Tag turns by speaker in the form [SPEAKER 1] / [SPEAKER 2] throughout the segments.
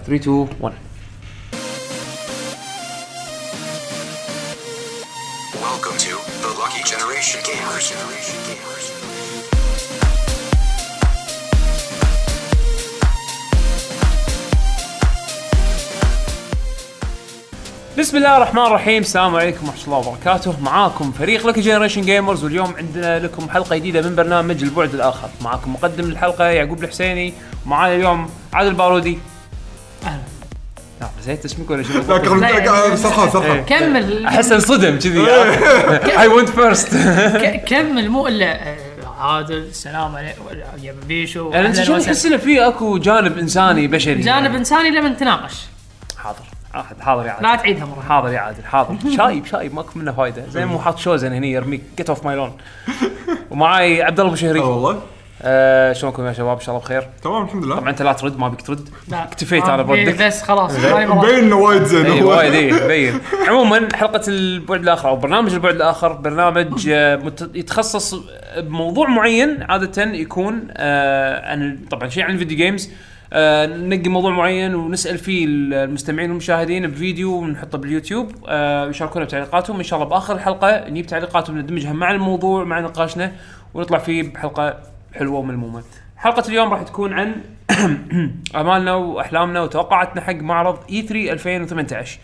[SPEAKER 1] 3 2 1
[SPEAKER 2] Welcome to the Lucky Generation Gamers.
[SPEAKER 1] بسم الله الرحمن الرحيم السلام عليكم ورحمه الله وبركاته معاكم فريق لك جنريشن جيمرز واليوم عندنا لكم حلقه جديده من برنامج البعد الاخر معاكم مقدم الحلقه يعقوب الحسيني ومعانا اليوم عادل بارودي اهلا نسيت اسمك ولا شو
[SPEAKER 3] لا، يعني-
[SPEAKER 4] سرحان
[SPEAKER 1] إيه.
[SPEAKER 4] سرحان
[SPEAKER 3] كمل
[SPEAKER 1] احس انصدم كذي اي ونت فيرست
[SPEAKER 3] ك- كمل مو الا آه، عادل السلام عليكم يا بيشو
[SPEAKER 1] يعني انت
[SPEAKER 3] أهلاً
[SPEAKER 1] شلون
[SPEAKER 3] وسهلاً.
[SPEAKER 1] تحس انه في اكو جانب انساني بشري
[SPEAKER 3] جانب نعم. انساني لما نتناقش
[SPEAKER 1] حاضر احد حاضر يا عادل
[SPEAKER 3] لا تعيدها مره
[SPEAKER 1] حاضر يا عادل حاضر شايب شايب ماكو منه فايده زين مو حاط شوزن هني يرميك جيت اوف ماي لون ومعاي عبد الله ابو
[SPEAKER 4] اه
[SPEAKER 1] شهري
[SPEAKER 4] والله
[SPEAKER 1] آه شلونكم يا شباب ان شاء الله بخير
[SPEAKER 4] تمام الحمد
[SPEAKER 1] طبعا
[SPEAKER 4] لله
[SPEAKER 1] انت لا ترد ما بيك ترد
[SPEAKER 3] لا.
[SPEAKER 1] اكتفيت انا
[SPEAKER 3] آه،
[SPEAKER 1] بردك
[SPEAKER 3] بس خلاص ماني مرة.
[SPEAKER 4] مبين انه وايد زين
[SPEAKER 1] اي
[SPEAKER 4] هو.
[SPEAKER 1] إيه، وايد اي مبين عموما حلقه البعد الاخر او برنامج البعد الاخر برنامج آه، مت- يتخصص بموضوع معين عاده يكون آه، عن طبعا شيء عن الفيديو جيمز آه، ننقي موضوع معين ونسال فيه المستمعين والمشاهدين بفيديو ونحطه باليوتيوب آه، يشاركونا بتعليقاتهم ان شاء الله باخر الحلقه نجيب تعليقاتهم ندمجها مع الموضوع مع نقاشنا ونطلع فيه بحلقه حلوه وملمومه. حلقه اليوم راح تكون عن امالنا واحلامنا وتوقعاتنا حق معرض E اي 3 2018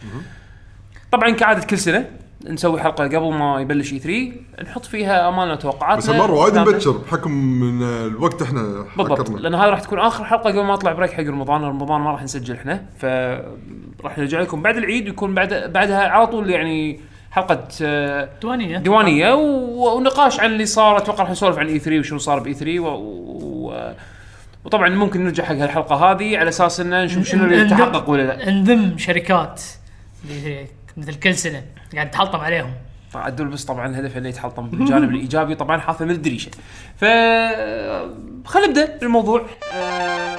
[SPEAKER 1] طبعا كعاده كل سنه نسوي حلقه قبل ما يبلش اي 3 نحط فيها امالنا وتوقعاتنا
[SPEAKER 4] بس المره وايد
[SPEAKER 1] أحلامنا.
[SPEAKER 4] مبكر بحكم من الوقت احنا
[SPEAKER 1] بالضبط
[SPEAKER 4] حكرنا.
[SPEAKER 1] لان هذه راح تكون اخر حلقه قبل ما اطلع بريك حق رمضان رمضان ما راح نسجل احنا فراح نرجع لكم بعد العيد ويكون بعد بعدها على طول يعني حلقه آه،
[SPEAKER 3] ديوانيه
[SPEAKER 1] ديوانيه و... ونقاش عن اللي صار اتوقع راح نسولف عن اي 3 وشنو صار باي 3 و... و... وطبعا ممكن نرجع حق هالحلقه هذه على اساس ان نشوف شنو اللي
[SPEAKER 3] ننضم-
[SPEAKER 1] تحقق ولا لا
[SPEAKER 3] نذم شركات اللي- مثل كل سنه قاعد تحلطم عليهم
[SPEAKER 1] طبعاً عدول بس طبعا هدفه انه يتحطم بالجانب الايجابي طبعا حاطه من الدريشه ف خلينا نبدا بالموضوع آه،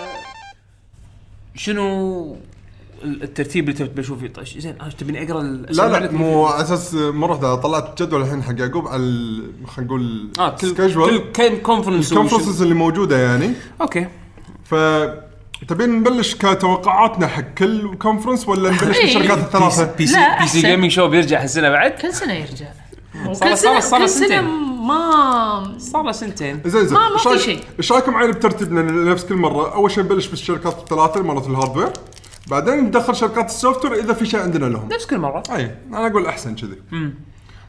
[SPEAKER 1] شنو الترتيب اللي تبي تشوف فيه طيب، زين آه، تبيني اقرا ال-
[SPEAKER 4] لا لا
[SPEAKER 1] لك-
[SPEAKER 4] مو على اساس مره واحدة طلعت جدول الحين حق يعقوب على ال- خلينا نقول
[SPEAKER 1] اه كل
[SPEAKER 4] schedule.
[SPEAKER 1] كل كل كونفرنس
[SPEAKER 4] الكونفرنسز اللي موجوده يعني
[SPEAKER 1] اوكي
[SPEAKER 4] ف تبين نبلش كتوقعاتنا حق كل كونفرنس ولا نبلش
[SPEAKER 3] إيه.
[SPEAKER 4] بالشركات الثلاثه؟
[SPEAKER 1] بي سي
[SPEAKER 3] لا،
[SPEAKER 1] بي سي
[SPEAKER 3] أحسن.
[SPEAKER 1] جيمنج شو بيرجع هالسنه بعد
[SPEAKER 3] كل سنه يرجع
[SPEAKER 1] صار-
[SPEAKER 3] وكل
[SPEAKER 1] صار-
[SPEAKER 3] سنه
[SPEAKER 1] صار
[SPEAKER 3] كل
[SPEAKER 1] سنتين.
[SPEAKER 3] سنه ما
[SPEAKER 1] صار له سنتين
[SPEAKER 4] زين زين
[SPEAKER 3] ما- ما
[SPEAKER 4] إيش
[SPEAKER 3] في
[SPEAKER 4] رايك-
[SPEAKER 3] شيء.
[SPEAKER 4] ايش رايكم معي بترتيب لأن نفس كل مره اول شيء نبلش بالشركات الثلاثه مالت الهاردوير بعدين ندخل شركات السوفت وير اذا في شيء عندنا لهم
[SPEAKER 1] نفس كل مره
[SPEAKER 4] اي انا اقول احسن كذي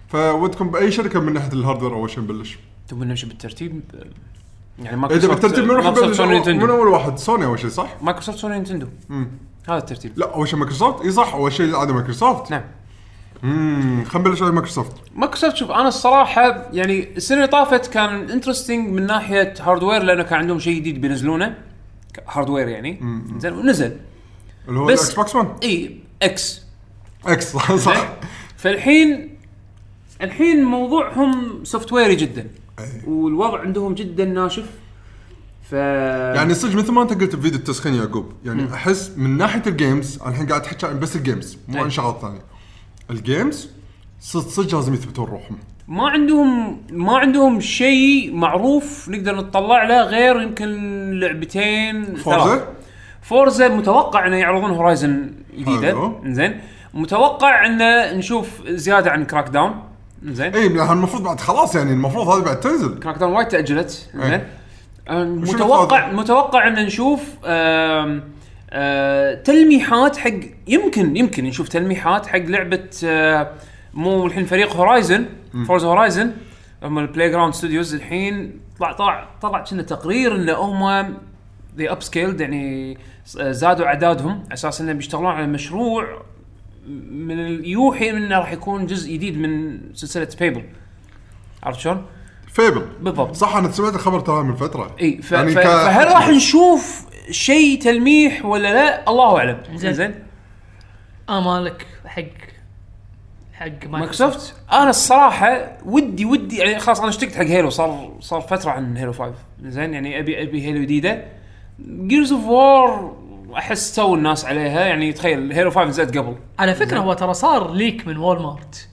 [SPEAKER 4] فودكم باي شركه من ناحيه الهاردوير اول شيء نبلش
[SPEAKER 1] تبون نمشي بالترتيب يعني
[SPEAKER 4] اذا
[SPEAKER 1] مايكروسوفت
[SPEAKER 4] بالترتيب من راح
[SPEAKER 1] مايكروسوفت
[SPEAKER 4] نبلش
[SPEAKER 1] سوني
[SPEAKER 4] من
[SPEAKER 1] نينتندو
[SPEAKER 4] اول واحد سوني اول شيء صح؟
[SPEAKER 1] مايكروسوفت سوني نينتندو هذا الترتيب
[SPEAKER 4] لا اول شيء مايكروسوفت اي صح اول شيء عاد مايكروسوفت
[SPEAKER 1] نعم
[SPEAKER 4] امم خلينا نبلش على مايكروسوفت
[SPEAKER 1] مايكروسوفت شوف انا الصراحه يعني السنه اللي طافت كان انترستنج من ناحيه هاردوير لانه كان عندهم شيء جديد بينزلونه ك- هاردوير يعني زين ونزل
[SPEAKER 4] اللي هو
[SPEAKER 1] بس-
[SPEAKER 4] الاكس بوكس 1
[SPEAKER 1] اي اكس
[SPEAKER 4] اكس صح صح
[SPEAKER 1] فالحين الحين موضوعهم سوفت ويري جدا
[SPEAKER 4] أي.
[SPEAKER 1] والوضع عندهم جدا ناشف ف يعني
[SPEAKER 4] يعني صدق مثل ما انت قلت بفيديو التسخين يا يعقوب يعني احس من ناحيه الجيمز أنا الحين قاعد احكي عن بس الجيمز مو
[SPEAKER 1] أي.
[SPEAKER 4] عن شغلات ثانيه الجيمز صدق صدق لازم يثبتون روحهم
[SPEAKER 1] ما عندهم ما عندهم شيء معروف نقدر نتطلع له غير يمكن لعبتين ثلاث.
[SPEAKER 4] فورزا
[SPEAKER 1] فورزا متوقع انه يعرضون هورايزن جديده
[SPEAKER 4] حلو.
[SPEAKER 1] زين متوقع انه نشوف زياده عن كراك داون زين
[SPEAKER 4] اي لأن المفروض بعد خلاص يعني المفروض هذه بعد تنزل
[SPEAKER 1] كراك داون وايد تاجلت زين
[SPEAKER 4] إيه.
[SPEAKER 1] أم، متوقع
[SPEAKER 4] الفاضل؟
[SPEAKER 1] متوقع ان نشوف أم، أه، تلميحات حق يمكن يمكن نشوف تلميحات حق لعبه أه، مو الحين فريق هورايزن فورز هورايزن هم البلاي جراوند ستوديوز الحين طلع طلع طلع كنا تقرير ان هم ذي اب سكيلد يعني س- زادوا اعدادهم على اساس انهم بيشتغلون على مشروع من ال- يوحي انه راح يكون جزء جديد من سلسله بيبل عرفت شلون؟
[SPEAKER 4] فيبل
[SPEAKER 1] بالضبط
[SPEAKER 4] صح انا سمعت الخبر ترى من فتره
[SPEAKER 1] اي ف...
[SPEAKER 4] يعني
[SPEAKER 1] ف...
[SPEAKER 4] ك-
[SPEAKER 1] فهل راح نشوف شيء تلميح ولا لا الله اعلم
[SPEAKER 3] زين.
[SPEAKER 1] زين
[SPEAKER 3] امالك آه، حق حق مايكروسوفت
[SPEAKER 1] مايكروسوفت انا الصراحه ودي ودي يعني خلاص انا اشتقت حق هيلو صار صار فتره عن هيلو 5 زين يعني ابي ابي هيلو جديده جيرز اوف وور احس تو الناس عليها يعني تخيل هيلو 5 نزلت قبل
[SPEAKER 3] على فكره هو ترى صار ليك من وول مارت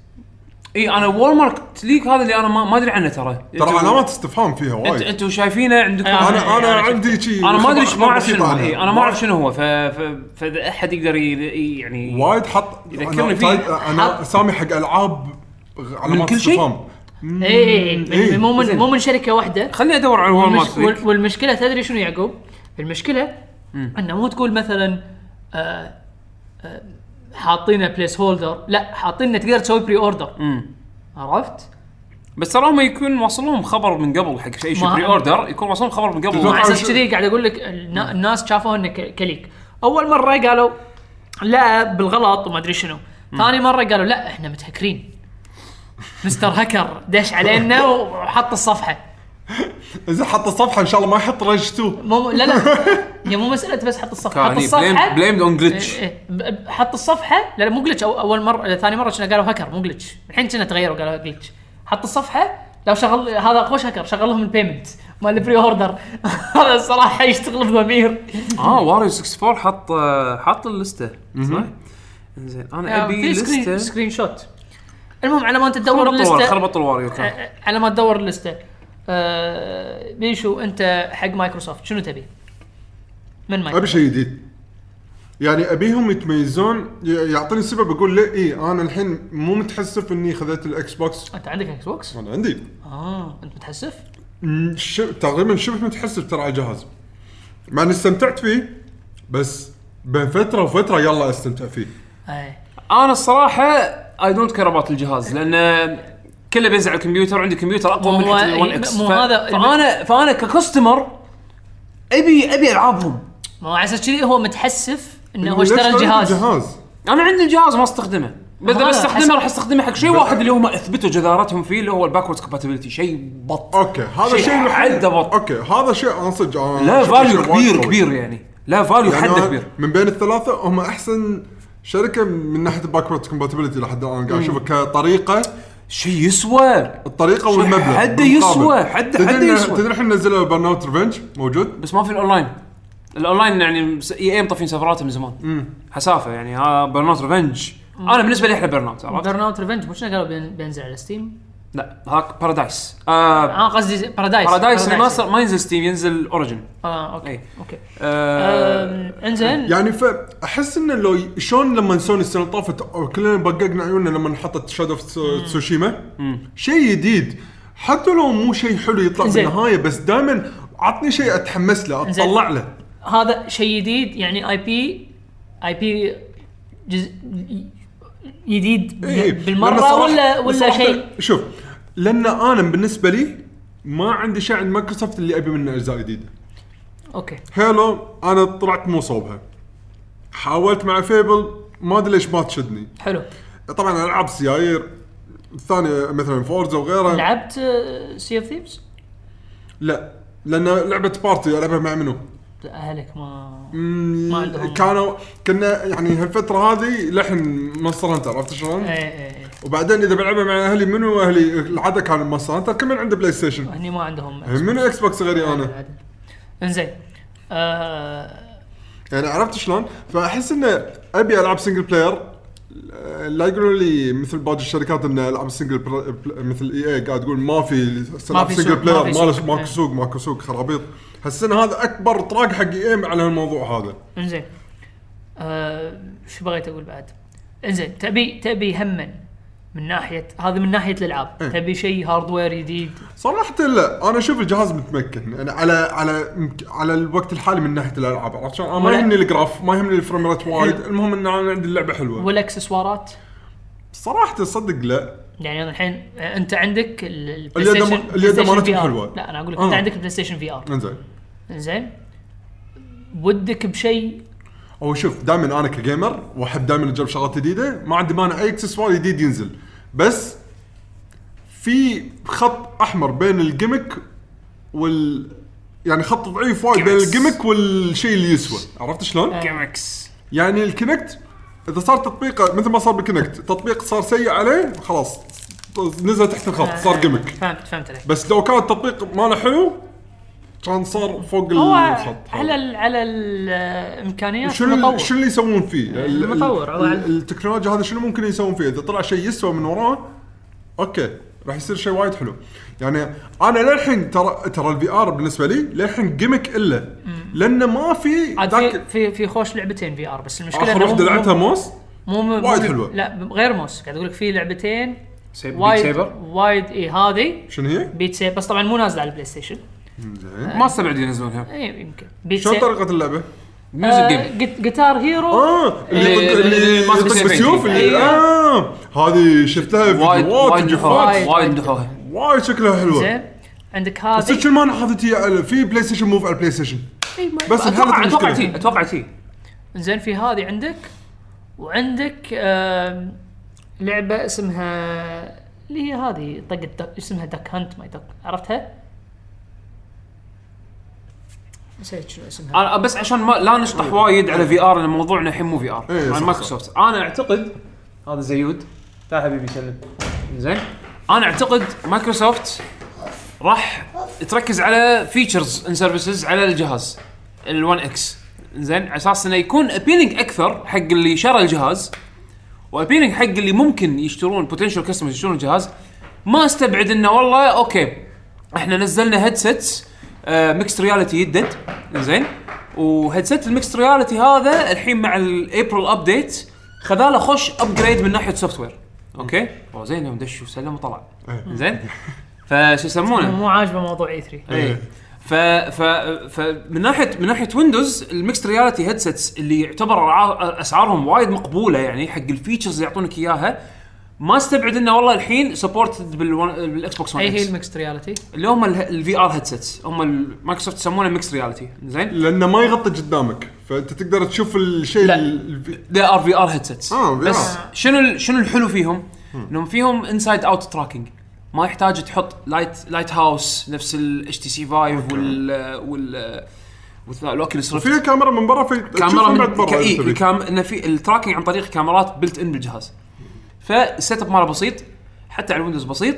[SPEAKER 1] اي انا وول ماركت ليج هذا اللي انا ما, ما ادري عنه ترى
[SPEAKER 4] ترى علامات استفهام فيها
[SPEAKER 1] انت
[SPEAKER 4] وايد
[SPEAKER 1] انتم شايفينه عندكم
[SPEAKER 3] أنا-
[SPEAKER 4] انا انا
[SPEAKER 3] أنا
[SPEAKER 4] عندي شي
[SPEAKER 1] انا يعني ما ادري إيش- ما اعرف
[SPEAKER 4] خبر
[SPEAKER 1] شنو هو
[SPEAKER 4] بسيطة
[SPEAKER 1] إيه،
[SPEAKER 4] عنها.
[SPEAKER 1] انا ما اعرف شنو هو ف- ف- فاذا احد يقدر ي- يعني
[SPEAKER 4] وايد حط
[SPEAKER 1] يذكرني
[SPEAKER 4] أنا-
[SPEAKER 1] فيه.
[SPEAKER 4] انا
[SPEAKER 1] حط-
[SPEAKER 4] سامي حق العاب علامات
[SPEAKER 1] كل شيء؟
[SPEAKER 4] استفهام
[SPEAKER 3] اي
[SPEAKER 4] إيه،
[SPEAKER 3] اي مو من مو من شركه واحده
[SPEAKER 1] خليني ادور على وول
[SPEAKER 3] والمش...
[SPEAKER 1] ماركت ليج
[SPEAKER 3] وال- والمشكله تدري شنو يعقوب؟ المشكله انه مو تقول مثلا آه، آه، حاطينه بليس هولدر لا حاطينه تقدر تسوي بري اوردر عرفت؟
[SPEAKER 1] بس ترى هم يكون واصلهم خبر من قبل حق شيء شيء
[SPEAKER 3] ما-
[SPEAKER 1] بري اوردر يكون واصلهم خبر من قبل
[SPEAKER 4] بالضبط.
[SPEAKER 1] ما-
[SPEAKER 3] مع
[SPEAKER 4] شو-
[SPEAKER 3] اساس كذي قاعد اقول لك النا- الناس شافوه انه ك- كليك اول مره قالوا لا بالغلط وما ادري شنو ثاني مره قالوا لا احنا متهكرين مستر هكر دش علينا وحط الصفحه
[SPEAKER 4] اذا حط الصفحه ان شاء الله ما يحط رج 2
[SPEAKER 3] مو لا لا هي مو مساله بس حط الصفحه حط
[SPEAKER 1] كان
[SPEAKER 3] الصفحه
[SPEAKER 1] بليمد اون جلتش
[SPEAKER 3] إيه، إيه. ب- ب- حط الصفحه لا لا مو جلتش أو اول مره ثاني مره كنا قالوا هكر مو جلتش الحين كنا تغيروا قالوا جلتش حط الصفحه لو شغل هذا خوش هكر شغل لهم البيمنت مال البري اوردر هذا الصراحه يشتغل بضمير
[SPEAKER 1] اه واريو 64 حط آه، حط اللسته صح؟ زين انا ابي
[SPEAKER 3] في سكرين
[SPEAKER 1] لسته
[SPEAKER 3] سكرين شوت المهم على ما انت تدور
[SPEAKER 1] خربطوا
[SPEAKER 3] اللسته
[SPEAKER 1] خربطوا الواريو كان
[SPEAKER 3] آه، على ما تدور اللسته آه، بيشو انت حق مايكروسوفت شنو تبي؟ من مايكروسوفت؟
[SPEAKER 4] ابي شيء جديد يعني ابيهم يتميزون ي- يعطيني سبب اقول لا اي انا الحين مو متحسف اني خذيت الاكس بوكس
[SPEAKER 3] انت عندك اكس بوكس؟
[SPEAKER 4] انا عندي
[SPEAKER 3] اه انت متحسف؟
[SPEAKER 4] م- ش- تقريبا شبه متحسف ترى على الجهاز مع اني استمتعت فيه بس بين فتره وفتره يلا استمتع فيه
[SPEAKER 3] اي
[SPEAKER 1] انا الصراحه اي دونت كير اباوت الجهاز لان كله بيزعل الكمبيوتر عندي كمبيوتر اقوى من
[SPEAKER 3] مو-
[SPEAKER 1] حتى ال 1 اكس
[SPEAKER 3] مو
[SPEAKER 1] ف-
[SPEAKER 3] هذا-
[SPEAKER 1] فانا فانا ككستمر ابي ابي العابهم
[SPEAKER 3] ما هو على اساس كذي هو متحسف انه هو
[SPEAKER 4] ليش
[SPEAKER 3] اشترى
[SPEAKER 4] اشتريت
[SPEAKER 3] الجهاز
[SPEAKER 4] الجهاز
[SPEAKER 1] انا عندي الجهاز ما استخدمه بس
[SPEAKER 3] هذا
[SPEAKER 1] بس استخدمه
[SPEAKER 3] حسب-
[SPEAKER 1] راح استخدمه حق شيء واحد اللي هم اثبتوا جدارتهم فيه اللي هو الباكورد كومباتيبلتي شيء بط
[SPEAKER 4] اوكي هذا
[SPEAKER 1] شيء
[SPEAKER 4] الشيء الوحيد
[SPEAKER 1] عدى بط.
[SPEAKER 4] اوكي هذا شيء انا صدق أنا
[SPEAKER 1] لا
[SPEAKER 4] شفت شيء
[SPEAKER 1] فاليو
[SPEAKER 4] وايد
[SPEAKER 1] كبير
[SPEAKER 4] قوي.
[SPEAKER 1] كبير يعني لا فاليو
[SPEAKER 4] يعني
[SPEAKER 1] حده
[SPEAKER 4] أنا
[SPEAKER 1] كبير
[SPEAKER 4] من بين الثلاثه هم احسن شركه من ناحيه الباكورد كومباتيبلتي لحد الان قاعد اشوفها كطريقه
[SPEAKER 1] شيء يسوى
[SPEAKER 4] الطريقه
[SPEAKER 1] شيء
[SPEAKER 4] والمبلغ
[SPEAKER 1] حده
[SPEAKER 4] مقابل.
[SPEAKER 1] يسوى، حده-
[SPEAKER 4] تدري
[SPEAKER 1] حده
[SPEAKER 4] إن-
[SPEAKER 1] يسوى.
[SPEAKER 4] تدري احنا نزلنا برن اوت ريفنج موجود
[SPEAKER 1] بس ما في الاونلاين الاونلاين يعني اي اي مطفين سفراتهم من زمان حسافه يعني ها برناوت ريفنج انا بالنسبه لي احلى برناوت عرفت؟
[SPEAKER 3] برن اوت ريفنج مو شنو قالوا بين- بينزل على ستيم؟
[SPEAKER 1] لا هاك بارادايس آه
[SPEAKER 3] اه قصدي بارادايس
[SPEAKER 1] بارادايس ريماستر ما ينزل ستيم ينزل اوريجن
[SPEAKER 3] اه اوكي
[SPEAKER 1] إيه.
[SPEAKER 3] اوكي
[SPEAKER 1] آه
[SPEAKER 3] أم، انزين
[SPEAKER 4] يعني فاحس انه لو ي- شلون لما سوني السنه طافت أو كلنا بققنا عيوننا لما حطت شادو اوف تسوشيما شيء جديد حتى لو مو شيء حلو يطلع
[SPEAKER 3] زين.
[SPEAKER 4] بالنهايه بس دائما عطني شيء اتحمس له
[SPEAKER 3] زين.
[SPEAKER 4] اتطلع له
[SPEAKER 3] هذا شيء جديد يعني اي بي اي بي جزء جديد
[SPEAKER 4] إيه. لأن
[SPEAKER 3] بالمره
[SPEAKER 4] صراحة-
[SPEAKER 3] ولا ولا
[SPEAKER 4] صراحة-
[SPEAKER 3] شيء
[SPEAKER 4] شوف لان انا بالنسبه لي ما عندي شيء عند مايكروسوفت اللي ابي منه اجزاء جديده
[SPEAKER 3] اوكي
[SPEAKER 4] هيلو انا طلعت مو صوبها حاولت مع فيبل ما ادري ليش ما تشدني
[SPEAKER 3] حلو
[SPEAKER 4] آه. طبعا العاب سيايير الثانيه مثلا فورزا وغيرها
[SPEAKER 3] لعبت آه، سي اوف ثيفز
[SPEAKER 4] لا لان لعبه بارتي العبها مع منو؟
[SPEAKER 3] اهلك ما
[SPEAKER 4] مم،
[SPEAKER 3] ما عندهم.
[SPEAKER 4] كانوا كنا يعني هالفتره هذه لحن مونستر هانتر عرفت شلون؟
[SPEAKER 3] اي اي اي
[SPEAKER 4] وبعدين اذا بلعبها مع اهلي منو اهلي العاده كان مونستر هانتر كمان عنده بلاي ستيشن
[SPEAKER 3] هني ما عندهم
[SPEAKER 4] منو اكس بوكس غيري انا؟
[SPEAKER 3] عادي. انزين آه،
[SPEAKER 4] يعني عرفت شلون؟ فاحس انه ابي العب سنجل بلاير لا يقولون لي مثل باقي الشركات ان العاب سنجل بر- بل- مثل اي اي قاعد تقول ما في العاب
[SPEAKER 3] في
[SPEAKER 4] سنجل
[SPEAKER 3] سوق،
[SPEAKER 4] بلاير
[SPEAKER 3] ما في
[SPEAKER 4] ما لش-
[SPEAKER 3] سوق. إيه.
[SPEAKER 4] ماكو سوق ماكو سوق خرابيط حس ان هذا اكبر طراق حق اي ام على هالموضوع هذا
[SPEAKER 3] انزين آه، شو بغيت اقول بعد؟ انزين تبي تبي هما من ناحيه هذا من ناحيه الالعاب
[SPEAKER 4] إيه.
[SPEAKER 3] تبي شيء هاردوير جديد
[SPEAKER 4] صراحه لا انا اشوف الجهاز متمكن يعني على على مك- على الوقت الحالي من ناحيه الالعاب عرفت شلون؟ أنا ما
[SPEAKER 3] ولا- إيه.
[SPEAKER 4] يهمني الجراف ما يهمني الفريم ريت وايد المهم ان انا عندي اللعبه حلوه
[SPEAKER 3] والاكسسوارات
[SPEAKER 4] صراحه تصدق لا
[SPEAKER 3] يعني أنا الحين آه، انت عندك ال- البلاي
[SPEAKER 4] اليد
[SPEAKER 3] ستيشن
[SPEAKER 4] ما-
[SPEAKER 3] بلاي
[SPEAKER 4] اليد
[SPEAKER 3] ستيشن
[SPEAKER 4] مالتهم
[SPEAKER 3] VR.
[SPEAKER 4] حلوة.
[SPEAKER 3] لا انا اقول لك
[SPEAKER 4] آه.
[SPEAKER 3] انت عندك بلاي ستيشن في ار
[SPEAKER 4] انزين
[SPEAKER 3] انزين ودك بشيء
[SPEAKER 4] هو شوف دائما انا كجيمر واحب دائما اجرب شغلات جديده ما عندي مانع اي اكسسوار جديد ينزل بس في خط احمر بين الجيمك وال يعني خط ضعيف وايد بين
[SPEAKER 1] Gimmicks.
[SPEAKER 4] الجيمك والشيء اللي يسوى عرفت شلون؟
[SPEAKER 1] جيمكس
[SPEAKER 4] يعني الكونكت اذا صار تطبيقه مثل ما صار بالكونكت تطبيق صار سيء عليه خلاص نزل تحت الخط صار جيمك
[SPEAKER 3] فهمت فهمت عليك
[SPEAKER 4] بس لو كان التطبيق ماله حلو كان صار فوق
[SPEAKER 3] هو
[SPEAKER 4] الخط
[SPEAKER 3] على ال آه، على الامكانيات
[SPEAKER 4] شنو
[SPEAKER 3] المطور
[SPEAKER 4] ال- شنو اللي يسوون فيه؟ ال- ال-
[SPEAKER 3] المطور،
[SPEAKER 4] ال-
[SPEAKER 3] وضع ال-
[SPEAKER 4] التكنولوجيا هذا شنو ممكن يسوون فيه؟ اذا طلع شيء يسوى من وراه اوكي راح يصير شيء وايد حلو يعني انا للحين ترى ترى الفي ار بالنسبه لي للحين جيمك الا لانه ما في
[SPEAKER 3] عاد في
[SPEAKER 4] ذاك
[SPEAKER 3] في في خوش لعبتين في ار بس المشكله
[SPEAKER 4] اخر
[SPEAKER 3] إنه مو-
[SPEAKER 4] وحده
[SPEAKER 3] مو-
[SPEAKER 4] لعبتها موس
[SPEAKER 3] مو مو-
[SPEAKER 4] وايد
[SPEAKER 3] مو-
[SPEAKER 4] حلوة.
[SPEAKER 3] لا غير موس قاعد اقول لك في لعبتين
[SPEAKER 1] سيب- بيت
[SPEAKER 3] وايد
[SPEAKER 1] سيبر
[SPEAKER 3] وايد اي هذه
[SPEAKER 4] شنو هي؟
[SPEAKER 3] بيت سيبر بس طبعا مو نازله على البلاي ستيشن
[SPEAKER 1] ما استبعد ينزلونها
[SPEAKER 3] اي يمكن آه، بيت
[SPEAKER 4] شلون طريقه اللعبه؟
[SPEAKER 1] ميوزك جيم
[SPEAKER 3] جيتار هيرو
[SPEAKER 4] اه اللي
[SPEAKER 1] إيه،
[SPEAKER 4] يطق- اللي
[SPEAKER 1] اللي ماسك
[SPEAKER 4] يطق
[SPEAKER 1] سيفين.
[SPEAKER 4] بالسيوف اللي
[SPEAKER 3] أيوة.
[SPEAKER 4] اه هذه شفتها
[SPEAKER 1] وايد
[SPEAKER 4] فيديوهات
[SPEAKER 1] وايد
[SPEAKER 4] وجفات.
[SPEAKER 1] مدحوها
[SPEAKER 3] وايد-
[SPEAKER 1] وايد مدحوها
[SPEAKER 4] وايد شكلها حلوه
[SPEAKER 3] زين عندك
[SPEAKER 4] بس
[SPEAKER 3] هذه
[SPEAKER 4] كل ما انا حاطتها على- في بلاي ستيشن موف على البلاي ستيشن
[SPEAKER 3] إي ما-
[SPEAKER 4] بس
[SPEAKER 1] اتوقع
[SPEAKER 4] انحلت
[SPEAKER 1] اتوقع
[SPEAKER 4] المشكله
[SPEAKER 1] تي اتوقع تي
[SPEAKER 3] زين في هذه عندك وعندك آم، لعبه اسمها اللي هي هذه طق الدك اسمها دك هانت ماي دك عرفتها؟ نسيت شنو
[SPEAKER 4] آه.
[SPEAKER 3] اسمها
[SPEAKER 1] انا بس عشان ما لا نشطح وايد على في ار لان موضوعنا الحين مو في ار
[SPEAKER 4] إيه، صح،
[SPEAKER 1] عن مايكروسوفت انا اعتقد هذا زيود تعال حبيبي سلم زين انا اعتقد مايكروسوفت راح تركز على فيتشرز ان سيرفيسز على الجهاز ال1 اكس زين على اساس انه يكون ابيلينج اكثر حق اللي شرى الجهاز وابيلينج حق اللي ممكن يشترون بوتنشال كاستمرز يشترون الجهاز ما استبعد انه والله اوكي احنا نزلنا آه، هيدسيتس ميكست رياليتي يدد زين وهيدسيت الميكست رياليتي هذا الحين مع الابريل ابديت خذاله خوش ابجريد من ناحيه سوفت وير اوكي أوه، زين يوم دش وسلم وطلع زين فشو يسمونه
[SPEAKER 3] مو عاجبه موضوع E اي 3
[SPEAKER 1] ايه ف ف فمن ناحيه من ناحيه ويندوز الميكس رياليتي هيدسيتس اللي يعتبر رعا- اسعارهم وايد مقبوله يعني حق الفيتشرز اللي يعطونك اياها ما استبعد انه والله الحين سبورت بالاكس بوكس 1
[SPEAKER 3] اي هي
[SPEAKER 1] اكس
[SPEAKER 3] الميكست رياليتي
[SPEAKER 1] اللي هم الفي ار هيدسيتس هم ال- مايكروسوفت يسمونه ميكس رياليتي زين
[SPEAKER 4] لانه ما يغطي قدامك فانت تقدر تشوف الشيء
[SPEAKER 1] لا.
[SPEAKER 4] ال-
[SPEAKER 1] ذي ار في ار هيدسيتس
[SPEAKER 4] آه، VR.
[SPEAKER 1] بس شنو ال- شنو الحلو فيهم؟ انهم فيهم انسايد اوت تراكنج ما يحتاج تحط لايت لايت هاوس نفس الاتش تي سي فايف وال وال والاوكيوليس ريفت
[SPEAKER 4] في كاميرا من برا في
[SPEAKER 1] كاميرا
[SPEAKER 4] تشوف
[SPEAKER 1] من
[SPEAKER 4] بعد برا
[SPEAKER 1] كا- إيه،
[SPEAKER 4] إذا تبي.
[SPEAKER 1] الكام انه في التراكنج عن طريق كاميرات بلت ان بالجهاز فالسيت اب ماله بسيط حتى على الويندوز بسيط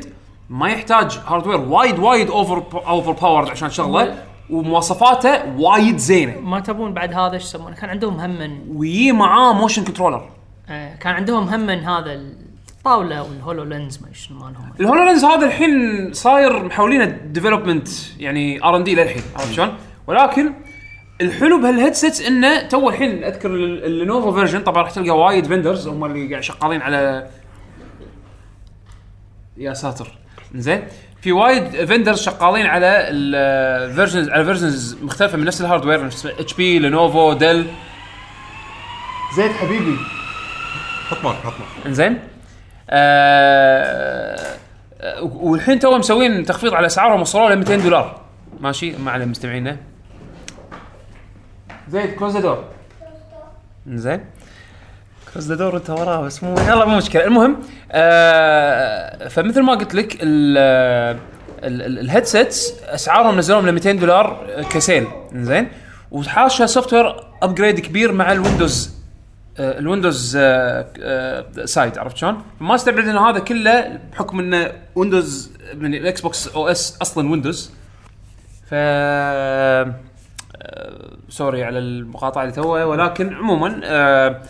[SPEAKER 1] ما يحتاج هاردوير وايد وايد اوفر اوفر باورد عشان شغله ومواصفاته وايد زينه
[SPEAKER 3] ما تبون بعد هذا ايش يسمونه كان عندهم هم من
[SPEAKER 1] ويجي معاه موشن كنترولر
[SPEAKER 3] آه، كان عندهم هم من هذا الطاوله والهولو لينز ما أدري شنو مالهم
[SPEAKER 1] الهولولينز هذا الحين صاير محولينه ديفلوبمنت يعني ار ان دي للحين عرفت شلون؟ ولكن الحلو بهالهيدسيتس انه تو الحين اذكر ال- اللينوفو فيرجن طبعا راح تلقى وايد فندرز هم اللي قاعد شغالين على يا ساتر زين في وايد فندرز شغالين على الفيرجنز على فيرجنز مختلفه من نفس الهاردوير نفس اتش بي لينوفو ديل زيد حبيبي
[SPEAKER 4] حط مارك حط مارك
[SPEAKER 1] انزين آه آه، والحين توهم مسوين تخفيض على اسعارهم وصلوا ل 200 دولار ماشي ما على مستمعينا زيد كلوز ذا دور انزين كلوز ذا دور انت وراه بس مو يلا مو مشكله المهم آه فمثل ما قلت لك ال الهيدسيتس اسعارهم نزلوهم ل 200 دولار كسيل زين وحاشها سوفت وير ابجريد كبير مع الويندوز آه، الويندوز آه، آه، سايد عرفت شلون؟ ما استبعد ان هذا كله بحكم انه ويندوز من الاكس بوكس او اس اصلا ويندوز ف آه، سوري على المقاطعه اللي توه ولكن عموما آه،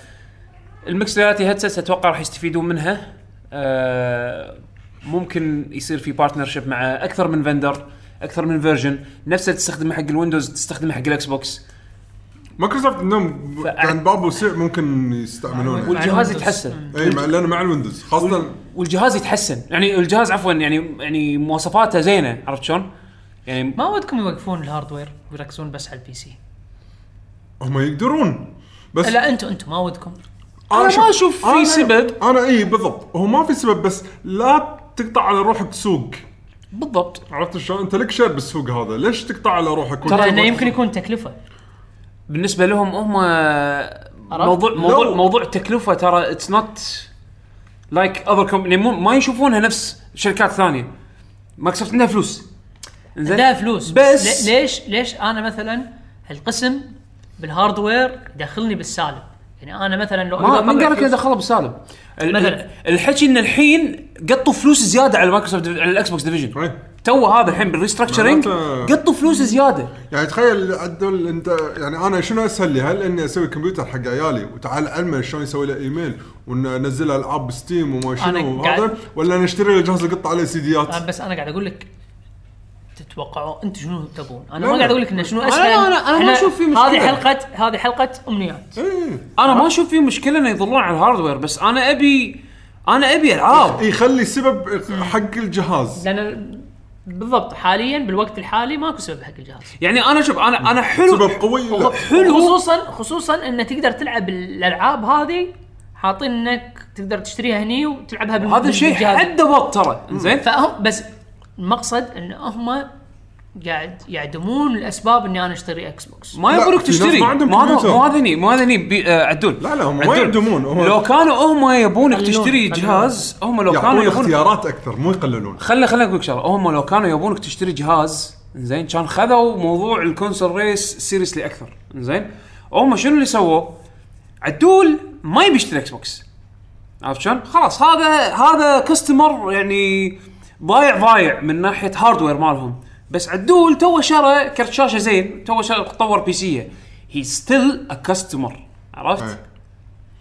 [SPEAKER 1] المكسلاتي هيدسيتس اتوقع راح يستفيدون منها آه، ممكن يصير في بارتنرشيب مع اكثر من فندر اكثر من فيرجن نفسه تستخدمه حق الويندوز تستخدمه حق الاكس بوكس
[SPEAKER 4] مايكروسوفت عندهم ب-
[SPEAKER 1] فأع-
[SPEAKER 4] عند باب وسع ممكن يستعملونه
[SPEAKER 3] وال-
[SPEAKER 1] والجهاز
[SPEAKER 3] الويندوز.
[SPEAKER 1] يتحسن
[SPEAKER 4] اي مع لانه مع الويندوز خاصه
[SPEAKER 1] والجهاز يتحسن يعني الجهاز عفوا يعني يعني مواصفاته زينه عرفت شلون؟ يعني
[SPEAKER 3] ما ودكم يوقفون الهاردوير ويركزون بس على البي سي
[SPEAKER 4] هم يقدرون بس
[SPEAKER 3] لا انتم انتم ما ودكم
[SPEAKER 1] أنا ما
[SPEAKER 4] شوف-
[SPEAKER 1] أشوف في
[SPEAKER 4] أنا-
[SPEAKER 1] سبب.
[SPEAKER 4] انا اي بالضبط هو ما في سبب بس لا تقطع على روحك سوق
[SPEAKER 1] بالضبط
[SPEAKER 4] عرفت شلون انت لك شير بالسوق هذا ليش تقطع على روحك
[SPEAKER 1] ترى
[SPEAKER 3] لانه
[SPEAKER 1] ما-
[SPEAKER 3] يمكن يكون تكلفه
[SPEAKER 1] بالنسبه لهم هم موضوع موضوع
[SPEAKER 4] لو-
[SPEAKER 1] موضوع التكلفه ترى اتس نوت لايك اذر كومباني يعني ما يشوفونها نفس شركات ثانيه مايكروسوفت عندها فلوس زين
[SPEAKER 3] لا فلوس
[SPEAKER 1] بس-
[SPEAKER 3] لي- ليش ليش انا مثلا القسم بالهاردوير يدخلني بالسالب يعني انا مثلا لو
[SPEAKER 1] ما
[SPEAKER 3] لو
[SPEAKER 1] من
[SPEAKER 3] طلع
[SPEAKER 1] قال لك
[SPEAKER 3] فلوس-
[SPEAKER 1] دخلها بالسالب ال-
[SPEAKER 3] مثلاً.
[SPEAKER 1] الحكي ان الحين قطوا فلوس زياده على مايكروسوفت على الاكس بوكس ديفيجن
[SPEAKER 4] إيه.
[SPEAKER 1] تو هذا الحين بالريستراكشرنج
[SPEAKER 4] معناته-
[SPEAKER 1] قطوا فلوس زياده
[SPEAKER 4] يعني تخيل عدل انت يعني انا شنو اسهل لي؟ هل اني اسوي كمبيوتر حق عيالي وتعال علمه شلون يسوي له ايميل وننزل العاب بستيم وما
[SPEAKER 3] أنا
[SPEAKER 4] شنو
[SPEAKER 3] قاعد-
[SPEAKER 4] وهذا ولا نشتري له جهاز يقط عليه سيديات؟
[SPEAKER 3] أنا آه، بس انا قاعد اقول لك تتوقعوا انت شنو تبون انا
[SPEAKER 4] لا،
[SPEAKER 3] ما قاعد
[SPEAKER 4] لا.
[SPEAKER 3] اقول لك انه شنو
[SPEAKER 1] أنا-
[SPEAKER 3] اسهل
[SPEAKER 1] أنا- أنا ما
[SPEAKER 3] إحنا-
[SPEAKER 1] أشوف في
[SPEAKER 3] هذه
[SPEAKER 1] مشكلة.
[SPEAKER 3] حلقه هذه حلقه امنيات
[SPEAKER 4] ايه
[SPEAKER 1] انا ما اشوف في مشكله انه يظلون على الهاردوير بس انا ابي انا ابي العاب
[SPEAKER 4] إيه، خلي سبب حق الجهاز
[SPEAKER 3] لان بالضبط حاليا بالوقت الحالي ماكو سبب حق الجهاز
[SPEAKER 1] يعني انا شوف انا انا
[SPEAKER 4] سبب
[SPEAKER 1] حلو
[SPEAKER 4] قوي لا
[SPEAKER 1] حلو.
[SPEAKER 3] خصوصا خصوصا انه تقدر تلعب الالعاب هذه حاطين انك تقدر تشتريها هني وتلعبها بال-
[SPEAKER 1] هذا الشيء
[SPEAKER 3] بالجهاز.
[SPEAKER 1] حده بط ترى زين
[SPEAKER 3] فهم بس المقصد ان هم قاعد يعدمون الاسباب اني انا اشتري اكس بوكس
[SPEAKER 1] ما
[SPEAKER 4] لا،
[SPEAKER 1] يقولك
[SPEAKER 4] في ناس
[SPEAKER 1] تشتري
[SPEAKER 4] ما عندهم
[SPEAKER 1] ما هذا
[SPEAKER 4] كمبيوتر.
[SPEAKER 1] مو هذني مو هذني بي- آه، عدول
[SPEAKER 4] لا، لا، هم ما
[SPEAKER 1] عدول.
[SPEAKER 4] يعدمون، هم-
[SPEAKER 1] لو كانوا هم يبونك
[SPEAKER 3] يقللون،
[SPEAKER 1] تشتري
[SPEAKER 3] يقللون.
[SPEAKER 1] جهاز هم لو كانوا
[SPEAKER 4] يعطون
[SPEAKER 1] يبونك
[SPEAKER 4] اختيارات اكثر مو يقللون
[SPEAKER 1] خلي خليني اقول لك شغله هم لو كانوا يبونك تشتري جهاز زين كان خذوا موضوع الكونسول ريس سيريسلي اكثر زين هم شنو اللي سووه؟ عدول ما يبي يشتري اكس بوكس عرفت شلون؟ خلاص هذا هذا كاستمر يعني ضايع ضايع من ناحيه هاردوير مالهم بس عدول تو شرى كرت شاشه زين تو شرى طور بيسيه هي ستيل ا كاستمر عرفت؟
[SPEAKER 4] إيه.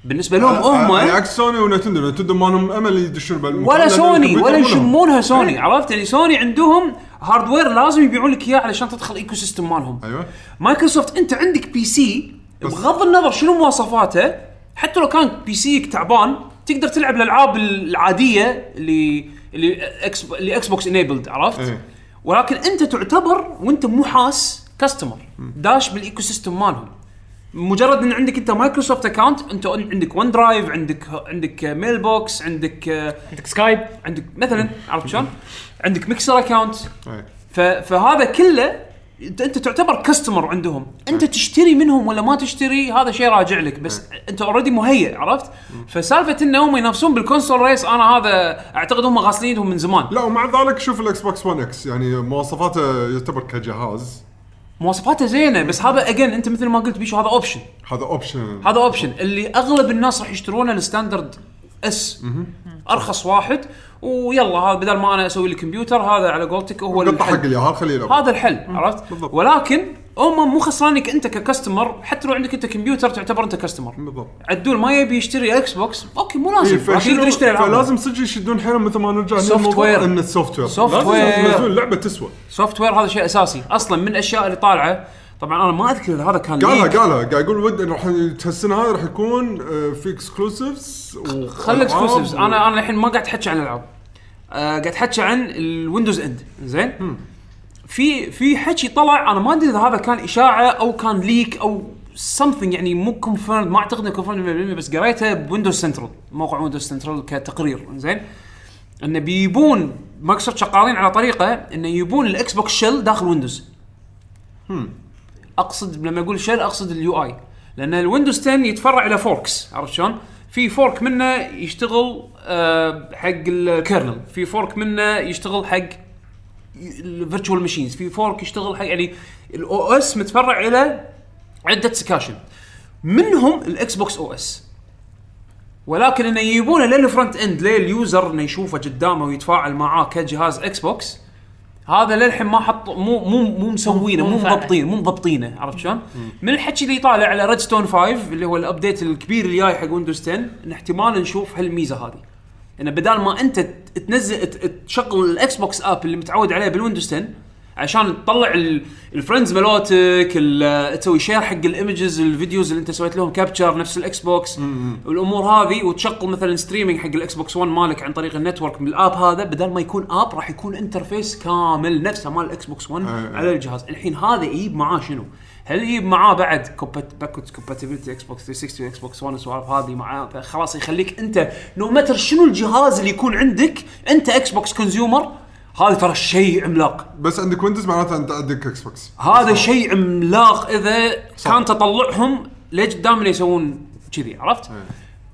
[SPEAKER 1] بالنسبه لهم هم إيه؟
[SPEAKER 4] على آه، يعني عكس سوني ونتندو نتندو ما لهم امل يدشون بالموضوع
[SPEAKER 1] ولا
[SPEAKER 4] لأن
[SPEAKER 1] سوني
[SPEAKER 4] الكمبيوتر
[SPEAKER 1] ولا
[SPEAKER 4] مو لهم.
[SPEAKER 1] يشمونها سوني عرفت يعني سوني عندهم هاردوير لازم يبيعون لك اياه علشان تدخل ايكو سيستم مالهم
[SPEAKER 4] ايوه
[SPEAKER 1] مايكروسوفت انت عندك بي سي
[SPEAKER 4] بس-
[SPEAKER 1] بغض النظر شنو مواصفاته حتى لو كان بي سيك تعبان تقدر تلعب الالعاب العاديه اللي اللي اكس اللي اكس بوكس انيبلد عرفت؟
[SPEAKER 4] إيه.
[SPEAKER 1] ولكن انت تعتبر وانت مو حاس كاستمر داش بالايكو سيستم مالهم مجرد ان عندك انت مايكروسوفت اكونت انت عندك ون درايف عندك عندك ميل بوكس عندك آه،
[SPEAKER 3] عندك سكايب
[SPEAKER 1] عندك مثلا عرفت شلون؟ عندك ميكسر اكونت
[SPEAKER 4] إيه.
[SPEAKER 1] ف- فهذا كله انت انت تعتبر كاستمر عندهم، انت تشتري منهم ولا ما تشتري هذا شيء راجع لك بس انت اوريدي مهيئ عرفت؟ فسالفه ان هم ينافسون بالكونسول ريس انا هذا اعتقد هم غاسلين ايدهم من زمان،
[SPEAKER 4] لا ومع ذلك شوف الاكس بوكس 1 اكس يعني مواصفاته يعتبر كجهاز
[SPEAKER 1] مواصفاته زينه بس هذا اجين انت مثل ما قلت بيشو هذا اوبشن،
[SPEAKER 4] هذا اوبشن
[SPEAKER 1] هذا اوبشن اللي اغلب الناس راح يشترونه الستاندرد اس ارخص واحد ويلا هذا بدل ما انا اسوي لي كمبيوتر هذا على قولتك هو
[SPEAKER 4] قطع حق
[SPEAKER 1] الحل.
[SPEAKER 4] اليهال خليه يلعب
[SPEAKER 1] هذا الحل عرفت
[SPEAKER 4] بالضبط.
[SPEAKER 1] ولكن هم مو خسرانك انت ككاستمر حتى لو عندك انت كمبيوتر تعتبر انت كاستمر
[SPEAKER 4] بالضبط
[SPEAKER 1] عدول ما يبي يشتري اكس بوكس اوكي مو
[SPEAKER 4] إيه،
[SPEAKER 1] لازم لكن
[SPEAKER 4] فشنو-
[SPEAKER 1] يقدر يشتري العاب
[SPEAKER 4] فلازم صدق يشدون حيلهم مثل ما نرجع
[SPEAKER 1] سوفت وير.
[SPEAKER 4] ان السوفت وير
[SPEAKER 1] سوفت
[SPEAKER 4] لازم
[SPEAKER 1] وير.
[SPEAKER 4] ينزلون لعبه تسوى
[SPEAKER 1] سوفت وير هذا شيء اساسي اصلا من الاشياء اللي طالعه طبعا انا ما اذكر إذا هذا كان
[SPEAKER 4] قالها
[SPEAKER 1] ليك.
[SPEAKER 4] قالها قاعد يقول ود انه راح السنه هاي راح يكون آه، في اكسكلوسيفز
[SPEAKER 1] خلي اكسكلوسيفز انا انا الحين ما قاعد احكي عن العاب آه قاعد احكي عن الويندوز اند زين في في حكي طلع انا ما ادري اذا هذا كان اشاعه او كان ليك او سمثينج يعني مو كونفيرم ما اعتقد انه كونفيرم بس قريته بويندوز سنترال موقع ويندوز سنترال كتقرير زين انه بيبون مايكروسوفت شغالين على طريقه انه يبون الاكس بوكس شيل داخل ويندوز اقصد لما اقول شيل اقصد اليو اي لان الويندوز 10 يتفرع الى فوركس عرفت شلون؟ في فورك منه يشتغل آه، حق الكيرنل، في فورك منه يشتغل حق الفيرتشوال ماشينز، في فورك يشتغل حق يعني الاو اس متفرع الى عده سكاشن. منهم الاكس بوكس او اس. ولكن انه يجيبونه للفرونت اند لليوزر انه يشوفه قدامه ويتفاعل معاه كجهاز اكس بوكس هذا للحين ما حط مو مو مو مسوينه
[SPEAKER 3] مو
[SPEAKER 1] مو
[SPEAKER 3] مفعل.
[SPEAKER 1] مضبطين مو مضبطينه عرفت شلون؟ من الحكي اللي طالع على ريد ستون 5 اللي هو الابديت الكبير اللي جاي حق ويندوز 10 ان احتمال نشوف هالميزه هذه. انه بدال ما انت تنزل ت- تشغل الاكس بوكس اب اللي متعود عليه بالويندوز 10 عشان تطلع ال- الفريندز مالوتك ال- تسوي شير حق الايمجز الفيديوز اللي انت سويت لهم كابتشر نفس الاكس بوكس والامور هذه وتشغل مثلا ستريمينج حق الاكس بوكس 1 مالك عن طريق النتورك من الاب هذا بدل ما يكون اب راح يكون انترفيس كامل نفسه مال الاكس بوكس 1
[SPEAKER 4] أي.
[SPEAKER 1] على الجهاز الحين هذا يجيب معاه شنو؟ هل يجيب معاه بعد باكوت كومباتيبلتي اكس بوكس 360 واكس بوكس 1 والسوالف هذه معاه فخلاص يخليك انت نو متر شنو الجهاز اللي يكون عندك انت اكس بوكس كونسيومر هذا ترى شيء عملاق
[SPEAKER 4] بس عندك ويندوز معناته انت عندك اكس بوكس
[SPEAKER 1] هذا شيء عملاق اذا
[SPEAKER 4] صح.
[SPEAKER 1] كان تطلعهم لقدام اللي يسوون كذي عرفت؟
[SPEAKER 4] إيه.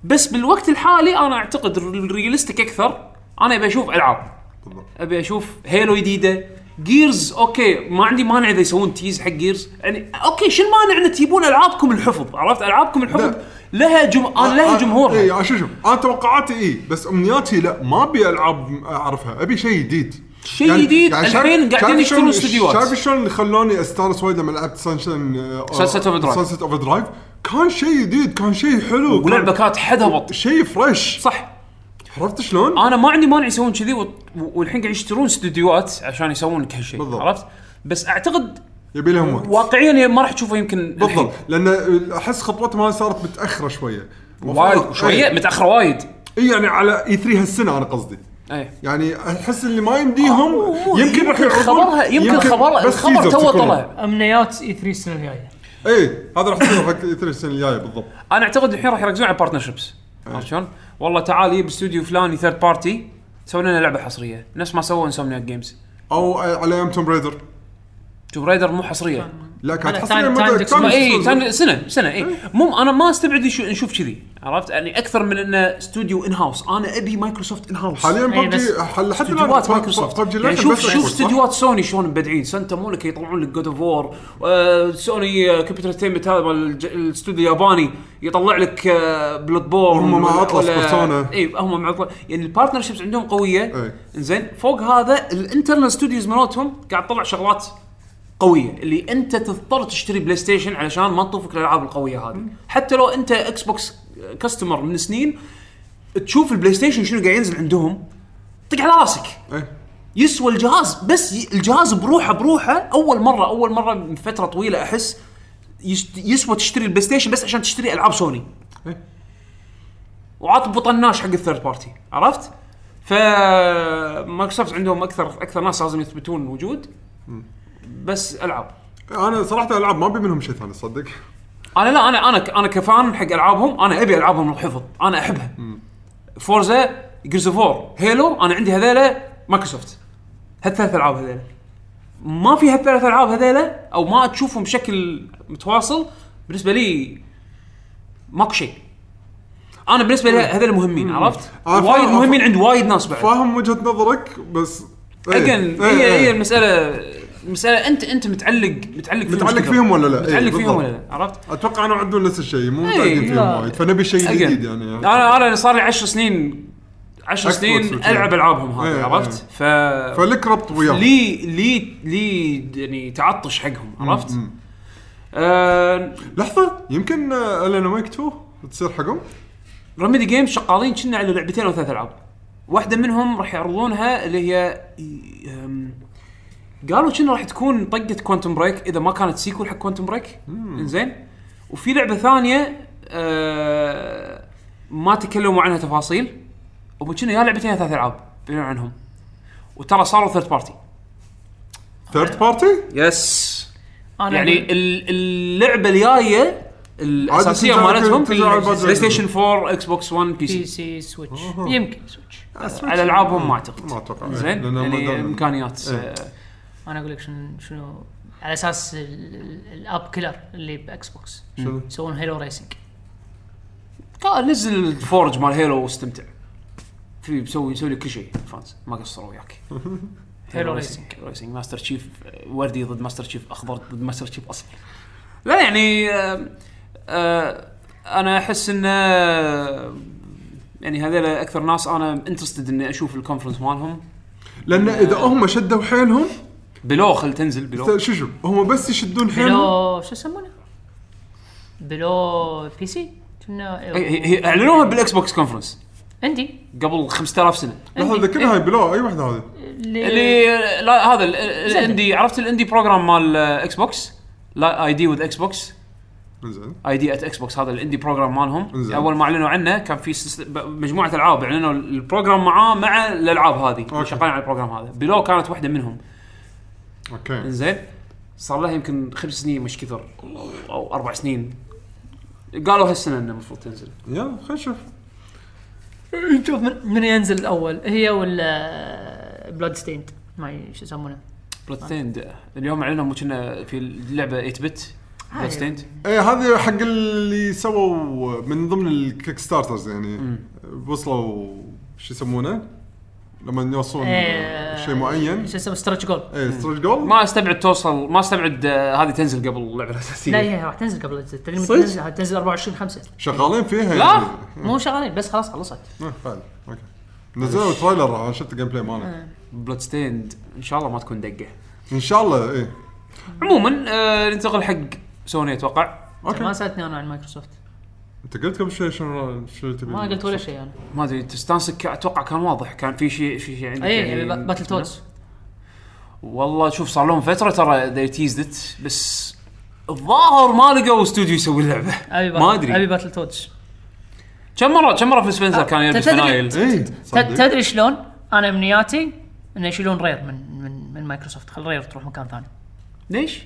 [SPEAKER 1] بس بالوقت الحالي انا اعتقد الريالستيك اكثر انا ابي اشوف العاب
[SPEAKER 4] بالضبط
[SPEAKER 1] ابي اشوف هيلو جديده جيرز اوكي ما عندي مانع اذا يسوون تيز حق جيرز يعني اوكي شو المانع ان تجيبون العابكم الحفظ عرفت العابكم الحفظ
[SPEAKER 4] لا. آه، إيه،
[SPEAKER 1] لها جم... انا لها جمهورها
[SPEAKER 4] اي شوف شوف انا آه، توقعاتي اي بس امنياتي لا ما ابي العاب اعرفها ابي شيء جديد يعني
[SPEAKER 1] شيء جديد.
[SPEAKER 4] شايف-
[SPEAKER 1] الحين قاعدين
[SPEAKER 4] شايف
[SPEAKER 1] يشترون
[SPEAKER 4] شلون-
[SPEAKER 1] استديوهات.
[SPEAKER 4] شايف شلون اللي خلوني استانس وايد لما لعبت آه، سانشن
[SPEAKER 1] Sunset Overdrive.
[SPEAKER 4] سانسيت اوفر درايف كان شيء جديد كان شيء حلو
[SPEAKER 1] ولعبه
[SPEAKER 4] كان
[SPEAKER 1] كانت حد هبط
[SPEAKER 4] شيء فريش
[SPEAKER 1] صح
[SPEAKER 4] عرفت شلون؟
[SPEAKER 1] انا ما عندي مانع يسوون كذي وط- والحين قاعد يشترون استديوهات عشان يسوون لك هالشيء
[SPEAKER 4] بالضبط.
[SPEAKER 1] عرفت بس اعتقد
[SPEAKER 4] يبي لهم وقت
[SPEAKER 1] واقعيا هي ما راح تشوفه يمكن
[SPEAKER 4] بالضبط
[SPEAKER 1] الحين.
[SPEAKER 4] لان احس خطوتهم هاي صارت متاخره شويه
[SPEAKER 1] وايد شويه متاخره وايد إيه.
[SPEAKER 4] اي إيه، يعني على اي 3 هالسنه انا قصدي
[SPEAKER 1] اي
[SPEAKER 4] يعني احس اللي ما يمديهم يمكن راح يعرضون-
[SPEAKER 1] خبرها آه، يمكن خبرها
[SPEAKER 4] بس
[SPEAKER 1] الخبر
[SPEAKER 4] teaser
[SPEAKER 1] تو
[SPEAKER 4] تكون.
[SPEAKER 1] طلع
[SPEAKER 3] امنيات اي 3 السنه الجايه
[SPEAKER 4] اي إيه، هذا راح يصير حق اي 3 السنه الجايه بالضبط
[SPEAKER 1] انا اعتقد الحين راح يركزون على بارتنرشيبس
[SPEAKER 4] إيه.
[SPEAKER 1] عرفت شلون؟ والله تعال يجيب استوديو فلاني ثيرد بارتي سوي لنا لعبه حصريه نفس ما سووا انسومنياك جيمز
[SPEAKER 4] او على ايام توم بريدر
[SPEAKER 1] توم رايدر مو حصريه
[SPEAKER 4] لا كانت
[SPEAKER 3] أنا
[SPEAKER 4] حصريه
[SPEAKER 3] تايم-
[SPEAKER 4] مدى-
[SPEAKER 3] تايم
[SPEAKER 4] كان
[SPEAKER 3] ديكسون.
[SPEAKER 1] اي
[SPEAKER 4] مسلسل.
[SPEAKER 1] كان سنه سنه
[SPEAKER 4] إيه.
[SPEAKER 1] اي مو انا ما استبعد يشو- نشوف كذي عرفت يعني اكثر من انه استوديو ان هاوس انا ابي مايكروسوفت ان هاوس
[SPEAKER 4] حاليا
[SPEAKER 3] إي، بس
[SPEAKER 4] ببجي حتى
[SPEAKER 1] إيه، استديوهات مايكروسوفت يعني شوف شوف
[SPEAKER 4] استديوهات
[SPEAKER 1] استديوهات سوني شلون مبدعين سانتا مونيكا يطلعون لك جود اوف وور آه، سوني كمبيوتر انترتينمنت هذا مال الج- الاستوديو الياباني يطلع لك آه، بلود بورن
[SPEAKER 4] هم مع أطلس بيرسونا.
[SPEAKER 1] اي هم مع أطلس. يعني البارتنرشيبس عندهم قويه
[SPEAKER 4] إي.
[SPEAKER 1] زين فوق هذا الانترنال ستوديوز مالتهم قاعد تطلع شغلات قويه اللي انت تضطر تشتري بلاي ستيشن علشان ما تطوفك الالعاب القويه هذه حتى لو انت اكس بوكس كاستمر من سنين تشوف البلاي ستيشن شنو قاعد ينزل عندهم طق على راسك
[SPEAKER 4] إيه.
[SPEAKER 1] يسوى الجهاز بس ي- الجهاز بروحه بروحه اول مره اول مره من فتره طويله احس يشت- يسوى تشتري البلاي ستيشن بس عشان تشتري العاب سوني
[SPEAKER 4] إيه.
[SPEAKER 1] وعاط بطناش حق الثيرد بارتي عرفت؟ ف مايكروسوفت عندهم اكثر اكثر ناس لازم يثبتون وجود بس العاب
[SPEAKER 4] انا صراحه العاب ما ابي منهم شيء ثاني صدق
[SPEAKER 1] انا لا انا انا ك- انا كفان حق العابهم انا ابي العابهم الحفظ انا احبها فورزا جيرز فور هيلو انا عندي هذيلا مايكروسوفت هالثلاث العاب هذيلا ما في هالثلاث العاب هذيلا او ما تشوفهم بشكل متواصل بالنسبه لي ماكو شيء انا بالنسبه لي هذول مهمين عرفت؟
[SPEAKER 4] آه، فاهم-
[SPEAKER 1] وايد مهمين عند وايد ناس بعد
[SPEAKER 4] فاهم وجهه نظرك بس إيه.
[SPEAKER 1] اجن
[SPEAKER 4] إيه،
[SPEAKER 1] هي هي
[SPEAKER 4] إيه.
[SPEAKER 1] المساله مساله انت انت متعلق متعلق فيهم
[SPEAKER 4] متعلق
[SPEAKER 1] شكراً.
[SPEAKER 4] فيهم ولا لا؟ إيه،
[SPEAKER 1] متعلق فيهم
[SPEAKER 4] بالضبط.
[SPEAKER 1] ولا لا عرفت؟
[SPEAKER 4] اتوقع انه عندهم نفس الشيء مو
[SPEAKER 1] إيه،
[SPEAKER 4] متعقدين فيهم
[SPEAKER 3] لا.
[SPEAKER 4] وايد فنبي شيء
[SPEAKER 1] أجل.
[SPEAKER 4] جديد يعني
[SPEAKER 1] انا انا صار لي 10 سنين 10
[SPEAKER 4] Xbox
[SPEAKER 1] سنين
[SPEAKER 4] وكذا.
[SPEAKER 1] العب العابهم هذه
[SPEAKER 4] إيه،
[SPEAKER 1] عرفت؟ ف
[SPEAKER 4] فلك ربط وياهم
[SPEAKER 1] لي لي لي يعني تعطش حقهم عرفت؟ آه
[SPEAKER 4] لحظه يمكن الين ويك 2 تصير حقهم
[SPEAKER 1] رميدي جيمز شغالين كنا على لعبتين او ثلاث العاب. واحده منهم راح يعرضونها اللي هي أم، قالوا كنا راح تكون طقه كوانتم بريك اذا ما كانت سيكول حق كوانتم بريك انزين وفي لعبه ثانيه أه ما تكلموا عنها تفاصيل هم كنا يا لعبتين يا ثلاث العاب بينوا عنهم وترى صاروا ثيرد بارتي
[SPEAKER 4] ثيرد بارتي
[SPEAKER 1] يس
[SPEAKER 3] انا
[SPEAKER 1] يعني ال- اللعبه الجايه الاساسيه
[SPEAKER 4] تنزل-
[SPEAKER 1] مالتهم
[SPEAKER 4] تنزل على البازل.
[SPEAKER 1] بلاي ستيشن 4 اكس بوكس 1 بي
[SPEAKER 3] بي
[SPEAKER 1] سي
[SPEAKER 3] سي سويتش يمكن سويتش
[SPEAKER 1] على العابهم ما اعتقد
[SPEAKER 4] ما أتوقع. إيه،
[SPEAKER 1] زين
[SPEAKER 4] لأنهم
[SPEAKER 1] يعني
[SPEAKER 4] دائماً-
[SPEAKER 1] امكانيات
[SPEAKER 4] إيه.
[SPEAKER 1] آه،
[SPEAKER 3] انا اقول لك شنو شنو على اساس ال- ال- الاب كيلر اللي باكس بوكس
[SPEAKER 4] شنو؟
[SPEAKER 3] يسوون هيلو ريسنج
[SPEAKER 1] قال نزل الفورج مال هيلو واستمتع في بسوي يسوي لك كل شيء فانز ما قصروا وياك
[SPEAKER 3] هيلو ريسنج
[SPEAKER 1] ريسنج ماستر تشيف وردي ضد ماستر تشيف اخضر ضد ماستر تشيف اصفر لا يعني آه، آه، انا احس ان آه، يعني هذول اكثر ناس انا انترستد اني اشوف الكونفرنس مالهم
[SPEAKER 4] لان اذا هم شدوا حيلهم
[SPEAKER 1] بلو خل تنزل بلو
[SPEAKER 4] شو شو هم بس يشدون حيلهم
[SPEAKER 3] بلو شو يسمونه؟ بلو بي سي كنا
[SPEAKER 1] هي- هي هي اعلنوها بالاكس بوكس كونفرنس
[SPEAKER 3] عندي
[SPEAKER 1] قبل 5000 سنه
[SPEAKER 4] لحظه
[SPEAKER 3] عندي.
[SPEAKER 4] ذكرها هاي
[SPEAKER 1] إيه.
[SPEAKER 4] بلو اي واحده هذه
[SPEAKER 1] اللي لا هذا ال- ال-
[SPEAKER 3] إيه. زين.
[SPEAKER 1] الاندي عرفت الاندي بروجرام مال آه، اكس بوكس لا اي دي وذ اكس بوكس
[SPEAKER 4] زين
[SPEAKER 1] اي دي ات اكس بوكس هذا الاندي بروجرام مالهم
[SPEAKER 4] زين.
[SPEAKER 1] اول ما اعلنوا عنه كان في سلس- ب- مجموعه العاب اعلنوا البروجرام معاه مع الالعاب هذه اللي
[SPEAKER 4] أوكي.
[SPEAKER 1] شغالين على البروجرام هذا بلو كانت واحده منهم
[SPEAKER 4] اوكي
[SPEAKER 1] انزين صار لها يمكن خمس سنين مش كثر أو- او اربع سنين قالوا هالسنه انه المفروض تنزل
[SPEAKER 4] يلا خلينا نشوف
[SPEAKER 3] نشوف من, من ينزل الاول هي ولا بلاد ستيند ما شو يسمونه
[SPEAKER 1] بلاتستيند اليوم اعلنوا كنا في اللعبه 8 بت بلاتستيند
[SPEAKER 4] ايه هذه حق اللي سووا من ضمن الكيك ستارترز يعني وصلوا شو يسمونه؟ لما يوصلون
[SPEAKER 3] إيه.
[SPEAKER 4] شيء معين إيه،
[SPEAKER 3] شو اسمه ستريتش جول
[SPEAKER 4] اي ستريتش جول
[SPEAKER 1] ما استبعد توصل ما استبعد آه، هذه تنزل قبل اللعبه الاساسيه
[SPEAKER 3] لا هي راح تنزل قبل تدري متى تنزل تنزل 24 5
[SPEAKER 4] شغالين فيها
[SPEAKER 1] لا.
[SPEAKER 4] يعني.
[SPEAKER 3] مو شغالين بس خلاص خلصت
[SPEAKER 4] إيه، فعلا اوكي نزلوا تريلر انا شفت الجيم بلاي ماله
[SPEAKER 1] بلاد ستيند ان شاء الله ما تكون دقه
[SPEAKER 4] ان شاء الله إيه. اي
[SPEAKER 1] عموما آه ننتقل حق سوني اتوقع
[SPEAKER 3] ما
[SPEAKER 4] اوكي
[SPEAKER 3] سالتني انا عن مايكروسوفت
[SPEAKER 4] انت قلت قبل شوي شنو شو تبي
[SPEAKER 3] ما قلت ولا شيء انا
[SPEAKER 1] ما ادري تستانسك اتوقع كان واضح كان في شيء في شيء عندك يعني.
[SPEAKER 3] اي باتل تودز
[SPEAKER 1] والله شوف صار لهم فتره ترى they teased it بس الظاهر ما لقوا استوديو يسوي اللعبه
[SPEAKER 3] ابي باتل-
[SPEAKER 1] ما
[SPEAKER 3] ابي
[SPEAKER 1] ادري
[SPEAKER 3] باتل تودز
[SPEAKER 1] كم مره كم مره في سبنسر كان يلبس
[SPEAKER 3] تدري-
[SPEAKER 1] فنايل
[SPEAKER 4] اي
[SPEAKER 3] ت-
[SPEAKER 1] طيب.
[SPEAKER 3] تدري شلون؟ انا امنياتي انه يشيلون رير من من من مايكروسوفت خل رير تروح مكان ثاني
[SPEAKER 1] ليش؟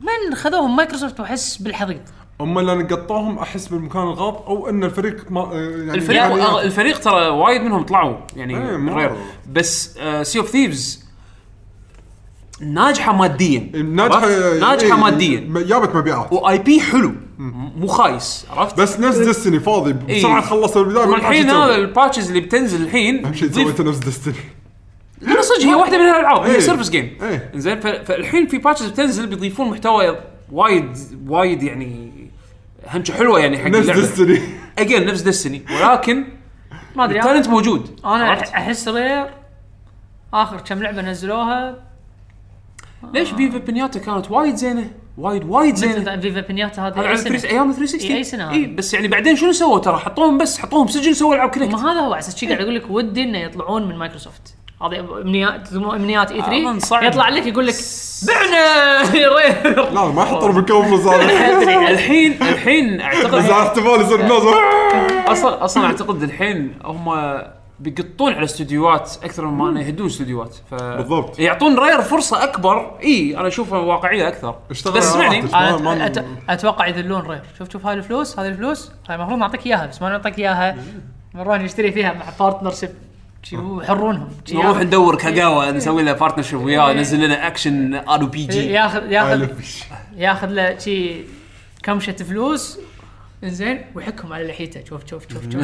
[SPEAKER 3] من خذوهم مايكروسوفت واحس بالحضيض
[SPEAKER 4] هم لان قطوهم احس بالمكان الغلط او ان الفريق ما يعني
[SPEAKER 1] الفريق آه،
[SPEAKER 4] يعني-
[SPEAKER 1] الفريق ترى وايد منهم طلعوا يعني
[SPEAKER 4] إيه، مرة.
[SPEAKER 1] رير بس آه، سي اوف ثيفز ناجحه ماديا
[SPEAKER 4] ناجحه
[SPEAKER 1] عرفت؟ ناجحه
[SPEAKER 4] إيه،
[SPEAKER 1] ماديا
[SPEAKER 4] م- جابت مبيعات
[SPEAKER 1] واي بي حلو مو خايس عرفت؟
[SPEAKER 4] بس نفس ديستني فاضي بسرعه
[SPEAKER 1] إيه.
[SPEAKER 4] خلص البدايه ما
[SPEAKER 1] والحين هذا الباتشز اللي بتنزل الحين
[SPEAKER 4] اهم شيء
[SPEAKER 1] تضيف-
[SPEAKER 4] سويته نفس ديستني
[SPEAKER 1] لا صدق هي واحده من الالعاب
[SPEAKER 4] إيه.
[SPEAKER 1] هي سيرفس جيم
[SPEAKER 4] إيه.
[SPEAKER 1] زين فالحين في باتشز بتنزل بيضيفون محتوى وايد وايد يعني هنشه حلوه يعني حق
[SPEAKER 4] نفس
[SPEAKER 1] اللعبه
[SPEAKER 4] ديستني
[SPEAKER 1] اجين نفس ديستني ولكن
[SPEAKER 3] ما ادري انا
[SPEAKER 1] التالنت موجود
[SPEAKER 3] أنا
[SPEAKER 1] عرفت؟
[SPEAKER 3] احس رير اخر كم لعبه نزلوها
[SPEAKER 1] ليش فيفا بنياتا كانت وايد زينه وايد وايد زينه
[SPEAKER 3] مثل فيفا بنياتا هذه
[SPEAKER 1] هذا
[SPEAKER 3] أي
[SPEAKER 1] على أيوه.
[SPEAKER 3] سنة.
[SPEAKER 1] 3 ايام 360
[SPEAKER 3] إي، أي سنة
[SPEAKER 1] اي
[SPEAKER 3] هذا.
[SPEAKER 1] بس يعني بعدين شنو سووا ترى حطوهم بس حطوهم سجن سووا العاب كونكت
[SPEAKER 3] ما هذا هو اساس شي قاعد اقول لك ودي انه يطلعون من مايكروسوفت هذه امنيات تسموها امنيات اي
[SPEAKER 1] أظن
[SPEAKER 3] 3
[SPEAKER 1] صعب.
[SPEAKER 3] E يطلع لك يقول لك بعنا رير
[SPEAKER 4] لا ما يحطون بالكونفرنس هذا
[SPEAKER 1] الحين الحين
[SPEAKER 4] بس على
[SPEAKER 1] اعتقد
[SPEAKER 4] احتفال يصير الناس
[SPEAKER 1] اصلا اصلا اعتقد الحين هم بيقطون على استديوهات اكثر مما انه يهدون استديوهات ف
[SPEAKER 4] بالضبط.
[SPEAKER 1] يعطون راير فرصه اكبر اي انا اشوفها واقعيه اكثر
[SPEAKER 4] اشتغل
[SPEAKER 1] بس
[SPEAKER 4] على
[SPEAKER 1] اسمعني
[SPEAKER 4] راحتك.
[SPEAKER 3] انا
[SPEAKER 4] ما- ما-
[SPEAKER 3] أت- أت- اتوقع يذلون رير شوف شوف هاي الفلوس هذه الفلوس هاي المفروض نعطيك اياها بس ما نعطيك اياها نروح نشتري فيها مع بارتنر شيب يحرونهم شي
[SPEAKER 1] نروح
[SPEAKER 3] ياخذ-
[SPEAKER 1] ندور كاغاوا نسوي له بارتنرشيب وياه نزل لنا اكشن ار بي جي
[SPEAKER 3] ياخذ ياخذ
[SPEAKER 4] ألف.
[SPEAKER 3] ياخذ له شي كمشه فلوس انزين ويحكهم على لحيته شوف شوف شوف شوف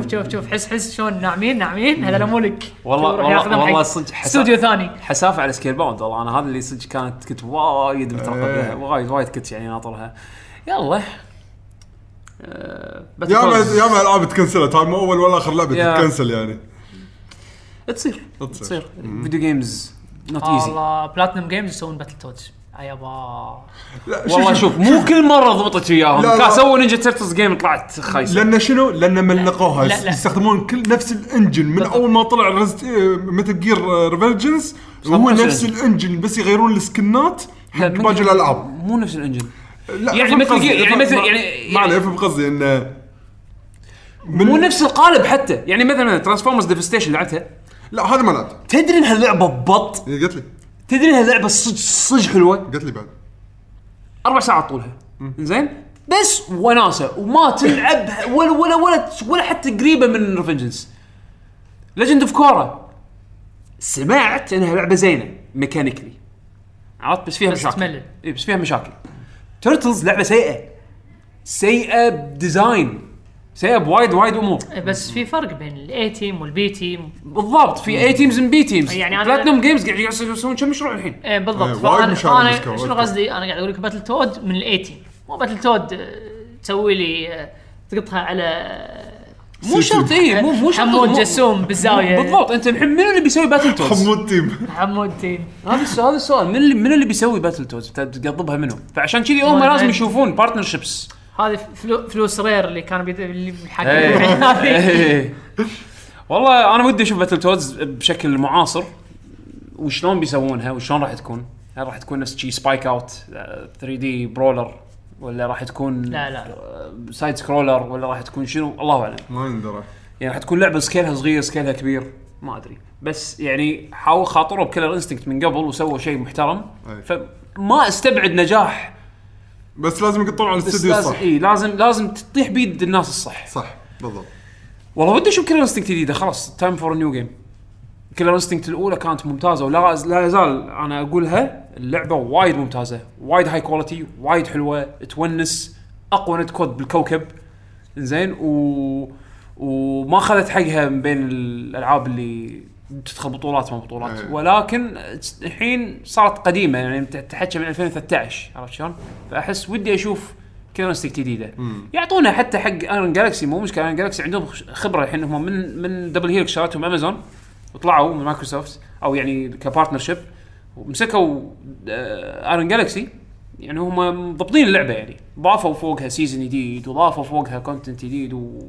[SPEAKER 3] شوف شوف شوف حس حس شلون ناعمين ناعمين هذا مو لك
[SPEAKER 1] والله-
[SPEAKER 3] شوف،
[SPEAKER 1] والله-
[SPEAKER 3] ياخذهم
[SPEAKER 1] والله
[SPEAKER 3] حق
[SPEAKER 1] صدق حسن.
[SPEAKER 3] استوديو ثاني
[SPEAKER 1] حسافه على سكيل باوند والله انا هذا اللي صدق كانت كنت وايد مترقب
[SPEAKER 4] إيه.
[SPEAKER 1] لها وايد وايد كنت يعني ناطرها يلا آه، Battle
[SPEAKER 4] يا ما
[SPEAKER 1] Toads.
[SPEAKER 4] يا ما العاب تكنسلت هاي مو اول ولا اخر لعبه
[SPEAKER 1] يا.
[SPEAKER 4] تتكنسل يعني
[SPEAKER 1] تصير
[SPEAKER 4] تصير.
[SPEAKER 1] تصير فيديو جيمز نوت ايزي
[SPEAKER 3] الله بلاتنم جيمز يسوون باتل تودز يابا
[SPEAKER 4] لا،
[SPEAKER 1] والله شوف مو كل مره ضبطت وياهم
[SPEAKER 4] لا، لا.
[SPEAKER 1] كان سووا نينجا تيرتلز جيم طلعت خايسه
[SPEAKER 4] لان شنو؟ لان ملقوها
[SPEAKER 3] لا، لا.
[SPEAKER 4] يستخدمون كل نفس الانجن من
[SPEAKER 3] بالضبط.
[SPEAKER 4] اول ما طلع متل جير ريفلجنس آه، هو
[SPEAKER 1] نفس
[SPEAKER 4] نفس الانجن بس يغيرون السكنات حق
[SPEAKER 1] لا، من-
[SPEAKER 4] باقي الالعاب
[SPEAKER 1] مو نفس الانجن
[SPEAKER 4] لا،
[SPEAKER 1] يعني
[SPEAKER 4] افهم
[SPEAKER 1] مثل
[SPEAKER 4] قصدي،
[SPEAKER 1] جير- يعني
[SPEAKER 4] افهم-
[SPEAKER 1] مثل-
[SPEAKER 4] ما-
[SPEAKER 1] يعني-
[SPEAKER 4] ما عليه
[SPEAKER 1] يعني-
[SPEAKER 4] افهم قصدي انه من
[SPEAKER 1] مو نفس القالب حتى يعني مثلا ترانسفورمرز ديفستيشن لعبتها
[SPEAKER 4] لا هذا ما لعبت
[SPEAKER 1] تدري انها لعبه بط
[SPEAKER 4] هي قالت لي
[SPEAKER 1] تدري انها لعبه صج صج حلوه
[SPEAKER 4] قالت لي بعد
[SPEAKER 1] اربع ساعات طولها زين بس وناسه وما تلعب ولا ولا ولا ولا حتى قريبه من ريفنجنس ليجند اوف كورا سمعت انها لعبه زينه ميكانيكلي عرفت بس فيها
[SPEAKER 3] بس
[SPEAKER 1] مشاكل
[SPEAKER 3] تملل.
[SPEAKER 1] اي بس فيها مشاكل تيرتلز لعبه سيئه سيئه بديزاين سيئه بوايد وايد امور
[SPEAKER 3] إيه، بس في فرق بين الاي تيم والبي تيم
[SPEAKER 1] بالضبط في اي تيمز بي تيمز
[SPEAKER 3] يعني
[SPEAKER 1] يعني
[SPEAKER 3] أنا-
[SPEAKER 1] بلاتنم جيمز قاعد يسوون كم مشروع الحين
[SPEAKER 3] ايه
[SPEAKER 4] إيه،
[SPEAKER 3] بالضبط
[SPEAKER 4] وايد
[SPEAKER 3] فانا
[SPEAKER 4] مشاعر
[SPEAKER 3] أنا
[SPEAKER 4] بالمسكة،
[SPEAKER 3] شنو
[SPEAKER 4] وايد.
[SPEAKER 3] قصدي انا قاعد اقول لك باتل تود من الاي تيم مو باتل تود آه، تسوي لي آه، تقطها على آه،
[SPEAKER 1] مو شرط اي مو مو شرط
[SPEAKER 3] حمود
[SPEAKER 1] مو-
[SPEAKER 3] جسوم بالزاويه
[SPEAKER 1] بالضبط انت الحين منو اللي بيسوي باتل توز؟
[SPEAKER 4] حمود تيم
[SPEAKER 3] حمود إيه. تيم
[SPEAKER 1] هذا السؤال هذا السؤال من اللي من اللي بيسوي باتل توز تقضبها منو؟ فعشان كذي هم
[SPEAKER 3] ما
[SPEAKER 1] لازم
[SPEAKER 3] أدري.
[SPEAKER 1] يشوفون بارتنرشيبس
[SPEAKER 3] هذه فلو فلوس رير اللي كان بيد... اللي بيحكي
[SPEAKER 4] إيه.
[SPEAKER 3] هذه
[SPEAKER 1] والله انا ودي اشوف باتل توز بشكل معاصر وشلون بيسوونها وشلون راح تكون؟ هل راح تكون نفس شي سبايك اوت 3 دي برولر ولا راح تكون
[SPEAKER 3] لا، لا.
[SPEAKER 1] سايد سكرولر ولا راح تكون شنو؟ الله اعلم
[SPEAKER 4] ما يندرى
[SPEAKER 1] يعني راح تكون لعبه سكيلها صغير سكيلها كبير ما ادري بس يعني حاول خاطروا بكلر انستنكت من قبل وسووا شيء محترم
[SPEAKER 4] أي.
[SPEAKER 1] فما استبعد نجاح
[SPEAKER 4] بس لازم يقطون على
[SPEAKER 1] بس
[SPEAKER 4] الاستديو
[SPEAKER 1] لازم
[SPEAKER 4] الصح
[SPEAKER 1] اي إيه، لازم لازم تطيح بيد الناس الصح
[SPEAKER 4] صح بالضبط
[SPEAKER 1] والله ودي اشوف كلر انستنكت جديده خلاص تايم فور نيو جيم كلر انستنكت الاولى كانت ممتازه ولا لا يزال انا اقولها اللعبه وايد ممتازه وايد هاي كواليتي وايد حلوه تونس اقوى نت كود بالكوكب زين و وما اخذت حقها من بين الالعاب اللي تدخل بطولات ما بطولات
[SPEAKER 4] إيه.
[SPEAKER 1] ولكن الحين صارت قديمه يعني ت- تحكي من 2013 عرفت شلون؟ فاحس ودي اشوف كيرنستيك جديده يعطونا حتى حق ايرون جالكسي مو مشكله ايرون جالكسي عندهم خ- خبره الحين هم من من دبل هيل شريتهم امازون وطلعوا من مايكروسوفت او يعني كبارتنر شيب ومسكوا ايرون جالكسي يعني هم مضبطين اللعبه يعني ضافوا فوقها سيزون جديد وضافوا فوقها كونتنت جديد و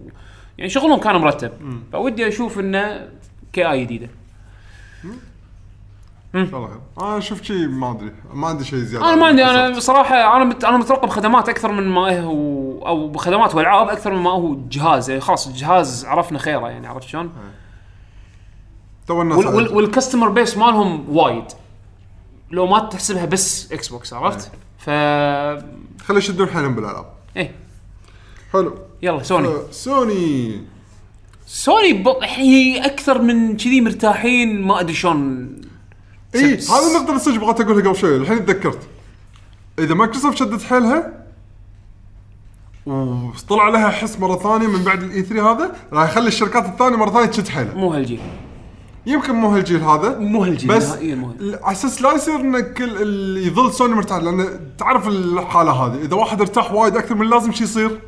[SPEAKER 1] يعني شغلهم كان مرتب فودي اشوف انه كي اي جديده
[SPEAKER 4] شاء الله خير انا شفت شيء ما ادري ما عندي شيء زياده
[SPEAKER 1] انا ما
[SPEAKER 4] عن
[SPEAKER 1] عندي انا
[SPEAKER 4] Microsoft.
[SPEAKER 1] بصراحه انا مت انا مترقب خدمات اكثر من ما هو او خدمات والعاب اكثر من ما هو جهاز يعني خلاص الجهاز عرفنا خيره يعني عرفت شلون؟
[SPEAKER 4] آه. تو الناس
[SPEAKER 1] وال وال والكستمر بيس مالهم وايد لو ما تحسبها بس اكس بوكس عرفت؟ ف
[SPEAKER 4] إيه. خلي يشدون حيلهم بالالعاب
[SPEAKER 1] ايه
[SPEAKER 4] حلو
[SPEAKER 1] يلا سوني
[SPEAKER 4] آه، سوني
[SPEAKER 1] سوني ب- هي اكثر من كذي مرتاحين ما ادري شلون
[SPEAKER 4] اي
[SPEAKER 1] سبس.
[SPEAKER 4] إيه، هذا النقطة اللي صدق بغيت اقولها قبل شوي الحين تذكرت اذا مايكروسوفت شدت حيلها وطلع لها حس مره ثانيه من بعد الاي 3 هذا راح يخلي الشركات الثانيه مره ثانيه تشد حيلها
[SPEAKER 1] مو هالجيل
[SPEAKER 4] يمكن مو هالجيل هذا
[SPEAKER 1] مو هالجيل
[SPEAKER 4] بس
[SPEAKER 1] نهائياً مو هالجيل.
[SPEAKER 4] على اساس لا يصير ان كل اللي يظل سوني مرتاح لان تعرف الحاله هذه اذا واحد ارتاح وايد اكثر من اللازم شو يصير؟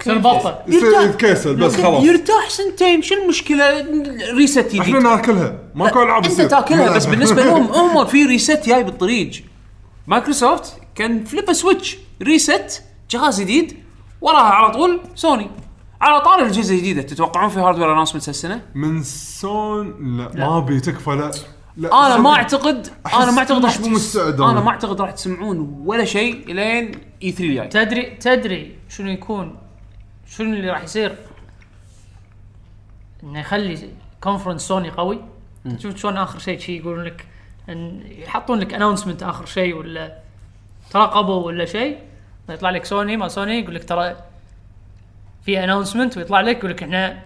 [SPEAKER 3] يصير بطل
[SPEAKER 4] يصير يتكسل بس خلاص
[SPEAKER 1] يرتاح سنتين شو المشكله ريست جديد
[SPEAKER 4] احنا ناكلها ماكو العاب
[SPEAKER 1] انت
[SPEAKER 4] يصير.
[SPEAKER 1] تاكلها بس
[SPEAKER 4] نلعبها.
[SPEAKER 1] بالنسبه لهم هم في ريست جاي بالطريق مايكروسوفت كان فليب سويتش ريست جهاز جديد وراها على طول سوني على طار الاجهزه الجديده تتوقعون في هاردوير اناونسمنت هالسنه؟
[SPEAKER 4] من سون لا, ما ابي تكفى لا, لا
[SPEAKER 1] انا ما
[SPEAKER 4] سوني.
[SPEAKER 1] اعتقد
[SPEAKER 4] أحس
[SPEAKER 1] انا ما اعتقد راح
[SPEAKER 4] مش
[SPEAKER 1] تس-
[SPEAKER 4] مستعد أنا.
[SPEAKER 1] انا ما اعتقد راح تسمعون ولا شيء الين اي 3 جاي
[SPEAKER 3] تدري تدري شنو يكون شنو اللي راح يصير انه يخلي كونفرنس سوني قوي شفت شلون اخر شيء شي يقولون لك ان يحطون لك اناونسمنت اخر شيء ولا تراقبوا ولا شيء يطلع لك سوني ما سوني يقول لك ترى في اناونسمنت ويطلع لك يقول لك احنا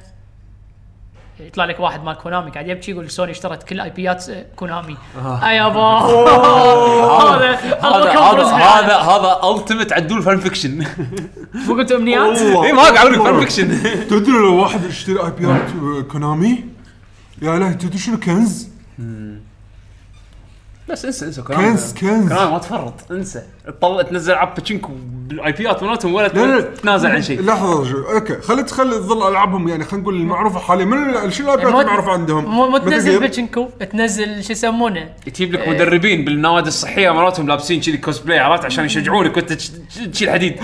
[SPEAKER 3] يطلع لك واحد مال كونامي قاعد يبكي يقول سوني اشترت كل اي بيات كونامي اي يابا هذا
[SPEAKER 1] آه. هذا
[SPEAKER 3] conference حق-
[SPEAKER 1] هذا هذا التمت عدول فان فيكشن
[SPEAKER 3] مو قلت امنيات؟
[SPEAKER 4] والله.
[SPEAKER 1] اي ما قاعد اقول لك فان فيكشن
[SPEAKER 4] تدري لو واحد يشتري اي بي ار كونامي يا لهي تدري شنو كنز؟
[SPEAKER 1] بس انسى انسى
[SPEAKER 4] كنز كنز
[SPEAKER 1] كلام ما تفرط انسى تطلع تنزل عاب باتشينكو بالاي بيات مالتهم ولا
[SPEAKER 4] لا، لا، لا.
[SPEAKER 1] تتنازل عن شيء
[SPEAKER 4] لحظه رجل. اوكي خلي تخلي تظل العابهم يعني خلينا نقول المعروفه حاليا من ال- شنو الاي بي
[SPEAKER 3] مو-
[SPEAKER 4] ار المعروفه عندهم؟
[SPEAKER 3] مو مو
[SPEAKER 4] Metal
[SPEAKER 3] تنزل
[SPEAKER 4] Gear.
[SPEAKER 3] باتشنكو تنزل شو يسمونه
[SPEAKER 1] تجيب لك مدربين بالنوادي الصحيه مراتهم لابسين كذي كوسبلاي عرفت عشان يشجعونك وانت تش- تشيل حديد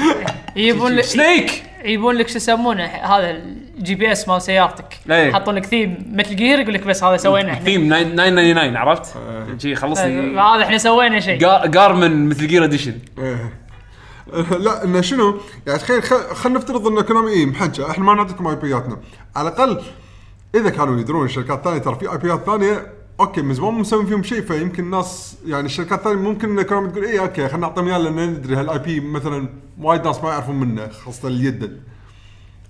[SPEAKER 3] يجيبون لك
[SPEAKER 1] سنيك
[SPEAKER 3] يجيبون لك شو يسمونه هذا الجي بي اس مال سيارتك
[SPEAKER 1] إيه.
[SPEAKER 3] يحطون لك ثيم مثل جير يقول لك بس هذا سوينا احنا
[SPEAKER 1] ثيم 999 عرفت؟
[SPEAKER 4] آه.
[SPEAKER 1] جي خلصني
[SPEAKER 3] هذا احنا سوينا شيء
[SPEAKER 1] جا- جارمن مثل جير اديشن
[SPEAKER 4] إيه. لا انه شنو؟ يعني تخيل خلينا نفترض ان كونامي اي محجه احنا ما نعطيكم اي بياتنا على الاقل اذا كانوا يدرون الشركات الثانيه ترى في اي بيات ثانيه اوكي من زمان مسوين فيهم شيء فيمكن الناس يعني الشركات الثانيه ممكن ان كونامي تقول اي اوكي خلينا نعطيهم اياه لان ندري هالاي بي مثلا وايد ناس ما يعرفون منه خاصه اليد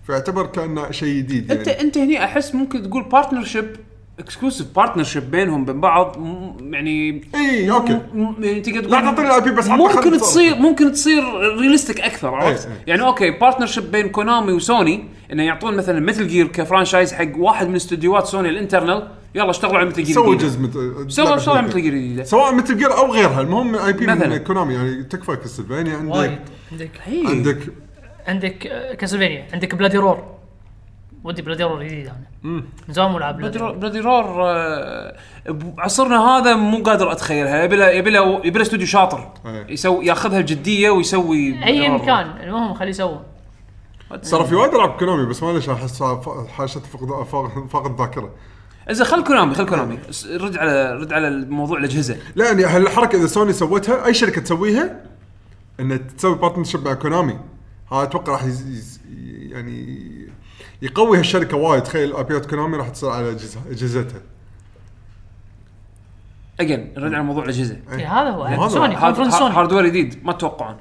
[SPEAKER 4] فيعتبر كانه شيء جديد
[SPEAKER 1] انت
[SPEAKER 4] يعني
[SPEAKER 1] انت هني احس ممكن تقول بارتنرشيب اكسكلوسيف بارتنرشيب بينهم بين بعض م- يعني
[SPEAKER 4] اي اوكي
[SPEAKER 1] م- يعني تقدر
[SPEAKER 4] إيه، لا
[SPEAKER 1] تقول-
[SPEAKER 4] تعطيني الاي بي بس عطنا خلنا
[SPEAKER 1] ممكن
[SPEAKER 4] نتصرف.
[SPEAKER 1] تصير ممكن تصير ريلستيك اكثر عرفت؟
[SPEAKER 4] إيه، إيه.
[SPEAKER 1] يعني اوكي بارتنرشيب بين كونامي وسوني انه يعطون مثلا مثل جير كفرانشايز حق واحد من استديوهات سوني الانترنال يلا اشتغلوا على مثل جير
[SPEAKER 4] سووا
[SPEAKER 1] جديدة.
[SPEAKER 4] جزء مت-
[SPEAKER 1] سووا
[SPEAKER 4] لعبة
[SPEAKER 1] سووا
[SPEAKER 4] جديدة.
[SPEAKER 1] مثل جير جديده
[SPEAKER 4] سواء مثل جير او غيرها المهم اي بي من
[SPEAKER 1] مثلاً.
[SPEAKER 4] كونامي يعني تكفى كسلفينيا عندك
[SPEAKER 3] وايد عندك
[SPEAKER 1] عندك
[SPEAKER 4] عندك
[SPEAKER 3] عندك كاسلفينيا عندك بلادي رور ودي بلادي رور جديد انا من زمان مو لعب بلادي رور
[SPEAKER 1] بلادي رور آه، بعصرنا هذا مو قادر اتخيلها يبي له يبي له يبي له استوديو شاطر
[SPEAKER 4] إيه.
[SPEAKER 1] يسوي ياخذها بجديه ويسوي
[SPEAKER 3] ايا
[SPEAKER 1] بلادي رور.
[SPEAKER 3] كان المهم خليه يسوون
[SPEAKER 4] ترى في وايد العاب كونامي بس ما ليش احس حاشت فقد فاقد- فاقد ذاكره
[SPEAKER 1] اذا خل كونامي خل كونامي س- رد على رد على الموضوع الاجهزه
[SPEAKER 4] لا يعني هالحركه اذا سوني سوتها اي شركه تسويها ان تسوي بارتنرشيب مع كونامي هذا اتوقع راح يز- يز- يعني يقوي هالشركه وايد تخيل ابيات كونامي راح تصير على أجهزة- اجهزتها
[SPEAKER 1] اجين رد على موضوع الاجهزه
[SPEAKER 3] إيه، هذا هو
[SPEAKER 4] هذا-
[SPEAKER 3] سوني
[SPEAKER 1] هارد-
[SPEAKER 3] كونفرنس سوني
[SPEAKER 1] هاردوير جديد ما تتوقعون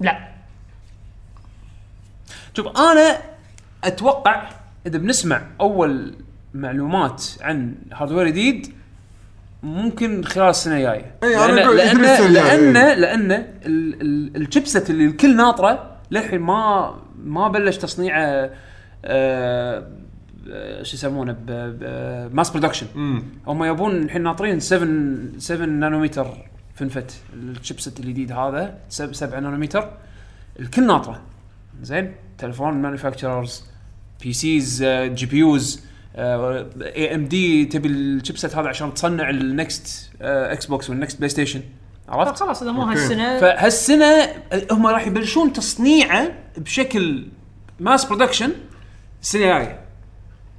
[SPEAKER 3] لا
[SPEAKER 1] شوف انا اتوقع اذا بنسمع اول معلومات عن هاردوير جديد ممكن خلال السنه الجايه
[SPEAKER 4] إي، أنا
[SPEAKER 1] لأن-
[SPEAKER 4] أقول
[SPEAKER 1] لان
[SPEAKER 4] السنة الجاية،
[SPEAKER 1] لان
[SPEAKER 4] إي.
[SPEAKER 1] لان ال- ال- الشيبسيت اللي الكل ناطره للحين ما ما بلش تصنيعه آه، آه، شو يسمونه ماس برودكشن هم يبون الحين ناطرين 7 7 نانومتر فنفت الشيبسيت الجديد هذا 7 نانومتر الكل ناطره زين تلفون مانيفاكتشرز بي سيز جي بي يوز آه، اي ام دي تبي الشيبسيت هذا عشان تصنع آه، النكست اكس بوكس والنكست بلاي ستيشن عرفت؟
[SPEAKER 3] خلاص اذا مو
[SPEAKER 4] أوكي.
[SPEAKER 3] هالسنه
[SPEAKER 1] فهالسنه هم راح يبلشون تصنيعه بشكل ماس برودكشن السنه الجايه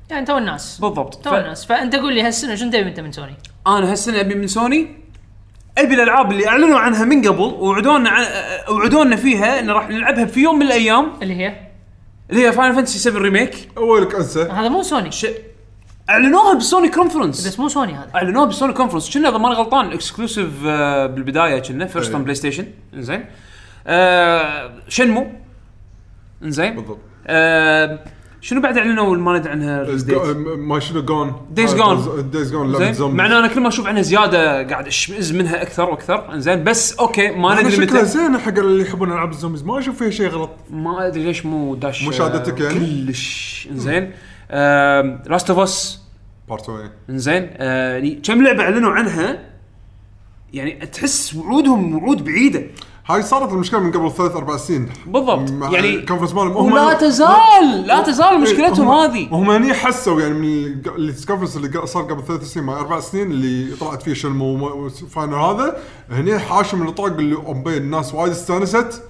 [SPEAKER 3] يعني تو الناس
[SPEAKER 1] بالضبط
[SPEAKER 3] تو الناس فانت قول لي هالسنه شنو تبي انت من سوني؟
[SPEAKER 1] انا هالسنه ابي من سوني ابي الالعاب اللي اعلنوا عنها من قبل وعدونا عن... وعدونا فيها ان راح نلعبها في يوم من الايام
[SPEAKER 3] اللي هي
[SPEAKER 1] اللي هي فاينل فانتسي 7 ريميك
[SPEAKER 4] اولك انسى
[SPEAKER 3] هذا مو سوني
[SPEAKER 1] ش... اعلنوها بالسوني كونفرنس
[SPEAKER 3] بس مو سوني هذا
[SPEAKER 1] اعلنوها بالسوني كونفرنس كنا اذا ماني غلطان اكسكلوسيف بالبدايه كنا فيرست
[SPEAKER 4] أي.
[SPEAKER 1] بلاي ستيشن زين آه شنمو زين
[SPEAKER 4] بالضبط
[SPEAKER 1] آه، شنو بعد اعلنوا اللي ما ندري عنها
[SPEAKER 4] Go- ما شنو جون
[SPEAKER 1] Days Gone.
[SPEAKER 4] دايز جون لعبه
[SPEAKER 1] زين
[SPEAKER 4] زومبي
[SPEAKER 1] مع إن انا كل ما اشوف عنها زياده قاعد اشمئز منها اكثر واكثر زين بس اوكي ما
[SPEAKER 4] أنا
[SPEAKER 1] ندري
[SPEAKER 4] شكلها
[SPEAKER 1] متى
[SPEAKER 4] زينه حق اللي يحبون العاب الزومبيز ما اشوف فيها شيء غلط
[SPEAKER 1] ما ادري ليش مو داش آه،
[SPEAKER 4] مشاهدتك يعني؟
[SPEAKER 1] كلش آه، زين لاست اوف اس
[SPEAKER 4] بارت 2
[SPEAKER 1] زين آه، يعني كم لعبه اعلنوا عنها يعني تحس وعودهم وعود بعيده
[SPEAKER 4] هاي صارت المشكله من قبل ثلاث اربع سنين
[SPEAKER 1] بالضبط
[SPEAKER 4] مع
[SPEAKER 1] يعني
[SPEAKER 4] الكونفرنس مالهم هم- إيه،
[SPEAKER 1] ولا تزال لا تزال مشكلتهم
[SPEAKER 4] هم-
[SPEAKER 1] هذه
[SPEAKER 4] وهم هني حسوا يعني من الج- الكونفرنس اللي قا- صار قبل ثلاث سنين مع اربع سنين اللي طلعت فيه شنمو فاينل هذا هني حاشوا من الطاق اللي اوبي الناس وايد استانست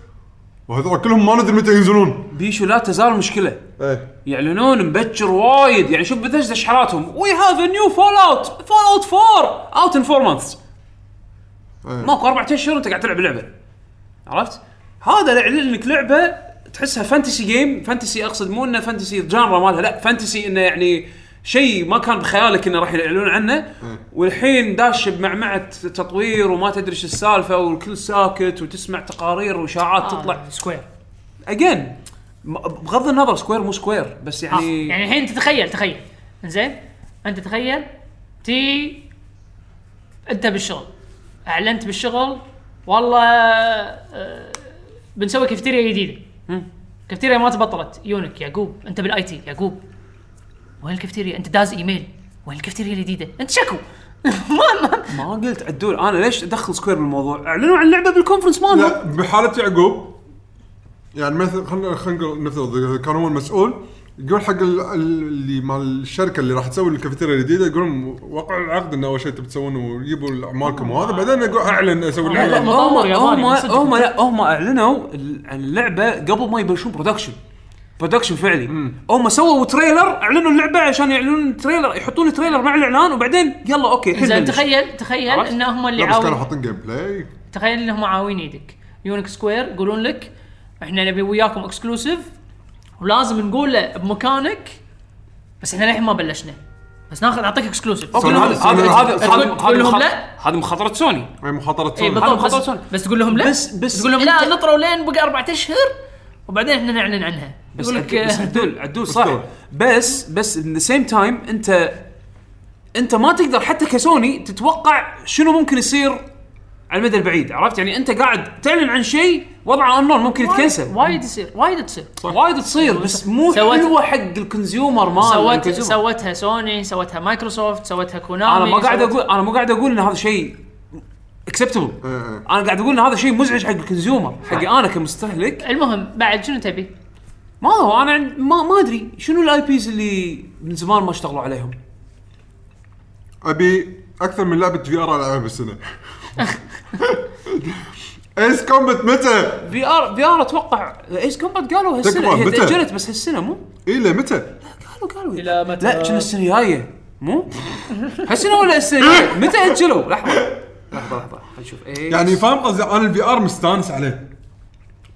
[SPEAKER 4] وهذول كلهم ما ندري متى ينزلون
[SPEAKER 1] بيشو لا تزال مشكله
[SPEAKER 4] ايه
[SPEAKER 1] يعلنون مبكر وايد يعني شوف بثجة شحراتهم وي هاف ا نيو فول اوت فول اوت 4 اوت ان 4 مانثس
[SPEAKER 4] إيه.
[SPEAKER 1] ماكو اربع اشهر انت قاعد تلعب لعبه عرفت؟ هذا يعلن لك لعبه تحسها فانتسي جيم فانتسي اقصد مو انه فانتسي جانرا مالها لا فانتسي انه يعني شيء ما كان بخيالك انه راح يعلنون عنه والحين داش بمعمعه تطوير وما تدري ايش السالفه والكل ساكت وتسمع تقارير واشاعات تطلع
[SPEAKER 3] آه، سكوير
[SPEAKER 1] اجين بغض النظر سكوير مو سكوير بس
[SPEAKER 3] آه،
[SPEAKER 1] يعني
[SPEAKER 3] يعني الحين تتخيل تخيل زين انت تخيل تي انت بالشغل اعلنت بالشغل والله آه، بنسوي كافتيريا جديده كافتيريا ما تبطلت يونك يعقوب انت بالاي تي يعقوب وين الكافتيريا انت داز ايميل وين الكافتيريا الجديده انت شكو ما ما
[SPEAKER 1] ما قلت عدول انا ليش ادخل سكوير بالموضوع؟ اعلنوا عن اللعبه بالكونفرنس مالهم
[SPEAKER 4] لا بحاله يعقوب يعني مثل خلينا خلينا نقول نفترض كان هو المسؤول يقول حق ال- ال- اللي مال الشركه اللي راح تسوي الكافيتيريا الجديده يقول لهم وقعوا العقد انه اول شيء تبي تسوونه وجيبوا اعمالكم وهذا بعدين اقول اعلن اسوي
[SPEAKER 3] لا، لا،
[SPEAKER 1] هم
[SPEAKER 4] الاعلان
[SPEAKER 3] ما- مطور ياباني،
[SPEAKER 1] هم
[SPEAKER 3] مو صدق.
[SPEAKER 1] هم لا هم اعلنوا ال- عن اللعبه قبل ما يبلشون برودكشن برودكشن فعلي هم سووا تريلر اعلنوا اللعبه عشان يعلنون تريلر يحطون تريلر مع الاعلان وبعدين يلا اوكي الحين
[SPEAKER 3] زين
[SPEAKER 1] بلش.
[SPEAKER 3] تخيل تخيل
[SPEAKER 1] عرفت؟
[SPEAKER 3] ان هم اللي
[SPEAKER 4] لا بس كانوا
[SPEAKER 3] عاون
[SPEAKER 4] حاطين جيم بلاي
[SPEAKER 3] تخيل انهم عاوين ايدك يونك سكوير يقولون لك احنا نبي وياكم اكسكلوسيف ولازم نقوله بمكانك بس احنا للحين ما بلشنا بس ناخذ نعطيك اكسكلوسيف
[SPEAKER 1] أوكي،
[SPEAKER 4] سوني-
[SPEAKER 1] هذا هذا
[SPEAKER 4] سوني-
[SPEAKER 1] هذا-
[SPEAKER 3] تقول-
[SPEAKER 1] هذا
[SPEAKER 3] تقول لهم
[SPEAKER 1] هذا
[SPEAKER 3] لا؟
[SPEAKER 1] هذا مخاطره سوني
[SPEAKER 4] اي مخاطره
[SPEAKER 3] اي
[SPEAKER 4] سوني
[SPEAKER 1] هذا
[SPEAKER 3] إيه، بالضبط
[SPEAKER 1] مخاطرة
[SPEAKER 3] بس,
[SPEAKER 1] سوني.
[SPEAKER 3] بس تقول لهم لا
[SPEAKER 1] بس- بس
[SPEAKER 3] تقول لهم لا
[SPEAKER 1] أنت-
[SPEAKER 3] نطروا لين بقى اربعة اشهر وبعدين احنا نعلن عنها
[SPEAKER 1] بس
[SPEAKER 3] يقول لك
[SPEAKER 1] عدول- بس
[SPEAKER 3] آه،
[SPEAKER 1] عدول عدول صح
[SPEAKER 4] أسطورة.
[SPEAKER 1] بس بس ان ذا سيم تايم انت انت ما تقدر حتى كسوني تتوقع شنو ممكن يصير على المدى البعيد عرفت يعني انت قاعد تعلن عن شيء وضعه اونلاين ممكن يتكنسل
[SPEAKER 3] وايد يصير وايد تصير
[SPEAKER 1] وايد تصير بس مو
[SPEAKER 3] سوت-
[SPEAKER 1] حلوه حق الكونسيومر مال
[SPEAKER 3] سوت
[SPEAKER 1] الكونسيومر.
[SPEAKER 3] سوتها سوني سوتها مايكروسوفت سوتها كونامي
[SPEAKER 1] انا ما قاعد
[SPEAKER 3] سوت-
[SPEAKER 1] اقول انا ما قاعد اقول ان هذا شيء اكسبتبل
[SPEAKER 4] إيه.
[SPEAKER 1] انا قاعد اقول ان هذا شيء مزعج حق الكونسيومر حقي انا كمستهلك
[SPEAKER 3] المهم بعد شنو تبي؟
[SPEAKER 1] ما هو انا عن- ما ما ادري شنو الاي بيز اللي من زمان ما اشتغلوا عليهم
[SPEAKER 4] ابي اكثر من لعبه في ار العبها بالسنه ايس كومبت متى؟
[SPEAKER 1] في ار في ار اتوقع ايس كومبات قالوا هالسنه
[SPEAKER 4] تكفى،
[SPEAKER 1] هي
[SPEAKER 4] متى؟
[SPEAKER 1] تاجلت بس هالسنه مو
[SPEAKER 4] اي لا متى؟
[SPEAKER 1] قالوا قالوا يعني.
[SPEAKER 5] إلى متى؟
[SPEAKER 1] لا كنا السنه الجايه مو هالسنه ولا السنه الجاية؟ متى اجلوا لحظه لحظه لحظه خلينا نشوف ايس
[SPEAKER 4] يعني فاهم قصدي انا الفي ار مستانس عليه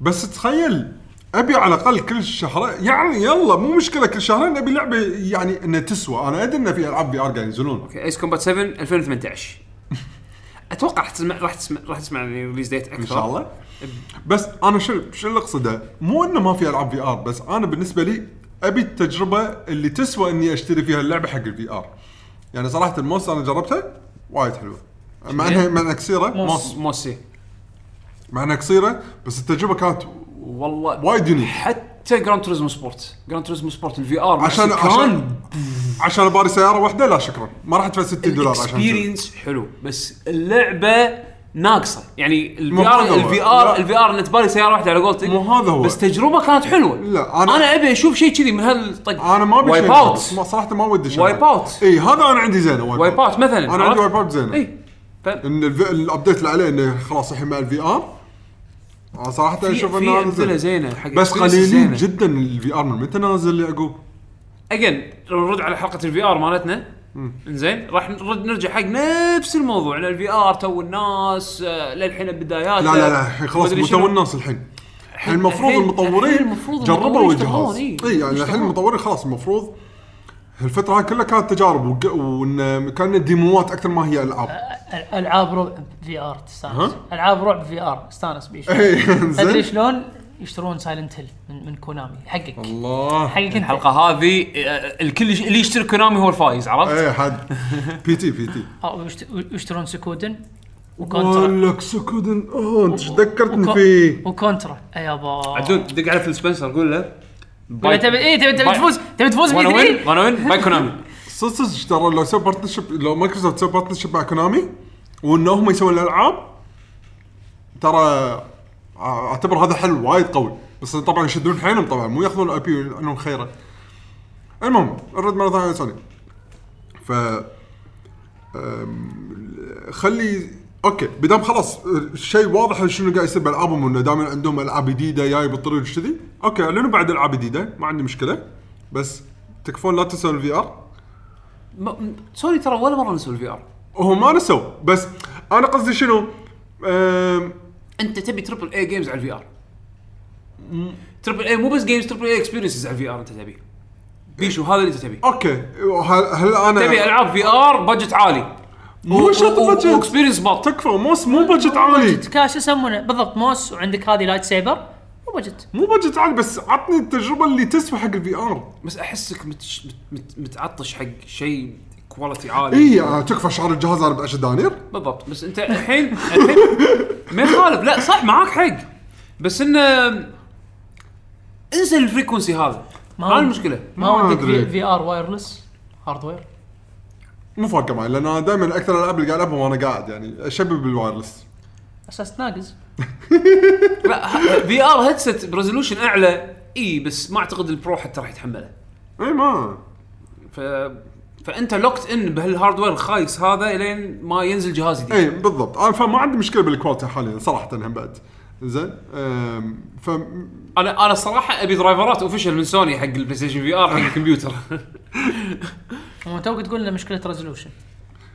[SPEAKER 4] بس تخيل ابي على الاقل كل شهر يعني يلا مو مشكله كل شهرين ابي لعبه يعني انها تسوى انا ادري ان في العاب في ار قاعد ينزلون
[SPEAKER 1] اوكي ايس كومبات 7 2018 اتوقع راح تسمع راح تسمع راح تسمع يعني ريليز ديت اكثر
[SPEAKER 4] ان شاء الله بس انا شو شو اللي اقصده مو انه ما في العاب في ار بس انا بالنسبه لي ابي التجربه اللي تسوى اني اشتري فيها اللعبه حق الفي ار يعني صراحه الموس انا جربتها وايد حلوه مع انها مع انها قصيره موس
[SPEAKER 1] موسي
[SPEAKER 4] مع انها قصيره بس التجربه كانت
[SPEAKER 1] والله
[SPEAKER 4] وايد يونيك
[SPEAKER 1] حتى جراند توريزمو سبورت جراند توريزمو سبورت الفي ار
[SPEAKER 4] عشان عشان عشان اباري سياره واحده لا شكرا ما راح ادفع 60 دولار عشان كذا.
[SPEAKER 1] الاكسبيرينس حلو بس اللعبه ناقصه يعني الفي
[SPEAKER 4] مو هذا
[SPEAKER 1] ار
[SPEAKER 4] هو.
[SPEAKER 1] الفي ار
[SPEAKER 4] لا.
[SPEAKER 1] الفي ار تبالي سياره واحده على قولتك
[SPEAKER 4] مو هذا هو.
[SPEAKER 1] بس تجربه كانت حلوه
[SPEAKER 4] لا، أنا-
[SPEAKER 1] انا ابي اشوف شيء كذي من هالطق
[SPEAKER 4] انا ما ابي
[SPEAKER 1] Wipe
[SPEAKER 4] شيء
[SPEAKER 1] out.
[SPEAKER 4] ما- صراحه ما ودي شيء
[SPEAKER 1] Wipe out.
[SPEAKER 4] اي هذا انا عندي زينه
[SPEAKER 1] وايب اوت مثلا
[SPEAKER 4] انا عندي وايب اوت زينه
[SPEAKER 1] اي
[SPEAKER 4] ان الف- الابديت اللي عليه انه خلاص الحين مع الفي ار صراحه اشوف
[SPEAKER 1] في
[SPEAKER 4] انه هذا
[SPEAKER 1] امثله
[SPEAKER 4] زين.
[SPEAKER 1] زينه حق
[SPEAKER 4] بس
[SPEAKER 1] experiences
[SPEAKER 4] قليلين
[SPEAKER 1] زينة.
[SPEAKER 4] جدا الفي ار من متى نازل يعقوب؟
[SPEAKER 1] اجين لو نرد على حلقه الفي ار مالتنا زين راح نرد نرجع حق نفس الموضوع ان الفي ار تو الناس آه، للحين بدايات
[SPEAKER 4] لا لا لا الحين خلاص متو الناس الحين الحين المفروض
[SPEAKER 1] الحين-
[SPEAKER 4] المطورين
[SPEAKER 1] الحين المفروض
[SPEAKER 4] جربوا
[SPEAKER 1] المطورين
[SPEAKER 4] الجهاز
[SPEAKER 1] يشتغلون، إي.
[SPEAKER 4] اي يعني الحين المطورين خلاص المفروض هالفتره هاي كلها كانت تجارب وق- وان كان ديموات اكثر ما هي العاب
[SPEAKER 3] العاب رعب في ار تستانس
[SPEAKER 4] ها؟
[SPEAKER 3] العاب رعب في ار استانس بيش
[SPEAKER 4] إيه، إنزين.
[SPEAKER 3] تدري شلون يشترون سايلنت هيل من, من كونامي حقك
[SPEAKER 4] الله
[SPEAKER 3] حقك انت
[SPEAKER 1] الحلقه هذه آه، الكل يش- اللي يشتري كونامي هو الفايز عرفت؟
[SPEAKER 4] اي حد بي تي بي تي
[SPEAKER 3] آه، ويشت- ويشترون سكودن وكونترا
[SPEAKER 4] قال لك سكودن اه انت إيش ذكرتني
[SPEAKER 3] وكو-
[SPEAKER 4] فيه
[SPEAKER 3] وكونترا يا يابا
[SPEAKER 1] عدول دق على فيل سبنسر قول له
[SPEAKER 3] ولا تبي ايه تبي تبي
[SPEAKER 1] باي.
[SPEAKER 3] تفوز تبي تفوز
[SPEAKER 1] وانا وين
[SPEAKER 3] بيدري
[SPEAKER 1] وانا وين باي كونامي
[SPEAKER 4] صدق صدق ترى لو سوى بارتنرشب لو مايكروسوفت سوى بارتنرشب مع كونامي وان هم يسوون الالعاب ترى ع- اعتبر هذا حل وايد قوي بس طبعا يشدون حيلهم طبعا مو ياخذون الاي بي انهم خيره المهم الرد مره ثانيه سوني ف أم، خلي اوكي بدام خلاص شيء واضح شنو قاعد يصير بالعابهم وانه دائما عندهم العاب جديده جاي بالطريق كذي اوكي اعلنوا بعد العاب جديده ما عندي مشكله بس تكفون لا تنسون الفي ار
[SPEAKER 1] ما- سوري ترى ولا مره نسوا الفي ار
[SPEAKER 4] هم ما نسوا بس انا قصدي شنو أم،
[SPEAKER 1] انت تبي تربل اي جيمز على الفي ار تربل اي مو بس جيمز تربل اي اكسبيرينسز على الفي ار انت تبي بيشو هذا اللي انت تبيه
[SPEAKER 4] اوكي هل, هل
[SPEAKER 1] تبي
[SPEAKER 4] انا
[SPEAKER 1] العاب في ار بادجت عالي
[SPEAKER 4] مو شرط بادجت
[SPEAKER 1] واكسبيرينس بط
[SPEAKER 4] تكفى مو مو بادجت عالي
[SPEAKER 3] كاش شو يسمونه بالضبط موس وعندك هذه لايت سيبر وبجت
[SPEAKER 4] مو بادجت عالي بس عطني التجربه اللي تسوى حق الفي ار
[SPEAKER 1] بس احسك متش... مت... مت... متعطش حق شيء كواليتي عالي
[SPEAKER 4] اي إيه، آه، تكفى شعار الجهاز انا ب 10 دنانير
[SPEAKER 1] بالضبط بس انت الحين الحين ما يخالف لا صح معاك حق بس انه انسى الفريكونسي هذا
[SPEAKER 3] ما
[SPEAKER 1] ما
[SPEAKER 3] هو-
[SPEAKER 1] هذه المشكلة
[SPEAKER 3] ما
[SPEAKER 4] ما
[SPEAKER 3] ودك
[SPEAKER 4] أدري.
[SPEAKER 3] في, في ار وايرلس هاردوير
[SPEAKER 4] مو فارقه معي لان انا دائما اكثر الالعاب اللي قاعد العبها وانا قاعد يعني اشبب بالوايرلس
[SPEAKER 3] اساس تناقز
[SPEAKER 1] لا في ار هيدسيت بريزولوشن اعلى اي بس ما اعتقد البرو حتى راح يتحمله
[SPEAKER 4] اي إيه، ما
[SPEAKER 1] ف فانت لوكت ان بهالهاردوير الخايس هذا لين ما ينزل جهاز جديد
[SPEAKER 4] اي إيه، بالضبط انا فما عندي مشكله بالكواليتي حاليا صراحه هم بعد زين أم، ف
[SPEAKER 1] انا انا الصراحه ابي درايفرات اوفيشال من سوني حق البلاي ستيشن في ار حق الكمبيوتر
[SPEAKER 3] هو توك تقول لنا مشكله ريزولوشن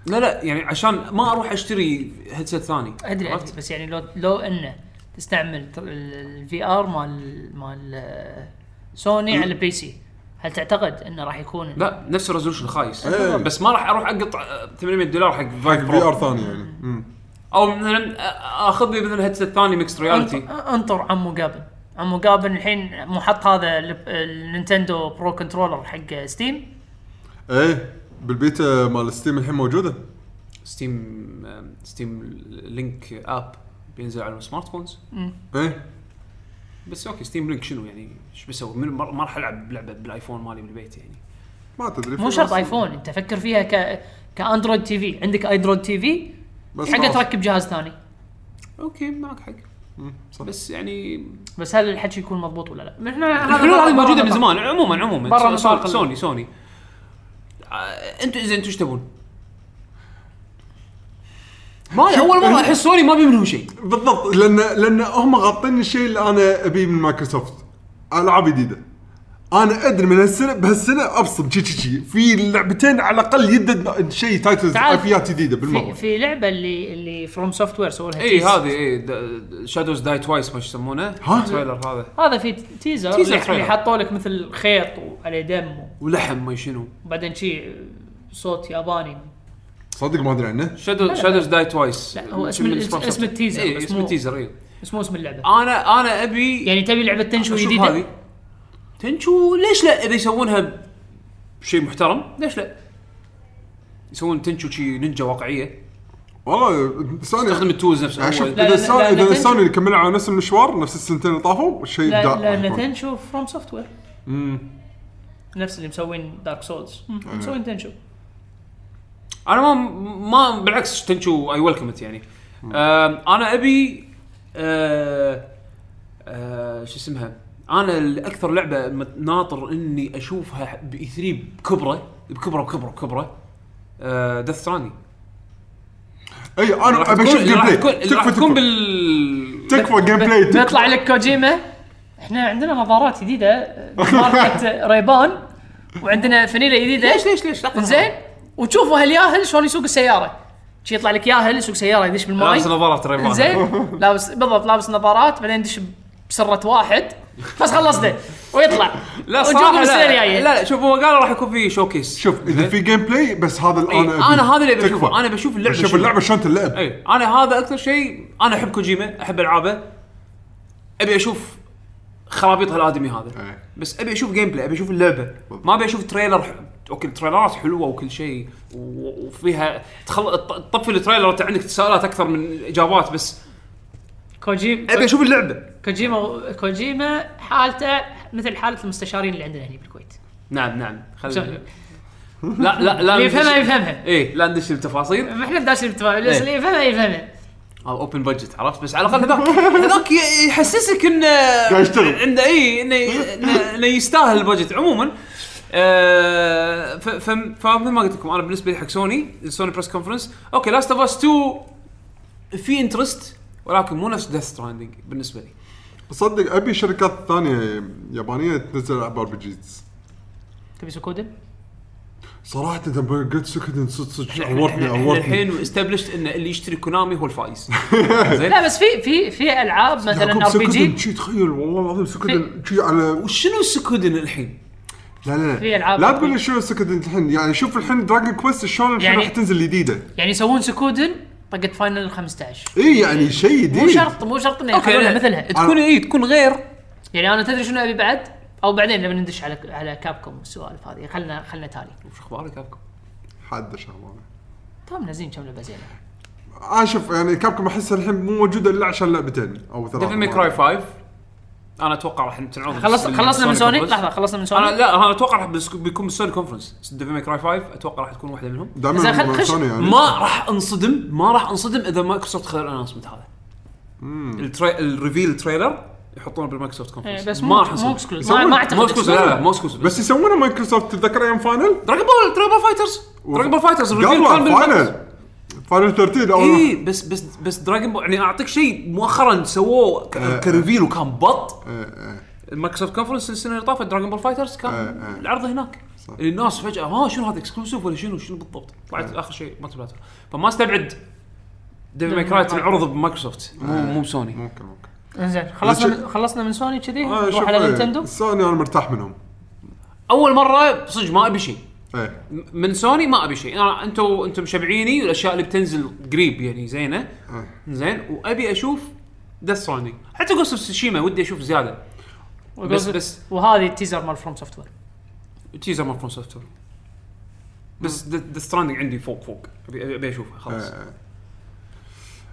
[SPEAKER 1] لا لا يعني عشان ما اروح اشتري هيدسيت ثاني
[SPEAKER 3] ادري
[SPEAKER 1] عرفت؟
[SPEAKER 3] ادري بس يعني لو لو انه تستعمل الفي ار مال مال آه، سوني على البي سي هل تعتقد انه راح يكون
[SPEAKER 1] لا نفس الريزولوشن خايس
[SPEAKER 4] إيه.
[SPEAKER 1] بس ما راح اروح اقطع آه، 800 دولار حق
[SPEAKER 4] حق
[SPEAKER 1] فايف
[SPEAKER 4] في ار
[SPEAKER 1] برو
[SPEAKER 4] ثاني يعني مم.
[SPEAKER 1] او مثلا آه، اخذ لي مثلا هيدسيت ثاني ميكس رياليتي
[SPEAKER 3] انطر, انطر عمو قابل عمو قابل الحين مو حط هذا ال- النينتندو برو كنترولر حق ستيم
[SPEAKER 4] ايه بالبيتا مال ستيم الحين موجوده
[SPEAKER 1] ستيم آه، ستيم لينك اب بينزل على السمارت فونز
[SPEAKER 4] ايه
[SPEAKER 1] بس اوكي ستيم لينك شنو يعني ايش بسوي من- ما ما راح العب لعبه بالايفون مالي بالبيت يعني
[SPEAKER 4] ما تدري
[SPEAKER 3] مو
[SPEAKER 4] في
[SPEAKER 3] شرط
[SPEAKER 4] ناس-
[SPEAKER 3] ايفون انت فكر فيها ك كاندرويد تي في عندك اندرويد تي في
[SPEAKER 4] بس
[SPEAKER 3] حقه
[SPEAKER 4] خلاص.
[SPEAKER 3] تركب جهاز ثاني
[SPEAKER 1] اوكي معك حق
[SPEAKER 4] مم، صح.
[SPEAKER 1] بس يعني
[SPEAKER 3] بس هل الحكي يكون مضبوط ولا لا؟ احنا
[SPEAKER 1] الحلول هذه موجوده من زمان عموما عموما
[SPEAKER 3] برا
[SPEAKER 1] برا سوني
[SPEAKER 3] نطاق ال-
[SPEAKER 1] سوني, سوني. آه، انتوا زين انتوا ايش تبون؟ ما اول مره احس سوني ما بي منهم شيء
[SPEAKER 4] بالضبط لان لان هم غاطين الشيء اللي انا ابيه من مايكروسوفت العاب جديده انا ادري من هالسنه بهالسنه ابصم شي شي شي في لعبتين على الاقل يدد شيء تايتلز
[SPEAKER 3] تعال.
[SPEAKER 4] ايبيات جديده بالمره
[SPEAKER 3] في, في لعبه اللي اللي فروم سوفت وير سووا لها
[SPEAKER 1] اي
[SPEAKER 3] تيز.
[SPEAKER 1] إيه، هذه اي شادوز داي توايس ما شو يسمونه
[SPEAKER 4] ها؟
[SPEAKER 1] التريلر هذا
[SPEAKER 3] هذا في تيزر,
[SPEAKER 1] تيزر
[SPEAKER 3] اللي- اللي
[SPEAKER 1] تريلر.
[SPEAKER 3] حطوا لك مثل خيط وعليه دم
[SPEAKER 1] ولحم ما شنو
[SPEAKER 3] وبعدين شي صوت ياباني
[SPEAKER 4] صدق ما ادري عنه
[SPEAKER 1] شادو شادوز داي توايس
[SPEAKER 3] لا، هو اسم ال- اسم التيزر،
[SPEAKER 1] اي
[SPEAKER 3] بس
[SPEAKER 1] اسم
[SPEAKER 3] مو-
[SPEAKER 1] التيزر اي
[SPEAKER 3] بس مو اسم اللعبه
[SPEAKER 1] انا انا ابي
[SPEAKER 3] يعني تبي لعبه تنشو
[SPEAKER 1] آه. شوف
[SPEAKER 3] جديده
[SPEAKER 1] هذه تنشو ليش لا اذا يسوونها بشيء محترم ليش لا يسوون تنشو شي نينجا واقعيه
[SPEAKER 4] والله سوني
[SPEAKER 1] استخدم التولز نفسها
[SPEAKER 4] عشان-
[SPEAKER 1] أول.
[SPEAKER 3] لا،
[SPEAKER 4] اذا سوني
[SPEAKER 3] لا،
[SPEAKER 4] اذا
[SPEAKER 3] نتنشو-
[SPEAKER 4] سوني كملوا على نفس المشوار نفس السنتين اللي طافوا الشيء
[SPEAKER 3] لا
[SPEAKER 4] ابداع
[SPEAKER 3] لا
[SPEAKER 4] راح يكون.
[SPEAKER 3] نتنشو فروم سوفت وير نفس اللي مسوين دارك سولز مسوين تنشو
[SPEAKER 1] انا ما ما بالعكس تنشو اي ويلكم يعني آم، انا ابي آه، آه، شو اسمها انا الاكثر لعبه مت- ناطر اني اشوفها باي 3 بكبره بكبره بكبره بكبره ديث ستراندي
[SPEAKER 4] اي انا ابي اشوف جيم
[SPEAKER 1] آه، راح
[SPEAKER 4] بلاي
[SPEAKER 1] تكون راح
[SPEAKER 4] تكفى
[SPEAKER 1] تكون
[SPEAKER 4] تكفى
[SPEAKER 1] بال
[SPEAKER 4] تكفى جيم بلاي تكفى.
[SPEAKER 3] بيطلع لك كوجيما احنا عندنا نظارات جديده ماركه ريبان وعندنا فنيله جديده
[SPEAKER 1] ليش ليش ليش لحظه
[SPEAKER 3] زين وتشوفوا هالياهل شلون يسوق السياره شي يطلع لك ياهل يسوق سياره يدش بالماي
[SPEAKER 1] لابس نظارات ريبان
[SPEAKER 3] زين لابس بالضبط لابس نظارات بعدين يدش بسره واحد بس خلصنا ويطلع
[SPEAKER 1] لا
[SPEAKER 3] ونشوفه
[SPEAKER 1] صراحه
[SPEAKER 3] بالسنه
[SPEAKER 1] لا,
[SPEAKER 3] الجاية.
[SPEAKER 1] لا, لا شوف هو قال راح يكون في شوكيس
[SPEAKER 4] شوف اذا في جيم بلاي بس هذا
[SPEAKER 3] إيه،
[SPEAKER 4] اللي انا
[SPEAKER 1] انا هذا اللي
[SPEAKER 4] بشوفه
[SPEAKER 1] بشوفه انا بشوف اللعبه
[SPEAKER 4] شوف
[SPEAKER 1] شنو.
[SPEAKER 4] اللعبه شلون تلعب
[SPEAKER 1] اي انا إيه، هذا اكثر شيء انا احب كوجيما احب العابه ابي اشوف خرابيط هالادمي هذا
[SPEAKER 4] إيه.
[SPEAKER 1] بس ابي اشوف جيم بلاي ابي اشوف اللعبه ما ابي اشوف تريلر ح- اوكي التريلرات حلوه وكل شيء و- وفيها تخل... ط- تطفي التريلر وانت عندك تساؤلات اكثر من اجابات بس
[SPEAKER 3] كوجيما
[SPEAKER 1] ابي اشوف اللعبه
[SPEAKER 3] كوجيما كوجيما حالته مثل حاله المستشارين اللي عندنا هنا بالكويت
[SPEAKER 1] نعم نعم خلينا
[SPEAKER 3] سوري.
[SPEAKER 1] لا لا لا
[SPEAKER 3] اللي يفهمها يفهمها
[SPEAKER 1] اي لا ندش التفاصيل
[SPEAKER 3] احنا داشين بالتفاعل،
[SPEAKER 1] إيه.
[SPEAKER 3] بس اللي يفهمها يفهمها
[SPEAKER 1] هذا اوبن بادجت عرفت بس على الاقل هذاك هذاك ي- يحسسك انه
[SPEAKER 4] قاعد يشتغل.
[SPEAKER 1] انه اي انه ي- إنه- انه يستاهل البادجت عموما آه، ف- ف- فمثل ما قلت لكم انا بالنسبه لي حق سوني سوني بريس كونفرنس اوكي لاست اوف اس 2 في انترست ولكن مو نفس ديث ستراندنج بالنسبه لي
[SPEAKER 4] صدق ابي شركات ثانيه يابانيه تنزل العاب ار بي جيز
[SPEAKER 3] تبي سكودن؟
[SPEAKER 4] صراحه لما قلت سكدن صدق صدق
[SPEAKER 1] احنا
[SPEAKER 4] عورتني
[SPEAKER 1] إحنا- إحنا
[SPEAKER 4] عورتني
[SPEAKER 1] الحين استبلشت ان اللي يشتري كونامي هو الفائز
[SPEAKER 3] لا بس في في في العاب مثلا ار بي جي
[SPEAKER 4] شي تخيل والله العظيم سكدن شي على
[SPEAKER 1] وشنو سكودن الحين؟
[SPEAKER 4] لا لا
[SPEAKER 3] في
[SPEAKER 4] لا
[SPEAKER 3] ألعاب
[SPEAKER 4] لا
[SPEAKER 3] RPG.
[SPEAKER 4] تقول لي شو سكدن الحين يعني شوف الحين دراجون كويست شلون الحين
[SPEAKER 3] يعني-
[SPEAKER 4] راح تنزل جديده
[SPEAKER 3] يعني يسوون سكودن طقت فاينل 15
[SPEAKER 4] اي يعني شيء جديد
[SPEAKER 3] مو شرط مو شرط انه يخلونها مثلها
[SPEAKER 1] تكون اي تكون غير
[SPEAKER 3] يعني انا تدري شنو ابي بعد؟ او بعدين لما ندش على على كابكم والسوالف هذه خلنا خلنا تالي
[SPEAKER 1] وش اخبارك ابكم؟
[SPEAKER 4] حد شغله
[SPEAKER 3] تم نازلين كم يعني؟ لعبه زينه
[SPEAKER 4] انا شوف يعني كابكم احس الحين مو موجوده الا عشان لعبتين او ثلاثه
[SPEAKER 1] ديفل ماي كراي 5 انا اتوقع راح تنعرض
[SPEAKER 3] خلص
[SPEAKER 1] بال-
[SPEAKER 3] خلصنا من
[SPEAKER 1] بالسوني
[SPEAKER 3] سوني
[SPEAKER 1] كونفرنس.
[SPEAKER 3] لحظه خلصنا من
[SPEAKER 1] انا
[SPEAKER 3] سوني
[SPEAKER 1] لا انا اتوقع راح بس- بيكون بالسوني كونفرنس ديفل ماي كراي 5 اتوقع راح تكون واحده منهم
[SPEAKER 3] إذا خل-
[SPEAKER 4] دائما
[SPEAKER 3] خش-
[SPEAKER 4] سوني يعني
[SPEAKER 1] ما راح انصدم ما راح انصدم اذا مايكروسوفت خير الانونسمنت هذا التري... الريفيل تريلر يحطونه بالمايكروسوفت كونفرنس
[SPEAKER 3] إيه، بس مو مو اكسكلوز ما ما
[SPEAKER 1] مو
[SPEAKER 3] اعتقد
[SPEAKER 1] اكسكلوز لا لا
[SPEAKER 3] exclusive.
[SPEAKER 1] مو اكسكلوز بس
[SPEAKER 4] بس يسوونه مايكروسوفت تتذكر ايام فاينل؟
[SPEAKER 1] دراجون بول دراجون بول فايترز دراجون بول فايترز الريفيل كان
[SPEAKER 4] قبل
[SPEAKER 1] بالمايكروسوفت
[SPEAKER 4] فاينل فاينل 13
[SPEAKER 3] إيه.
[SPEAKER 4] اول واحد.
[SPEAKER 1] اي بس بس بس دراجون بول يعني اعطيك شيء مؤخرا سووه ك- كريفيل وكان بط
[SPEAKER 4] إيه، إيه.
[SPEAKER 1] المايكروسوفت كونفرنس السنه اللي طافت دراجون بول فايترز كان
[SPEAKER 4] آه، آه.
[SPEAKER 1] العرض هناك إيه،
[SPEAKER 4] صح.
[SPEAKER 1] الناس فجاه ها شنو هذا اكسكلوسيف ولا شنو شنو بالضبط
[SPEAKER 4] إيه.
[SPEAKER 1] طلعت اخر شيء مالتي بلاتفورم فما استبعد ديفل ماي كراي تنعرض
[SPEAKER 4] إيه.
[SPEAKER 1] بمايكروسوفت مو مو بسوني
[SPEAKER 4] ممكن ممكن
[SPEAKER 3] انزين خلصنا
[SPEAKER 4] شو-
[SPEAKER 3] من- خلصنا من سوني كذي
[SPEAKER 4] آه،
[SPEAKER 3] نروح
[SPEAKER 4] شوف،
[SPEAKER 3] على
[SPEAKER 4] إيه،
[SPEAKER 3] نينتندو
[SPEAKER 4] سوني انا مرتاح منهم
[SPEAKER 1] اول مره صدق ما ابي شيء
[SPEAKER 4] ايه
[SPEAKER 1] م- من سوني ما ابي شيء انا انتم انتم مشبعيني والاشياء اللي بتنزل قريب يعني زينه
[SPEAKER 4] إيه.
[SPEAKER 1] زين وابي اشوف ديث سوني حتى جوست اوف تسوشيما ودي اشوف زياده بس بس
[SPEAKER 3] وهذه التيزر مال فروم سوفت وير
[SPEAKER 1] تيزر مال فروم سوفت وير. بس ذا ستراندنج عندي فوق فوق ابي ابي اشوفها خلاص
[SPEAKER 4] إيه.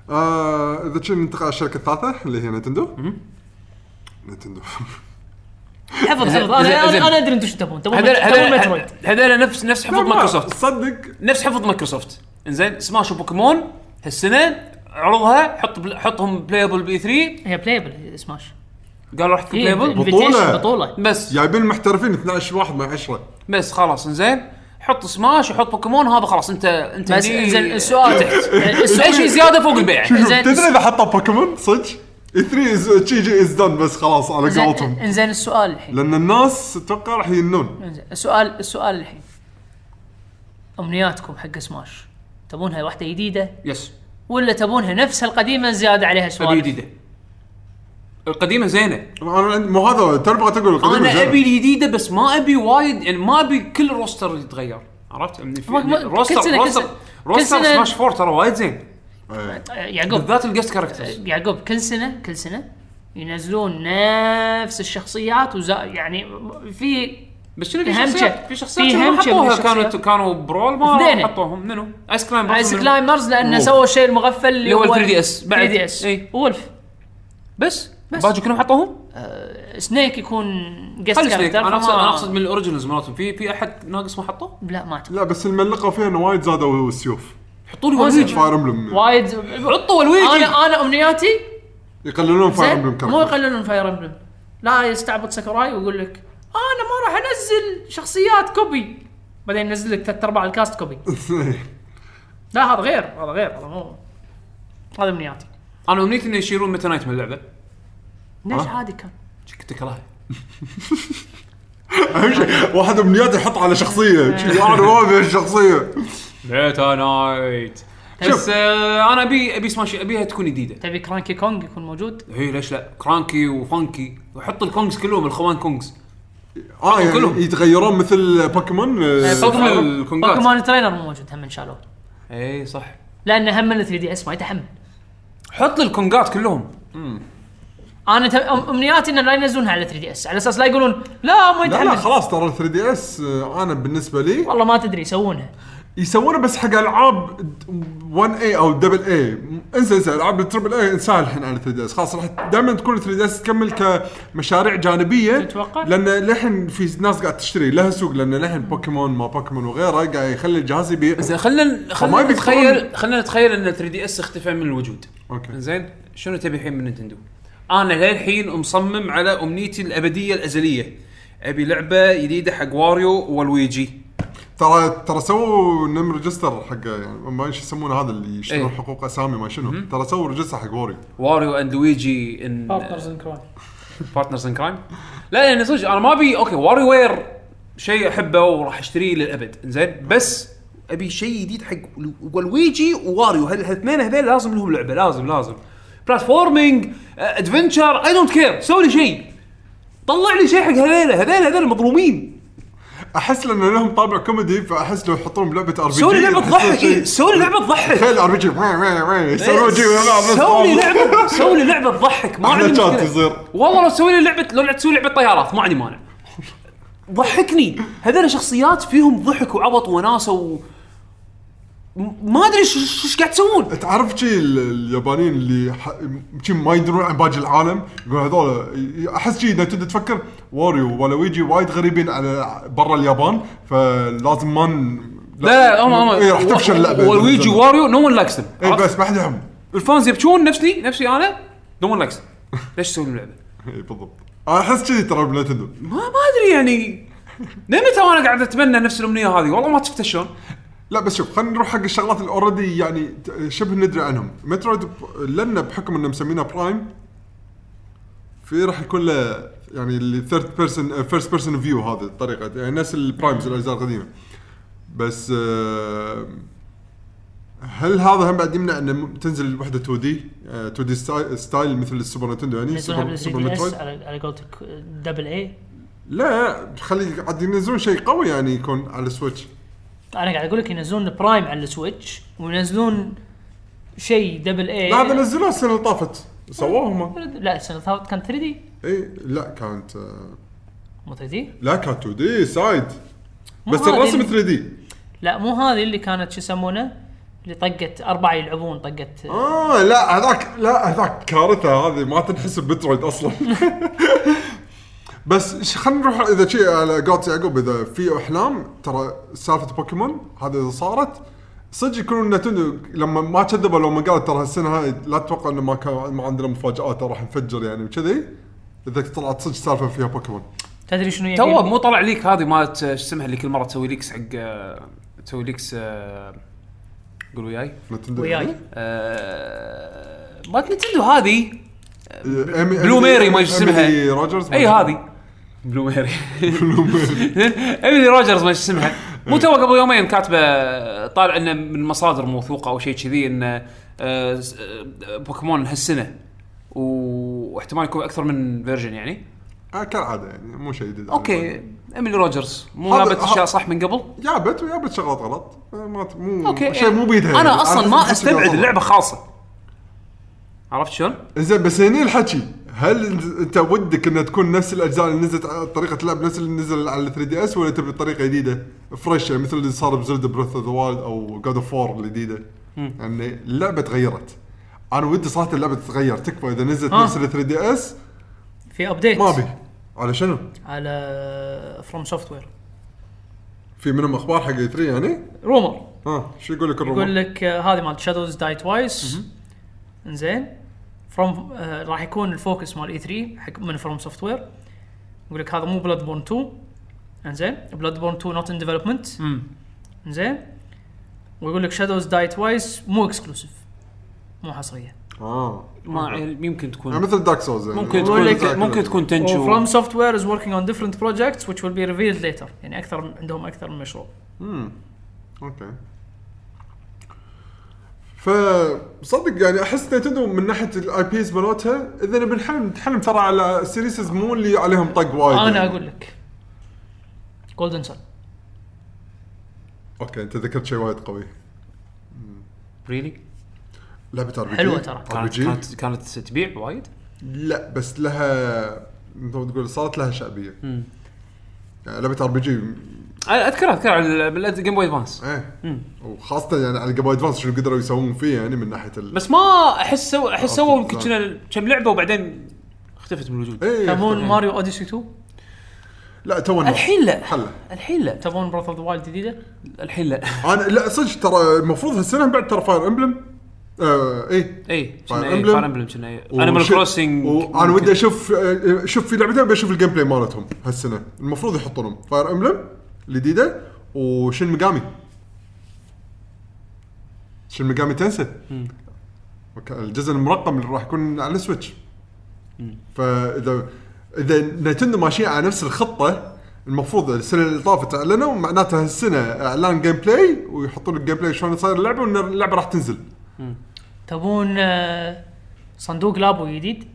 [SPEAKER 4] آه، اذا كنا ننتقل على الشركه الثالثه اللي هي نينتندو نينتندو
[SPEAKER 3] حفظ حفظ
[SPEAKER 1] زين،
[SPEAKER 3] انا
[SPEAKER 1] زين.
[SPEAKER 3] انا ادري انتم شو تبون تبون
[SPEAKER 1] هذول-
[SPEAKER 3] تبون
[SPEAKER 1] هذول-
[SPEAKER 3] مترويد
[SPEAKER 1] هذول نفس نفس حفظ مايكروسوفت
[SPEAKER 4] صدق
[SPEAKER 1] نفس حفظ مايكروسوفت انزين سماش وبوكيمون هالسنه عرضها حط بل... حطهم بلايبل بي 3
[SPEAKER 3] هي بلايبل سماش
[SPEAKER 1] قالوا راح تكون
[SPEAKER 3] هي
[SPEAKER 1] بلايبل
[SPEAKER 4] بطولة.
[SPEAKER 3] invitation، بطوله
[SPEAKER 1] بس
[SPEAKER 4] جايبين المحترفين 12 واحد من 10
[SPEAKER 1] بس خلاص انزين حط سماش وحط بوكيمون هذا خلاص انت انت
[SPEAKER 3] بس
[SPEAKER 1] هني
[SPEAKER 3] انزين السؤال
[SPEAKER 1] تحت. اي شيء
[SPEAKER 3] السؤال
[SPEAKER 1] زياده فوق البيع
[SPEAKER 4] شوف شوف
[SPEAKER 3] زين.
[SPEAKER 4] تدري اذا حطوا بوكيمون صدق E 3 از تشي جي از دون بس خلاص على
[SPEAKER 3] إنزين-
[SPEAKER 4] قولتهم
[SPEAKER 3] انزين السؤال الحين
[SPEAKER 4] لان الناس اتوقع راح ينون
[SPEAKER 3] انزين السؤال السؤال الحين امنياتكم حق سماش تبونها واحده جديده
[SPEAKER 1] يس
[SPEAKER 3] ولا تبونها نفس القديمه زياده عليها
[SPEAKER 1] ابي
[SPEAKER 3] سوالف
[SPEAKER 1] جديده القديمه زينه
[SPEAKER 4] انا عندي- مو هذا تربغه تقول القديم
[SPEAKER 1] انا
[SPEAKER 4] زين.
[SPEAKER 1] ابي الجديده بس ما ابي وايد يعني ما ابي كل روستر يتغير عرفت؟ يعني في
[SPEAKER 3] ما- ما-
[SPEAKER 1] روستر
[SPEAKER 3] كل سنة- كل
[SPEAKER 1] روستر
[SPEAKER 3] سنة- كل
[SPEAKER 1] روستر
[SPEAKER 3] سنة-
[SPEAKER 1] سماش 4 ترى وايد زين
[SPEAKER 4] إيه.
[SPEAKER 3] آه، يعقوب
[SPEAKER 1] بالذات الجست كاركترز
[SPEAKER 3] يعقوب كل سنه كل سنه ينزلون نفس الشخصيات وزا يعني في
[SPEAKER 1] بس شنو في
[SPEAKER 3] في
[SPEAKER 1] شخصيات
[SPEAKER 3] همشة.
[SPEAKER 1] في شخصيات
[SPEAKER 3] في
[SPEAKER 1] شنو ما
[SPEAKER 3] همشة من
[SPEAKER 1] حطوها
[SPEAKER 3] الشخصيات.
[SPEAKER 1] كانت كانوا برول ما
[SPEAKER 3] اثنين.
[SPEAKER 1] حطوهم منو ايس كلايم برضو
[SPEAKER 3] ايس
[SPEAKER 1] منو؟
[SPEAKER 3] كلايمرز لان سووا الشيء المغفل اللي
[SPEAKER 1] هو 3DS بعد. إيه.
[SPEAKER 3] 3 دي اس
[SPEAKER 1] إي.
[SPEAKER 3] وولف
[SPEAKER 1] بس
[SPEAKER 3] بس.
[SPEAKER 1] باجو كلهم حطوهم
[SPEAKER 3] سنيك يكون جيست
[SPEAKER 1] خلي سنيك
[SPEAKER 3] كاركتر
[SPEAKER 1] انا اقصد انا اقصد من الاوريجنالز مالتهم في في احد ناقص ما حطوه
[SPEAKER 3] لا ما اعتقد
[SPEAKER 4] لا بس الملقه فيها انه وايد زادوا السيوف
[SPEAKER 1] حطوا لي
[SPEAKER 3] أوزن.
[SPEAKER 1] ولويجي
[SPEAKER 4] فاير امبلم
[SPEAKER 3] وايد
[SPEAKER 1] حطوا ولويجي
[SPEAKER 3] انا انا امنياتي
[SPEAKER 4] يقللون فاير
[SPEAKER 3] زين
[SPEAKER 4] امبلم
[SPEAKER 3] مو
[SPEAKER 4] كاركتر
[SPEAKER 3] يقللون فاير امبلم لا يستعبط ساكوراي ويقول لك انا ما راح انزل شخصيات كوبي بعدين ينزل لك ثلاث ارباع الكاست كوبي لا هذا غير هذا غير هذا مو هذا امنياتي
[SPEAKER 1] انا امنيتي انه يشيلون ميتا نايت من اللعبه
[SPEAKER 3] ليش
[SPEAKER 4] ها؟
[SPEAKER 3] عادي كان
[SPEAKER 1] كنت اكرهها
[SPEAKER 4] اهم شيء واحد امنياته يحط على شخصيه شي، انا ما ابي الشخصيه
[SPEAKER 1] ميتا نايت بس آه انا ابي ابي سماش ابيها تكون جديده
[SPEAKER 3] تبي كرانكي كونج يكون موجود
[SPEAKER 1] هي ليش لا كرانكي وفانكي وحط الكونجز كلهم الخوان كونجز
[SPEAKER 4] اه
[SPEAKER 1] كلهم.
[SPEAKER 4] يعني يتغيرون مثل بوكيمون آه،
[SPEAKER 1] صدمة الكونجات
[SPEAKER 3] بوكيمون ترينر مو موجود هم شالوه
[SPEAKER 1] اي إيه، صح
[SPEAKER 3] لان هم 3 دي اس ما يتحمل
[SPEAKER 1] حط لي الكونجات كلهم
[SPEAKER 3] انا تم... أم- امنياتي ان لا ينزلونها على 3 دي اس على اساس لا يقولون لا ما
[SPEAKER 4] لا
[SPEAKER 3] يتحمل
[SPEAKER 4] لا خلاص ترى 3 دي اس انا بالنسبه آه، لي
[SPEAKER 3] والله ما تدري يسوونها
[SPEAKER 4] يسوونه بس حق العاب 1 اي او دبل اي انسى انسى العاب التربل اي انساها الحين على 3 دي اس خلاص راح دائما تكون 3 دي اس تكمل كمشاريع جانبيه
[SPEAKER 3] تتوقع؟
[SPEAKER 4] لان للحين في ناس قاعد تشتري لها سوق لان للحين بوكيمون ما بوكيمون وغيره قاعد يخلي الجهاز يبيع
[SPEAKER 1] زين خلينا خلينا
[SPEAKER 4] يبي
[SPEAKER 1] نتخيل
[SPEAKER 4] يدخلون.
[SPEAKER 1] خلينا نتخيل ان 3 دي اس اختفى من الوجود
[SPEAKER 4] اوكي
[SPEAKER 1] زين شنو تبي الحين من نينتندو؟ انا للحين مصمم على امنيتي الابديه الازليه ابي لعبه جديده حق واريو ولويجي
[SPEAKER 4] ترى ترى سووا نم ريجستر حق يعني ما شو يسمونه هذا اللي يشترون
[SPEAKER 1] إيه.
[SPEAKER 4] حقوق اسامي ما شنو ترى سووا ريجستر حق ووري
[SPEAKER 1] واريو اند لويجي ان
[SPEAKER 3] بارتنرز ان كرايم
[SPEAKER 1] بارتنرز ان كرايم لا يعني صدق انا ما ابي اوكي واري وير شيء احبه وراح اشتريه للابد زين بس ابي شيء جديد حق لو- ولويجي وواريو هال- هالاثنين هذول لازم لهم لعبه لازم لازم آه، بلاتفورمينج ادفنشر اي دونت كير سوي لي شيء طلع لي شيء حق هذيل هذيل هذيل مظلومين
[SPEAKER 4] احس لان لهم طابع كوميدي فاحس لو يحطون بلعبه ار بي جي
[SPEAKER 1] سوي لي لعبه تضحك إيه، سوي لي لعبه تضحك
[SPEAKER 4] تخيل ار بي جي يسوون جي
[SPEAKER 1] إيه، سوي لي لعبه سوي لي لعبه تضحك ما
[SPEAKER 4] أحلى
[SPEAKER 1] عندي
[SPEAKER 4] شات
[SPEAKER 1] مشكلة.
[SPEAKER 4] يصير.
[SPEAKER 1] والله لو تسوي لي لعبه لو تسوي لعبه طيارات ما عندي مانع ضحكني هذول شخصيات فيهم ضحك وعبط وناسه و... م- ما ادري شو- شو ايش قاعد تسوون
[SPEAKER 4] تعرف شي ال- اليابانيين اللي ح... شي ما يدرون عن باقي العالم يقول هذول احس شي نتندو تفكر واريو ولويجي وايد غريبين على برا اليابان فلازم ما ن-
[SPEAKER 1] لا لا هم هم
[SPEAKER 4] إيه، راح تفشل اللعبه
[SPEAKER 1] ولويجي واريو نو ون لايكس
[SPEAKER 4] اي إيه، بس ما حد يهم
[SPEAKER 1] الفانز يبكون نفسي نفسي انا نو ون لايكس ليش تسوي لي لعبه؟
[SPEAKER 4] اي إيه، بالضبط انا احس كذي ترى بنتندو
[SPEAKER 1] ما ما ادري يعني لمتى وانا قاعد اتمنى نفس الامنيه هذه والله ما تفتح شلون
[SPEAKER 4] لا بس شوف خلينا نروح حق الشغلات اللي اوريدي يعني ت- شبه ندري عنهم مترويد ب- لان بحكم انه مسمينها برايم في راح يكون له يعني الثيرد بيرسون فيرست بيرسون فيو هذه الطريقه يعني نفس البرايمز الاجزاء القديمه بس آه، هل هذا هم بعد يمنع انه م- تنزل وحده 2 دي 2 دي ستايل مثل السوبر نتندو يعني
[SPEAKER 3] ينزلونها
[SPEAKER 4] سوبر,
[SPEAKER 3] بال 3
[SPEAKER 4] سوبر
[SPEAKER 3] دي اس
[SPEAKER 4] مترويد
[SPEAKER 3] على على قولتك دبل اي
[SPEAKER 4] لا خلي عاد ينزلون شيء قوي يعني يكون على السويتش
[SPEAKER 3] انا قاعد اقول لك ينزلون برايم على السويتش وينزلون شيء دبل اي
[SPEAKER 4] لا هذا نزلوه السنه اللي طافت سووه هم
[SPEAKER 3] لا السنه ثابت كان 3 دي
[SPEAKER 4] اي إيه، لا كانت آه،
[SPEAKER 3] مو 3 دي
[SPEAKER 4] لا كانت 2 دي سايد
[SPEAKER 3] مو
[SPEAKER 4] بس
[SPEAKER 3] هذه
[SPEAKER 4] الرسم
[SPEAKER 3] اللي-
[SPEAKER 4] 3 دي
[SPEAKER 3] لا مو هذه اللي كانت شو يسمونه اللي طقت اربعه يلعبون طقت
[SPEAKER 4] اه لا هذاك لا هذاك كارثه هذه ما تنحسب بترويد اصلا بس ش- خلينا نروح اذا شيء على جوت يعقوب اذا في احلام ترى سالفه بوكيمون هذه اذا صارت صدق يكونون نتندو لما ما كذبوا لو ما قالوا ترى هالسنه هاي لا تتوقع انه ما كان ما عندنا مفاجات راح نفجر يعني وكذي اذا طلعت صدق سالفه فيها بوكيمون
[SPEAKER 3] تدري شنو هي
[SPEAKER 1] تو
[SPEAKER 3] جيم؟
[SPEAKER 1] مو طلع ليك هذه مالت شو اسمها اللي كل مره تسوي ليكس حق آه، تسوي ليكس آه، قول وياي
[SPEAKER 4] نتندو
[SPEAKER 3] وياي
[SPEAKER 1] آه، مالت نتندو هذه بلو
[SPEAKER 4] بلو
[SPEAKER 1] ميري ما اسمها
[SPEAKER 4] روجرز
[SPEAKER 1] اي هذه بلو ميري ايميلي روجرز ما شو اسمها مو تو قبل يومين كاتبه طالع انه من مصادر موثوقه او شيء كذي انه آه، س- آه، بوكيمون هالسنه و- واحتمال يكون اكثر من فيرجن يعني
[SPEAKER 4] آه كالعاده يعني مو شيء جديد
[SPEAKER 1] اوكي ايميلي روجرز مو
[SPEAKER 4] هذا-
[SPEAKER 1] جابت اشياء
[SPEAKER 4] هذا-
[SPEAKER 1] صح من قبل
[SPEAKER 4] جابت وجابت شغلات غلط آه، ما ت- مو
[SPEAKER 1] اوكي
[SPEAKER 4] اوكي شيء مو بيدها يعني.
[SPEAKER 1] انا اصلا
[SPEAKER 4] أحس-
[SPEAKER 1] ما
[SPEAKER 4] أحس إنها
[SPEAKER 1] استبعد
[SPEAKER 4] غلط.
[SPEAKER 1] اللعبه خاصه عرفت شلون؟
[SPEAKER 4] زين بس هني الحكي هل انت ودك انها تكون نفس الاجزاء اللي نزلت على- طريقه لعب نفس اللي نزل على 3 دي اس ولا تبي طريقه جديده فريش يعني مثل اللي صار بزلدا بريث اوف ذا وايلد او جاد اوف وور الجديده يعني اللعبه تغيرت انا ودي صراحه اللعبه تتغير تكفى اذا نزلت
[SPEAKER 3] آه.
[SPEAKER 4] نفس ال 3 دي اس
[SPEAKER 3] في ابديت
[SPEAKER 4] ما ابي على شنو؟
[SPEAKER 3] على فروم سوفت وير
[SPEAKER 4] في منهم اخبار حق 3 يعني؟
[SPEAKER 3] رومر
[SPEAKER 4] ها شو يقول لك الروبوت؟
[SPEAKER 3] يقول لك آه، هذه مال شادوز داي توايس انزين فروم آه راح يكون الفوكس مال اي 3 حق من فروم سوفت وير يقول لك هذا مو بلاد بورن 2 انزين بلاد بورن 2 نوت ان ديفلوبمنت انزين ويقول لك شادوز داي توايس مو اكسكلوسيف مو حصريه
[SPEAKER 4] اه
[SPEAKER 1] ما أعرف، يمكن
[SPEAKER 4] يعني
[SPEAKER 1] تكون
[SPEAKER 4] مثل دارك سوز يعني
[SPEAKER 1] ممكن
[SPEAKER 3] يقول لك-
[SPEAKER 1] تكون ممكن تكون
[SPEAKER 3] وفروم
[SPEAKER 1] تنشو
[SPEAKER 3] سوفت وير از وركينج اون ديفرنت بروجكتس which will be revealed later يعني اكثر عندهم اكثر من مشروع
[SPEAKER 4] اوكي فصدق يعني احس نينتندو من ناحيه الاي بيز مالتها اذا نبي نحلم نحلم ترى على سيريسز مو اللي عليهم طق وايد
[SPEAKER 3] انا
[SPEAKER 4] يعني.
[SPEAKER 3] اقول لك جولدن سن
[SPEAKER 4] اوكي انت ذكرت شيء وايد قوي
[SPEAKER 1] ريلي
[SPEAKER 4] لعبه ار بي جي
[SPEAKER 3] حلوة ترى.
[SPEAKER 4] ار بي
[SPEAKER 1] كانت
[SPEAKER 4] جي
[SPEAKER 1] كانت- كانت تبيع وايد
[SPEAKER 4] لا بس لها مثل تقول صارت لها شعبيه يعني لعبه ار بي جي
[SPEAKER 1] أنا اذكر اذكر على الجيم بوي ادفانس
[SPEAKER 4] ايه وخاصه يعني على الجيم ادفانس شنو قدروا يسوون فيه يعني من ناحيه ال...
[SPEAKER 1] بس ما احس سو- احس سووا يمكن
[SPEAKER 4] أوكي.
[SPEAKER 1] كنا- كم لعبه وبعدين اختفت من الوجود
[SPEAKER 4] ايه
[SPEAKER 3] تبون ماريو اوديسي 2
[SPEAKER 4] لا تو
[SPEAKER 1] الحين لا
[SPEAKER 4] حلا
[SPEAKER 1] الحين لا
[SPEAKER 3] تبون براذر اوف ذا وايلد جديده
[SPEAKER 1] الحين لا
[SPEAKER 4] انا لا صدق ترى المفروض هالسنه بعد ترى فاير امبلم آه ايه
[SPEAKER 1] اي
[SPEAKER 4] Fire
[SPEAKER 1] كنا اي
[SPEAKER 4] Emblem. Oh,
[SPEAKER 1] فاير امبلم كنا انيمال
[SPEAKER 4] وش-
[SPEAKER 1] كروسنج
[SPEAKER 4] وانا ودي اشوف آه، شوف في لعبتين بشوف الجيم بلاي مالتهم هالسنه المفروض يحطونهم فاير امبلم الجديده وشن ميجامي شن ميجامي تنسى الجزء المرقم اللي راح يكون على السويتش فاذا اذا نتندو ماشيين على نفس الخطه المفروض السنه اللي طافت اعلنوا معناتها هالسنه اعلان جيم بلاي ويحطون الجيم بلاي شلون تصير اللعبه وان اللعبه راح تنزل
[SPEAKER 3] تبون آه، صندوق لابو جديد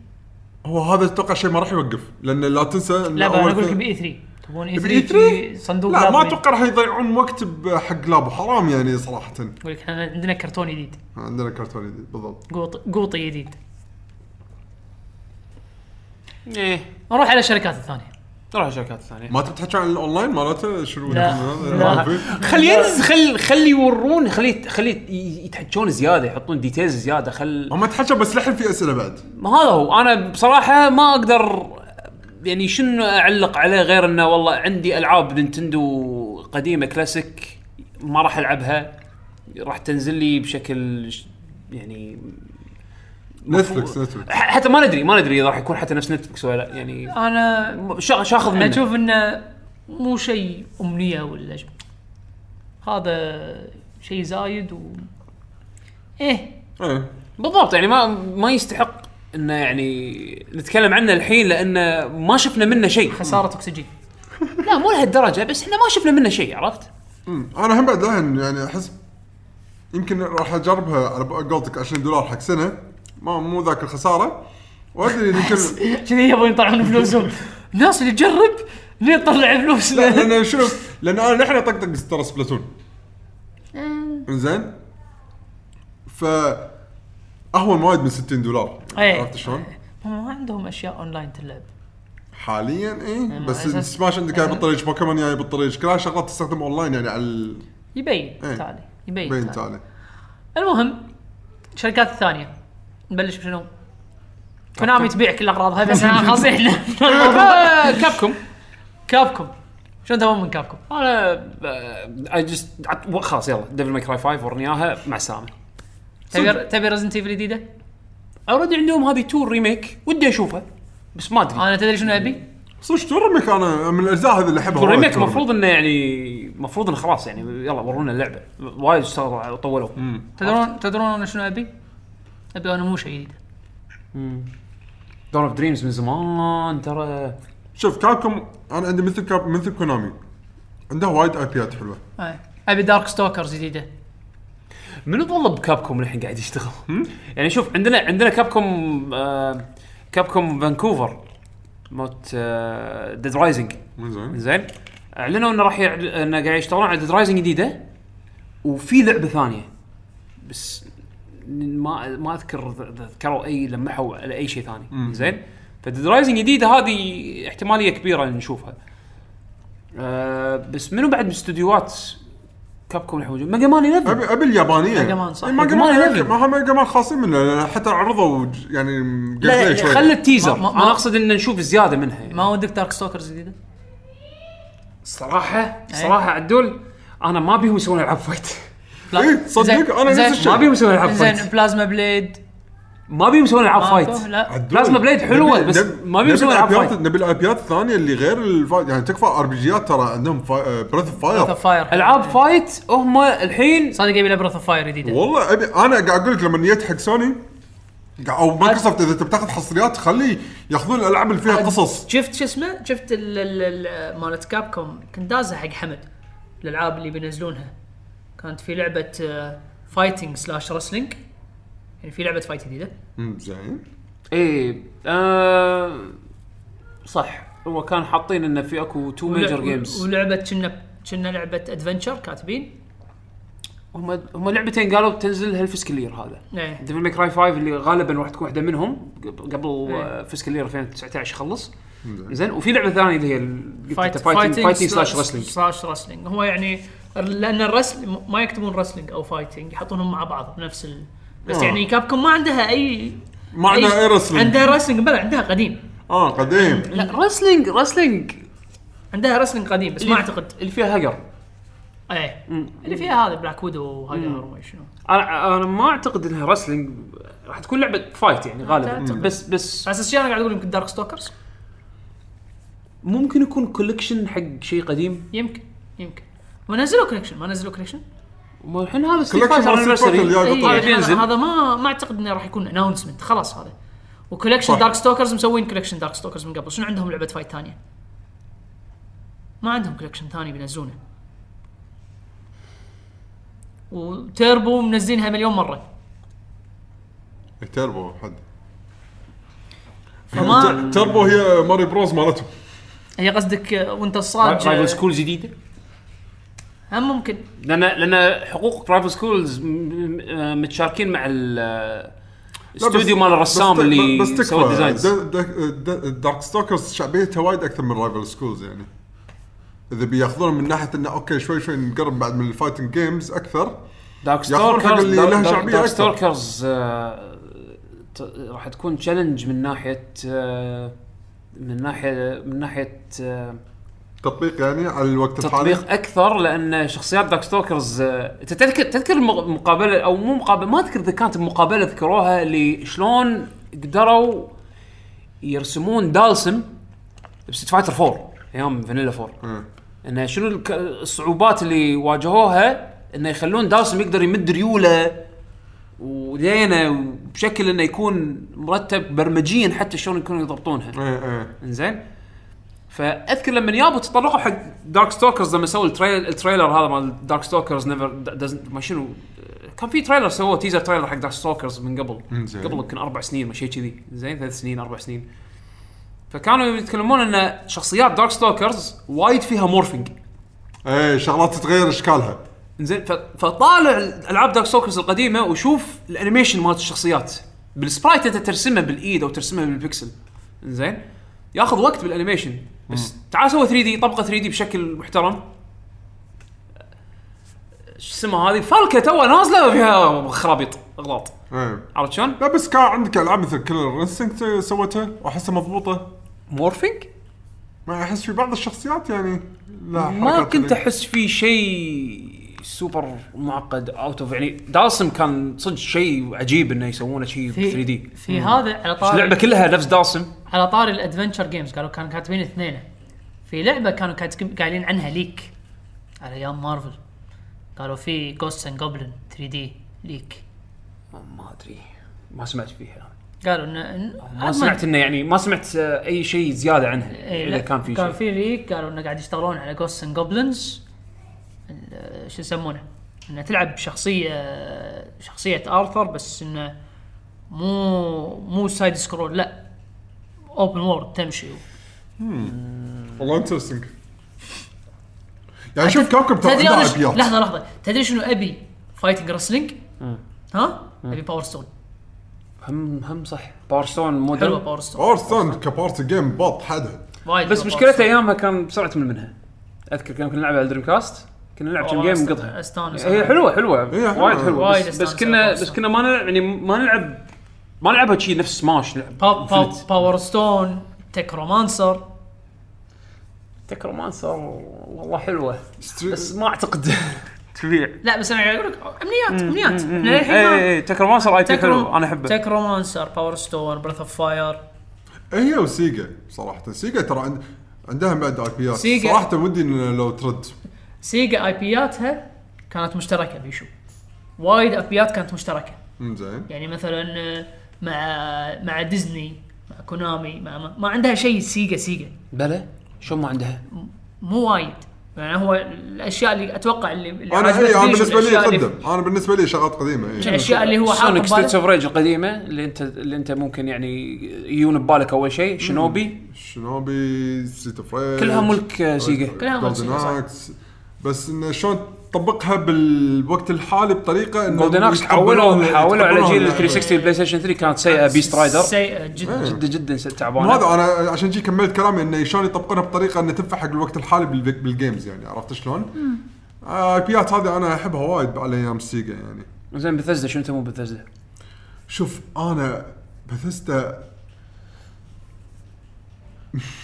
[SPEAKER 4] هو هذا اتوقع شيء ما راح يوقف لان لا تنسى ان
[SPEAKER 3] لا
[SPEAKER 4] أول
[SPEAKER 3] انا اقول لك
[SPEAKER 4] ث-
[SPEAKER 3] باي 3 تبون اي
[SPEAKER 4] بإي
[SPEAKER 3] 3
[SPEAKER 4] 3
[SPEAKER 3] إيه، في صندوق
[SPEAKER 4] لا
[SPEAKER 3] لابو
[SPEAKER 4] ما
[SPEAKER 3] جديد.
[SPEAKER 4] اتوقع راح يضيعون وقت حق لابو حرام يعني صراحه
[SPEAKER 3] يقول لك احنا عندنا كرتون جديد
[SPEAKER 4] عندنا كرتون جديد بالضبط
[SPEAKER 3] قوط- قوطي جديد
[SPEAKER 1] ايه
[SPEAKER 3] نروح على الشركات الثانيه
[SPEAKER 1] تروح شركات ثانيه
[SPEAKER 4] ما تبي تحكي عن الاونلاين مالته شنو
[SPEAKER 3] لا.
[SPEAKER 4] هذا؟
[SPEAKER 3] لا.
[SPEAKER 4] ما في؟
[SPEAKER 1] خلي ينزل- خل خلي يورون خلي خلي ي- يتحجون زياده يحطون ديتيلز زياده خل
[SPEAKER 4] هم تحكى بس لحن في اسئله بعد
[SPEAKER 1] ما هذا هو انا بصراحه ما اقدر يعني شنو اعلق عليه غير انه والله عندي العاب نينتندو قديمه كلاسيك ما راح العبها راح تنزل لي بشكل ش- يعني
[SPEAKER 4] نتفلكس نتفلكس
[SPEAKER 1] ح- حتى ما ندري ما ندري اذا راح يكون حتى نفس نتفلكس ولا لا يعني
[SPEAKER 3] انا
[SPEAKER 1] شا- شاخذ
[SPEAKER 3] انا
[SPEAKER 1] منه
[SPEAKER 3] اشوف انه مو شيء امنيه ولا شيء هذا شيء زايد و ايه
[SPEAKER 4] إيه.
[SPEAKER 1] بالضبط يعني ما ما يستحق انه يعني نتكلم عنه الحين لانه ما شفنا منه شيء
[SPEAKER 3] خساره اكسجين
[SPEAKER 1] لا مو لهالدرجه بس احنا ما شفنا منه شيء عرفت؟
[SPEAKER 4] أمم. انا هم بعد لحن يعني احس يمكن راح اجربها على قولتك 20 دولار حق سنه ما مو ذاك الخساره وادري يمكن
[SPEAKER 3] كذي يبون يطلعون فلوسهم الناس اللي تجرب ليه تطلع فلوس
[SPEAKER 4] لا لان شوف لان انا نحن طقطق ترى سبلاتون زين ف اهون وايد من 60 دولار
[SPEAKER 3] إيه.
[SPEAKER 4] عرفت شلون؟
[SPEAKER 3] هم ما عندهم اشياء اونلاين تلعب
[SPEAKER 4] حاليا اي إيه. بس
[SPEAKER 3] أساس-
[SPEAKER 4] سماش عندك جاي بالطريق بوكيمون جاي بالطريق كلها شغلات تستخدم اونلاين يعني على البين
[SPEAKER 3] يبين
[SPEAKER 4] إيه.
[SPEAKER 3] تالي يبين تالي
[SPEAKER 4] تالي
[SPEAKER 3] المهم الشركات الثانيه نبلش بشنو؟ كونامي تبيع كل اغراضها بس احنا خاصين
[SPEAKER 1] كابكم
[SPEAKER 3] كابكم شلون تبون من كابكم؟
[SPEAKER 1] انا اي جست خلاص يلا ديفل ماي كراي 5 ورني اياها مع السلامه
[SPEAKER 3] تبي تبي رزنت ايفل جديده؟
[SPEAKER 1] اوريدي عندهم هذه تور ريميك ودي اشوفها بس ما ادري
[SPEAKER 3] انا تدري شنو ابي؟
[SPEAKER 4] صدق تورمك انا من الاجزاء هذه اللي احبها
[SPEAKER 1] تور
[SPEAKER 4] وايد
[SPEAKER 1] ريميك
[SPEAKER 4] تورمك.
[SPEAKER 1] المفروض انه يعني المفروض انه خلاص يعني يلا ورونا اللعبه وايد اشتغلوا وطولوا
[SPEAKER 3] تدرون تدرون انا شنو ابي؟ ابي انا مو شيء جديد
[SPEAKER 1] دور اوف دريمز من زمان ترى
[SPEAKER 4] شوف كابكم انا عندي مثل كاب مثل كونامي عندها وايد اي بيات حلوه
[SPEAKER 3] آه. ابي دارك ستوكرز جديده
[SPEAKER 1] منو ظل بكابكوم الحين قاعد يشتغل؟ يعني شوف عندنا عندنا كابكوم آه كابكوم فانكوفر موت ديد رايزنج
[SPEAKER 4] مو زين
[SPEAKER 1] زين اعلنوا انه راح يعل... انه قاعد يشتغلون على ديد رايزنج جديده وفي لعبه ثانيه بس ما ما اذكر ذ- ذ- ذكروا اي لمحوا على اي شيء ثاني زين فديد رايزنج جديده هذه احتماليه كبيره نشوفها أه بس منو بعد باستديوهات كابكوم اللي موجود ميجا مان 11
[SPEAKER 4] ابي ابي اليابانيه
[SPEAKER 3] ميجا مان صح.
[SPEAKER 4] إيه، ميجا
[SPEAKER 1] ميجا مان
[SPEAKER 4] مان ما هم ميجا مان خاصين منه لأن حتى عرضوا ج- يعني
[SPEAKER 1] لا
[SPEAKER 4] gameplay
[SPEAKER 1] لا،
[SPEAKER 4] شوي.
[SPEAKER 1] خلي التيزر
[SPEAKER 3] ما- ما-
[SPEAKER 1] انا اقصد ان نشوف زياده منها يعني.
[SPEAKER 3] ما ودك دارك ستوكرز جديده؟
[SPEAKER 1] صراحه
[SPEAKER 3] إيه.
[SPEAKER 1] صراحه عدول انا ما بيهم يسوون العاب فايت
[SPEAKER 3] لا
[SPEAKER 4] إيه، صدق،
[SPEAKER 3] زين،
[SPEAKER 4] أنا نفس
[SPEAKER 3] زين،
[SPEAKER 4] الشيء.
[SPEAKER 1] ما بيهم يسوون العاب
[SPEAKER 3] زين
[SPEAKER 1] فايت
[SPEAKER 3] بلازما بليد
[SPEAKER 1] ما بيهم يسوون العاب
[SPEAKER 3] ماكو؟
[SPEAKER 1] فايت
[SPEAKER 3] لا
[SPEAKER 4] عدول.
[SPEAKER 1] بلازما بليد حلوة،
[SPEAKER 4] نبي-
[SPEAKER 1] بس
[SPEAKER 4] نبي-
[SPEAKER 1] ما
[SPEAKER 4] نبي
[SPEAKER 1] بيسوون ألعاب
[SPEAKER 4] الأبيات-
[SPEAKER 1] فايت.
[SPEAKER 4] نبي الابيات الثانيه اللي غير الفا... يعني تكفى ار بي جيات ترى عندهم آه، بريث اوف
[SPEAKER 3] براث
[SPEAKER 4] فاير
[SPEAKER 3] اوف فاير
[SPEAKER 1] العاب فايت هم الحين
[SPEAKER 3] صادق يبي له براث اوف فاير جديده
[SPEAKER 4] والله ابي انا قاعد اقول لك لما جيت حق سوني قاعد- او مايكروسوفت اذا انت بتاخذ حصريات خلي ياخذون الالعاب اللي فيها قصص
[SPEAKER 3] شفت شو اسمه؟ شفت ال- ال- ال- مالت كابكوم كنت دازها حق حمد الالعاب اللي بينزلونها كانت في آه، لعبه فايتنج سلاش رسلينج يعني في لعبه فايت جديده
[SPEAKER 4] مم، زين
[SPEAKER 1] ايه آه صح هو كان حاطين انه في اكو تو ميجر
[SPEAKER 3] ولع-
[SPEAKER 1] جيمز
[SPEAKER 3] ولعبه كنا كنا لعبه ادفنشر كاتبين
[SPEAKER 1] هم هم لعبتين قالوا بتنزل هالفسكال يير هذا
[SPEAKER 3] ايه
[SPEAKER 1] ديفل ميك راي 5 اللي غالبا راح تكون واحده منهم قب- قبل
[SPEAKER 3] إيه.
[SPEAKER 1] آه، فسكال يير 2019 يخلص زين وفي لعبه ثانيه اللي هي ال- قلت أنت fighting- fighting سلاش رسلينج
[SPEAKER 3] سلاش رسلينج هو يعني لان الرسل ما يكتبون رسلينج او فايتنج يحطونهم مع بعض بنفس ال... بس
[SPEAKER 4] آه.
[SPEAKER 3] يعني كابكوم ما عندها اي
[SPEAKER 4] ما عندها
[SPEAKER 3] إيه،
[SPEAKER 4] اي رسلينج
[SPEAKER 3] عندها رسلينج بلا عندها قديم
[SPEAKER 4] اه قديم
[SPEAKER 1] لا رسلينج رسلينج
[SPEAKER 3] عندها رسلينج قديم بس ما اعتقد
[SPEAKER 1] إيه. اللي فيها هجر
[SPEAKER 3] ايه اللي فيها هذا بلاك ويدو وهاجر وما شنو
[SPEAKER 1] انا انا ما اعتقد انها رسلينج راح تكون لعبه فايت يعني غالبا
[SPEAKER 3] أعتقد.
[SPEAKER 1] بس بس
[SPEAKER 3] على اساس شي انا قاعد اقول يمكن دارك ستوكرز
[SPEAKER 1] ممكن يكون كولكشن حق شيء قديم
[SPEAKER 3] يمكن يمكن ما نزلوا كونكشن ما نزلوا كونكشن
[SPEAKER 1] والحين هذا ستيت
[SPEAKER 4] Collection
[SPEAKER 1] فايتر
[SPEAKER 4] مال Street Fighter اللي
[SPEAKER 1] انيفرساري
[SPEAKER 4] جاي. طبيعي.
[SPEAKER 1] بينزل.
[SPEAKER 3] هذا ما ما اعتقد انه راح يكون اناونسمنت خلاص هذا وكولكشن
[SPEAKER 4] صح.
[SPEAKER 3] دارك ستوكرز مسوين كولكشن دارك ستوكرز من قبل شنو عندهم لعبه فايت ثانيه ما عندهم كولكشن ثاني بينزلونه وتيربو منزلينها مليون مره
[SPEAKER 4] تربو إيه، حد
[SPEAKER 3] فما
[SPEAKER 4] تربو هي ماري بروز مالتهم
[SPEAKER 3] هي قصدك آه، وانت
[SPEAKER 1] رايفل
[SPEAKER 3] الصاج آه،
[SPEAKER 1] سكول جديده
[SPEAKER 3] هم ممكن
[SPEAKER 1] لان لان حقوق رايفل سكولز آه، متشاركين مع ال-
[SPEAKER 4] لا، بس-
[SPEAKER 1] الاستوديو مال الرسام
[SPEAKER 4] بس-
[SPEAKER 1] اللي
[SPEAKER 4] بس تكفى.
[SPEAKER 1] سوى الديزاينز
[SPEAKER 4] دا- دا- دا- دارك ستوكرز شعبيتها وايد اكثر من رايفل سكولز يعني اذا بياخذونها من ناحيه انه اوكي شوي شوي نقرب بعد من الفايتنج جيمز اكثر
[SPEAKER 1] دارك
[SPEAKER 4] ياخذون حق
[SPEAKER 1] ستوركرز
[SPEAKER 4] اللي لها شعبية
[SPEAKER 1] دارك
[SPEAKER 4] أكثر.
[SPEAKER 1] ستوركرز آه، ت- راح تكون تشالنج من ناحيه آه، من ناحيه من ناحيه آه،
[SPEAKER 4] تطبيق يعني على الوقت الحالي
[SPEAKER 1] تطبيق اكثر لان شخصيات دارك ستوكرز آه، انت تذكر تذكر المق- مقابله او مو مقابله ما اذكر اذا كانت مقابله ذكروها اللي شلون قدروا يرسمون دالسم بست فايتر 4 ايام فانيلا 4
[SPEAKER 4] مم.
[SPEAKER 1] انه شنو الك- الصعوبات اللي واجهوها انه يخلون دالسم يقدر يمد ريوله ودينه بشكل انه يكون مرتب برمجيا حتى شلون يكونوا يضبطونها
[SPEAKER 4] ايه ايه
[SPEAKER 1] انزين فاذكر لما يابوا تطرقوا حق دارك ستوكرز لما سووا التريل التريلر هذا مال دارك ستوكرز نيفر ما شنو كان في تريلر سووه تيزر تريلر حق دارك ستوكرز من قبل
[SPEAKER 4] إنزين.
[SPEAKER 1] قبل يمكن اربع سنين ما شيء كذي زين ثلاث سنين اربع سنين فكانوا يتكلمون ان شخصيات دارك ستوكرز وايد فيها مورفنج
[SPEAKER 4] ايه شغلات تتغير اشكالها
[SPEAKER 1] زين ف- فطالع العاب دارك سوكرز القديمه وشوف الانيميشن مالت الشخصيات بالسبرايت انت ترسمها بالايد او ترسمها بالبكسل زين ياخذ وقت بالانيميشن بس تعال سوي 3 دي طبقه 3 دي بشكل محترم شو اسمها هذه فالكه تو نازله فيها خرابيط اغلاط
[SPEAKER 4] ايه
[SPEAKER 1] عرفت شلون؟
[SPEAKER 4] لا بس كان عندك العاب مثل كلر انستنكت سوتها واحسها مضبوطه
[SPEAKER 1] مورفينج؟
[SPEAKER 4] ما احس في بعض الشخصيات يعني لا
[SPEAKER 1] ما
[SPEAKER 4] حركات
[SPEAKER 1] كنت
[SPEAKER 4] اللي-
[SPEAKER 1] احس في شيء سوبر معقد اوت اوف يعني دالسم كان صدق شيء عجيب انه يسوونه شيء 3 دي
[SPEAKER 3] في هذا على طاري
[SPEAKER 1] اللعبه كلها نفس دالسم
[SPEAKER 3] على طاري الادفنشر جيمز قالوا كانوا كاتبين اثنين في لعبه كانوا كاتب- قايلين عنها ليك على ايام مارفل قالوا في جوست اند جوبلن 3 دي ليك
[SPEAKER 1] ما ادري ما سمعت فيها
[SPEAKER 3] قالوا ان إن-
[SPEAKER 1] ما سمعت انه يعني ما سمعت آه، اي شيء زياده عنها
[SPEAKER 3] إيه،
[SPEAKER 1] اذا
[SPEAKER 3] لا،
[SPEAKER 1] كان في
[SPEAKER 3] كان
[SPEAKER 1] شيء
[SPEAKER 3] في ليك قالوا انه قاعد يشتغلون على جوست اند جوبلنز شو يسمونه انه تلعب شخصيه شخصيه ارثر بس انه مو مو سايد سكرول لا اوبن وورد تمشي
[SPEAKER 4] والله انترستنج يعني شوف كوكب ترى
[SPEAKER 3] تدري
[SPEAKER 4] عندها
[SPEAKER 3] انا ش-
[SPEAKER 4] ابيات
[SPEAKER 3] لحظه لحظه تدري شنو ابي فايتنج رسلينج ها ابي باور ستون
[SPEAKER 1] هم هم صح باور ستون
[SPEAKER 3] حلوه
[SPEAKER 1] موديل
[SPEAKER 3] باور ستون
[SPEAKER 4] باور ستون كبارتي جيم بط حدها
[SPEAKER 3] وايد
[SPEAKER 1] بس
[SPEAKER 3] حلوة
[SPEAKER 1] مشكلته
[SPEAKER 3] Power Stone.
[SPEAKER 1] ايامها كان بسرعه تمل منها اذكر كنا نلعب على الدريم كاست كنا نلعب كم
[SPEAKER 3] والله
[SPEAKER 1] جيم
[SPEAKER 3] أست-
[SPEAKER 1] نقطها
[SPEAKER 3] استانس
[SPEAKER 1] هي حلوه حلوه
[SPEAKER 4] هي حلوة.
[SPEAKER 1] وايد حلوه
[SPEAKER 3] وايد
[SPEAKER 1] بس, بس
[SPEAKER 3] استانس
[SPEAKER 1] كنا
[SPEAKER 3] على Power
[SPEAKER 1] بس
[SPEAKER 3] Stone.
[SPEAKER 1] كنا ما نلعب يعني ما نلعب ما نلعبها شي نفس سماش نلعب
[SPEAKER 3] با- با-
[SPEAKER 1] Infinite.
[SPEAKER 3] باور ستون تكرومانسر
[SPEAKER 1] تكرومانسر والله حلوه
[SPEAKER 4] ستري-
[SPEAKER 1] بس ما اعتقد تبيع
[SPEAKER 3] لا بس انا قاعد اقول لك امنيات امنيات احنا
[SPEAKER 4] إيه،
[SPEAKER 1] اي
[SPEAKER 3] للحين ما-
[SPEAKER 1] اي تكرومانسر اي بي حلو
[SPEAKER 3] تكرو
[SPEAKER 1] انا احبه
[SPEAKER 3] تكرومانسر باور ستون بريث اوف فاير
[SPEAKER 4] إيه هي وسيجا صراحه سيجا ترى عند... عندها بعد اي بيات
[SPEAKER 3] سيجا.
[SPEAKER 4] صراحه ودي إن لو ترد
[SPEAKER 3] سيجا اي بياتها كانت مشتركه بيشو وايد ابيات كانت مشتركه
[SPEAKER 4] زين
[SPEAKER 3] يعني مثلا آه، مع مع ديزني مع كونامي مع ما, ما عندها شيء سيجا سيجا
[SPEAKER 1] بلى شو ما عندها
[SPEAKER 3] مو وايد يعني هو الاشياء اللي اتوقع اللي, اللي
[SPEAKER 4] انا
[SPEAKER 3] عجبت
[SPEAKER 4] اي انا
[SPEAKER 3] بيشو
[SPEAKER 4] بالنسبه إيه، لي
[SPEAKER 3] الأشياء اللي-
[SPEAKER 4] قدم انا بالنسبه لي شغلات إيه. قديمه اي
[SPEAKER 3] الاشياء اللي هو
[SPEAKER 1] سونيك
[SPEAKER 3] حاط
[SPEAKER 1] ستريتس
[SPEAKER 3] بباله
[SPEAKER 1] اوف ريج القديمه اللي انت اللي انت ممكن يعني يجون ببالك اول شيء شنوبي
[SPEAKER 4] شنوبي ستريت اوف ريج
[SPEAKER 1] كلها ملك آه، سيجا
[SPEAKER 3] كلها ملك
[SPEAKER 4] جولدن
[SPEAKER 3] سيجا، صح.
[SPEAKER 4] اكس بس انه شلون تطبقها بالوقت الحالي بطريقه انه
[SPEAKER 1] جولدن اكس حولوا حولوا على
[SPEAKER 4] يعني.
[SPEAKER 1] جيل ال 360 بلاي ستيشن 3 كانت
[SPEAKER 3] آه،
[SPEAKER 1] سيئه بيست رايدر
[SPEAKER 3] سيئه جدا
[SPEAKER 1] جدا جدا س-
[SPEAKER 4] هذا
[SPEAKER 1] تعبانه
[SPEAKER 4] انا عشان جي كملت كلامي انه شلون يطبقونها بطريقه انه تنفع حق الوقت الحالي بالبيك- بالجيمز يعني عرفت شلون؟ آه، بيات هذه انا احبها وايد على ايام سيجا يعني
[SPEAKER 1] زين بثزدا شنو تسمون بثزدا؟
[SPEAKER 4] شوف انا بثستا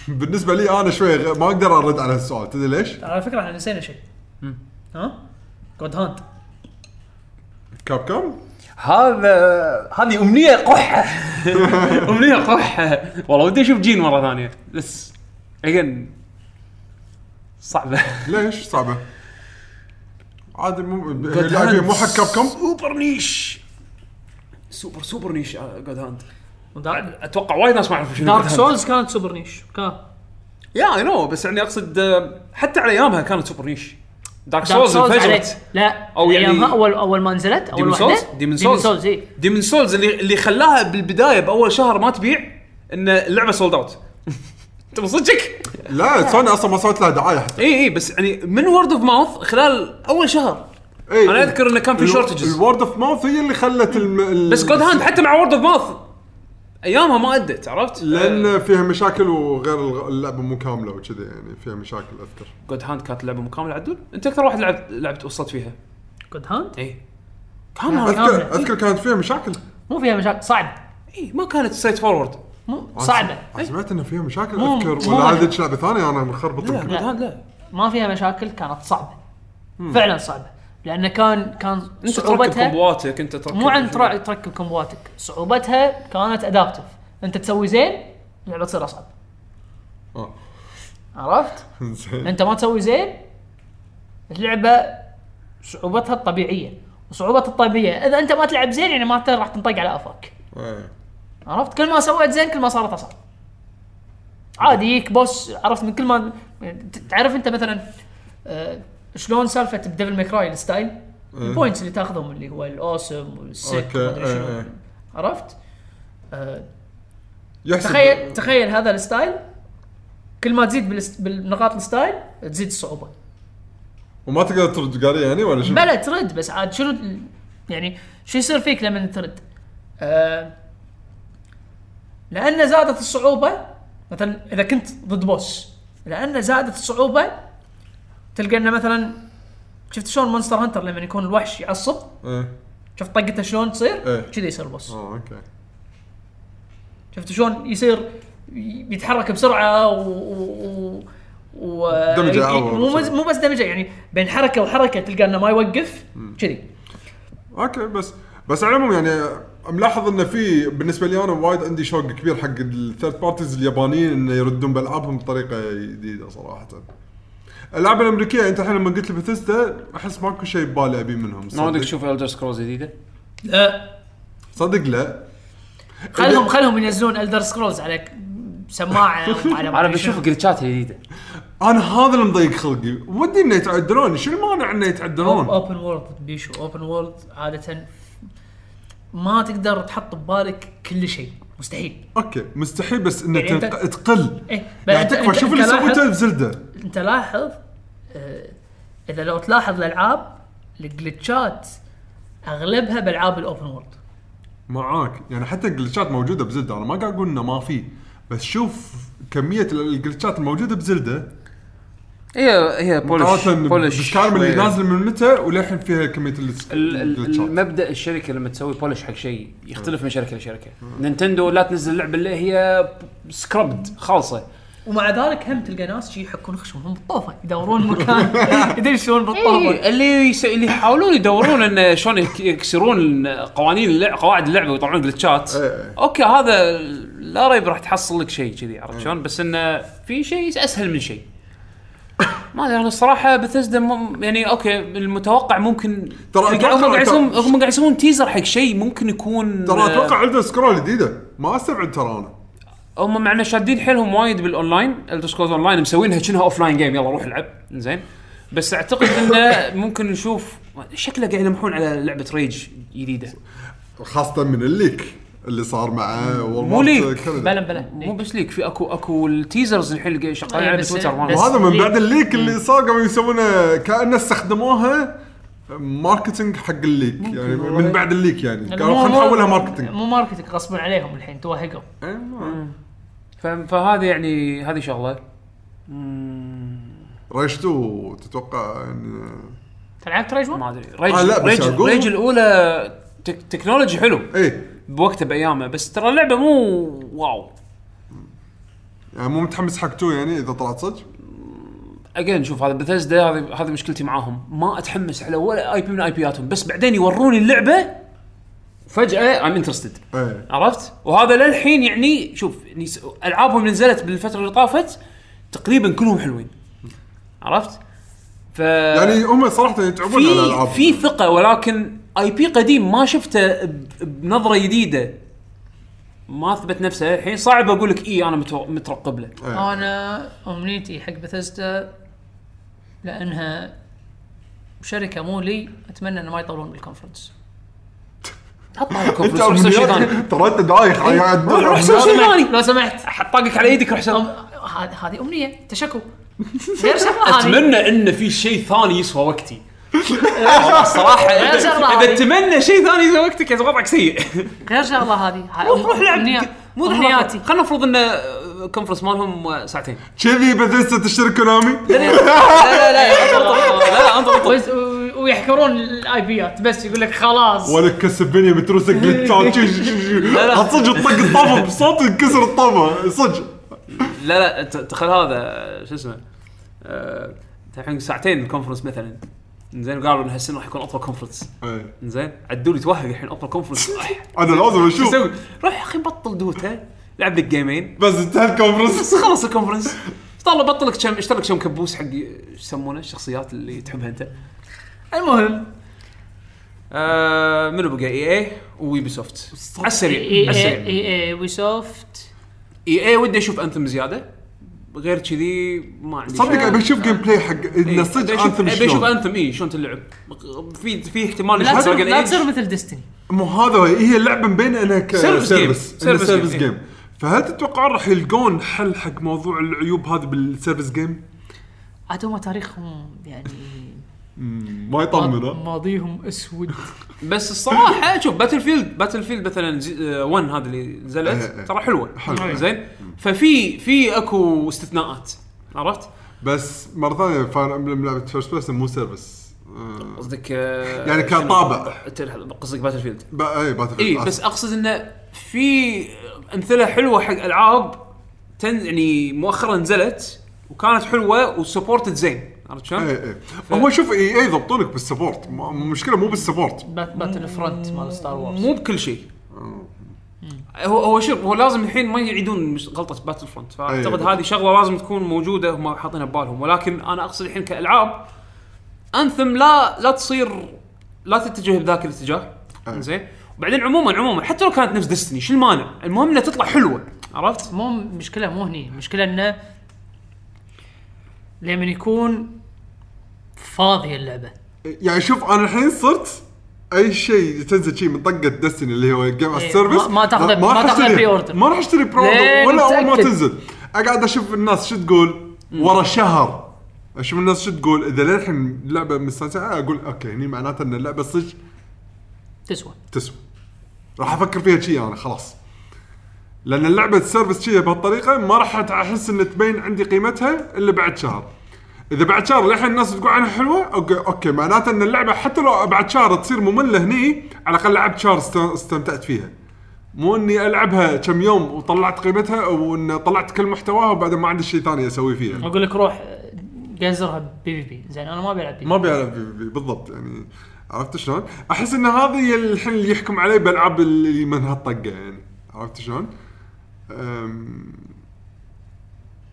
[SPEAKER 4] بالنسبه لي انا شوي غ- ما اقدر ارد على هالسؤال تدري ليش؟
[SPEAKER 3] على فكره احنا نسينا شيء ها جود هاند
[SPEAKER 4] كاب كوم؟
[SPEAKER 1] هذا هذه امنيه قحه امنيه قحه والله ودي اشوف جين مره ثانيه بس اجين صعبه
[SPEAKER 4] ليش صعبه؟ عادي مو اللاعبين مو حق كاب كوم
[SPEAKER 1] سوبر نيش سوبر سوبر نيش جود هاند
[SPEAKER 3] ودار-
[SPEAKER 1] اتوقع وايد ناس ما يعرفوا شنو
[SPEAKER 3] دارك
[SPEAKER 1] God Hand.
[SPEAKER 3] سولز كانت سوبر نيش كان
[SPEAKER 1] يا اي نو بس يعني اقصد آه، حتى على ايامها كانت سوبر نيش دارك
[SPEAKER 3] دارك
[SPEAKER 1] سولز
[SPEAKER 3] سولز
[SPEAKER 1] انفجرت
[SPEAKER 3] عليه. إيه؟ لا
[SPEAKER 1] أو
[SPEAKER 3] او
[SPEAKER 1] يعني-
[SPEAKER 3] يعني ايامها اول اول ما نزلت اول
[SPEAKER 1] ديمون
[SPEAKER 3] واحده
[SPEAKER 1] سولز ديمون سولز
[SPEAKER 3] سولز اي
[SPEAKER 1] ديمون سولز اللي اللي خلاها بالبدايه باول شهر ما تبيع ان اللعبه سولد اوت انت بصدقك
[SPEAKER 4] لا سوني اصلا ما سوت لها دعايه حتى
[SPEAKER 1] اي اي بس يعني من وورد اوف ماوث خلال اول شهر
[SPEAKER 4] إيه.
[SPEAKER 1] انا اذكر انه كان في شورتجز
[SPEAKER 4] الورد اوف ماوث هي اللي خلت الم... ال-
[SPEAKER 1] بس جود هاند حتى مع وورد اوف ماوث ايامها ما ادت عرفت؟
[SPEAKER 4] لان فيها مشاكل وغير الغ- اللعبه مو كامله وكذي يعني فيها مشاكل اذكر
[SPEAKER 1] جود هاند كانت لعبه مكامله عدل انت اكثر واحد لعبت لعبت وصلت فيها
[SPEAKER 3] جود هاند
[SPEAKER 1] اي كان
[SPEAKER 4] اذكر اذكر
[SPEAKER 3] إيه.
[SPEAKER 4] كانت فيها مشاكل
[SPEAKER 3] مو فيها مشاكل صعب
[SPEAKER 1] اي إيه، ما كانت ستريت فورورد
[SPEAKER 3] مو صعبه
[SPEAKER 4] أنا سمعت انه فيها مشاكل
[SPEAKER 3] مو-
[SPEAKER 4] اذكر
[SPEAKER 3] مو
[SPEAKER 4] ولا
[SPEAKER 3] مشاكل.
[SPEAKER 4] هذيك لعبه ثانيه انا مخربط
[SPEAKER 1] لا
[SPEAKER 4] يمكن.
[SPEAKER 1] جود هاند لا
[SPEAKER 3] ما فيها مشاكل كانت صعبه فعلا صعبه لان كان كان
[SPEAKER 1] انت تركب
[SPEAKER 3] صعوبتها
[SPEAKER 1] كومبواتك انت تركب
[SPEAKER 3] مو عن ترا- تركب كومبواتك صعوبتها كانت ادابتف انت تسوي زين اللعبه تصير اصعب
[SPEAKER 4] آه.
[SPEAKER 3] عرفت؟
[SPEAKER 4] زين
[SPEAKER 3] انت ما تسوي زين اللعبه صعوبتها الطبيعيه وصعوبتها الطبيعيه اذا انت ما تلعب زين يعني ما راح تنطق على افاك
[SPEAKER 4] إيه.
[SPEAKER 3] عرفت كل ما سويت زين كل ما صارت اصعب عادي يجيك بوس عرفت من كل ما ت- تعرف انت مثلا آه، شلون سالفه بديفل ميكراي الستايل
[SPEAKER 4] إيه.
[SPEAKER 3] البوينتس اللي تاخذهم اللي هو الاوسم والسيك
[SPEAKER 4] اوكي
[SPEAKER 3] ومدري شنو.
[SPEAKER 4] إيه، إيه.
[SPEAKER 3] عرفت آه،
[SPEAKER 4] يحسب آه.
[SPEAKER 3] تخيل تخيل هذا الستايل كل ما تزيد بالست- بالنقاط الستايل تزيد الصعوبه
[SPEAKER 4] وما تقدر ترد قاري يعني ولا شنو؟
[SPEAKER 3] بلا ترد بس عاد شنو يعني شو يصير فيك لما ترد؟ آه لان زادت الصعوبه مثلا اذا كنت ضد بوس لان زادت الصعوبه تلقى انه مثلا شفت شلون مونستر هانتر لما يكون الوحش يعصب
[SPEAKER 4] إيه.
[SPEAKER 3] شفت طقته شلون تصير؟
[SPEAKER 4] إيه.
[SPEAKER 3] كذي يصير البوس
[SPEAKER 4] اه اوكي
[SPEAKER 3] شفت شلون يصير يتحرك بسرعه و, و... و...
[SPEAKER 4] دمجة
[SPEAKER 3] يعني
[SPEAKER 4] أول
[SPEAKER 3] مو
[SPEAKER 4] بسرعة.
[SPEAKER 3] مو بس دمجه يعني بين حركه وحركه تلقى انه ما يوقف كذي
[SPEAKER 4] اوكي بس بس على العموم يعني ملاحظ انه في بالنسبه لي انا وايد عندي شوق كبير حق الثيرد بارتيز اليابانيين انه يردون بالعابهم بطريقه جديده صراحه. الالعاب الامريكيه انت الحين لما قلت لي بثيستا احس ماكو شيء ببالي ابي منهم
[SPEAKER 1] ما ودك
[SPEAKER 4] صدق,
[SPEAKER 1] تشوف الدر سكرولز جديده
[SPEAKER 3] لا
[SPEAKER 4] صدق لا
[SPEAKER 3] خلهم خلهم ينزلون الدر سكرولز على ك- سماعه أو على
[SPEAKER 1] انا بشوف جلتشات جديده
[SPEAKER 4] انا هذا اللي مضيق خلقي ودي انه يتعدلون شو المانع انه يتعدلون؟
[SPEAKER 3] اوبن وورلد بيشو اوبن وورلد عاده ما تقدر تحط ببالك كل شيء مستحيل
[SPEAKER 4] اوكي مستحيل بس انه
[SPEAKER 3] يعني أنت-
[SPEAKER 4] تنق- تقل
[SPEAKER 3] ايه
[SPEAKER 4] يعني
[SPEAKER 3] أنت-
[SPEAKER 4] تكفى
[SPEAKER 3] أنت- أنت
[SPEAKER 4] شوف اللي
[SPEAKER 3] لاحظ-
[SPEAKER 4] سويته بزلده
[SPEAKER 3] انت لاحظ آه، اذا لو تلاحظ الالعاب الجلتشات اغلبها بالعاب الاوبن وورلد
[SPEAKER 4] معاك يعني حتى الجلتشات موجوده بزلده انا ما قاعد اقول انه ما في بس شوف كميه الجلتشات الموجوده بزلده
[SPEAKER 6] هي هي بولش
[SPEAKER 4] مقارنه
[SPEAKER 6] بولش
[SPEAKER 4] بالسكارم اللي
[SPEAKER 6] شوية.
[SPEAKER 4] نازله من متى وللحين فيها كميه الس-
[SPEAKER 1] ال- ال-
[SPEAKER 4] الجلتشات
[SPEAKER 1] المبدا الشركه لما تسوي بولش حق شيء يختلف من شركه لشركه نينتندو لا تنزل لعبه اللي هي سكربد خالصه
[SPEAKER 3] ومع ذلك هم تلقى ناس شي يحكون خشمهم بالطوفه يدورون مكان يدري شلون بالطوفه
[SPEAKER 1] إيه، اللي يس... اللي يحاولون يدورون ان شلون يك- يكسرون قوانين اللع... قواعد اللعبه ويطلعون جلتشات
[SPEAKER 4] إيه.
[SPEAKER 1] اوكي هذا لا ريب راح تحصل لك شيء كذي
[SPEAKER 4] إيه.
[SPEAKER 1] عرفت شلون بس انه في شيء اسهل من شيء ما ادري انا الصراحه بثزدا مم... يعني اوكي المتوقع ممكن يعني
[SPEAKER 4] ترى
[SPEAKER 1] هم
[SPEAKER 4] أتوقع-
[SPEAKER 1] قاعد يسوون هم قاعد يسوون تيزر حق شيء ممكن يكون
[SPEAKER 4] ترى
[SPEAKER 1] آه،
[SPEAKER 4] اتوقع عنده سكرول جديده ما استبعد ترى انا
[SPEAKER 1] هم معنا شادين حيلهم وايد بالاونلاين الدر سكولز اونلاين مسوينها كأنها اوف لاين جيم يلا روح العب زين بس اعتقد انه ممكن نشوف شكله قاعد يلمحون على لعبه ريج جديده
[SPEAKER 4] خاصه من الليك اللي صار مع
[SPEAKER 1] مو ليك.
[SPEAKER 3] بلا بلا
[SPEAKER 1] مو بس ليك في اكو اكو التيزرز الحين اللي قاعد شغالين
[SPEAKER 3] إيه،
[SPEAKER 1] على
[SPEAKER 3] بس-
[SPEAKER 1] تويتر
[SPEAKER 3] بس-
[SPEAKER 1] مالهم.
[SPEAKER 4] وهذا من
[SPEAKER 3] ليك.
[SPEAKER 4] بعد الليك اللي صار قاموا يسوونه كانه استخدموها ماركتينج حق الليك يعني من بعد الليك
[SPEAKER 3] إيه.
[SPEAKER 4] يعني قالوا خلينا نحولها ماركتينج
[SPEAKER 3] مو ماركتنج غصبا عليهم الحين توهقوا
[SPEAKER 4] إيه، ما-
[SPEAKER 1] ف- فهذه يعني هذه شغله
[SPEAKER 4] ريشتو تتوقع يعني
[SPEAKER 3] تلعب تريج
[SPEAKER 1] ما
[SPEAKER 3] ون؟
[SPEAKER 1] ادري ريج
[SPEAKER 4] آه، لا، بس
[SPEAKER 1] ريج,
[SPEAKER 4] أقول-
[SPEAKER 1] ريج الاولى تك تكنولوجي حلو
[SPEAKER 4] ايه
[SPEAKER 1] بوقتها بايامه بس ترى اللعبه مو واو
[SPEAKER 4] يعني مو متحمس حق تو يعني اذا طلعت صدق
[SPEAKER 1] اجين شوف هذا بثزدا هذه هذه مشكلتي معاهم ما اتحمس على ولا اي بي من اي بياتهم بس بعدين يوروني اللعبه فجاه ام انترستد
[SPEAKER 4] ايه
[SPEAKER 1] عرفت وهذا للحين يعني شوف يعني س- العابهم اللي نزلت بالفتره اللي طافت تقريبا كلهم حلوين عرفت ف
[SPEAKER 4] يعني هم صراحه يتعبون على
[SPEAKER 1] في
[SPEAKER 4] الالعاب
[SPEAKER 1] في ثقه ولكن اي بي قديم ما شفته ب- بنظره جديده ما اثبت نفسه الحين صعب اقول لك اي انا متو- مترقب له
[SPEAKER 4] إيه.
[SPEAKER 3] انا امنيتي حق بثزدا لانها شركه مو لي اتمنى انه ما يطولون بالكونفرنس
[SPEAKER 4] انت
[SPEAKER 1] روح سوي شيء ثاني
[SPEAKER 4] أمنيات- ترى انت دايخ يعني قاعد
[SPEAKER 1] روح سوي شيء ثاني
[SPEAKER 3] لو سمحت
[SPEAKER 1] حط طاقك على يدك روح سوي
[SPEAKER 3] أم- هذه هذه امنيه تشكو غير شغله هذه
[SPEAKER 1] اتمنى ان في شيء ثاني يسوى وقتي والله الصراحه
[SPEAKER 3] يا
[SPEAKER 1] اذا
[SPEAKER 3] جماعة.
[SPEAKER 1] إذا اتمنى شيء ثاني يسوى وقتك يا وضعك سيء
[SPEAKER 3] غير شغله هذه ها-
[SPEAKER 1] روح روح لعب
[SPEAKER 3] أمنية-
[SPEAKER 1] مو
[SPEAKER 3] امنياتي
[SPEAKER 1] امنياتي خلينا نفرض ان كونفرنس مالهم ساعتين
[SPEAKER 4] كذي بثيستا تشتري كونامي
[SPEAKER 1] لا لا لا لا انطر انطر
[SPEAKER 3] ويز- و- ويحكرون الاي بيات بس يقول لك خلاص
[SPEAKER 4] ولا كسبني متروسك جلتشات
[SPEAKER 1] لا.
[SPEAKER 4] صدق طق الطابه بصوت انكسر الطابه صدق
[SPEAKER 1] لا لا ت- تخيل هذا آه، شو اسمه آه، الحين ساعتين الكونفرنس مثلا زين قالوا ان هالسنه راح يكون اطول كونفرنس
[SPEAKER 4] إيه.
[SPEAKER 1] زين عدول يتوهق الحين اطول كونفرنس راح
[SPEAKER 4] انا لازم اشوف
[SPEAKER 1] يسوي روح يا اخي بطل دوتا لعب لك جيمين
[SPEAKER 4] بس انتهى الكونفرنس
[SPEAKER 1] بس خلص الكونفرنس طلع بطل لك كم اشترى لك كم كبوس حق ايش يسمونه الشخصيات اللي تحبها انت
[SPEAKER 3] المهم
[SPEAKER 1] آه منو بقى اي اي ويوبي سوفت على السريع
[SPEAKER 3] اي
[SPEAKER 1] على
[SPEAKER 3] اي
[SPEAKER 1] السريع
[SPEAKER 3] اي اي ويسوفت
[SPEAKER 1] اي اي ودي اشوف انثم زياده غير كذي ما عندي
[SPEAKER 4] صدق
[SPEAKER 1] شيء.
[SPEAKER 4] ابي اشوف جيم بلاي حق انه
[SPEAKER 1] إيه،
[SPEAKER 4] صدق
[SPEAKER 1] أبي أشوف-
[SPEAKER 4] انثم
[SPEAKER 1] ابي اشوف
[SPEAKER 4] شلون
[SPEAKER 1] انثم اي شلون تلعب في في احتمال
[SPEAKER 3] لا
[SPEAKER 1] نشوف
[SPEAKER 3] تصير
[SPEAKER 1] Dragon
[SPEAKER 3] لا
[SPEAKER 1] Age.
[SPEAKER 3] تصير مثل ديستني
[SPEAKER 4] مو هذا هو، هي اللعبه مبينه انها ك-
[SPEAKER 1] Service game.
[SPEAKER 4] service. إنها
[SPEAKER 1] Service
[SPEAKER 4] service
[SPEAKER 1] game، إيه.
[SPEAKER 4] game. فهل تتوقعون راح يلقون حل حق موضوع العيوب هذه بالسيرفس جيم؟
[SPEAKER 3] عاد هم تاريخهم يعني
[SPEAKER 4] ما يطمن ها؟
[SPEAKER 3] ماضيهم اسود
[SPEAKER 1] بس الصراحه شوف باتل فيلد باتل فيلد مثلا زي- آه، 1 هذا اللي
[SPEAKER 4] إيه،
[SPEAKER 1] نزلت
[SPEAKER 4] إيه.
[SPEAKER 1] ترى حلوه
[SPEAKER 4] حلوة.
[SPEAKER 1] زين ففي في اكو استثناءات عرفت؟
[SPEAKER 4] بس مره ثانيه فاير امبلم لعبه فيرست بيرسون مو سيرفس
[SPEAKER 1] قصدك آه،
[SPEAKER 4] يعني كان
[SPEAKER 1] شنو؟
[SPEAKER 4] طابع.
[SPEAKER 1] تل- قصدك باتل فيلد
[SPEAKER 4] بقى اي باتل
[SPEAKER 1] اي
[SPEAKER 4] فيلد،
[SPEAKER 1] إيه، بس
[SPEAKER 4] آسف.
[SPEAKER 1] اقصد انه في امثله حلوه حق العاب تن يعني مؤخرا نزلت وكانت حلوه وسبورتد زين عرفت شلون؟
[SPEAKER 4] اي اي هو إيه، شوف اي اي يضبطونك بالسبورت م- المشكله مو بالسبورت
[SPEAKER 3] بات- باتل فرونت مال ستار وورز
[SPEAKER 1] مو بكل شيء هو هو شوف هو لازم الحين ما يعيدون مش غلطه باتل فرونت فاعتقد
[SPEAKER 4] أيوة.
[SPEAKER 1] هذه شغله لازم تكون موجوده هم حاطينها ببالهم ولكن انا اقصد الحين كالعاب انثم لا لا تصير لا تتجه بذاك الاتجاه
[SPEAKER 4] أيوة.
[SPEAKER 1] زين وبعدين عموما عموما حتى لو كانت نفس ديستني شو المانع؟ المهم انها تطلع حلوه
[SPEAKER 4] أيوة.
[SPEAKER 1] عرفت؟
[SPEAKER 3] مو مشكله مو هني المشكله انه لما يكون فاضيه اللعبه
[SPEAKER 4] يعني شوف انا الحين صرت اي شيء تنزل شيء من طقه دستني اللي هو جيم
[SPEAKER 3] إيه،
[SPEAKER 4] على السيرفس
[SPEAKER 3] ما- ما تاخذه-
[SPEAKER 4] لا،
[SPEAKER 3] ما
[SPEAKER 4] راح
[SPEAKER 3] تاخذه
[SPEAKER 4] أشتريها.
[SPEAKER 3] بري أوردر.
[SPEAKER 4] ما راح اشتري بري اوردر
[SPEAKER 3] لين
[SPEAKER 4] ولا اول ما
[SPEAKER 3] نتأكد.
[SPEAKER 4] تنزل اقعد اشوف الناس شو تقول ورا شهر اشوف الناس شو تقول اذا للحين اللعبه مستانسه اقول اوكي هني معناته ان اللعبه صدق
[SPEAKER 3] تسوى
[SPEAKER 4] تسوى راح افكر فيها شي انا خلاص لان اللعبه تسرفس شي بهالطريقه ما راح احس ان تبين عندي قيمتها الا بعد شهر اذا بعد شهر للحين الناس تقول عنها حلوه اوكي اوكي معناته ان اللعبه حتى لو بعد شهر تصير ممله هني على الاقل لعبت شهر است- استمتعت فيها مو اني العبها كم يوم وطلعت قيمتها وان طلعت كل محتواها وبعدين ما عندي شيء ثاني اسوي فيها
[SPEAKER 3] اقول لك روح آه، جزرها بي بي بي زين انا ما بلعب بي
[SPEAKER 4] ما ابي ألعب بي- بي- بالضبط يعني عرفت شلون؟ احس ان هذا هي الحين اللي يحكم علي بالعاب اللي من هالطقه يعني عرفت شلون؟ أم،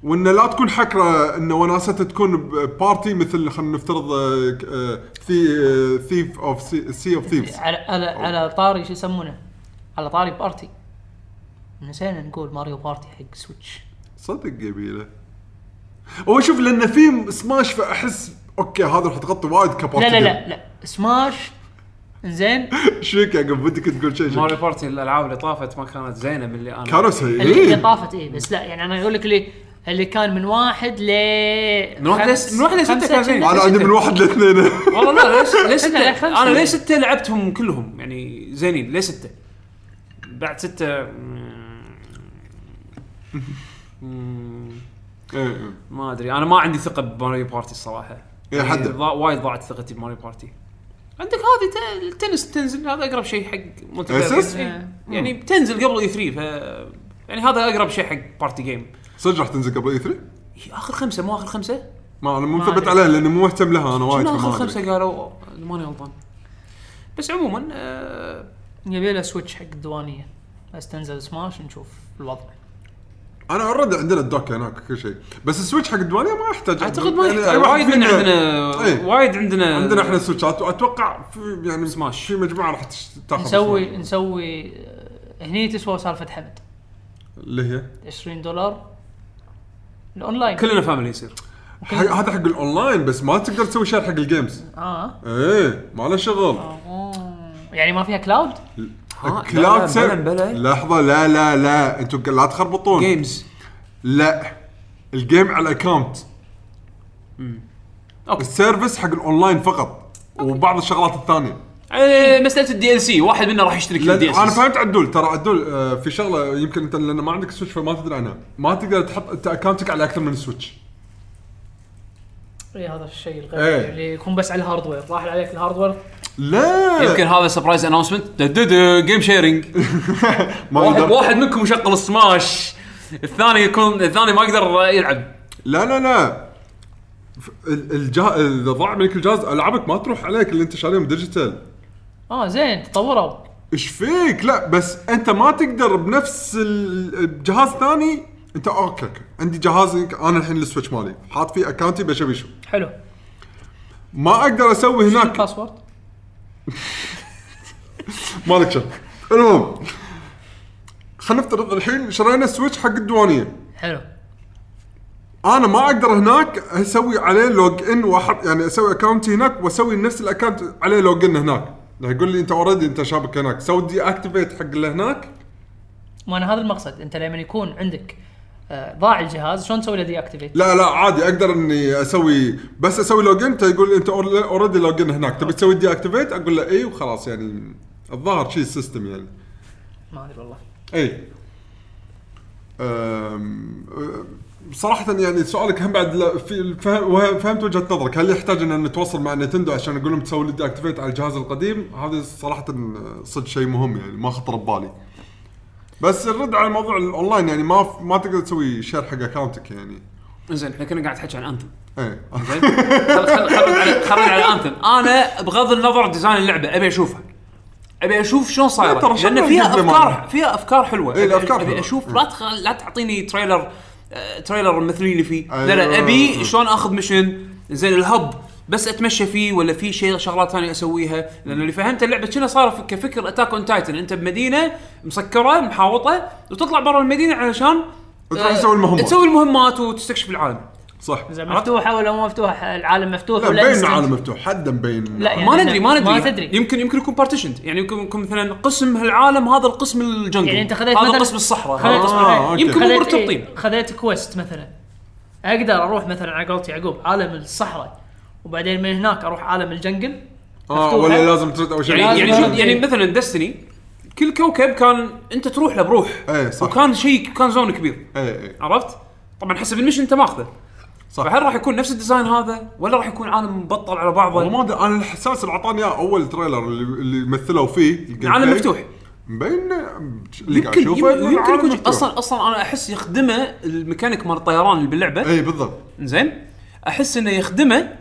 [SPEAKER 4] وان لا تكون حكره ان وناستها تكون بارتي مثل خلينا نفترض أه، ثيف اوف سي اوف ثيفز
[SPEAKER 3] على على على طاري شو يسمونه على طاري بارتي نسينا نقول ماريو بارتي حق سويتش
[SPEAKER 4] صدق قبيله هو شوف لان في سماش فاحس اوكي هذا راح تغطي وايد
[SPEAKER 3] لا
[SPEAKER 4] كبارتي
[SPEAKER 3] لا لا لا سماش زين
[SPEAKER 4] شيك يا قبل بدك تقول شيء شيك.
[SPEAKER 1] ماري بارتي الالعاب اللي طافت ما كانت زينه باللي انا
[SPEAKER 4] كانوا
[SPEAKER 3] اللي اللي
[SPEAKER 4] سيئين
[SPEAKER 3] طافت ايه بس لا يعني انا اقول لك اللي اللي كان من واحد ل
[SPEAKER 1] من واحد
[SPEAKER 3] خمس-
[SPEAKER 1] لس- من واحد لستة
[SPEAKER 3] خمسة
[SPEAKER 1] كان زين.
[SPEAKER 3] كنا.
[SPEAKER 4] انا عندي من واحد لاثنين
[SPEAKER 1] والله لا ليش ليش ستة
[SPEAKER 3] إحنا خمسة. يعني.
[SPEAKER 1] انا ليش ستة لعبتهم كلهم يعني زينين ليش ستة بعد ستة مم، مم،
[SPEAKER 4] إيه.
[SPEAKER 1] ما ادري انا ما عندي ثقه بماريو بارتي الصراحه
[SPEAKER 4] إيه،
[SPEAKER 1] يعني
[SPEAKER 4] حد.
[SPEAKER 1] ضا- وايد ضاعت ثقتي بماريو بارتي عندك هذه ت- التنس تنزل هذا اقرب شيء حق multiplayer.
[SPEAKER 4] أساس؟
[SPEAKER 1] إيه. يعني بتنزل قبل اي 3 ف يعني هذا اقرب شيء حق بارتي جيم
[SPEAKER 4] صدق راح تنزل قبل اي 3
[SPEAKER 1] هي اخر خمسه مو اخر خمسه؟
[SPEAKER 4] ما انا مو مثبت عليها لاني مو مهتم لها انا وايد
[SPEAKER 1] شنو
[SPEAKER 4] فما
[SPEAKER 1] اخر
[SPEAKER 4] أدري.
[SPEAKER 1] خمسه قالوا إذا ماني غلطان بس عموما آه،
[SPEAKER 3] يبي له سويتش حق الديوانيه بس تنزل سماش نشوف الوضع
[SPEAKER 4] انا اوريدي عندنا الدوك هناك كل شيء بس السويتش حق الديوانيه ما يحتاج
[SPEAKER 1] اعتقد ما
[SPEAKER 4] يعني
[SPEAKER 1] يحتاج
[SPEAKER 4] أي واحد
[SPEAKER 1] وايد من
[SPEAKER 4] فينا-
[SPEAKER 1] عندنا
[SPEAKER 4] إيه.
[SPEAKER 1] وايد عندنا
[SPEAKER 4] عندنا احنا سويتشات واتوقع في يعني
[SPEAKER 1] سماش.
[SPEAKER 4] في مجموعه راح تش- تاخذ
[SPEAKER 3] نسوي
[SPEAKER 4] سماش.
[SPEAKER 3] نسوي آه، هني تسوى سالفه حمد
[SPEAKER 4] اللي هي
[SPEAKER 3] 20 دولار الاونلاين
[SPEAKER 1] كلنا فاميلي يصير
[SPEAKER 4] حق- هذا حق الاونلاين بس ما تقدر تسوي شير حق الجيمز
[SPEAKER 3] اه
[SPEAKER 4] ايه ما له شغل
[SPEAKER 3] يعني ما فيها كلاود
[SPEAKER 1] ها؟ آه. لا، لا،
[SPEAKER 4] كلاود سير-
[SPEAKER 1] بلا- بلا.
[SPEAKER 4] لحظه لا لا لا انتم لا تخربطون
[SPEAKER 1] جيمز
[SPEAKER 4] لا الجيم على الاكونت
[SPEAKER 1] أوكي.
[SPEAKER 4] السيرفس حق الاونلاين فقط وبعض الشغلات الثانيه
[SPEAKER 1] آه، مساله الدي ال سي واحد منا راح يشترك في
[SPEAKER 4] لأن
[SPEAKER 1] الدي
[SPEAKER 4] انا
[SPEAKER 1] ال سي
[SPEAKER 4] فهمت عدول ترى عدول آه، في شغله يمكن انت لان ما عندك سويتش فما تدري عنها ما تقدر تحط انت اكونتك على اكثر من سويتش
[SPEAKER 3] اي هذا الشيء
[SPEAKER 4] إيه.
[SPEAKER 3] الغير اللي يكون بس على الهاردوير راحل عليك الهاردوير
[SPEAKER 4] لا
[SPEAKER 1] يمكن هذا سبرايز اناونسمنت جيم شيرنج
[SPEAKER 4] ما
[SPEAKER 1] واحد,
[SPEAKER 4] يقدر.
[SPEAKER 1] واحد منكم يشغل سماش الثاني يكون الثاني ما يقدر يلعب
[SPEAKER 4] لا لا لا ف- ال- الجه... اذا ضاع منك الجهاز العابك ما تروح عليك اللي انت شاريهم ديجيتال
[SPEAKER 3] اه زين تطوروا
[SPEAKER 4] ايش فيك لا بس انت ما تقدر بنفس ال- جهاز ثاني انت اوكي أوكي. عندي جهاز انا الحين السويتش مالي حاط فيه اكونتي بشبي شو
[SPEAKER 3] حلو
[SPEAKER 4] ما اقدر اسوي هناك
[SPEAKER 3] الباسورد
[SPEAKER 4] مالك شغل المهم خلينا نفترض الحين شرينا السويتش حق الديوانيه
[SPEAKER 3] حلو
[SPEAKER 4] انا ما اقدر هناك اسوي عليه لوج ان واحط يعني اسوي اكونتي هناك واسوي نفس الاكونت عليه لوج ان هناك راح يقول لي انت اوريدي انت شابك هناك سو دي اكتيفيت حق اللي هناك
[SPEAKER 3] ما انا هذا المقصد انت لما يكون عندك آه، ضاع الجهاز شلون تسوي له دي اكتيفيت
[SPEAKER 4] لا لا عادي اقدر اني اسوي بس اسوي لوج ان تقول انت اوريدي لوج ان هناك تبي تسوي دي اكتيفيت اقول له اي وخلاص يعني الظاهر شيء السيستم يعني
[SPEAKER 3] ما ادري والله
[SPEAKER 4] اي أم- أم- صراحة يعني سؤالك هم بعد لا- في الفهم- وه- فهمت وجهة نظرك هل يحتاج ان نتواصل مع نتندو عشان اقول لهم تسوي لي اكتيفيت على الجهاز القديم هذا صراحة صدق شيء مهم يعني ما خطر ببالي بس الرد على موضوع الاونلاين يعني ما ف- ما تقدر تسوي شير حق اكونتك يعني
[SPEAKER 1] زين احنا كنا قاعد نحكي عن انثم
[SPEAKER 4] ايه
[SPEAKER 1] زين خل- خل- خرج على خرج على انثم انا بغض النظر ديزاين اللعبه ابي اشوفها ابي اشوف شلون
[SPEAKER 4] لا، ترى
[SPEAKER 1] صايره
[SPEAKER 4] شكلها
[SPEAKER 1] لان فيها
[SPEAKER 4] الجزء
[SPEAKER 1] افكار
[SPEAKER 4] مالها.
[SPEAKER 1] فيها افكار حلوه
[SPEAKER 4] إيه،
[SPEAKER 1] أبي-
[SPEAKER 4] الأفكار
[SPEAKER 1] ابي
[SPEAKER 4] حلوة.
[SPEAKER 1] اشوف لا تخ... لا تعطيني تريلر آه، تريلر مثلي اللي فيه لا لا
[SPEAKER 4] أيوة.
[SPEAKER 1] ابي شلون اخذ ميشن زين الهب بس اتمشى فيه ولا في شيء شغلات ثانيه اسويها لان اللي فهمت اللعبه كنا صار في- كفكر اتاك اون تايتن انت بمدينه مسكره محاوطه وتطلع برا المدينه علشان
[SPEAKER 4] تروح
[SPEAKER 1] آه،
[SPEAKER 4] تسوي المهمات.
[SPEAKER 1] تسوي المهمات وتستكشف العالم
[SPEAKER 4] صح
[SPEAKER 3] زين مفتوحه ولا مو مفتوحه العالم مفتوح
[SPEAKER 4] لا
[SPEAKER 3] ولا
[SPEAKER 4] مبين
[SPEAKER 3] instant؟
[SPEAKER 4] العالم مفتوح حد مبين
[SPEAKER 3] لا يعني
[SPEAKER 1] ما ندري ما ندري
[SPEAKER 3] ما تدري
[SPEAKER 1] يمكن يمكن يكون بارتيشن يعني يمكن يكون مثلا قسم هالعالم هذا القسم الجنجل
[SPEAKER 3] يعني أنت خذيت
[SPEAKER 1] هذا
[SPEAKER 3] مثلاً-
[SPEAKER 1] قسم الصحراء
[SPEAKER 3] خذيت-
[SPEAKER 1] هذا قسم
[SPEAKER 4] آه، أوكي.
[SPEAKER 1] يمكن مو
[SPEAKER 3] خذيت-
[SPEAKER 1] مرتبطين
[SPEAKER 3] إيه، خذيت كويست مثلا اقدر اروح مثلا على قولت يعقوب عالم الصحراء وبعدين من هناك اروح عالم الجنجل
[SPEAKER 4] اه
[SPEAKER 3] مفتوحة.
[SPEAKER 4] ولا لازم ترد اول شيء
[SPEAKER 1] يعني يعني شوف
[SPEAKER 3] إيه.
[SPEAKER 1] يعني مثلا دستني كل كوكب كان انت تروح له بروح
[SPEAKER 4] اي إيه، صح
[SPEAKER 1] وكان شيء كان زون كبير
[SPEAKER 4] اي اي
[SPEAKER 1] عرفت؟ طبعا حسب المشن انت ماخذه
[SPEAKER 4] إيه، صح
[SPEAKER 1] فهل راح يكون نفس الديزاين هذا ولا راح يكون عالم مبطل على
[SPEAKER 4] والله
[SPEAKER 1] بعضه؟
[SPEAKER 4] ما ادري انا الاحساس اللي اعطاني اياه اول تريلر اللي, اللي مثلوا فيه الجيم
[SPEAKER 1] عالم
[SPEAKER 4] بلاي،
[SPEAKER 1] مفتوح
[SPEAKER 4] مبين اللي قاعد
[SPEAKER 1] يمكن
[SPEAKER 4] اشوفه
[SPEAKER 1] يمكن
[SPEAKER 4] إنه
[SPEAKER 1] يمكن
[SPEAKER 4] عالم
[SPEAKER 1] يكون
[SPEAKER 4] مفتوح.
[SPEAKER 1] اصلا اصلا انا احس يخدمه الميكانيك مال الطيران اللي باللعبه
[SPEAKER 4] اي إيه، بالضبط
[SPEAKER 1] زين احس انه يخدمه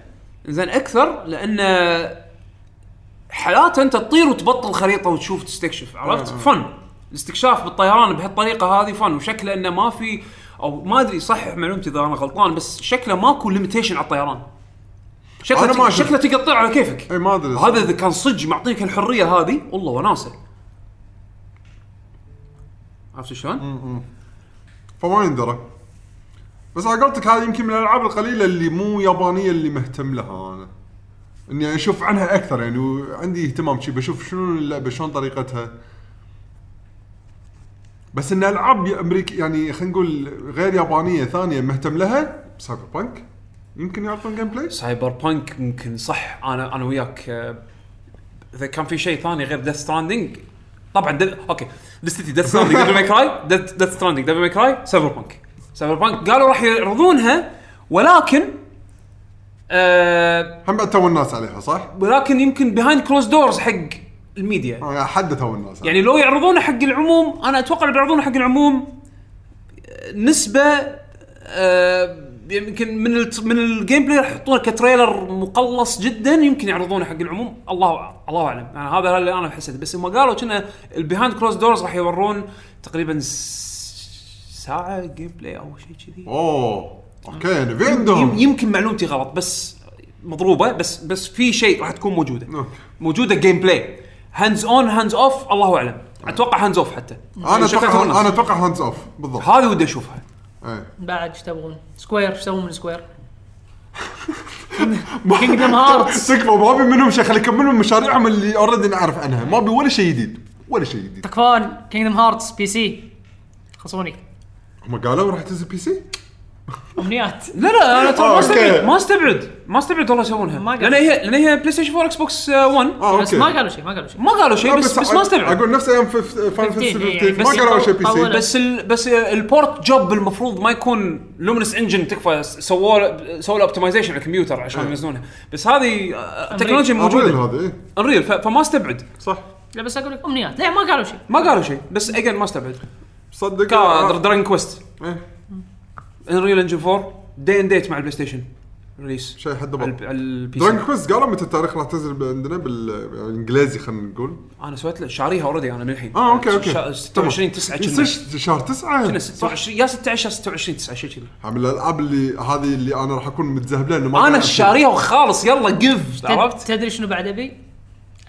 [SPEAKER 1] زين اكثر لان حالاته انت تطير وتبطل خريطه وتشوف تستكشف عرفت؟
[SPEAKER 4] آه.
[SPEAKER 1] فن الاستكشاف بالطيران بهالطريقه هذه فن وشكله انه ما في او ما ادري صحح معلومتي اذا انا غلطان بس شكله ماكو ليميتيشن على الطيران شكله
[SPEAKER 4] أنا ما
[SPEAKER 1] ت-
[SPEAKER 4] أشوف.
[SPEAKER 1] شكله تقطع على كيفك
[SPEAKER 4] اي إيه، ما ادري
[SPEAKER 1] هذا اذا كان صدق معطيك الحريه هذه والله وناسه عرفت شلون؟
[SPEAKER 4] فما يندرى بس على قولتك هذه يمكن من الالعاب القليله اللي مو يابانيه اللي مهتم لها انا اني اشوف عنها اكثر يعني وعندي اهتمام شي بشوف شنو اللعبه شلون طريقتها بس ان العاب امريك يعني خلينا نقول غير يابانيه ثانيه مهتم لها سايبر بانك يمكن يعطون جيم بلاي
[SPEAKER 1] سايبر بانك ممكن صح انا انا وياك آه، اذا كان في شيء ثاني غير ديث ستراندنج طبعا دل... اوكي لستي ديث ستراندنج دبل ماي كراي ديث ستراندنج دبل ماي كراي سايبر بانك سايبر بانك قالوا راح يعرضونها ولكن آه
[SPEAKER 4] هم بعد تو الناس عليها صح؟
[SPEAKER 1] ولكن يمكن بيهايند كلوز دورز حق الميديا
[SPEAKER 4] آه، حد تو الناس عليها.
[SPEAKER 1] يعني لو يعرضونه حق العموم انا اتوقع لو بيعرضونه حق العموم آه، نسبه آه، يمكن من الت- من الجيم بلاي راح يحطونه كتريلر مقلص جدا يمكن يعرضونه حق العموم الله أع- الله اعلم يعني هذا اللي انا حسيت بس هم قالوا كنا البيهاند كلوز دورز راح يورون تقريبا س- ساعه جيم بلاي او شيء كذي
[SPEAKER 4] اوه اوكي يعني في
[SPEAKER 1] يم-
[SPEAKER 4] عندهم
[SPEAKER 1] يمكن معلومتي غلط بس مضروبه بس بس في شيء راح تكون موجوده
[SPEAKER 4] أوكي.
[SPEAKER 1] موجوده جيم بلاي هاندز اون هاندز اوف الله اعلم اتوقع هاندز اوف حتى
[SPEAKER 4] انا
[SPEAKER 1] شكلها
[SPEAKER 4] اتوقع
[SPEAKER 1] تونس.
[SPEAKER 4] انا اتوقع هاندز اوف بالضبط
[SPEAKER 1] هذه ودي اشوفها
[SPEAKER 4] إيه.
[SPEAKER 3] بعد ايش تبغون؟ سكوير ايش تبغون من سكوير؟ كينجدم هارتس
[SPEAKER 4] تكفى ما ابي منهم شيء خلي يكملون مشاريعهم اللي اوريدي نعرف عنها ما ابي ولا شيء جديد ولا شيء جديد
[SPEAKER 3] تكفون كينجدم هارتس بي سي خلصوني
[SPEAKER 4] هم قالوا راح تنزل بي سي
[SPEAKER 3] امنيات
[SPEAKER 1] لا لا انا ترى ما
[SPEAKER 4] آه، أوكي.
[SPEAKER 1] استبعد ما استبعد ما استبعد والله يسوونها
[SPEAKER 3] ما قال.
[SPEAKER 1] لان هي لان هي بلاي ستيشن 4 اكس بوكس آه، 1
[SPEAKER 4] اه
[SPEAKER 3] بس
[SPEAKER 4] اوكي
[SPEAKER 3] ما قالوا شيء ما قالوا شيء
[SPEAKER 1] ما قالوا
[SPEAKER 4] آه،
[SPEAKER 1] شيء بس بس ما استبعد
[SPEAKER 4] اقول نفس ايام فاينل فانتسي
[SPEAKER 3] 15 يعني
[SPEAKER 4] 15 ما
[SPEAKER 3] بس
[SPEAKER 4] قالوا شيء آه، بي
[SPEAKER 3] طولوا.
[SPEAKER 4] سي
[SPEAKER 1] بس ال بس البورت جوب المفروض ما يكون لومنس انجن تكفى سووا له- سووا له اوبتمايزيشن على الكمبيوتر
[SPEAKER 4] آه.
[SPEAKER 1] عشان يوزنونها بس هذه آه، تكنولوجيا
[SPEAKER 4] موجود
[SPEAKER 1] موجوده
[SPEAKER 4] هذا إيه.
[SPEAKER 1] انريل ف- فما استبعد
[SPEAKER 4] صح
[SPEAKER 3] لا بس اقول لك امنيات لا ما قالوا شيء
[SPEAKER 1] ما قالوا شيء بس اجين ما استبعد
[SPEAKER 4] صدق
[SPEAKER 1] كا-
[SPEAKER 4] آه.
[SPEAKER 1] دراجون كويست
[SPEAKER 4] إيه.
[SPEAKER 1] انريل انجن 4 دي ان ديت مع البلاي ستيشن ريليس
[SPEAKER 4] شيء حد
[SPEAKER 1] على الب-
[SPEAKER 4] بعض
[SPEAKER 1] على البي سي
[SPEAKER 4] درانك كويست قالوا متى التاريخ راح تنزل عندنا بالانجليزي خلينا نقول
[SPEAKER 1] انا سويت له شاريها اوريدي انا من الحين
[SPEAKER 4] اه اوكي اوكي
[SPEAKER 1] شا- 26 9
[SPEAKER 4] يصير
[SPEAKER 1] كنا
[SPEAKER 4] ش- شهر 9
[SPEAKER 1] كنا 26 يا 16 يا 26 9 شيء كذي
[SPEAKER 4] من الالعاب اللي هذه اللي انا راح اكون متذهب لها إنه ما
[SPEAKER 1] انا
[SPEAKER 4] أعرف.
[SPEAKER 1] شاريها وخالص يلا قف عرفت؟
[SPEAKER 3] تدري شنو بعد ابي؟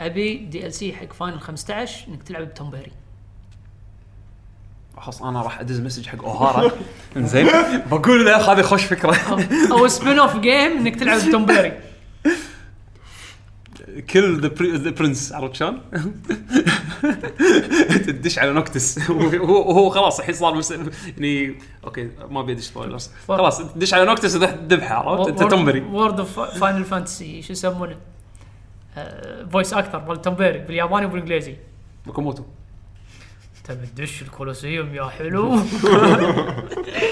[SPEAKER 3] ابي دي ال سي حق فاينل 15 انك تلعب بتوم بيري
[SPEAKER 1] خلاص انا راح ادز مسج حق اوهارا زين بقول له هذه خوش فكره
[SPEAKER 3] او سبين اوف جيم انك تلعب بتوم بيري
[SPEAKER 1] كل ذا برنس عرفت شلون؟ تدش على نوكتس وهو وهو خلاس الحين صار مس- يعني اوكي ما ابي ادش سبويلرز خلاص تدش على نوكتس ذبحه عرفت؟ انت تنبري
[SPEAKER 3] وورد اوف فاينل فانتسي شو يسمونه؟ فويس اكتر مال توم بيري بالياباني وبالانجليزي
[SPEAKER 1] بكموتو
[SPEAKER 3] تبي تدش الكولوسيوم يا حلو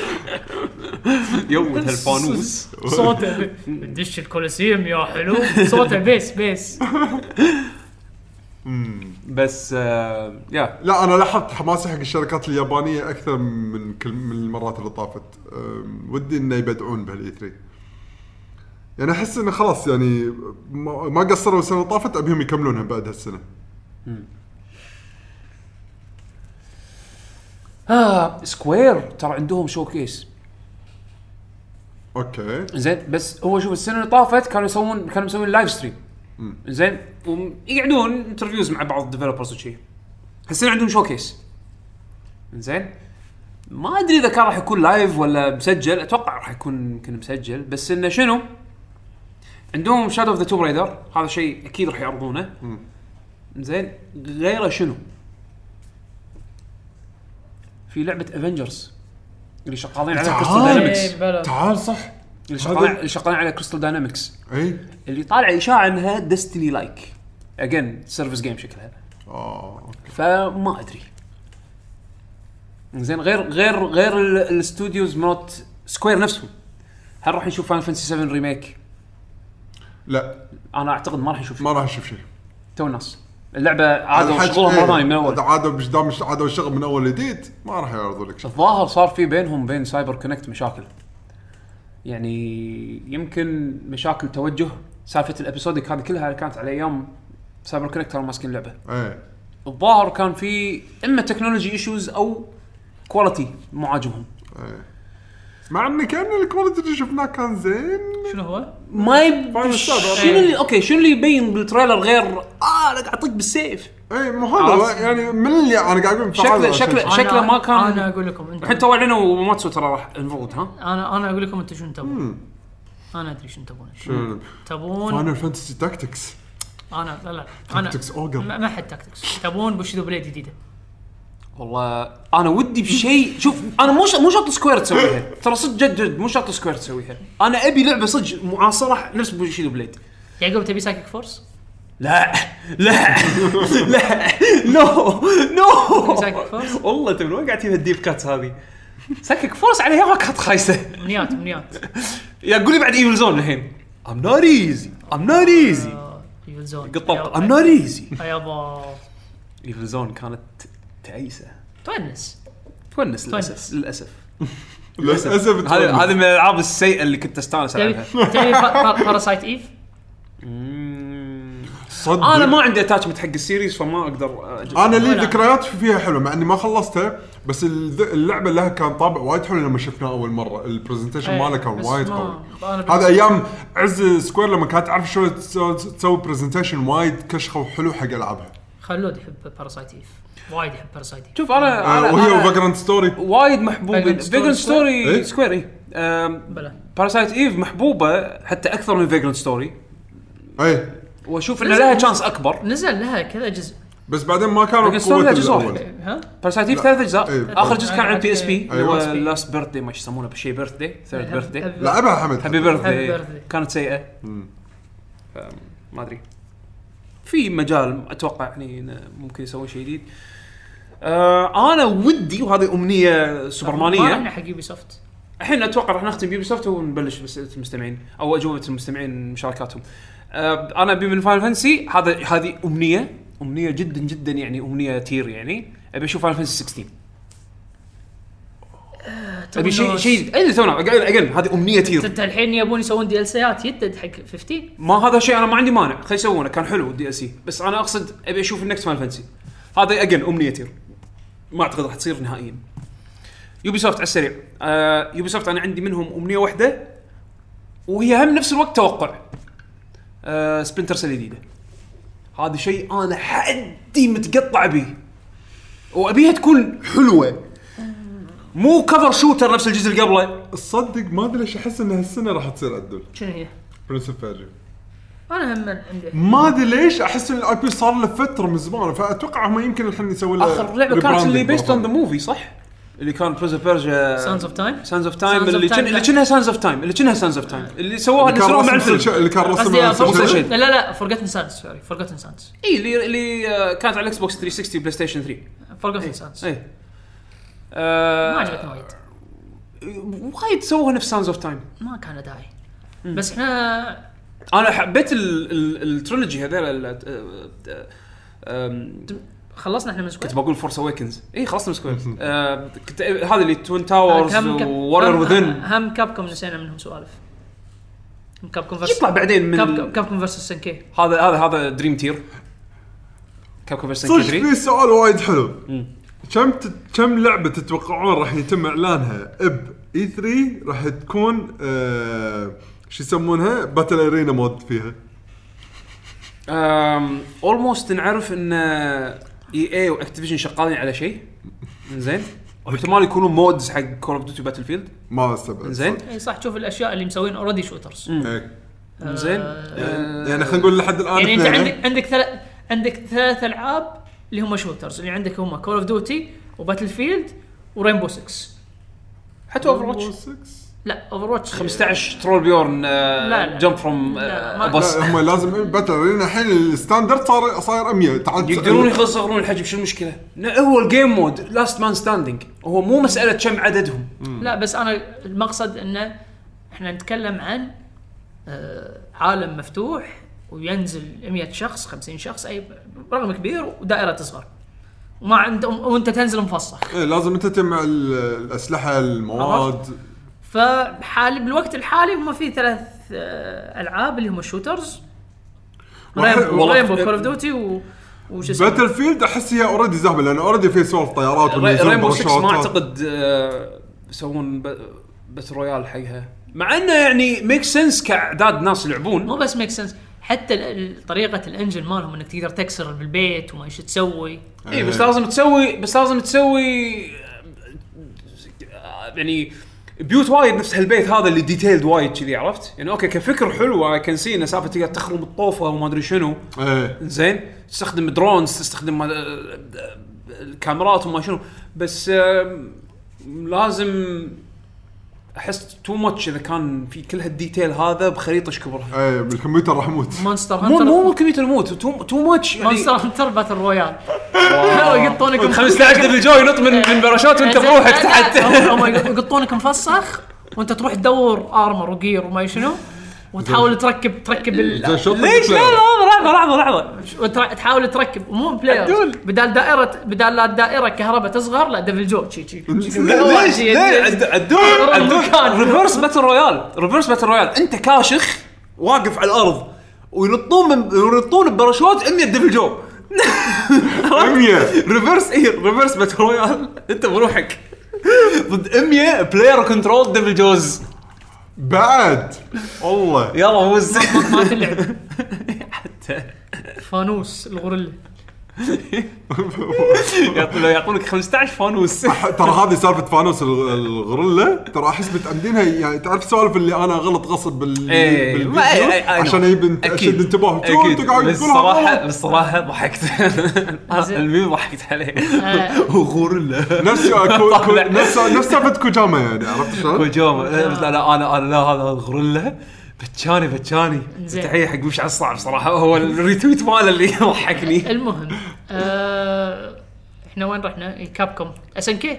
[SPEAKER 1] يوت هالفانوس
[SPEAKER 3] صوته تدش الكولوسيوم يا حلو صوته بيس بيس
[SPEAKER 1] بس آه، يا
[SPEAKER 4] لا انا لاحظت حماسي حق الشركات اليابانيه اكثر من كل من المرات اللي طافت أم، ودي انه يبدعون بهالاي 3 يعني احس انه خلاص يعني ما ما قصروا السنه اللي طافت ابيهم يكملونها بعد هالسنه
[SPEAKER 1] آه سكوير ترى عندهم شو كيس
[SPEAKER 4] اوكي
[SPEAKER 1] زين بس هو شوف السنه اللي طافت كانوا يسوون كانوا مسوين لايف ستريم زين ويقعدون انترفيوز مع بعض الديفلوبرز وشي هالسنه عندهم شو كيس زين ما ادري اذا كان راح يكون لايف ولا مسجل اتوقع راح يكون يمكن مسجل بس انه شنو عندهم شادو اوف ذا توم رايدر هذا شيء اكيد راح يعرضونه زين غيره شنو في لعبه افنجرز اللي شغالين عليها كريستال
[SPEAKER 4] تعال.
[SPEAKER 1] داينامكس
[SPEAKER 4] تعال صح
[SPEAKER 1] اللي شغالين اللي شغالين على كريستال داينامكس
[SPEAKER 4] اي
[SPEAKER 1] اللي طالع اشاعه انها ديستني لايك اجين سيرفيس جيم شكلها
[SPEAKER 4] آه.
[SPEAKER 1] فما ادري زين غير غير غير ال- الاستوديوز مالت سكوير نفسهم هل راح نشوف فاين فانسي 7 ريميك؟
[SPEAKER 4] لا
[SPEAKER 1] انا اعتقد ما راح نشوف شيء.
[SPEAKER 4] ما راح اشوف شيء
[SPEAKER 1] تو الناس اللعبه عادوا
[SPEAKER 4] الحج-
[SPEAKER 1] شغلها مره
[SPEAKER 4] إيه،
[SPEAKER 1] ثانيه من اول
[SPEAKER 4] إذا عادوا مش دام مش عادوا الشغل من اول جديد ما راح يعرضوا لك شيء
[SPEAKER 1] الظاهر صار في بينهم بين سايبر كونكت مشاكل يعني يمكن مشاكل توجه سالفه الابيسودك هذه كلها كانت على ايام سايبر كونكت كانوا ماسكين اللعبه
[SPEAKER 4] ايه
[SPEAKER 1] الظاهر كان في اما تكنولوجي ايشوز او كواليتي مو عاجبهم
[SPEAKER 4] ايه مع ان كان الكواليتي اللي شفناه كان زين
[SPEAKER 3] شنو هو؟
[SPEAKER 1] ما يب...
[SPEAKER 4] فاينل ستار.
[SPEAKER 1] شنو اللي اوكي شنو اللي يبين بالتريلر غير اه انا قاعد اطق بالسيف
[SPEAKER 4] ايه مو هذا يعني من اللي انا قاعد اقول
[SPEAKER 1] شكله
[SPEAKER 4] فعلا
[SPEAKER 1] شكله
[SPEAKER 4] عشان-
[SPEAKER 1] شكله ما كان
[SPEAKER 3] انا اقول لكم انت
[SPEAKER 1] الحين تو اعلنوا وماتسو ترى راح انفرض ها
[SPEAKER 3] انا انا اقول لكم انتم شنو تبون انا ادري شنو تبون
[SPEAKER 4] شنو
[SPEAKER 3] تبون
[SPEAKER 4] فاينل فانتسي تاكتكس
[SPEAKER 3] انا لا لا انا
[SPEAKER 4] تاكتكس أوجر.
[SPEAKER 3] ما ما حد تاكتكس تبون بوشيدو بليد جديده
[SPEAKER 1] والله انا ودي بشيء شوف انا مو ش- مو شرط سكوير تسويها ترى صدق جد جد مو شرط سكوير تسويها انا ابي لعبه صدق معاصره نفس بوشيدو بليد
[SPEAKER 3] يعقوب تبي سايكيك فورس؟
[SPEAKER 1] لا لا لا نو نو
[SPEAKER 3] سايكيك فورس؟
[SPEAKER 1] والله تبي وين قاعد تجيب الديب كات هذه سكك فرص عليها ما كانت خايسه
[SPEAKER 3] امنيات امنيات
[SPEAKER 1] يا قولي بعد ايفل زون الحين ام نوت ايزي ام نوت ايزي
[SPEAKER 3] آه، ايفل زون
[SPEAKER 1] قطبت ام نوت ايزي
[SPEAKER 3] يابا
[SPEAKER 1] ايفل زون كانت تعيسه
[SPEAKER 3] تونس
[SPEAKER 1] تونس
[SPEAKER 3] للأسف-
[SPEAKER 1] للاسف للاسف
[SPEAKER 4] للاسف
[SPEAKER 1] هذه هذه من الالعاب السيئه اللي كنت استانس
[SPEAKER 3] تبي
[SPEAKER 1] عليها
[SPEAKER 3] تبي باراسايت ايف؟
[SPEAKER 4] صدق
[SPEAKER 1] انا ما عندي اتاتشمنت حق السيريز فما اقدر أجيب.
[SPEAKER 4] انا لي
[SPEAKER 3] آه، ولا.
[SPEAKER 4] ذكريات فيها حلوه مع اني ما خلصتها بس الذ- اللعبه لها كان طابع وايد حلو لما شفناه اول مره البرزنتيشن
[SPEAKER 3] إيه،
[SPEAKER 4] ماله كان
[SPEAKER 3] بس
[SPEAKER 4] وايد
[SPEAKER 3] ما-
[SPEAKER 4] قوي
[SPEAKER 3] أنا بال-
[SPEAKER 4] هذا ايام عز سكوير لما كانت تعرف شو تسوي برزنتيشن وايد كشخه وحلو حق العابها
[SPEAKER 3] خلود يحب باراسايت ايف وايد يحب باراسايت ايف
[SPEAKER 1] شوف انا
[SPEAKER 4] آه،
[SPEAKER 1] انا
[SPEAKER 4] وهي
[SPEAKER 1] أنا
[SPEAKER 4] وفاجرانت ستوري
[SPEAKER 1] وايد محبوبه
[SPEAKER 3] Vagrant Story
[SPEAKER 1] فيجرنت
[SPEAKER 4] إيه؟
[SPEAKER 1] ستوري سكوير اي
[SPEAKER 3] بلا
[SPEAKER 1] باراسايت ايف محبوبه حتى اكثر من فيجرنت ستوري
[SPEAKER 4] اي
[SPEAKER 1] واشوف ان لها تشانس اكبر
[SPEAKER 3] نزل لها كذا جزء
[SPEAKER 4] بس بعدين ما كانوا
[SPEAKER 1] Vagrant Story لها جزء
[SPEAKER 4] الأول.
[SPEAKER 1] واحد.
[SPEAKER 3] ها؟
[SPEAKER 1] باراسايت ايف
[SPEAKER 4] لا.
[SPEAKER 1] ثلاث
[SPEAKER 4] إيه.
[SPEAKER 1] اجزاء اخر جزء كان على البي اس بي اللي هو
[SPEAKER 4] أيوة.
[SPEAKER 1] لاست بيرث داي ما يسمونه بشيء بيرث داي ثيرد بيرث داي
[SPEAKER 4] لعبها حمد
[SPEAKER 1] هابي بيرث
[SPEAKER 3] Happy
[SPEAKER 1] داي
[SPEAKER 3] birthday.
[SPEAKER 1] كانت سيئه أم، ما ادري في مجال اتوقع يعني إنه ممكن يسوون شيء جديد آه انا ودي وهذه امنيه
[SPEAKER 3] ما رحنا
[SPEAKER 1] سوبرمانيه
[SPEAKER 3] حق يوبي سوفت
[SPEAKER 1] الحين اتوقع راح نختم بيوبي سوفت ونبلش باسئله المستمعين او اجوبه المستمعين مشاركاتهم آه انا ابي من فاينل فانسي هذا هذه امنيه امنيه جدا جدا يعني امنيه تير يعني ابي اشوف فاينل فانسي 16 ابي شيء شيء ادري تونا اجين هذه امنيه تير
[SPEAKER 3] انت الحين يبون يسوون دي ال سيات يدد حق 15
[SPEAKER 1] ما هذا شيء انا ما عندي مانع خلي يسوونه كان حلو الدي ال سي بس انا اقصد ابي اشوف النكست مال فانسي هذا اجين امنيتي ما اعتقد راح تصير نهائيا يوبي سوفت على السريع آه يوبي سوفت انا عندي منهم امنيه واحده وهي هم نفس الوقت توقع آه سبنتر سيل جديده هذا شيء انا حدي متقطع بيه وابيها تكون حلوه مو كفر شوتر نفس الجزء اللي قبله
[SPEAKER 4] تصدق ما ادري ليش احس ان هالسنه راح تصير عدل
[SPEAKER 3] شنو هي؟
[SPEAKER 4] برنس اوف بيرجي
[SPEAKER 3] انا هم عندي
[SPEAKER 4] ما ادري ليش احس ان الاي بي صار له فتره من زمان فاتوقع هم يمكن الحين يسوي له
[SPEAKER 1] اخر لعبه كانت اللي
[SPEAKER 4] rebranding
[SPEAKER 1] بيست
[SPEAKER 4] مرة
[SPEAKER 1] اون ذا موفي صح؟ اللي كان برنس اوف بيرجا
[SPEAKER 3] سانز اوف تايم
[SPEAKER 1] سانز اوف تايم
[SPEAKER 3] Sons of
[SPEAKER 1] اللي
[SPEAKER 3] Time
[SPEAKER 1] كان اللي
[SPEAKER 3] لا.
[SPEAKER 1] كانها سانز اوف تايم اللي كانها سانز اوف تايم اللي سووها اللي
[SPEAKER 4] اللي كان
[SPEAKER 1] سووها مع
[SPEAKER 4] رسم
[SPEAKER 1] الفيلم
[SPEAKER 4] سلش- اللي كان رسم
[SPEAKER 3] قصدي
[SPEAKER 1] Forgotten
[SPEAKER 4] سلش-
[SPEAKER 1] Shade.
[SPEAKER 3] لا لا لا فورجتن سانز سوري فورجتن سانز
[SPEAKER 1] اي اللي اللي آه، كانت على الاكس بوكس 360 بلاي ستيشن 3 إيه.
[SPEAKER 3] فورجتن سانز
[SPEAKER 1] اي
[SPEAKER 3] ما
[SPEAKER 1] آه،
[SPEAKER 3] عجبتني وايد
[SPEAKER 1] وايد سووها نفس سانز اوف تايم
[SPEAKER 3] ما كان له داعي بس احنا
[SPEAKER 1] انا حبيت ال- ال- الترولوجي هذول ال- آه، آه، آم،
[SPEAKER 3] خلصنا احنا من سكوير
[SPEAKER 1] كنت بقول فورس اويكنز اي خلصنا سكوير آه، كنت هذا اللي توين تاورز
[SPEAKER 3] هم كاب-
[SPEAKER 1] وورير
[SPEAKER 3] هم-
[SPEAKER 1] وذن
[SPEAKER 3] هم كابكم نسينا منهم سوالف هم كابكم فيرس
[SPEAKER 1] يطلع بعدين من
[SPEAKER 3] كابكم كابكم فيرسس سنكي
[SPEAKER 1] هذا هذا هذا دريم تير كاب كوفرسن
[SPEAKER 4] صدق
[SPEAKER 1] 3
[SPEAKER 4] في سؤال وايد حلو كم تت... كم لعبه تتوقعون راح يتم اعلانها اب اي 3 راح تكون آه... شو يسمونها باتل ارينا مود فيها
[SPEAKER 1] اولموست Um, نعرف ان اي اي واكتيفيجن شغالين على شيء زين واحتمال يكونوا مودز حق كول اوف ديوتي باتل فيلد
[SPEAKER 4] ما استبعد
[SPEAKER 1] زين
[SPEAKER 3] اي إيه، صح تشوف الاشياء اللي مسوين اوريدي شوترز
[SPEAKER 4] إيه.
[SPEAKER 3] آه،
[SPEAKER 1] زين
[SPEAKER 4] يعني
[SPEAKER 1] آه،
[SPEAKER 4] يعني خلينا نقول لحد الان
[SPEAKER 3] يعني انت
[SPEAKER 4] اثنين.
[SPEAKER 3] عندك عندك ثلاث عندك ثلاث العاب اللي هم شوترز اللي عندك هم كول اوف ديوتي وباتل فيلد ورينبو 6
[SPEAKER 1] حتى اوفر واتش
[SPEAKER 4] Rainbow Six.
[SPEAKER 3] لا اوفر واتش
[SPEAKER 1] 15 ترول بيورن آه،
[SPEAKER 3] لا، لا.
[SPEAKER 1] جمب فروم
[SPEAKER 3] لا، ما-
[SPEAKER 1] بس
[SPEAKER 4] هم لازم باتل لان الحين الستاندرد صار صاير 100 تعال
[SPEAKER 1] يقدرون يصغرون الحجم شو المشكله؟ لا هو الجيم مود لاست مان ستاندينج هو مو مساله كم عددهم
[SPEAKER 3] لا بس انا المقصد انه احنا نتكلم عن آه، عالم مفتوح وينزل 100 شخص 50 شخص اي رقم كبير ودائره تصغر وما عند وانت تنزل مفصل
[SPEAKER 4] إيه، لازم انت تجمع ال- الاسلحه المواد
[SPEAKER 3] فحالي بالوقت الحالي هم في ثلاث آه، العاب اللي هم شوترز
[SPEAKER 4] وح- والله
[SPEAKER 3] ريمبو كول اوف ديوتي و وش اسمه
[SPEAKER 4] باتل فيلد احس هي اوريدي زحمه لان اوريدي في سوالف طيارات والنزول
[SPEAKER 1] رينبو 6 ما
[SPEAKER 4] باراشوتات.
[SPEAKER 1] اعتقد آه، يسوون بس رويال حقها مع انه يعني ميك سنس كاعداد ناس يلعبون
[SPEAKER 3] مو بس ميك سنس حتى ال- ال- طريقه الانجن مالهم انك تقدر تكسر بالبيت وما ايش تسوي
[SPEAKER 1] اي إيه، بس لازم تسوي بس لازم تسوي آه، يعني بيوت وايد نفس هالبيت هذا اللي ديتيلد وايد كذي عرفت؟ يعني اوكي كفكر حلوه كان سي انه سالفه تقدر تخرم الطوفه وما ادري شنو
[SPEAKER 4] ايه
[SPEAKER 1] زين تستخدم درونز تستخدم آه، آه، الكاميرات وما شنو بس آه، لازم احس تو ماتش اذا كان في كل هالديتيل هذا بخريطه ايش كبرها
[SPEAKER 4] ايه بالكمبيوتر راح اموت
[SPEAKER 3] مونستر
[SPEAKER 1] مو
[SPEAKER 3] هانتر
[SPEAKER 1] مو مو كمية الموت تو ماتش يعني
[SPEAKER 3] مونستر هانتر باتل رويال لا يقطونك
[SPEAKER 1] 15 دبل جوي ينط من من باراشوت
[SPEAKER 3] إيه،
[SPEAKER 1] وانت بروحك تحت
[SPEAKER 3] هم- هم يقطونك مفسخ وانت تروح تدور ارمر وجير وما إيش شنو وتحاول تركب تركب ال...
[SPEAKER 4] زين شو
[SPEAKER 1] ليش لا لحظه لحظه لحظه
[SPEAKER 3] وترا- تحاول تركب مو بلاير بدال دائره بدال لا الدائره كهرباء تصغر لا دبل جو شي شي
[SPEAKER 1] ليش ليش عدول عدول ريفرس باتل رويال ريفرس باتل رويال انت كاشخ واقف على الارض وينطون من ينطون بباراشوت 100 دبل جو إيه،
[SPEAKER 4] 100
[SPEAKER 1] ريفرس اي ريفرس باتل رويال انت بروحك ضد 100 بلاير كنترول دبل جوز
[SPEAKER 4] بعد والله
[SPEAKER 1] يلا وز
[SPEAKER 3] ما تلعب فانوس الغوريلا
[SPEAKER 1] يعطونك 15 فانوس
[SPEAKER 4] ترى هذه سالفه فانوس ال- الغوريلا ترى احس متعمدينها يعني تعرف سوالف اللي انا غلط غصب بال
[SPEAKER 1] إيه،
[SPEAKER 4] بالفيديو
[SPEAKER 1] ما- إيه، إيه، I know.
[SPEAKER 4] عشان يبن
[SPEAKER 1] اكيد
[SPEAKER 4] اشد انتباه
[SPEAKER 1] اكيد
[SPEAKER 4] أنت قاعد
[SPEAKER 1] بس
[SPEAKER 4] تقولها
[SPEAKER 1] صراحه
[SPEAKER 4] غلط.
[SPEAKER 1] بس صراحه ضحكت
[SPEAKER 3] زين.
[SPEAKER 1] الميم ضحكت عليه
[SPEAKER 3] آه.
[SPEAKER 1] وغوريلا
[SPEAKER 4] نفس كو- كو-
[SPEAKER 1] طلع.
[SPEAKER 4] نفس نفس سالفه كوجاما يعني عرفت شلون؟
[SPEAKER 1] كوجوما
[SPEAKER 3] آه.
[SPEAKER 1] لا لا انا انا لا هذا غوريلا بتشاني بتشاني
[SPEAKER 3] زين.
[SPEAKER 1] تحيه حق مش على الصعب صراحه هو الريتويت ماله اللي ضحكني
[SPEAKER 3] المهم آه، احنا وين رحنا؟ إيه، كاب كوم اس ان كي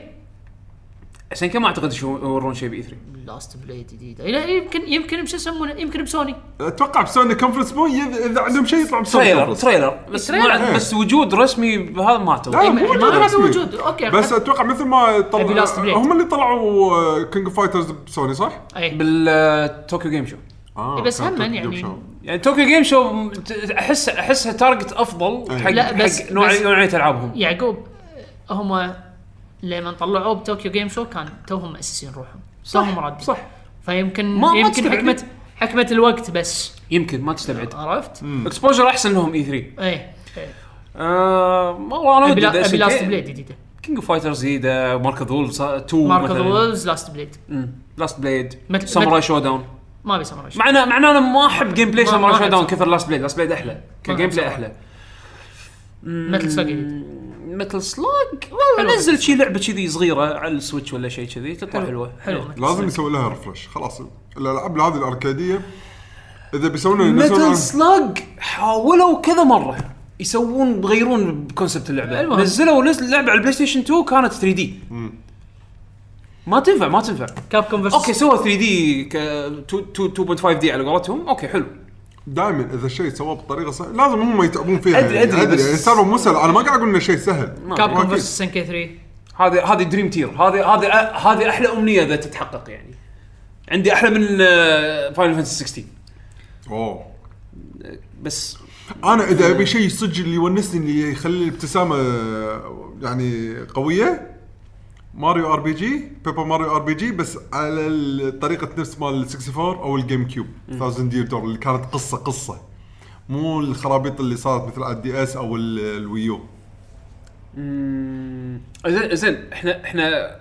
[SPEAKER 1] عشان كذا ما اعتقد شو يورون شيء باي 3
[SPEAKER 3] لاست بليد جديده لا، يمكن يمكن بش يسمونه يمكن بسوني
[SPEAKER 4] اتوقع بسوني كونفرنس مو إذا- اذا عندهم شيء يطلع بسوني
[SPEAKER 1] تريلر
[SPEAKER 4] كونفرنس.
[SPEAKER 1] تريلر إيه. بس
[SPEAKER 3] تريلر.
[SPEAKER 1] ما بس وجود رسمي هذا ما اعتقد
[SPEAKER 4] لا،
[SPEAKER 3] إيه،
[SPEAKER 4] آه، مو
[SPEAKER 3] ما-
[SPEAKER 4] موجود
[SPEAKER 3] ما هذا
[SPEAKER 4] رسمي.
[SPEAKER 3] موجود اوكي
[SPEAKER 4] بس
[SPEAKER 3] حط-
[SPEAKER 4] اتوقع مثل ما
[SPEAKER 3] أبي
[SPEAKER 4] طلع
[SPEAKER 3] Last Blade.
[SPEAKER 4] هم اللي طلعوا آه، كينج فايترز بسوني صح؟
[SPEAKER 3] إيه.
[SPEAKER 1] بالطوكيو جيم شو
[SPEAKER 4] آه
[SPEAKER 3] بس
[SPEAKER 4] كان
[SPEAKER 3] هم
[SPEAKER 4] توقيت
[SPEAKER 3] يعني-
[SPEAKER 4] قبل شو.
[SPEAKER 1] يعني طوكيو جيم شو م- ت- احس احسها تارجت
[SPEAKER 4] إيه.
[SPEAKER 1] افضل حق
[SPEAKER 3] لا، بس-
[SPEAKER 1] حق نوع
[SPEAKER 3] بس-
[SPEAKER 1] نوعيه العابهم
[SPEAKER 3] يعقوب آه، هم لما طلعوه بطوكيو جيم شو كان توهم مؤسسين روحهم توهم رادين
[SPEAKER 1] صح
[SPEAKER 3] فيمكن
[SPEAKER 1] ما- ما
[SPEAKER 3] يمكن
[SPEAKER 1] تستبعد.
[SPEAKER 3] حكمه حكمه الوقت بس
[SPEAKER 1] يمكن ما تستبعد
[SPEAKER 3] عرفت؟
[SPEAKER 1] اكسبوجر احسن لهم E اي 3
[SPEAKER 3] ايه إيه.
[SPEAKER 1] آه والله انا
[SPEAKER 3] ابي
[SPEAKER 1] ودي
[SPEAKER 3] لا- أبي لاست
[SPEAKER 1] ابي
[SPEAKER 3] بليد جديده
[SPEAKER 1] كينج اوف فايترز جديده مارك اوف وولفز 2
[SPEAKER 3] مارك اوف وولز لاست بليد
[SPEAKER 1] لاست بليد
[SPEAKER 3] مت-
[SPEAKER 1] ساموراي
[SPEAKER 3] مت-
[SPEAKER 1] شو داون
[SPEAKER 3] ما ابي ساموراي شو.
[SPEAKER 1] معنا معنا انا ما احب جيم بلاي
[SPEAKER 3] ما-
[SPEAKER 1] ساموراي
[SPEAKER 3] ما
[SPEAKER 1] شو
[SPEAKER 3] أحب
[SPEAKER 1] داون
[SPEAKER 3] Samurai.
[SPEAKER 1] كثر لاست بليد لاست بليد احلى كجيم بلاي
[SPEAKER 3] Samurai.
[SPEAKER 1] احلى
[SPEAKER 3] متل سلاج جديد
[SPEAKER 1] مثل سلاج والله
[SPEAKER 3] حلوة.
[SPEAKER 1] نزل شي لعبه كذي صغيره على السويتش ولا شيء كذي تطلع حلوه
[SPEAKER 3] حلو متل
[SPEAKER 4] لازم يسوي لها ريفرش خلاص الالعاب هذه الاركاديه اذا بيسوون ينزلون-
[SPEAKER 1] متل سلاج حاولوا كذا مره يسوون يغيرون بكونسبت اللعبه
[SPEAKER 3] المهم.
[SPEAKER 1] نزلوا نزل لعبه على البلاي ستيشن 2 كانت 3 دي ما تنفع ما تنفع
[SPEAKER 3] كاب كوم فيرسس
[SPEAKER 1] اوكي سووا 3 دي 2.5 دي على قولتهم اوكي حلو
[SPEAKER 4] دائما اذا الشيء سواه بطريقه سهله لازم هم يتعبون فيها
[SPEAKER 1] أدري-
[SPEAKER 4] يعني.
[SPEAKER 1] أدري، بس-
[SPEAKER 4] يعني السالفه مو سهله انا ما قاعد اقول انه شيء سهل
[SPEAKER 3] كاب كوم
[SPEAKER 4] أكيد.
[SPEAKER 3] فيرسس ان كي 3
[SPEAKER 1] هذه هذه دريم تير هذه هذه أ- هذه احلى امنيه اذا تتحقق يعني عندي احلى من آه، فاينل فانتسي 16
[SPEAKER 4] اوه
[SPEAKER 1] بس
[SPEAKER 4] انا اذا ابي شيء صدق اللي يونسني اللي يخلي الابتسامه يعني قويه ماريو ار بي جي بيبر ماريو ار بي جي بس على ال- طريقه نفس مال ال 64 او الجيم كيوب 1000 دير دور اللي كانت قصه قصه مو الخرابيط اللي صارت مثل على الدي اس او ال- الويو
[SPEAKER 1] زين زين احنا احنا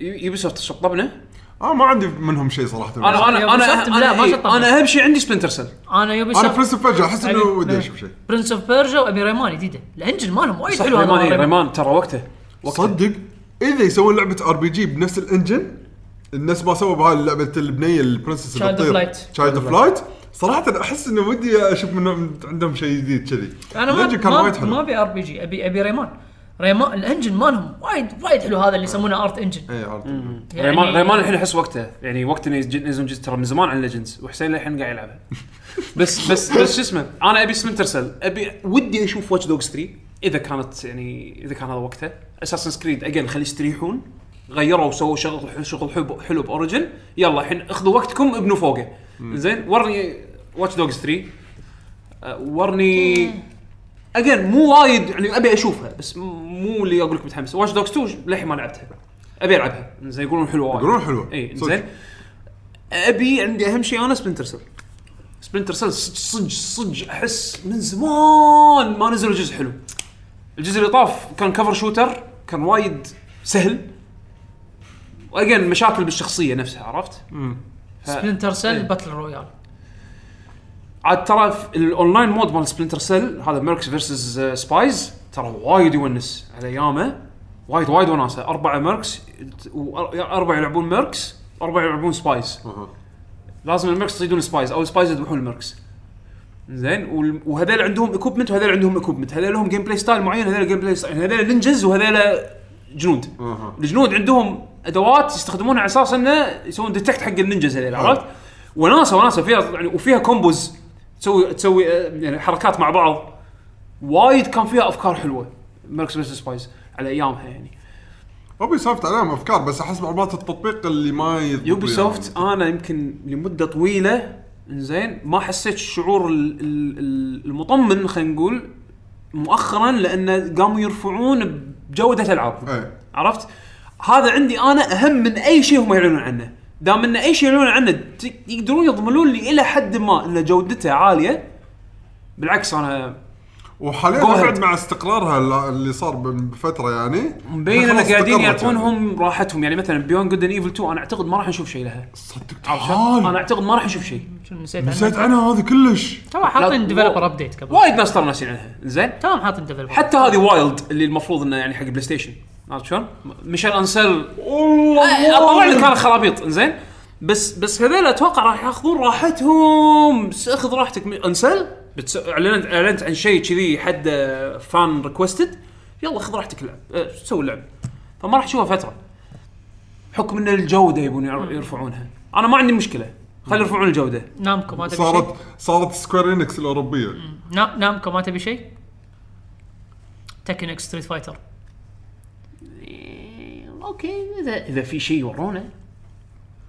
[SPEAKER 1] يوبي سوفت شطبنا
[SPEAKER 4] اه ما عندي منهم شيء صراحه
[SPEAKER 1] انا انا انا
[SPEAKER 3] Ubisoft لا، ما
[SPEAKER 1] انا, إيه،
[SPEAKER 3] شطبنا.
[SPEAKER 1] انا اهم شيء عندي سبلنتر سيل
[SPEAKER 3] انا يوبي
[SPEAKER 4] انا
[SPEAKER 3] سوفت
[SPEAKER 4] برنس فجاه احس
[SPEAKER 3] يعني
[SPEAKER 4] انه ودي اشوف شيء
[SPEAKER 3] برنس اوف بيرجا وابي ريمان جديده الانجن مالهم وايد
[SPEAKER 1] صح
[SPEAKER 3] حلو هذا
[SPEAKER 1] ريمان
[SPEAKER 3] مال
[SPEAKER 1] إيه،
[SPEAKER 3] ريمان.
[SPEAKER 1] ريمان ترى وقته وقته
[SPEAKER 4] إيه صدق اذا يسوون لعبه ار بي جي بنفس الانجن الناس ما سووا بهاي اللعبه البنيه البرنسس
[SPEAKER 3] Child of Light.
[SPEAKER 4] تشايلد اوف لايت صراحه عحس انه ودي اشوف منهم عندهم شيء جديد كذي
[SPEAKER 3] انا ما
[SPEAKER 4] Legend كان وايد
[SPEAKER 3] ما
[SPEAKER 4] حلو
[SPEAKER 3] ما ابي ار بي جي ابي ابي ريمان ريمان الانجن مالهم وايد وايد حلو هذا اللي يسمونه ارت انجن
[SPEAKER 4] اي إيه، عرفت.
[SPEAKER 3] يعني-
[SPEAKER 1] ريمان ريمان الحين احس وقته يعني وقت انه يسج- ينزل جزء ترى من زمان عن ليجندز وحسين للحين قاعد يلعبها بس بس بس شو اسمه انا ابي سمنتر سيل ابي ودي اشوف واتش دوجز 3 اذا كانت يعني اذا كان هذا وقته اساسن سكريد اجين خليه يستريحون غيروا وسووا شغل حلو شغل حلو, حلو باوريجن يلا الحين اخذوا وقتكم ابنوا فوقه زين ورني واتش دوجز 3 أه، ورني اجين مو وايد يعني ابي اشوفها بس مو اللي اقول لك متحمس واتش دوجز 2 للحين ما لعبتها ابي العبها زين يقولون حلوه وايد
[SPEAKER 4] يقولون حلوه
[SPEAKER 1] اي
[SPEAKER 4] صدق.
[SPEAKER 1] زين ابي عندي اهم شيء انا سبلنتر سيل سبلنتر سيل صج صج احس من زمان ما نزل جزء حلو الجزء اللي طاف كان كفر شوتر كان وايد سهل واجين مشاكل بالشخصيه نفسها عرفت؟
[SPEAKER 3] سبلنتر
[SPEAKER 1] إيه.
[SPEAKER 3] سيل باتل رويال
[SPEAKER 1] عاد ترى في الاونلاين مود مال سبلنتر سيل هذا ميركس فيرسز سبايز ترى وايد يونس على ايامه وايد وايد وناسه اربعه ميركس واربعه يلعبون ميركس اربعه يلعبون سبايز
[SPEAKER 4] أها.
[SPEAKER 1] لازم الميركس يصيدون سبايز او سبايز يذبحون الميركس زين وال- وهذول عندهم اكوبمنت وهذول عندهم اكوبمنت هذول لهم جيم بلاي ستايل معين هذول جيم بلاي ستايل هذول نينجز وهذول جنود
[SPEAKER 4] أها.
[SPEAKER 1] الجنود عندهم ادوات يستخدمونها على اساس انه يسوون ديتكت حق النينجز هذول عرفت؟ وناسه وناسه فيها يعني وفيها كومبوز تسوي تسوي آه، يعني حركات مع بعض وايد كان فيها افكار حلوه ميركس بس سبايز على ايامها يعني
[SPEAKER 4] اوبي سوفت عليهم افكار بس احس معلومات التطبيق اللي ما يضبط
[SPEAKER 1] يوبي
[SPEAKER 4] وياهم.
[SPEAKER 1] سوفت انا يمكن لمده طويله انزين ما حسيت الشعور ال- ال- ال- المطمن خلينا نقول مؤخرا لان قاموا يرفعون بجوده العابهم
[SPEAKER 4] اي
[SPEAKER 1] عرفت؟ هذا عندي انا اهم من اي شيء هم يعلنون عنه دام ان اي شيء يعلنون عنه ت- يقدرون يضمنون لي الى حد ما ان جودته عاليه بالعكس انا
[SPEAKER 4] وحاليا
[SPEAKER 1] Go ahead.
[SPEAKER 4] بعد مع استقرارها الل- اللي صار ب- بفتره يعني
[SPEAKER 1] مبين ان
[SPEAKER 4] خلاص
[SPEAKER 1] قاعدين
[SPEAKER 4] استقرت يعني.
[SPEAKER 1] يعطونهم راحتهم يعني مثلا بيون جود ايفل 2 انا اعتقد ما راح نشوف شيء لها
[SPEAKER 4] صدق
[SPEAKER 1] عرفت؟
[SPEAKER 4] تعال.
[SPEAKER 1] انا اعتقد ما راح نشوف شيء
[SPEAKER 3] شنو نسيت
[SPEAKER 4] نسيت
[SPEAKER 3] عنه؟
[SPEAKER 4] عنها هذه كلش
[SPEAKER 3] تو حاطين
[SPEAKER 1] لا،
[SPEAKER 3] ديفلوبر
[SPEAKER 1] واو.
[SPEAKER 3] ابديت قبل
[SPEAKER 1] وايد ناس ترى ناسين عنها زين
[SPEAKER 3] توهم حاطين ديفلوبر
[SPEAKER 1] حتى هذه وايلد اللي المفروض انه يعني حق بلاي ستيشن عرفت شلون؟ ميشيل انسل والله طبعا اللي كان خرابيط زين بس بس هذول اتوقع راح ياخذون راحتهم بس اخذ راحتك م- انسل بتس... اعلنت اعلنت عن شيء كذي حد فان ريكوستد يلا خذ راحتك العب أه، سوي اللعب فما راح تشوفها فتره حكم ان الجوده يبون يعر- يرفعونها انا ما عندي مشكله خلي يرفعون الجوده
[SPEAKER 3] نامكو ما تبي شيء
[SPEAKER 4] صارت صارت سكوير انكس الاوروبيه
[SPEAKER 3] نا- نامكو ما تبي شيء تكن ستريت فايتر
[SPEAKER 1] إيه، اوكي اذا اذا في شيء يورونا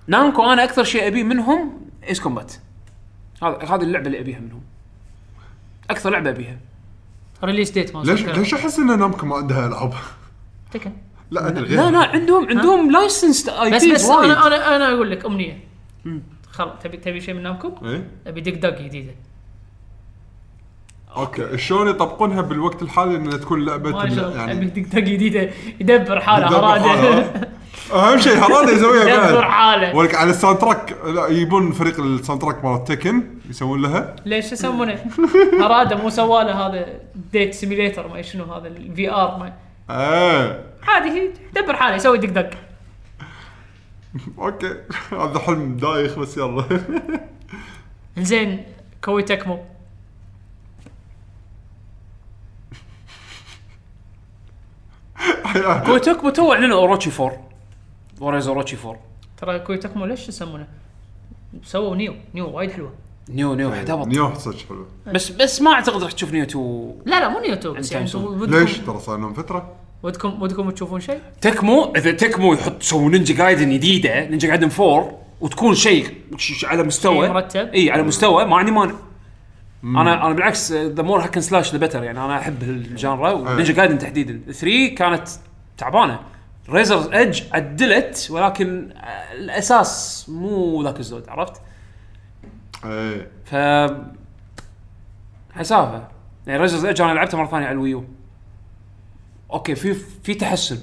[SPEAKER 1] نامكو انا اكثر شيء ابيه منهم ايس كومبات هذا هذه اللعبه اللي ابيها منهم اكثر لعبه ابيها
[SPEAKER 3] ريليس ديت ما
[SPEAKER 4] ليش
[SPEAKER 3] أتذكر.
[SPEAKER 4] ليش احس ان نامكو ما عندها العاب؟
[SPEAKER 3] تكن
[SPEAKER 4] لا ادري غير
[SPEAKER 1] لا لا عندهم عندهم لايسنس اي
[SPEAKER 3] بس
[SPEAKER 1] بيز
[SPEAKER 3] بس
[SPEAKER 1] وايد.
[SPEAKER 3] انا انا انا اقول لك امنيه خلاص تبي تبي شيء من نامكو؟
[SPEAKER 4] اي
[SPEAKER 3] ابي دق دق جديده
[SPEAKER 4] اوكي شلون يطبقونها بالوقت الحالي انها تكون لعبه
[SPEAKER 3] ما شاء
[SPEAKER 4] ال-
[SPEAKER 3] الله
[SPEAKER 4] يعني
[SPEAKER 3] ابي دق دق جديده يدبر حاله
[SPEAKER 4] يدبر
[SPEAKER 3] هراده
[SPEAKER 4] حاله. اهم شيء هذا يسويها بعد.
[SPEAKER 3] يدبر حاله
[SPEAKER 4] ولك على الساوند تراك لا يجيبون فريق الساوند تراك مال تكن يسوون لها
[SPEAKER 3] ليش شو يسمونه؟ هراده مو سواله هذا ديت سيميليتر ما شنو هذا الفي ار ما
[SPEAKER 4] ايه
[SPEAKER 3] عادي هي يدبر حاله يسوي دق دق
[SPEAKER 4] اوكي هذا حلم دايخ بس يلا
[SPEAKER 3] زين كوي تكمو
[SPEAKER 1] كويتوكو تو اعلنوا اوروتشي 4 ورايز اوروتشي 4
[SPEAKER 3] ترى كوي تكمو ليش شو يسمونه؟ سووا نيو نيو وايد حلوه
[SPEAKER 1] نيو نيو حتهبط
[SPEAKER 4] نيو صدق حلو
[SPEAKER 1] بس بس ما اعتقد راح تشوف نيو 2
[SPEAKER 3] لا لا مو نيو تو بس يعني
[SPEAKER 1] أنت
[SPEAKER 3] انتم ودكم-
[SPEAKER 4] ليش ترى صار لهم فتره
[SPEAKER 3] ودكم ودكم تشوفون شيء؟
[SPEAKER 1] تكمو اذا تكمو يحط سووا نينجا جايدن جديده نينجا جايدن 4 وتكون شيء ش- ش- على مستوى
[SPEAKER 3] شيء مرتب.
[SPEAKER 1] اي على مستوى ما عندي مانع انا انا بالعكس ذا مور هاكن سلاش ذا بيتر يعني انا احب الجانرا ونينجا جايدن تحديدا 3 كانت تعبانه ريزر ايدج عدلت ولكن آه، الاساس مو ذاك الزود عرفت؟
[SPEAKER 4] ايه
[SPEAKER 1] ف حسافه آه، يعني ريزرز ايدج انا لعبتها مره ثانيه على الويو اوكي في في تحسن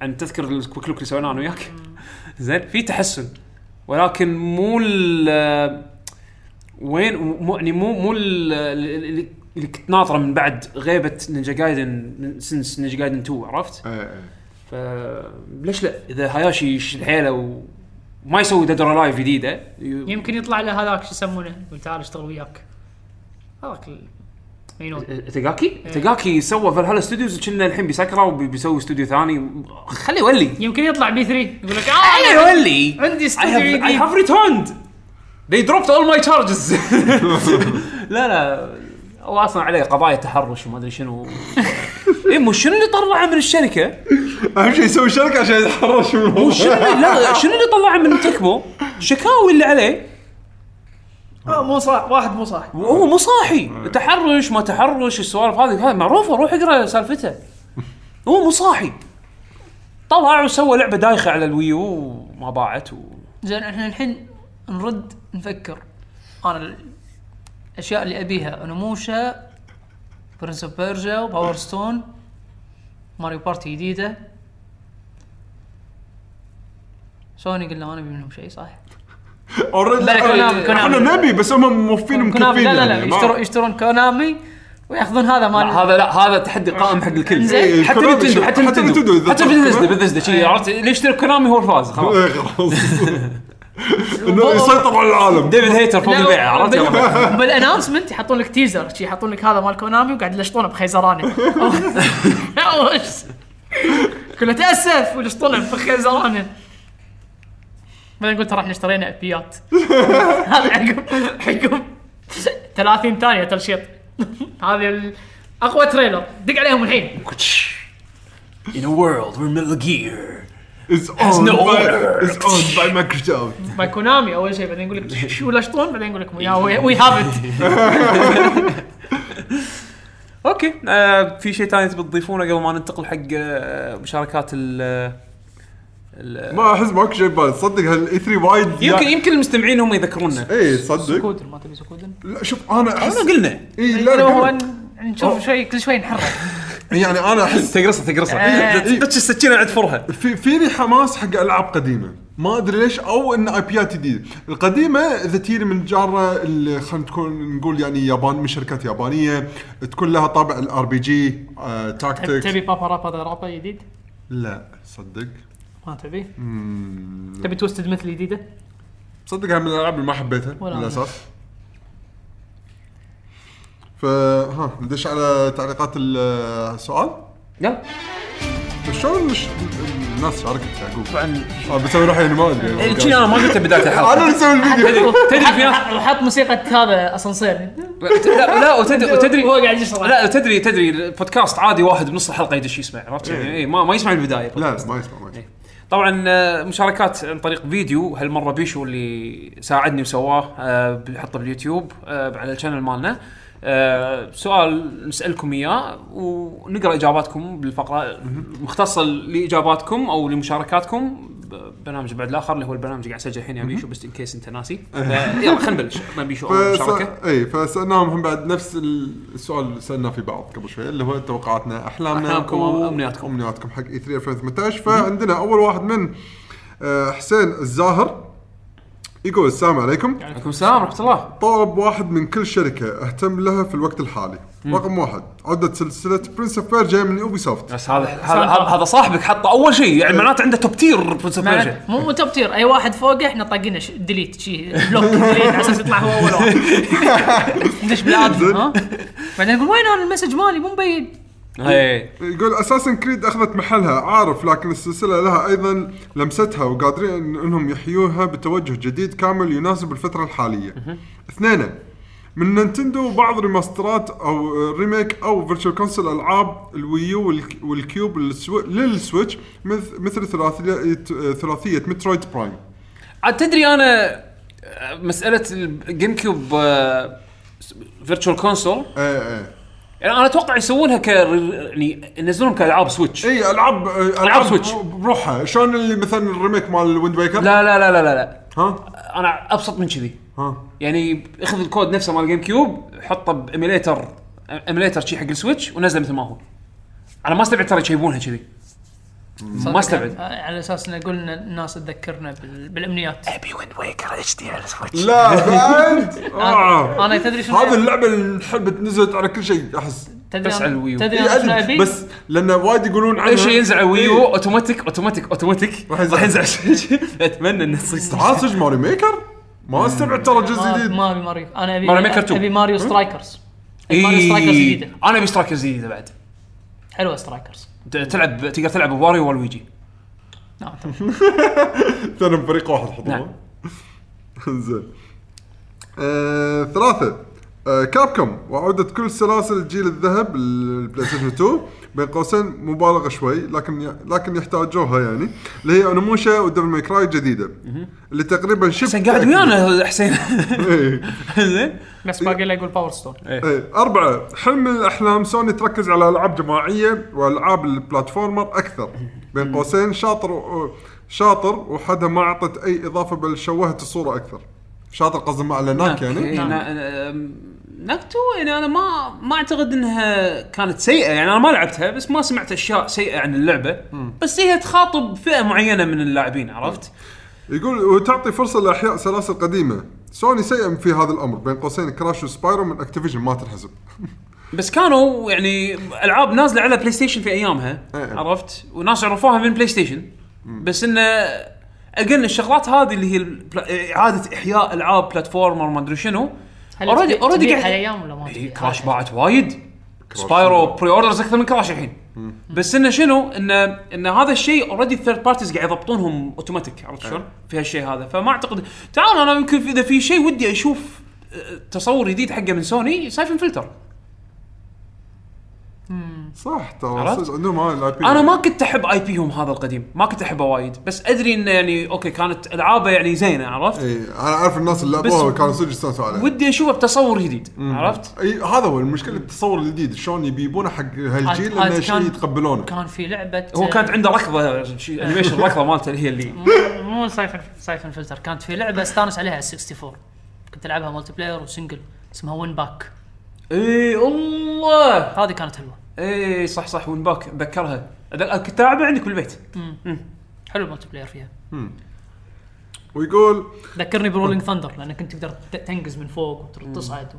[SPEAKER 1] عن تذكر الكويك لوك اللي سويناه انا وياك زين في تحسن ولكن مو ال وين مو يعني مو مو ال- ال- اللي اللي كنت ناطره من بعد غيبه نينجا جايدن سنس نينجا جايدن 2 عرفت؟
[SPEAKER 4] ايه ايه
[SPEAKER 1] فليش لا اذا هاياشي يشد حيله ما يسوي ديد لايف جديده ي-
[SPEAKER 3] يمكن يطلع له هذاك شو يسمونه يقول تعال اشتغل وياك هذاك ال- مينون
[SPEAKER 1] إيه. تاكاكي تاكاكي سوى فالهالا ستوديوز كنا الحين بيسكره وبيسوي استوديو ثاني خليه يولي
[SPEAKER 3] يمكن يطلع بي 3 يقول لك
[SPEAKER 1] خليه
[SPEAKER 3] اه
[SPEAKER 1] يولي
[SPEAKER 3] عندي
[SPEAKER 1] I
[SPEAKER 3] استوديو
[SPEAKER 1] have, I
[SPEAKER 3] جديد
[SPEAKER 1] have returned. They dropped all my charges. لا لا هو اصلا عليه قضايا تحرش وما ادري شنو اي مو شنو اللي طلعه من الشركه؟
[SPEAKER 4] اهم إيه. شيء يسوي شركه عشان يتحرش من الموضوع.
[SPEAKER 1] شنو اللي لا شنو اللي طلعه من تكبو؟ شكاوي اللي عليه
[SPEAKER 3] آه، مو صاح واحد مو صاح
[SPEAKER 1] وهو مو صاحي تحرش ما تحرش السوالف هذه هاي معروفه روح اقرا سالفته هو مو صاحي طلع وسوى لعبه دايخه على الويو وما باعت و...
[SPEAKER 3] زين احنا الحين نرد نفكر انا الاشياء اللي ابيها انموشا برنس اوف بيرجا وباور ستون ماريو بارتي جديده سوني قلنا انا ابي منهم شيء صح؟
[SPEAKER 4] Already-
[SPEAKER 3] لا، كونامي،
[SPEAKER 4] احنا
[SPEAKER 3] كونامي.
[SPEAKER 4] نبي بس هم موفين
[SPEAKER 3] كونامي
[SPEAKER 4] مكفين
[SPEAKER 3] لا لا لا
[SPEAKER 4] يعني، ما-
[SPEAKER 3] يشترون يشترون كونامي وياخذون هذا مال
[SPEAKER 1] هذا لا هذا تحدي قائم حق الكل
[SPEAKER 3] زين.
[SPEAKER 4] إيه،
[SPEAKER 1] حتى
[SPEAKER 4] كونامي
[SPEAKER 1] نتندو
[SPEAKER 4] شو-
[SPEAKER 1] حتى نتندو إيه.
[SPEAKER 4] إذا
[SPEAKER 1] حتى
[SPEAKER 4] تذكر.
[SPEAKER 1] بذزدا بذزدا شي عرفت اللي يشتري كونامي هو الفاز خلاص
[SPEAKER 4] إيه، خلاص انه يسيطر على العالم
[SPEAKER 1] ديفيد هيتر فوق
[SPEAKER 3] لا،
[SPEAKER 1] البيع عرفت
[SPEAKER 3] بالانونسمنت يحطون لك تيزر شي يحطون لك هذا مال كونامي وقاعد يلشطونه بخيزرانه كله تاسف ولشطونه بخيزرانه بعدين قلت راح نشترينا ابيات هذا عقب عقب 30 ثانيه تلشيط هذا ال- اقوى تريلر دق عليهم الحين
[SPEAKER 1] In a world where Metal Gear
[SPEAKER 4] It's owned
[SPEAKER 1] no
[SPEAKER 4] by-
[SPEAKER 1] order.
[SPEAKER 4] it's owned by Microsoft
[SPEAKER 3] باي كونامي اول شيء بعدين يقول لك شو لشطون بعدين يقول لك وي هاف ات
[SPEAKER 1] اوكي آه في شيء ثاني تبي تضيفونه قبل ما ننتقل حق آه مشاركات ال آه،
[SPEAKER 4] ما احس ماكو شيء ببالي تصدق هالاي 3 وايد
[SPEAKER 1] يمكن يمكن المستمعين هم يذكرونا
[SPEAKER 4] اي تصدق
[SPEAKER 3] سكودن ما تبي سكودن
[SPEAKER 4] لا شوف انا احس
[SPEAKER 1] احنا قلنا
[SPEAKER 4] اي لا
[SPEAKER 3] لا هو
[SPEAKER 4] لا
[SPEAKER 3] نشوف شوي كل شوي نحرك
[SPEAKER 4] يعني انا احس
[SPEAKER 1] تقرصها تقرصها
[SPEAKER 3] آه.
[SPEAKER 1] تدش السكينه عند فرها
[SPEAKER 4] في فيني حماس حق العاب قديمه ما ادري ليش او ان اي بيات جديده القديمه اذا تيري من جاره اللي خلينا تكون نقول يعني يابان من شركات يابانيه تكون لها طابع الار بي جي
[SPEAKER 3] تبي
[SPEAKER 4] تاكتكس
[SPEAKER 3] بابا رابا ذا رابا جديد؟
[SPEAKER 4] آه، لا صدق
[SPEAKER 3] ما تبي؟ تبي توستد مثل جديده؟
[SPEAKER 4] صدق هاي من الالعاب اللي ما حبيتها
[SPEAKER 3] ولا أنا.
[SPEAKER 4] للاسف فها ندش على تعليقات السؤال
[SPEAKER 1] يلا
[SPEAKER 4] شلون الش- الناس شاركت يعقوب آه، بسوي روحي يعني ما ادري
[SPEAKER 1] شي انا ما قلت بدايه الحلقه
[SPEAKER 4] انا اللي اسوي الفيديو
[SPEAKER 1] تدري في ناس-
[SPEAKER 3] وحط موسيقى هذا اسانسير
[SPEAKER 1] لا لا وتدري وتدري
[SPEAKER 3] هو قاعد يشرح
[SPEAKER 1] لا تدري تدري البودكاست عادي واحد بنص الحلقه يدش يسمع عرفت يعني إيه، ما ما يسمع البدايه
[SPEAKER 4] لا ما يسمع ما
[SPEAKER 1] إيه.
[SPEAKER 4] يسمع
[SPEAKER 1] طبعا آه، مشاركات عن طريق فيديو هالمره بيشو اللي ساعدني وسواه آه، بيحطه باليوتيوب آه، على الشانل مالنا آه، سؤال نسالكم اياه ونقرا اجاباتكم بالفقره المختصه لاجاباتكم او لمشاركاتكم ب- برنامج بعد الاخر اللي هو البرنامج اللي قاعد اسجل الحين يا بيشو بس ان كيس انت ناسي ف- يلا خلينا نبلش عطنا بيشو أول مشاركه
[SPEAKER 4] فس... اي فسالناهم إيه، هم بعد نفس ال- السؤال اللي سالناه في بعض قبل شوي اللي هو توقعاتنا احلامنا
[SPEAKER 1] أحلامكم وأمنياتكم.
[SPEAKER 4] امنياتكم حق E اي 3 2018 فعندنا اول واحد من آه، حسين الزاهر يقول السلام عليكم
[SPEAKER 1] عليكم السلام ورحمه الله
[SPEAKER 4] طلب واحد من كل شركه اهتم لها في الوقت الحالي رقم واحد عوده سلسله برنس اوف بيرجا من اوبي سوفت
[SPEAKER 1] بس هذا هذا هذا- هذا صاحبك حطه اول شيء يعني معناته عنده توب تير برنسبل
[SPEAKER 3] مو مو توب تير اي واحد فوقه احنا طاقينه ش- ديليت شي بلوك ديليت على اساس يطلع هو اول واحد ندش بالادمن ها بعدين نقول وين انا المسج مالي مو مبين
[SPEAKER 1] إيه.
[SPEAKER 4] يقول اساسا كريد اخذت محلها عارف لكن السلسله لها ايضا لمستها وقادرين إن- انهم يحيوها بتوجه جديد كامل يناسب الفتره الحاليه. اثنين من نينتندو بعض ريماسترات او ريميك او فيرتشوال كونسل العاب الويو والك- والكيوب للسو- للسويتش مث- مثل ثلاثيه ثلاثيه مترويد برايم.
[SPEAKER 1] عاد تدري انا آه، مساله الجيم كيوب فيرتشوال كونسول
[SPEAKER 4] اي اي
[SPEAKER 1] آه، يعني انا اتوقع يسوونها ك يعني ينزلونهم كالعاب سويتش
[SPEAKER 4] اي العاب العاب
[SPEAKER 1] سويتش.
[SPEAKER 4] بروحها شلون اللي مثلا الريميك مال ويند ويكر؟
[SPEAKER 1] لا لا لا لا لا, لا.
[SPEAKER 4] ها
[SPEAKER 1] انا ابسط من كذي
[SPEAKER 4] ها
[SPEAKER 1] يعني اخذ الكود نفسه مال جيم كيوب حطه بايميليتر ايميليتر شي حق السويتش ونزله مثل ما هو انا ما استبعد ترى يجيبونها كذي ما استبعد
[SPEAKER 3] آه، على اساس انه قلنا الناس تذكرنا بال- بالامنيات
[SPEAKER 1] ابي ويند ويكر اتش دي على السويتش
[SPEAKER 4] لا بعد آه.
[SPEAKER 3] انا تدري شنو
[SPEAKER 4] هذه اللعبه اللي انحلبت نزلت على كل شيء احس
[SPEAKER 3] تدري
[SPEAKER 6] بس
[SPEAKER 3] أنا-
[SPEAKER 6] على الويو.
[SPEAKER 3] تدري
[SPEAKER 4] إي،
[SPEAKER 3] انا شنو
[SPEAKER 4] أدري،
[SPEAKER 3] ابي؟
[SPEAKER 4] بس لان وايد يقولون عنه
[SPEAKER 6] اي شيء ينزل على الويو
[SPEAKER 4] إي.
[SPEAKER 6] اوتوماتيك اوتوماتيك اوتوماتيك
[SPEAKER 4] إيه. راح
[SPEAKER 6] راح
[SPEAKER 4] ينزل.
[SPEAKER 6] ينزل على الشاشة. اتمنى انه يصير
[SPEAKER 4] تعال صدق ماري ميكر ما استبعد ترى جزء
[SPEAKER 3] ما-
[SPEAKER 4] جديد
[SPEAKER 3] ما ابي ماريو انا ابي
[SPEAKER 6] ماريو ميكر 2.
[SPEAKER 3] ابي ماريو سترايكرز
[SPEAKER 6] إي.
[SPEAKER 1] إيه.
[SPEAKER 3] ماريو سترايكرز جديده
[SPEAKER 6] انا ابي سترايكرز جديده بعد
[SPEAKER 3] حلوه سترايكرز
[SPEAKER 6] ت- تلعب تقدر تلعب بواريو والويجي
[SPEAKER 3] نعم
[SPEAKER 4] ثاني فريق واحد حطوه
[SPEAKER 6] نعم.
[SPEAKER 4] زين آه، ثلاثة آه، كابكم وعودة كل سلاسل الجيل الذهب للبلاي ستيشن 2 بين قوسين مبالغة شوي لكن لكن يحتاجوها يعني اللي هي انموشا ودبل ماي كراي جديدة اللي تقريبا شبه
[SPEAKER 6] حسين قاعد ويانا حسين
[SPEAKER 4] إيه.
[SPEAKER 6] زين
[SPEAKER 3] بس باقي لا يقول باور ستون
[SPEAKER 4] إيه. أربعة حلم من الأحلام سوني تركز على ألعاب جماعية وألعاب البلاتفورمر أكثر بين قوسين شاطر و... شاطر وحدها ما أعطت أي إضافة بل شوهت الصورة أكثر شاطر قصدي ما
[SPEAKER 6] نعم.
[SPEAKER 4] أعلناك
[SPEAKER 1] إيه،
[SPEAKER 4] يعني
[SPEAKER 1] نا- نا- أم، نكتو يعني انا ما ما اعتقد انها كانت سيئه يعني انا ما لعبتها بس ما سمعت اشياء سيئه عن اللعبه بس هي تخاطب فئه معينه من اللاعبين عرفت؟
[SPEAKER 4] يقول وتعطي فرصة لأحياء سلاسل قديمة سوني سيئة في هذا الأمر بين قوسين كراش وسبايرو من أكتيفيجن ما تنحسب
[SPEAKER 1] بس كانوا يعني العاب نازله على بلاي ستيشن في ايامها
[SPEAKER 4] إيه.
[SPEAKER 1] عرفت؟ وناس عرفوها من بلاي ستيشن بس انه اجن الشغلات هذه اللي هي البلا- اعاده احياء العاب بلاتفورمر ما ادري شنو اوريدي اوريدي
[SPEAKER 3] قاعد
[SPEAKER 1] قاعد
[SPEAKER 3] ايام ولا ما آه،
[SPEAKER 1] إيه،
[SPEAKER 3] تبيع؟
[SPEAKER 1] كراش باعت وايد سبايرو بري اوردرز اكثر من كراش الحين بس انه شنو انه انه هذا الشيء اوريدي الثيرد بارتيز قاعد يضبطونهم اوتوماتيك عرفت
[SPEAKER 4] إيه.
[SPEAKER 1] شلون؟ في هالشيء هذا فما اعتقد تعال انا يمكن في- اذا في شيء ودي اشوف آه، تصور جديد حقه من سوني سايفن فلتر
[SPEAKER 4] صح ترى
[SPEAKER 1] عرفت؟
[SPEAKER 4] صدق عندهم هاي اللاعبين
[SPEAKER 1] انا ما كنت احب اي بيهم هذا القديم ما كنت احبه وايد بس ادري انه يعني اوكي كانت العابه يعني زينه عرفت؟
[SPEAKER 4] إيه. أنا أعرف الناس اللي لعبوها وكانوا صدق يستانسوا عليها
[SPEAKER 1] ودي اشوفه بتصور جديد عرفت؟
[SPEAKER 4] اي هذا هو المشكله التصور الجديد شلون يبيبونه حق هالجيل
[SPEAKER 3] عاد- عاد
[SPEAKER 4] انه شيء
[SPEAKER 3] كان-
[SPEAKER 4] يتقبلونه
[SPEAKER 3] كان في آه، لعبه
[SPEAKER 1] هو كانت عنده ركضه شي- انيميشن الركضه مالته اللي هي اللي
[SPEAKER 3] مو- مو سايفن سايفن فلتر كانت في لعبه استانس عليها على 64 كنت العبها مالتي بلاير وسنجل اسمها وين باك
[SPEAKER 1] اي إيه، الله
[SPEAKER 3] هذه كانت حلوه
[SPEAKER 1] اي صح صح وين باك اتذكرها أذ- كنت العبها عندك بالبيت
[SPEAKER 3] حلو المالتي بلاير فيها
[SPEAKER 4] ويقول
[SPEAKER 3] ذكرني برولينج ثندر لانك كنت تقدر ت- تنقز من فوق وتصعد و...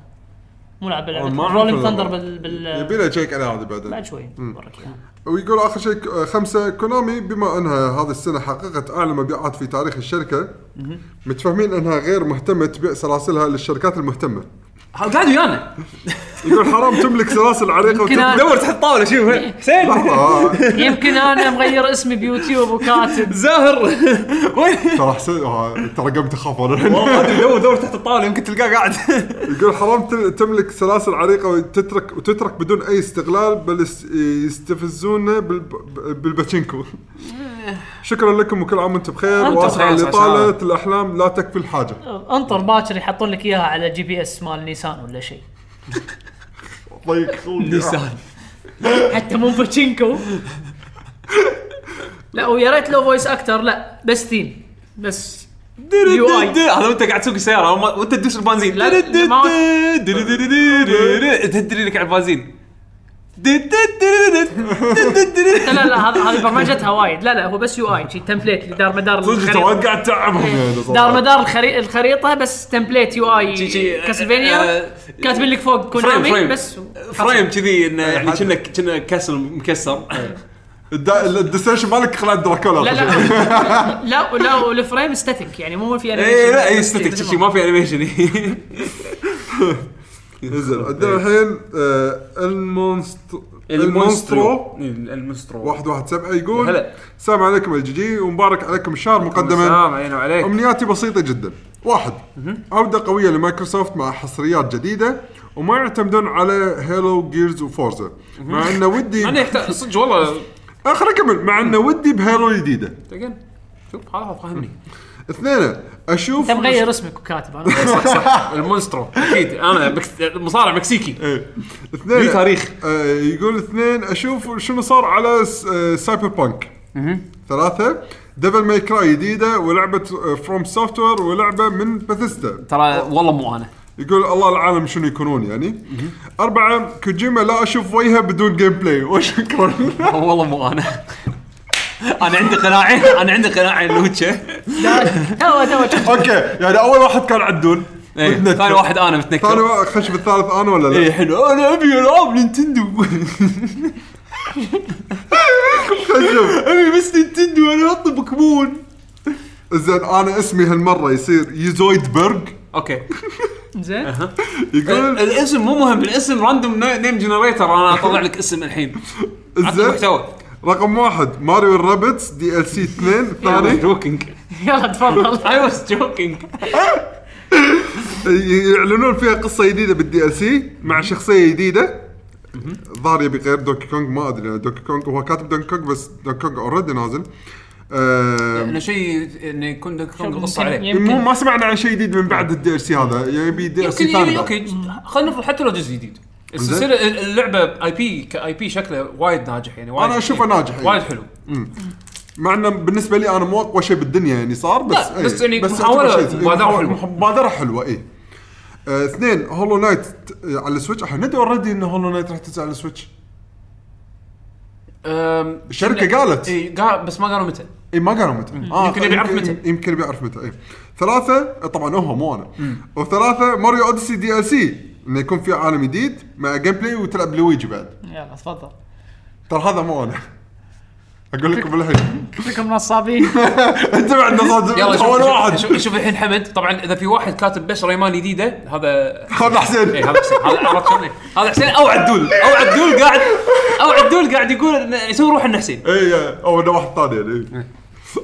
[SPEAKER 3] مو لعبه
[SPEAKER 4] أنا
[SPEAKER 3] لعبه
[SPEAKER 4] ما أعرف
[SPEAKER 3] رولينج
[SPEAKER 4] ولا-
[SPEAKER 3] ثندر يعني بال بال
[SPEAKER 4] يبي له شيك على هذا بعدين
[SPEAKER 3] بعد شوي يعني. بوريك إياها.
[SPEAKER 4] ويقول اخر شيء آه، خمسه كونامي بما انها هذه السنه حققت اعلى مبيعات في تاريخ الشركه متفاهمين انها غير مهتمه تبيع سلاسلها للشركات المهتمه
[SPEAKER 1] ها- قاعد ويانا
[SPEAKER 4] يقول حرام تملك سلاسل عريقه
[SPEAKER 3] يمكن
[SPEAKER 4] وتبيع
[SPEAKER 3] أنا-
[SPEAKER 1] دور تحت طاوله شوف حسين
[SPEAKER 4] لحظة، آه،
[SPEAKER 3] يمكن انا مغير اسمي بيوتيوب وكاتب
[SPEAKER 1] زاهر وين
[SPEAKER 4] ترى حسين آه، ترى قمت اخاف انا الحين
[SPEAKER 1] والله أدري، دور دور تحت الطاوله يمكن تلقاه قاعد
[SPEAKER 4] يقول حرام تل- تملك سلاسل عريقه وتترك وتترك بدون اي استغلال بل يس- يستفزونا بالب- بالباتشينكو شكرا لكم وكل عام وانتم بخير
[SPEAKER 3] إيه. وأنتم
[SPEAKER 4] واسف على
[SPEAKER 1] بخير،
[SPEAKER 4] اللي طالت الاحلام لا تكفي الحاجه
[SPEAKER 3] انطر باكر يحطون لك اياها على جي بي اس مال نيسان ولا شيء
[SPEAKER 4] ضيق خلقي
[SPEAKER 1] نيسان
[SPEAKER 3] حتى مو باتشينكو لا ويا ريت لو فويس اكتر لا بس ثيم بس يو اي
[SPEAKER 1] هذا وانت قاعد تسوق السياره وما- وانت تدوس البنزين
[SPEAKER 3] لا، ما-
[SPEAKER 1] تدري لك على البنزين
[SPEAKER 3] لا لا هذا هذه برمجتها وايد لا لا هو بس يو اي شي تمبليت اللي دار مدار
[SPEAKER 4] صدق أنت وايد قاعد تتعبهم يعني صراحة.
[SPEAKER 3] دار مدار الخري... الخريطه بس تمبليت يو اي
[SPEAKER 1] شي- شي-
[SPEAKER 3] كاسلفينيا
[SPEAKER 1] آه،
[SPEAKER 3] كاتبين لك فوق كونامي بس
[SPEAKER 1] فريم كذي انه يعني كنا كنا كسر مكسر
[SPEAKER 4] الدا- الديستنشن مالك خلع دراكولا
[SPEAKER 3] لا لا لا لا والفريم استاتيك يعني مو في انيميشن
[SPEAKER 1] اي إيه، لا اي استاتيك شي ما في انيميشن
[SPEAKER 4] زين عندنا
[SPEAKER 3] إيه.
[SPEAKER 4] الحين آه، المونست المونسترو
[SPEAKER 1] إيه، المونسترو
[SPEAKER 4] 117 يقول
[SPEAKER 1] هلا.
[SPEAKER 4] السلام عليكم الجي جي ومبارك عليكم الشهر مقدما
[SPEAKER 1] السلام علينا وعليك
[SPEAKER 4] امنياتي بسيطه جدا واحد عوده قويه لمايكروسوفت مع حصريات جديده وما يعتمدون على هيلو جيرز وفورزا مع انه ودي
[SPEAKER 1] انا يحتاج صدق والله
[SPEAKER 4] اخر اكمل مع انه ودي بهيلو جديده
[SPEAKER 1] تقن. شوف هذا فاهمني
[SPEAKER 4] اثنين اشوف
[SPEAKER 3] انت مغير اسمك وكاتب انا
[SPEAKER 1] المونسترو اكيد انا مكس- مصارع مكسيكي
[SPEAKER 4] إيه. اثنين
[SPEAKER 1] ليه تاريخ.
[SPEAKER 4] آه يقول اثنين اشوف شنو صار على س- آه سايبر بانك ثلاثة ديفل ماي كراي جديدة ولعبة فروم سوفت وير ولعبة من باثيستا
[SPEAKER 1] ترى والله مو انا
[SPEAKER 4] يقول الله العالم شنو يكونون يعني أربعة كوجيما لا أشوف وجهه بدون جيم بلاي وشكرا
[SPEAKER 1] والله مو انا انا عندي قناعه انا عندي قناعه ان لوتشا
[SPEAKER 3] تو تو
[SPEAKER 4] أوكي يعني أول واحد كان عدول
[SPEAKER 1] إيه،
[SPEAKER 4] متنكر.
[SPEAKER 1] ثاني واحد انا متنكر
[SPEAKER 4] ثاني واحد خش بالثالث انا ولا
[SPEAKER 1] اي
[SPEAKER 4] لا؟
[SPEAKER 1] إيه، حلو انا ابي العاب نينتندو
[SPEAKER 4] خشب
[SPEAKER 1] ابي بس نينتندو انا احط بوكيمون
[SPEAKER 4] زين انا اسمي هالمره يصير يزويد برج
[SPEAKER 1] اوكي
[SPEAKER 3] زين
[SPEAKER 4] يقول
[SPEAKER 1] الاسم مو مهم الاسم راندوم نيم جنريتر انا اطلع لك اسم الحين إيه، عطني
[SPEAKER 4] زين
[SPEAKER 1] محتوى
[SPEAKER 4] رقم واحد ماريو الرابتس دي ال سي 2 الثاني
[SPEAKER 1] جوكينج
[SPEAKER 3] يلا تفضل
[SPEAKER 1] اي واز جوكينج
[SPEAKER 4] ي- يعلنون فيها قصه جديده بالدي ال سي مع شخصيه جديده الظاهر يبي غير دوكي كونغ ما ادري لأن دوكي كونغ هو كاتب دوكي كونغ بس دوكي كونغ اوريدي نازل آم،
[SPEAKER 1] انه شيء انه يكون لك قصه
[SPEAKER 3] يمكن-
[SPEAKER 1] عليه
[SPEAKER 4] مو
[SPEAKER 3] يمكن
[SPEAKER 4] ما سمعنا عن شيء جديد من بعد الدي ال سي هذا يبي دي ال
[SPEAKER 1] يمكن
[SPEAKER 4] سي
[SPEAKER 1] يبي-
[SPEAKER 4] ثاني
[SPEAKER 1] اوكي خلينا نفرض حتى لو جزء جديد السلسله اللعبه اي بي كاي بي شكله وايد ناجح يعني وايد
[SPEAKER 4] أنا أشوفه ناجح، إيه.
[SPEAKER 1] وايد حلو
[SPEAKER 4] مع انه بالنسبه لي انا مو اقوى شيء بالدنيا يعني صار بس
[SPEAKER 1] لا، بس يعني
[SPEAKER 4] بس
[SPEAKER 1] محاولة،
[SPEAKER 4] أعتبر شيء-
[SPEAKER 1] مبادرة
[SPEAKER 4] محاولة-
[SPEAKER 1] حلوة.
[SPEAKER 4] مبادره حلوه اي إيه. آه، اثنين هولو نايت ت- على السويتش احنا ندري اوريدي ان هولو نايت راح تنزل على السويتش
[SPEAKER 1] أم،
[SPEAKER 4] الشركه قالت
[SPEAKER 1] إيه، قال بس ما قالوا متى
[SPEAKER 4] اي إيه، ما قالوا متى آه
[SPEAKER 1] يمكن يبي يعرف متى.
[SPEAKER 4] يمكن بيعرف متى اي ثلاثه طبعا هو مو انا وثلاثه ماريو اوديسي دي ال سي انه يكون في عالم جديد مع جيم بلاي وتلعب لويجي بعد
[SPEAKER 3] يلا تفضل
[SPEAKER 4] ترى هذا مو انا اقول لكم الحين
[SPEAKER 3] كلكم نصابين
[SPEAKER 4] انت بعد نصاد
[SPEAKER 1] يلا
[SPEAKER 4] أنت اول
[SPEAKER 1] شوف,
[SPEAKER 4] واحد
[SPEAKER 1] شوف, شوف الحين حمد طبعا اذا في واحد كاتب بس ريمان جديده هذا
[SPEAKER 4] هذا
[SPEAKER 1] ايه
[SPEAKER 4] حسين
[SPEAKER 1] هذا حسين هذا عرفت شلون إيه؟ هذا حسين او عدول او عدول قاعد او عدول قاعد يقول إنه يسوي روح انه حسين
[SPEAKER 4] اي او انه إيه، واحد ثاني
[SPEAKER 1] إيه.
[SPEAKER 4] يعني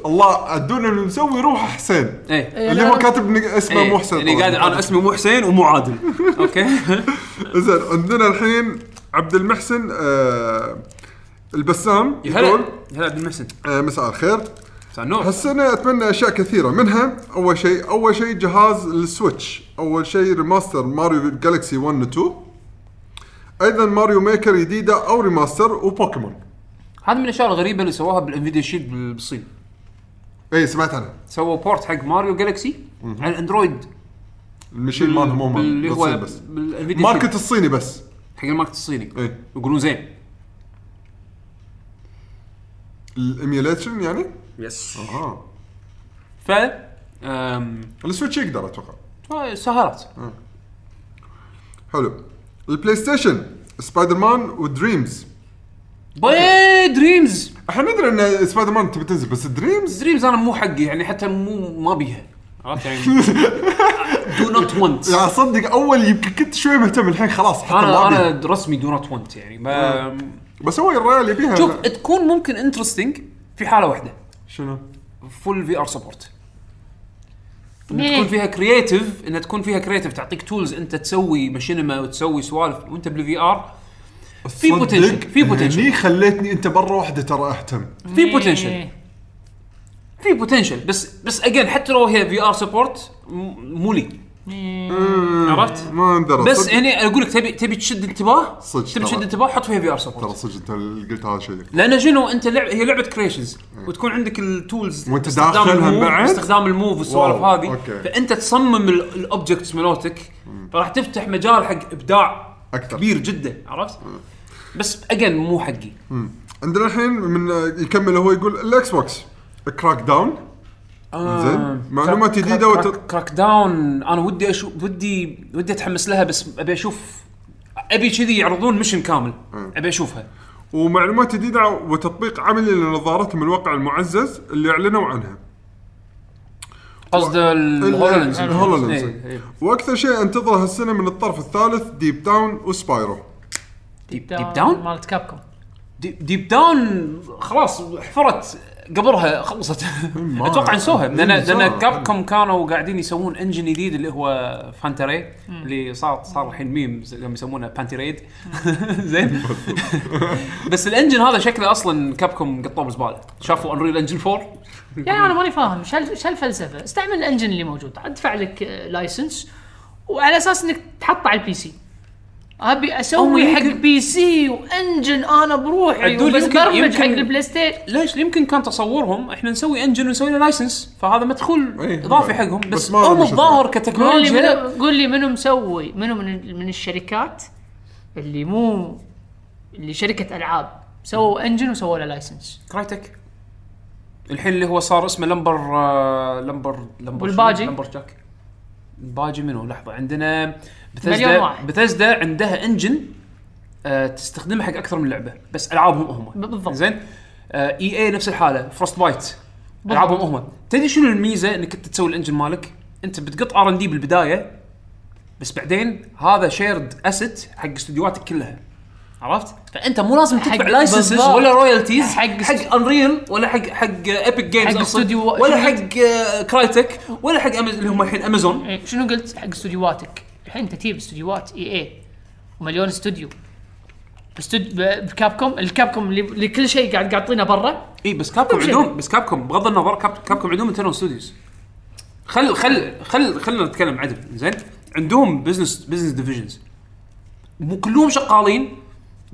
[SPEAKER 4] الله عدونا اللي مسوي روح حسين
[SPEAKER 1] ايه
[SPEAKER 4] اللي هو كاتب إن اسمه
[SPEAKER 1] إيه،
[SPEAKER 4] مو حسين
[SPEAKER 1] يعني
[SPEAKER 4] طبعاً.
[SPEAKER 1] قاعد انا اسمي مو حسين ومو عادل اوكي
[SPEAKER 4] زين عندنا الحين عبد المحسن آه، البسام
[SPEAKER 1] يا هلا
[SPEAKER 4] يقول
[SPEAKER 1] يا هلا عبد المحسن
[SPEAKER 4] آه، مساء الخير
[SPEAKER 1] مساء النور
[SPEAKER 4] هالسنة اتمنى اشياء كثيرة منها اول شيء اول شيء جهاز السويتش اول شيء ريماستر ماريو جالكسي 1 و 2 ايضا ماريو ميكر جديدة او ريماستر وبوكيمون
[SPEAKER 1] هذا من الاشياء الغريبه اللي سواها بالانفيديا شيلد بال- بالصين
[SPEAKER 4] اي إيه، سمعت عنها
[SPEAKER 1] سووا بورت حق ماريو جالكسي على الاندرويد
[SPEAKER 4] المشين مالهم مو مال-
[SPEAKER 1] اللي هو
[SPEAKER 4] بالصين بس
[SPEAKER 1] بالانفيديا
[SPEAKER 4] ماركت إيه.
[SPEAKER 1] شيلد
[SPEAKER 4] الصيني بس
[SPEAKER 1] حق الماركت الصيني
[SPEAKER 4] اي
[SPEAKER 1] يقولون زين
[SPEAKER 4] الايميوليشن يعني
[SPEAKER 1] يس
[SPEAKER 4] اه
[SPEAKER 1] ف أم،
[SPEAKER 4] السويتش يقدر اتوقع
[SPEAKER 1] آه، سهرات
[SPEAKER 4] حلو البلاي ستيشن سبايدر مان ودريمز
[SPEAKER 1] باي دريمز
[SPEAKER 4] احنا ندري ان سبايدر مان تبي تنزل بس دريمز
[SPEAKER 1] دريمز انا مو حقي يعني حتى مو ما بيها عرفت يعني دو نوت وانت
[SPEAKER 4] يعني صدق اول يمكن كنت شوي مهتم الحين خلاص حتى
[SPEAKER 1] انا
[SPEAKER 4] ما آه. أبي.
[SPEAKER 1] انا رسمي دو نوت وانت يعني ما
[SPEAKER 4] بس هو الريال يبيها
[SPEAKER 1] شوف تكون ممكن انترستنج في حاله واحده
[SPEAKER 4] شنو؟
[SPEAKER 1] فول في ار سبورت تكون فيها كرييتيف انها تكون فيها كرييتيف تعطيك تولز انت تسوي ماشينما وتسوي سوالف وانت بالفي ار في
[SPEAKER 4] صدق يعني
[SPEAKER 1] potential، في potential.
[SPEAKER 4] هني خليتني انت برا واحده ترى اهتم
[SPEAKER 1] في بوتنشل في بوتنشل بس بس اجين حتى لو هي في ار سبورت مو لي
[SPEAKER 4] آه.
[SPEAKER 1] عرفت؟
[SPEAKER 4] ما ندرى
[SPEAKER 1] بس
[SPEAKER 4] صدق-
[SPEAKER 1] هنا اقول لك تبي تبي تشد انتباه
[SPEAKER 4] صدق
[SPEAKER 1] تبي
[SPEAKER 4] طبعاً.
[SPEAKER 1] تشد انتباه حط فيها في ار
[SPEAKER 4] ترى
[SPEAKER 1] سبورت
[SPEAKER 4] صدق انت اللي قلت هذا شيء
[SPEAKER 1] لان شنو انت لعب هي لعبه كريشنز وتكون عندك التولز
[SPEAKER 4] وأنت
[SPEAKER 1] استخدام
[SPEAKER 4] داخلها
[SPEAKER 1] الموف-
[SPEAKER 4] بعد؟
[SPEAKER 1] استخدام الموف والسوالف
[SPEAKER 4] واو،
[SPEAKER 1] هذه
[SPEAKER 4] أوكي.
[SPEAKER 1] فانت تصمم الاوبجكتس مالتك فراح تفتح مجال حق ابداع
[SPEAKER 4] أكثر.
[SPEAKER 1] كبير جدا عرفت؟ بس اجين مو حقي
[SPEAKER 4] عندنا الحين من يكمل هو يقول الاكس بوكس كراك داون
[SPEAKER 1] آه،
[SPEAKER 4] زين معلومات جديده
[SPEAKER 1] كراك,
[SPEAKER 4] وت...
[SPEAKER 1] كراك, كراك داون انا ودي اشوف ودي ودي اتحمس لها بس ابي اشوف ابي كذي يعرضون مشن كامل ابي اشوفها
[SPEAKER 4] ومعلومات جديده وتطبيق عملي لنظارتهم الواقع المعزز اللي اعلنوا عنها
[SPEAKER 1] قصد الهولولنز
[SPEAKER 4] الهولولنز
[SPEAKER 1] إيه، إيه.
[SPEAKER 4] واكثر شيء انتظره هالسنه من الطرف الثالث ديب داون وسبايرو
[SPEAKER 1] ديب ديب داون
[SPEAKER 3] مالت كابكم
[SPEAKER 1] ديب- ديب داون خلاص حفرت قبرها خلصت اتوقع نسوها
[SPEAKER 4] إيه،
[SPEAKER 1] لان لان
[SPEAKER 4] نسوها.
[SPEAKER 1] كابكم كانوا قاعدين يسوون انجن جديد اللي هو فانتري اللي صار صار الحين ميم ز- قام يسمونه بانتيريد زين بس الانجن هذا شكله اصلا كابكم قطوه بزباله شافوا انريل انجن 4
[SPEAKER 3] يعني انا ماني فاهم شال شال الفلسفه استعمل الانجن اللي موجود ادفع لك آه، لايسنس وعلى اساس انك تحطه على البي سي ابي اسوي
[SPEAKER 1] أو
[SPEAKER 3] حق
[SPEAKER 1] يمكن-
[SPEAKER 3] بي سي وانجن انا بروحي
[SPEAKER 1] عدول
[SPEAKER 3] وبس
[SPEAKER 1] يمكن-
[SPEAKER 3] برمج
[SPEAKER 1] يمكن-
[SPEAKER 3] حق البلاي ستيشن
[SPEAKER 1] ليش يمكن كان تصورهم احنا نسوي انجن ونسوي له لايسنس فهذا مدخول
[SPEAKER 4] إيه.
[SPEAKER 1] اضافي حقهم بس,
[SPEAKER 4] بس
[SPEAKER 1] بس
[SPEAKER 4] ما
[SPEAKER 1] هم
[SPEAKER 4] مشت
[SPEAKER 1] الظاهر
[SPEAKER 3] قول لي
[SPEAKER 1] كتكنولوجيا
[SPEAKER 3] منو قول لي منو مسوي منو من من الشركات اللي مو اللي شركه العاب سووا انجن وسووا له لايسنس
[SPEAKER 1] كرايتك الحين اللي هو صار اسمه لمبر آه، لمبر لمبر
[SPEAKER 3] والباجي.
[SPEAKER 1] لمبر جاك باجي منو لحظه عندنا
[SPEAKER 3] مليون
[SPEAKER 1] بثزدا
[SPEAKER 3] واحد.
[SPEAKER 1] بثزدا عندها انجن آه تستخدمها حق اكثر من لعبه بس العابهم هم
[SPEAKER 3] ب- بالضبط.
[SPEAKER 1] زين آه اي اي نفس الحاله فروست بايت العابهم هم تدري شنو الميزه انك انت تسوي الانجن مالك انت بتقط ار ان دي بالبدايه بس بعدين هذا شيرد اسيت حق استديوهاتك كلها عرفت؟ فانت مو لازم
[SPEAKER 3] حق-
[SPEAKER 1] تدفع لايسنسز
[SPEAKER 3] بالضبط.
[SPEAKER 1] ولا رويالتيز
[SPEAKER 3] حق-
[SPEAKER 1] حق حق انريل ولا حق حق ايبك جيمز
[SPEAKER 3] حق استوديو-
[SPEAKER 1] ولا
[SPEAKER 3] شنو
[SPEAKER 1] حق آه، كرايتك ولا حق أمز... اللي هم الحين امازون
[SPEAKER 3] إيه، شنو قلت حق استديوهاتك؟ الحين انت تجيب استديوهات اي اي ومليون استوديو استوديو بكابكوم الكابكوم اللي, اللي كل شيء قاعد قاطينه برا
[SPEAKER 1] اي بس كابكم
[SPEAKER 3] شيء.
[SPEAKER 1] عندهم بس كابكم بغض النظر كاب كابكم عندهم انترنال ستوديوز خل خل خل خلينا نتكلم عدل زين عندهم بزنس بزنس ديفيجنز مو كلهم شغالين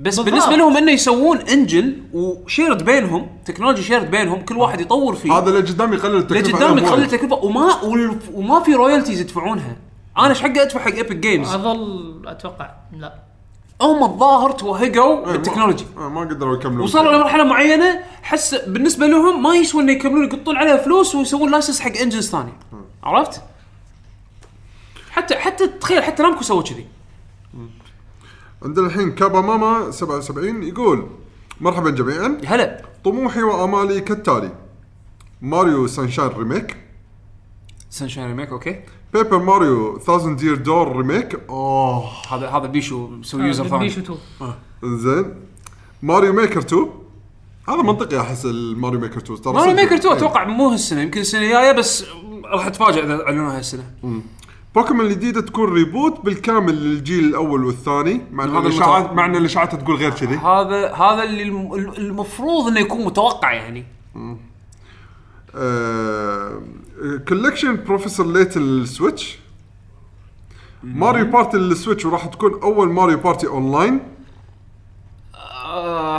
[SPEAKER 1] بس
[SPEAKER 3] بالضبط.
[SPEAKER 1] بالنسبه لهم انه يسوون انجن وشيرد بينهم تكنولوجي شيرد بينهم كل واحد يطور فيه
[SPEAKER 4] هذا إيه، اللي قدام يقلل التكلفه
[SPEAKER 1] لقدام
[SPEAKER 4] عليهم
[SPEAKER 1] تقلل
[SPEAKER 4] وايد.
[SPEAKER 1] التكلفه وما والف- وما في رويالتيز يدفعونها انا ايش حقي ادفع حق ايبك جيمز
[SPEAKER 3] اظل اتوقع لا
[SPEAKER 1] هم الظاهر توهقوا
[SPEAKER 4] إيه، ما-
[SPEAKER 1] بالتكنولوجي
[SPEAKER 4] إيه، ما قدروا يكملون
[SPEAKER 1] وصلوا لمرحله معينه حس بالنسبه لهم ما يسوى انه يكملون يقطون عليها فلوس ويسوون لايسنس حق انجنز ثاني عرفت؟ حتى حتى تخيل حتى نامكو سووا كذي
[SPEAKER 4] عندنا الحين كابا ماما 77 يقول مرحبا جميعا
[SPEAKER 1] هلا
[SPEAKER 4] طموحي وامالي كالتالي ماريو سانشاين ريميك
[SPEAKER 1] سانشاين ريميك اوكي
[SPEAKER 4] بيبر ماريو 1000 دير دور ريميك آه. اوه
[SPEAKER 1] هذا هذا بيشو مسوي يوزر ثاني
[SPEAKER 3] بيشو آه، تو
[SPEAKER 4] زين ماريو ميكر 2 هذا منطقي احس الماريو ميكر 2 ترى
[SPEAKER 1] ماريو
[SPEAKER 4] صدق.
[SPEAKER 1] ميكر 2
[SPEAKER 4] إيه.
[SPEAKER 1] اتوقع مو هالسنه يمكن السنه الجايه بس راح اتفاجئ اذا اعلنوها هالسنه
[SPEAKER 4] بوكيمون الجديده تكون ريبوت بالكامل للجيل الاول والثاني مع ان
[SPEAKER 1] هذا
[SPEAKER 4] الاشاعات
[SPEAKER 1] المتوقع.
[SPEAKER 4] مع ان الاشاعات تقول غير كذي
[SPEAKER 1] هذا هذا اللي الم- المفروض انه يكون متوقع يعني
[SPEAKER 4] آه، كولكشن بروفيسور ليت السويتش ماريو بارتي للسويتش وراح تكون اول ماريو بارتي اونلاين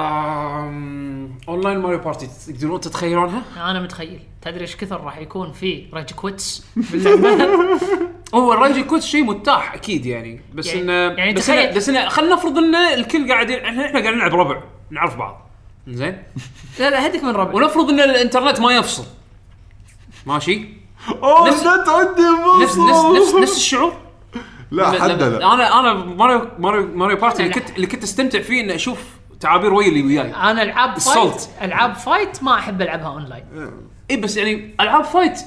[SPEAKER 1] آم، اونلاين ماريو بارتي تقدرون تتخيلونها؟
[SPEAKER 3] انا متخيل تدري ايش كثر راح يكون في ريج كويتس باللعبه
[SPEAKER 1] هو الرنجي كوت شيء متاح اكيد يعني بس
[SPEAKER 3] يعني-
[SPEAKER 1] انه
[SPEAKER 3] يعني
[SPEAKER 1] بس
[SPEAKER 3] تخيل-
[SPEAKER 1] انه بس انه خلينا نفرض انه الكل قاعدين احنا احنا قاعدين نلعب ربع نعرف بعض زين
[SPEAKER 3] لا لا هدك من ربع
[SPEAKER 1] ونفرض ان الانترنت ما يفصل ماشي
[SPEAKER 4] اوه
[SPEAKER 1] نفس-
[SPEAKER 4] لا تعدي
[SPEAKER 1] نفس نفس نفس, نفس الشعور
[SPEAKER 4] لا حد
[SPEAKER 1] لما-
[SPEAKER 4] لا
[SPEAKER 1] انا انا ماريو ماريو ماريو بارتي اللي كنت اللي كنت استمتع فيه اني اشوف تعابير ويلي اللي وياي
[SPEAKER 3] انا العاب فايت
[SPEAKER 1] الصوت.
[SPEAKER 3] العاب فايت ما احب العبها اونلاين
[SPEAKER 1] اي بس يعني العاب فايت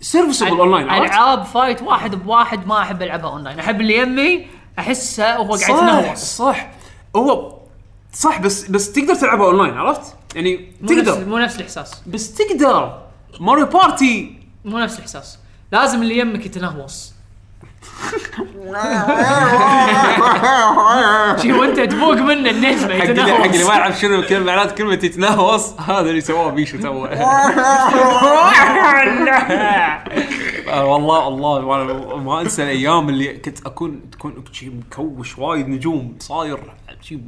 [SPEAKER 1] سيرفيسبل اونلاين عرفت؟
[SPEAKER 3] العاب فايت واحد بواحد ما احب العبها اونلاين احب اللي يمي احسه وهو قاعد
[SPEAKER 1] صح
[SPEAKER 3] يتنوع
[SPEAKER 1] صح هو صح بس بس تقدر تلعبها اونلاين عرفت؟ يعني
[SPEAKER 3] مو نفس-
[SPEAKER 1] تقدر
[SPEAKER 3] مو نفس الاحساس
[SPEAKER 1] بس تقدر ماريو بارتي
[SPEAKER 3] مو نفس الاحساس لازم اللي يمك يتنهوص شي وانت تفوق منه النجمه
[SPEAKER 1] حق اللي حق اللي ما
[SPEAKER 3] يتنهوص
[SPEAKER 1] يعرف شنو كلمة معنات كلمة يتنهوص هذا اللي سواه بيشو تو آه، والله والله ما- ما انسى الايام اللي كنت اكون تكون شي مكوش وايد نجوم صاير شي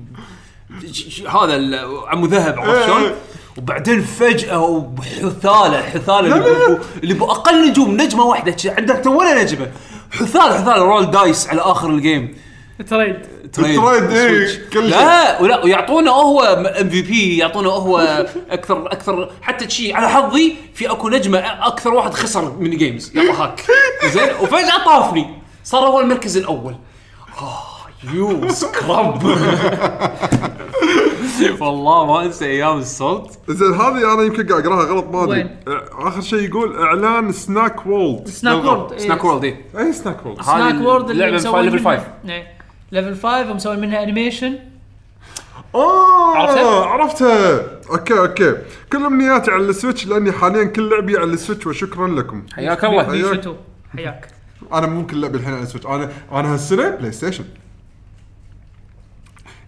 [SPEAKER 1] شي- شي- هذا ال- عمو ذهب عرفت شلون؟ وبعدين فجأة وحثالة حثالة اللي بو- اللي بأقل نجوم نجمة واحدة شي عندك ولا نجمة حثالة حثالة رول دايس على آخر الجيم
[SPEAKER 3] تريد
[SPEAKER 1] تريد
[SPEAKER 4] تريد، إيه،
[SPEAKER 1] سويتش.
[SPEAKER 4] كل
[SPEAKER 1] لا ولا ويعطونه هو ام في بي يعطونه هو اكثر اكثر حتى شيء على حظي في اكو نجمه اكثر واحد خسر من جيمز يلا هاك زين وفجاه طافني صار هو المركز الاول آه، يو سكرب والله ما انسى ايام الصوت
[SPEAKER 4] زين هذه انا يمكن قاعد اقراها غلط ما ادري
[SPEAKER 3] وين؟
[SPEAKER 4] اخر شيء يقول اعلان سناك وولد
[SPEAKER 3] سناك وورد
[SPEAKER 1] سناك وورلد إيه.
[SPEAKER 4] اي سناك وولد
[SPEAKER 3] سناك
[SPEAKER 1] هذه
[SPEAKER 3] وورد اللي
[SPEAKER 1] اللعبة
[SPEAKER 3] مسوي
[SPEAKER 1] ليفل
[SPEAKER 3] منها-
[SPEAKER 1] فايف.
[SPEAKER 3] إيه. ليفل 5 ومسوي منها انيميشن
[SPEAKER 4] اوه
[SPEAKER 1] عرفتها؟
[SPEAKER 4] عرفتها اوكي اوكي كل امنياتي على السويتش لاني حاليا كل لعبي على السويتش وشكرا لكم
[SPEAKER 1] حياك الله
[SPEAKER 4] أيوة.
[SPEAKER 3] بيشوتو حياك
[SPEAKER 4] انا مو كل لعبي الحين على السويتش انا انا هالسنه بلاي ستيشن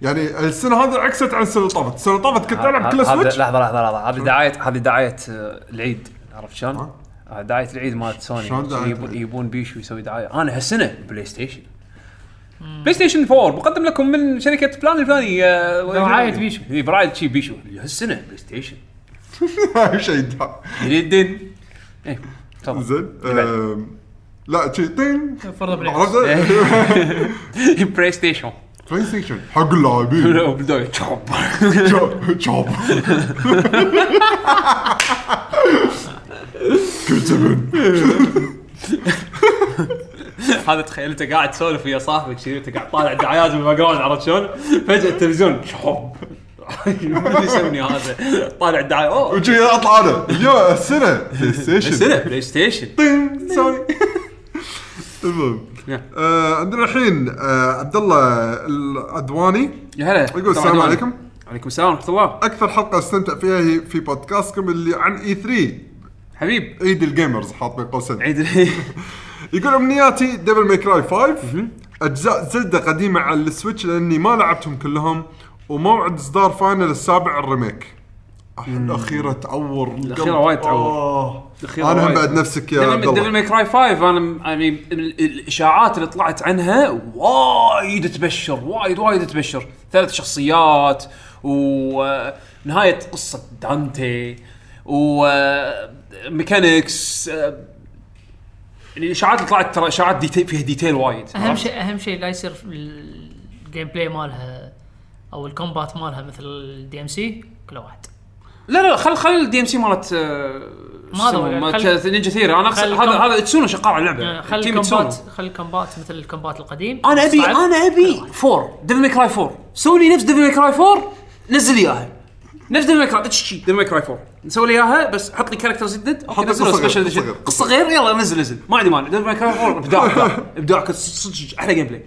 [SPEAKER 4] يعني السنه هذه عكست عن السنه اللي طافت، السنه اللي طافت كنت العب كل
[SPEAKER 6] هذا-
[SPEAKER 4] سويتش
[SPEAKER 6] لحظه لحظه لحظه هذه دعايه هذه دعايه آه، العيد عرفت شلون؟
[SPEAKER 4] ها؟
[SPEAKER 6] آه، دعايه العيد مالت سوني
[SPEAKER 4] شلون دعاية
[SPEAKER 6] يبون
[SPEAKER 4] العيد؟
[SPEAKER 6] يبون بيشو يسوي دعايه انا هالسنه بلاي ستيشن بلاي ستيشن 4 مقدم لكم من شركه فلان الفلاني آه،
[SPEAKER 3] دعاية بيشو.
[SPEAKER 6] إي، برعايه شي بيشو هالسنه بلاي ستيشن
[SPEAKER 4] شيء دا.
[SPEAKER 6] جديد ايه تفضل
[SPEAKER 4] زين آم، لا شي تين
[SPEAKER 3] فرضا بلاي
[SPEAKER 4] عرفت
[SPEAKER 6] بلاي ستيشن
[SPEAKER 4] بلاي ستيشن حق اللاعبين
[SPEAKER 6] بالدوري
[SPEAKER 4] شوب شوب كل زمن
[SPEAKER 1] هذا تخيل انت قاعد تسولف ويا صاحبك شي انت قاعد طالع الدعايات بالباك جراوند عرفت شلون؟ فجاه التلفزيون شحب ما ادري يسويني هذا طالع الدعايه اوه
[SPEAKER 4] وجي اطلع انا يا السنه بلاي ستيشن
[SPEAKER 1] سنة بلاي ستيشن
[SPEAKER 4] طين سوري المهم
[SPEAKER 1] نعم.
[SPEAKER 4] آه، عندنا الحين آه، عبد الله العدواني
[SPEAKER 1] يا هلا
[SPEAKER 4] يقول السلام عليكم
[SPEAKER 1] عليكم السلام ورحمه الله
[SPEAKER 4] اكثر حلقه استمتع فيها هي في بودكاستكم اللي عن اي 3
[SPEAKER 1] حبيب
[SPEAKER 4] عيد الجيمرز حاط بين قوسين
[SPEAKER 1] عيد
[SPEAKER 4] يقول امنياتي ديفل ماي كراي 5 اجزاء زلده قديمه على السويتش لاني ما لعبتهم كلهم وموعد اصدار فاينل السابع الريميك أح- الاخيره تعور
[SPEAKER 1] الأخيرة وايد تعور.
[SPEAKER 4] آه.
[SPEAKER 1] الأخيرة
[SPEAKER 4] انا هم
[SPEAKER 1] وايد.
[SPEAKER 4] بعد نفسك يا عبد
[SPEAKER 1] ديفل
[SPEAKER 4] الله
[SPEAKER 1] ماي كراي 5 انا يعني ال- ال- الاشاعات اللي طلعت عنها وايد تبشر وايد وايد تبشر ثلاث شخصيات ونهايه قصه دانتي وميكانكس يعني الاشاعات اللي طلعت ترى اشاعات ديتيل فيها ديتيل وايد
[SPEAKER 3] اهم شيء اهم شيء لا يصير في ال- الجيم بلاي مالها او الكومبات مالها مثل الدي ام سي كل واحد
[SPEAKER 1] لا لا خل خل الدي ام سي مالت آه، شو
[SPEAKER 3] هذا
[SPEAKER 1] يسمونه؟
[SPEAKER 3] هو،
[SPEAKER 1] مالت
[SPEAKER 3] خل-
[SPEAKER 1] نينجا ثيري انا اقصد
[SPEAKER 3] خل
[SPEAKER 1] هذا
[SPEAKER 3] كم-
[SPEAKER 1] هذا تسونو شغال على اللعبه
[SPEAKER 3] آه، خل
[SPEAKER 1] تيم تسونو.
[SPEAKER 3] الكومبات خل الكومبات مثل الكومبات القديم
[SPEAKER 1] انا ابي
[SPEAKER 3] صعب.
[SPEAKER 1] انا ابي 4 ديفل ماي كراي 4 سوي لي نفس ديفل ماي كراي 4 نزل لي اياها نفس ديفل ماي كراي تشي ديفل ماي كراي 4 نسوي لي اياها بس حط لي كاركترز جدد اوكي
[SPEAKER 4] حط لي
[SPEAKER 1] نزل
[SPEAKER 4] قصة غير،
[SPEAKER 1] سبيشل
[SPEAKER 4] قصة
[SPEAKER 1] اديشن
[SPEAKER 4] غير.
[SPEAKER 1] قصه غير يلا نزل نزل ما عندي مانع ديفل ماي كراي 4 ابداع ابداع ابداع كنت صدق صدق احلى جيم بلاي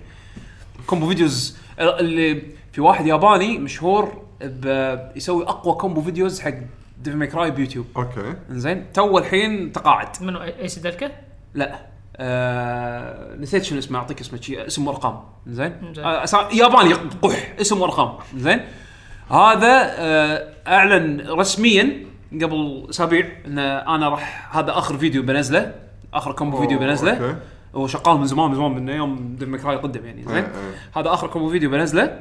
[SPEAKER 1] كومبو فيديوز اللي في واحد ياباني مشهور ب- يسوي اقوى كومبو فيديوز حق ديفل ماي كراي بيوتيوب
[SPEAKER 4] اوكي
[SPEAKER 1] زين تو الحين تقاعد
[SPEAKER 3] منو ايس دلكه؟
[SPEAKER 1] لا آه... نسيت شنو اسمه اعطيك اسمه شي... اسم وارقام زين
[SPEAKER 3] زين.
[SPEAKER 1] آه... أسا- ياباني قح اسم وارقام زين هذا آه... اعلن رسميا قبل اسابيع ان انا راح هذا اخر فيديو بنزله اخر كومبو فيديو
[SPEAKER 4] أوه،
[SPEAKER 1] بنزله
[SPEAKER 4] أوكي.
[SPEAKER 1] هو شغال من زمان من زمان من يوم ديف ماكراي قدم يعني زين
[SPEAKER 4] إيه، إيه.
[SPEAKER 1] هذا اخر كومبو فيديو بنزله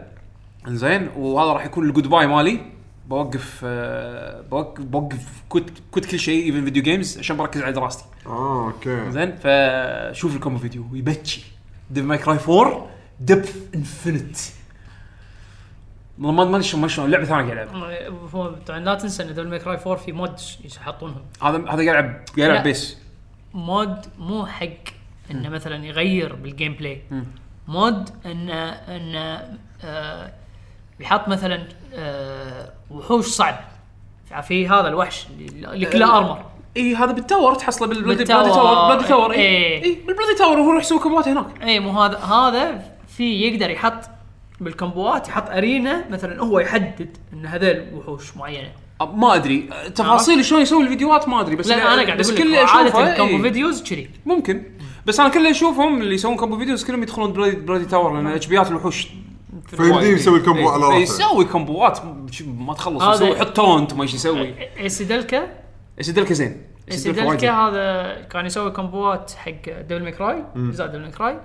[SPEAKER 1] زين وهذا راح يكون الجود باي مالي بوقف آه... بوقف بوقف كنت كنت كل شيء ايفن فيديو جيمز عشان بركز على دراستي
[SPEAKER 4] اه اوكي
[SPEAKER 1] زين فشوف الكومبو فيديو ويبكي ديف ماي كراي 4 دبث انفنت والله ما ما ادري شلون- ما شلون لعبه ثانيه قاعد العب
[SPEAKER 3] هو طبعا لا تنسى ان ديفل ماي كراي 4 في مود ش- يحطونهم
[SPEAKER 1] هذا هذا قاعد العب قاعد
[SPEAKER 3] لا.
[SPEAKER 1] العب بيس
[SPEAKER 3] مود مو حق انه مثلا يغير بالجيم بلاي مود انه انه آه، يحط مثلا آه، وحوش صعب في هذا الوحش اللي اللي كله ارمر
[SPEAKER 1] اي هذا بالتاور تحصله بالبلادي
[SPEAKER 3] بالتاور.
[SPEAKER 1] بلادي تاور بلادي تاور اي
[SPEAKER 3] إيه.
[SPEAKER 1] اي بالبلادي تاور وهو يروح يسوي كومبات هناك
[SPEAKER 3] اي إيه، مو هذا هذا في يقدر يحط بالكمبوات يحط ارينا مثلا هو يحدد ان هذول وحوش معينه
[SPEAKER 1] أه، ما ادري أه، تفاصيل شلون يسوي الفيديوهات ما ادري بس
[SPEAKER 3] لا انا قاعد
[SPEAKER 1] بس
[SPEAKER 3] اقول
[SPEAKER 1] كل إيه.
[SPEAKER 3] لك عاده
[SPEAKER 1] اشوفه
[SPEAKER 3] الكومبو
[SPEAKER 1] إي،
[SPEAKER 3] فيديوز كذي
[SPEAKER 1] ممكن بس انا كل اللي اشوفهم اللي يسوون كومبو فيديوز كلهم يدخلون بلادي, بلادي تاور
[SPEAKER 3] نعم.
[SPEAKER 1] لان اتش الوحوش
[SPEAKER 4] فيبدي يسوي كومبو على
[SPEAKER 1] راسه
[SPEAKER 4] راسه
[SPEAKER 1] إيه، يسوي كومبوات ما تخلص
[SPEAKER 3] هذا-
[SPEAKER 1] يسوي حط تونت ما ايش يسوي
[SPEAKER 3] ايسيدلكا
[SPEAKER 1] سيدلكا زين سيدلكا وايد
[SPEAKER 3] ايسيدلكا
[SPEAKER 1] زين.
[SPEAKER 3] هذا كان يسوي كمبوات حق ديفل ميكراي اجزاء ديفل ميكراي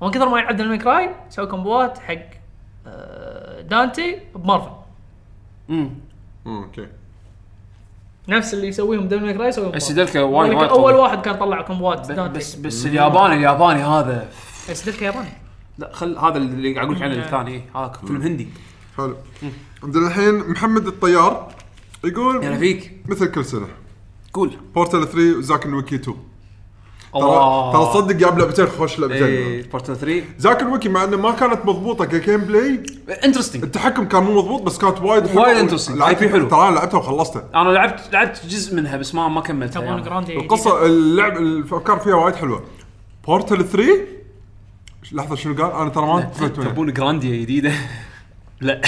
[SPEAKER 3] ومن كثر ما يلعب ديفل ميكراي سوى كمبوات حق آه، دانتي بمارفل
[SPEAKER 4] اوكي
[SPEAKER 3] نفس اللي يسويهم ديفل ميكراي يسويهم بمارفل.
[SPEAKER 1] سيدلكا وايد وايد
[SPEAKER 3] اول
[SPEAKER 1] طول.
[SPEAKER 3] واحد كان طلع كمبوات
[SPEAKER 1] ب-
[SPEAKER 3] دانتي
[SPEAKER 1] بس بس الياباني الياباني هذا
[SPEAKER 3] ايسيدلكا ياباني
[SPEAKER 1] لا خل هذا اللي قاعد اقول لك عنه الثاني إيه، هذا فيلم هندي
[SPEAKER 4] حلو عندنا الحين محمد الطيار
[SPEAKER 1] يلا
[SPEAKER 4] يقول
[SPEAKER 1] فيك
[SPEAKER 4] مثل كل سنه
[SPEAKER 1] قول
[SPEAKER 4] بورتال 3 وزاك الويكي 2 ترى
[SPEAKER 1] الله.
[SPEAKER 4] ترى صدق جاب لعبتين خوش لعبتين
[SPEAKER 1] ايه بورتال 3
[SPEAKER 4] زاك الويكي مع انه ما كانت مضبوطه كجيم بلاي
[SPEAKER 1] انترستنج
[SPEAKER 4] التحكم كان مو مضبوط بس كانت وايد حلوه
[SPEAKER 1] وايد interesting.
[SPEAKER 4] لعبت-
[SPEAKER 1] IP حلو.
[SPEAKER 4] ترى انا لعبتها وخلصتها
[SPEAKER 1] انا لعبت لعبت جزء منها بس ما ما كملتها
[SPEAKER 3] تبون
[SPEAKER 1] يعني.
[SPEAKER 3] جراندي
[SPEAKER 4] القصه اللعب الافكار فيها وايد حلوه بورتال 3 لحظه شنو قال انا ترى ما انتبهت منها.
[SPEAKER 1] تبون جرانديا جديده لا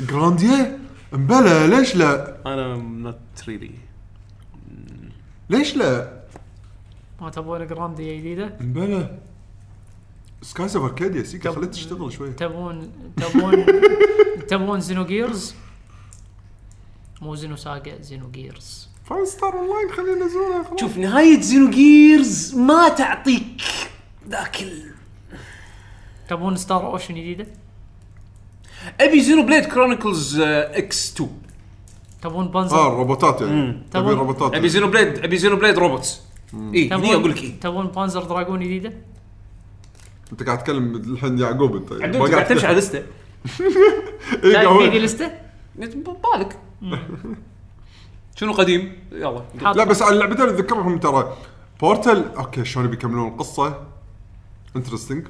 [SPEAKER 4] جرانديا امبلا ليش لا
[SPEAKER 1] انا نوت ريلي
[SPEAKER 4] ليش لا
[SPEAKER 3] ما تبون جراندي جديده
[SPEAKER 4] امبلا سكاي اوف اركاديا سيكا خليت تشتغل شوي
[SPEAKER 3] تبون تبون تبون زينو جيرز مو زينو ساجا زينو جيرز
[SPEAKER 4] فاين ستار اون لاين خلينا ننزلها خلاص
[SPEAKER 1] شوف نهايه زينو جيرز ما تعطيك ذاك ال-
[SPEAKER 3] تبون ستار اوشن جديده
[SPEAKER 1] ابي زينو بليد كرونيكلز اكس 2
[SPEAKER 3] تبون بانزر
[SPEAKER 1] آه،
[SPEAKER 4] اه الروبوتات يعني تبي
[SPEAKER 3] تبون-
[SPEAKER 4] الروبوتات
[SPEAKER 1] ابي زينو بليد ابي زينو بليد روبوتس اي هني
[SPEAKER 3] تبون
[SPEAKER 1] اقول لك إيه. اي
[SPEAKER 3] تبون بانزر دراجون جديده
[SPEAKER 4] انت قاعد تتكلم الحين يعقوب يعني. انت
[SPEAKER 1] عبد انت قاعد تمشي على لسته
[SPEAKER 4] إيه،
[SPEAKER 3] تعرف
[SPEAKER 4] قاعد-
[SPEAKER 3] في ذي لسته
[SPEAKER 1] بالك شنو قديم يلا
[SPEAKER 4] لا بس على اللعبتين اللي ذكرهم ترى بورتل اوكي شلون بيكملون القصه انترستنج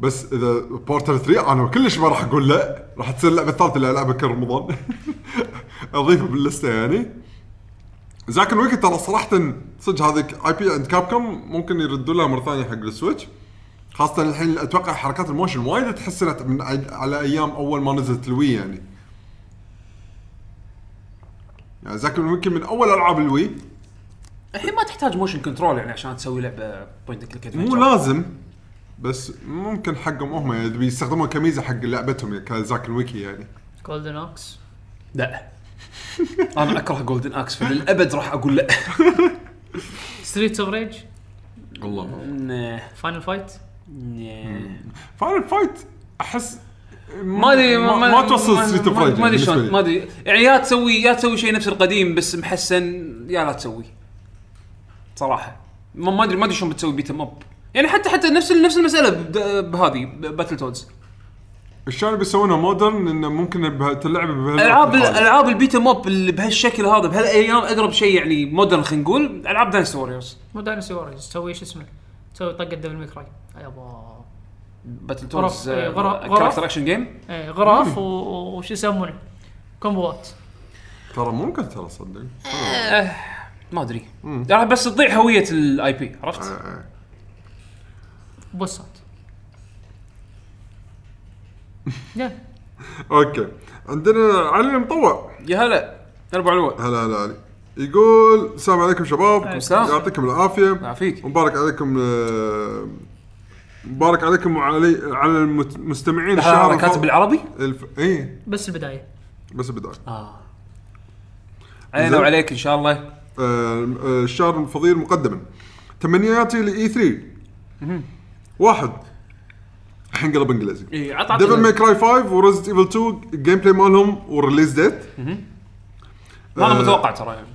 [SPEAKER 4] بس اذا بورتر 3 انا كلش ما راح اقول لا راح تصير اللعبه الثالثه اللي العبها كل رمضان اضيفها باللسته يعني زاك ويك ترى صراحه صدق هذيك اي بي عند كاب كوم ممكن يردوا لها مره ثانيه حق السويتش خاصه الحين اتوقع حركات الموشن وايد تحسنت من عي- على ايام اول ما نزلت الوي يعني يعني زاك ويك من اول العاب الوي
[SPEAKER 1] الحين ما تحتاج موشن كنترول يعني عشان تسوي لعبه بوينت كليك
[SPEAKER 4] مو لازم بس ممكن حقهم هم يعني بيستخدمون كميزه حق لعبتهم كزاك الويكي يعني
[SPEAKER 3] جولدن اوكس
[SPEAKER 1] لا انا اكره جولدن اكس فللابد راح اقول لا
[SPEAKER 3] ستريت اوف ريج
[SPEAKER 4] والله
[SPEAKER 3] فاينل فايت
[SPEAKER 4] فاينل فايت احس
[SPEAKER 1] ما ادري
[SPEAKER 4] ما, ما, توصل ستريت اوف ريج
[SPEAKER 1] ما ادري شلون ما ادري يعني يا تسوي يا تسوي شيء نفس القديم بس محسن يا لا تسوي صراحه ما ما ادري ما ادري شلون بتسوي بيتم اب يعني حتى حتى نفس نفس المساله بد- بهذه باتل تودز
[SPEAKER 4] الشيء اللي بيسوونه مودرن انه ممكن بها- تلعب بها-
[SPEAKER 1] العاب العاب البيت ام اب اللي بهالشكل هذا بهالايام اقرب شيء يعني مودرن خلينا نقول العاب داينستي ووريرز
[SPEAKER 3] مو داينسي ووريرز تسوي شو اسمه تسوي طقه ديفل ميكراي يابا
[SPEAKER 1] باتل
[SPEAKER 3] غرف-
[SPEAKER 1] تودز
[SPEAKER 3] إيه، غرف- غرف.
[SPEAKER 1] كاركتر اكشن جيم
[SPEAKER 3] ايه غراف و- و- وش يسمونه كومبوات
[SPEAKER 4] ترى ممكن ترى صدق
[SPEAKER 1] ما ادري راح بس تضيع هويه الاي بي عرفت؟
[SPEAKER 4] آه.
[SPEAKER 3] بوسات يا
[SPEAKER 4] اوكي عندنا علي المطوع
[SPEAKER 1] يا هلا اربع الوقت
[SPEAKER 4] هلا هلا علي يقول السلام عليكم شباب
[SPEAKER 1] السلام.
[SPEAKER 4] يعطيكم العافيه
[SPEAKER 1] يعافيك.
[SPEAKER 4] مبارك عليكم آه، مبارك عليكم وعلي على المستمعين الشهر
[SPEAKER 1] انا آه، كاتب
[SPEAKER 4] الفاضل.
[SPEAKER 1] بالعربي
[SPEAKER 4] الف... ايه
[SPEAKER 3] بس البدايه
[SPEAKER 4] بس البدايه
[SPEAKER 1] علينا
[SPEAKER 4] زين.
[SPEAKER 1] وعليك ان شاء الله
[SPEAKER 4] آه، آه، الشهر الفضيل مقدما تمنياتي لاي 3 واحد الحين قلب انجليزي
[SPEAKER 1] اي عط عط
[SPEAKER 4] ديفل ماي كراي 5 وريزد ايفل 2 الجيم بلاي مالهم والريليز ديت
[SPEAKER 1] ما انا متوقع ترى يعني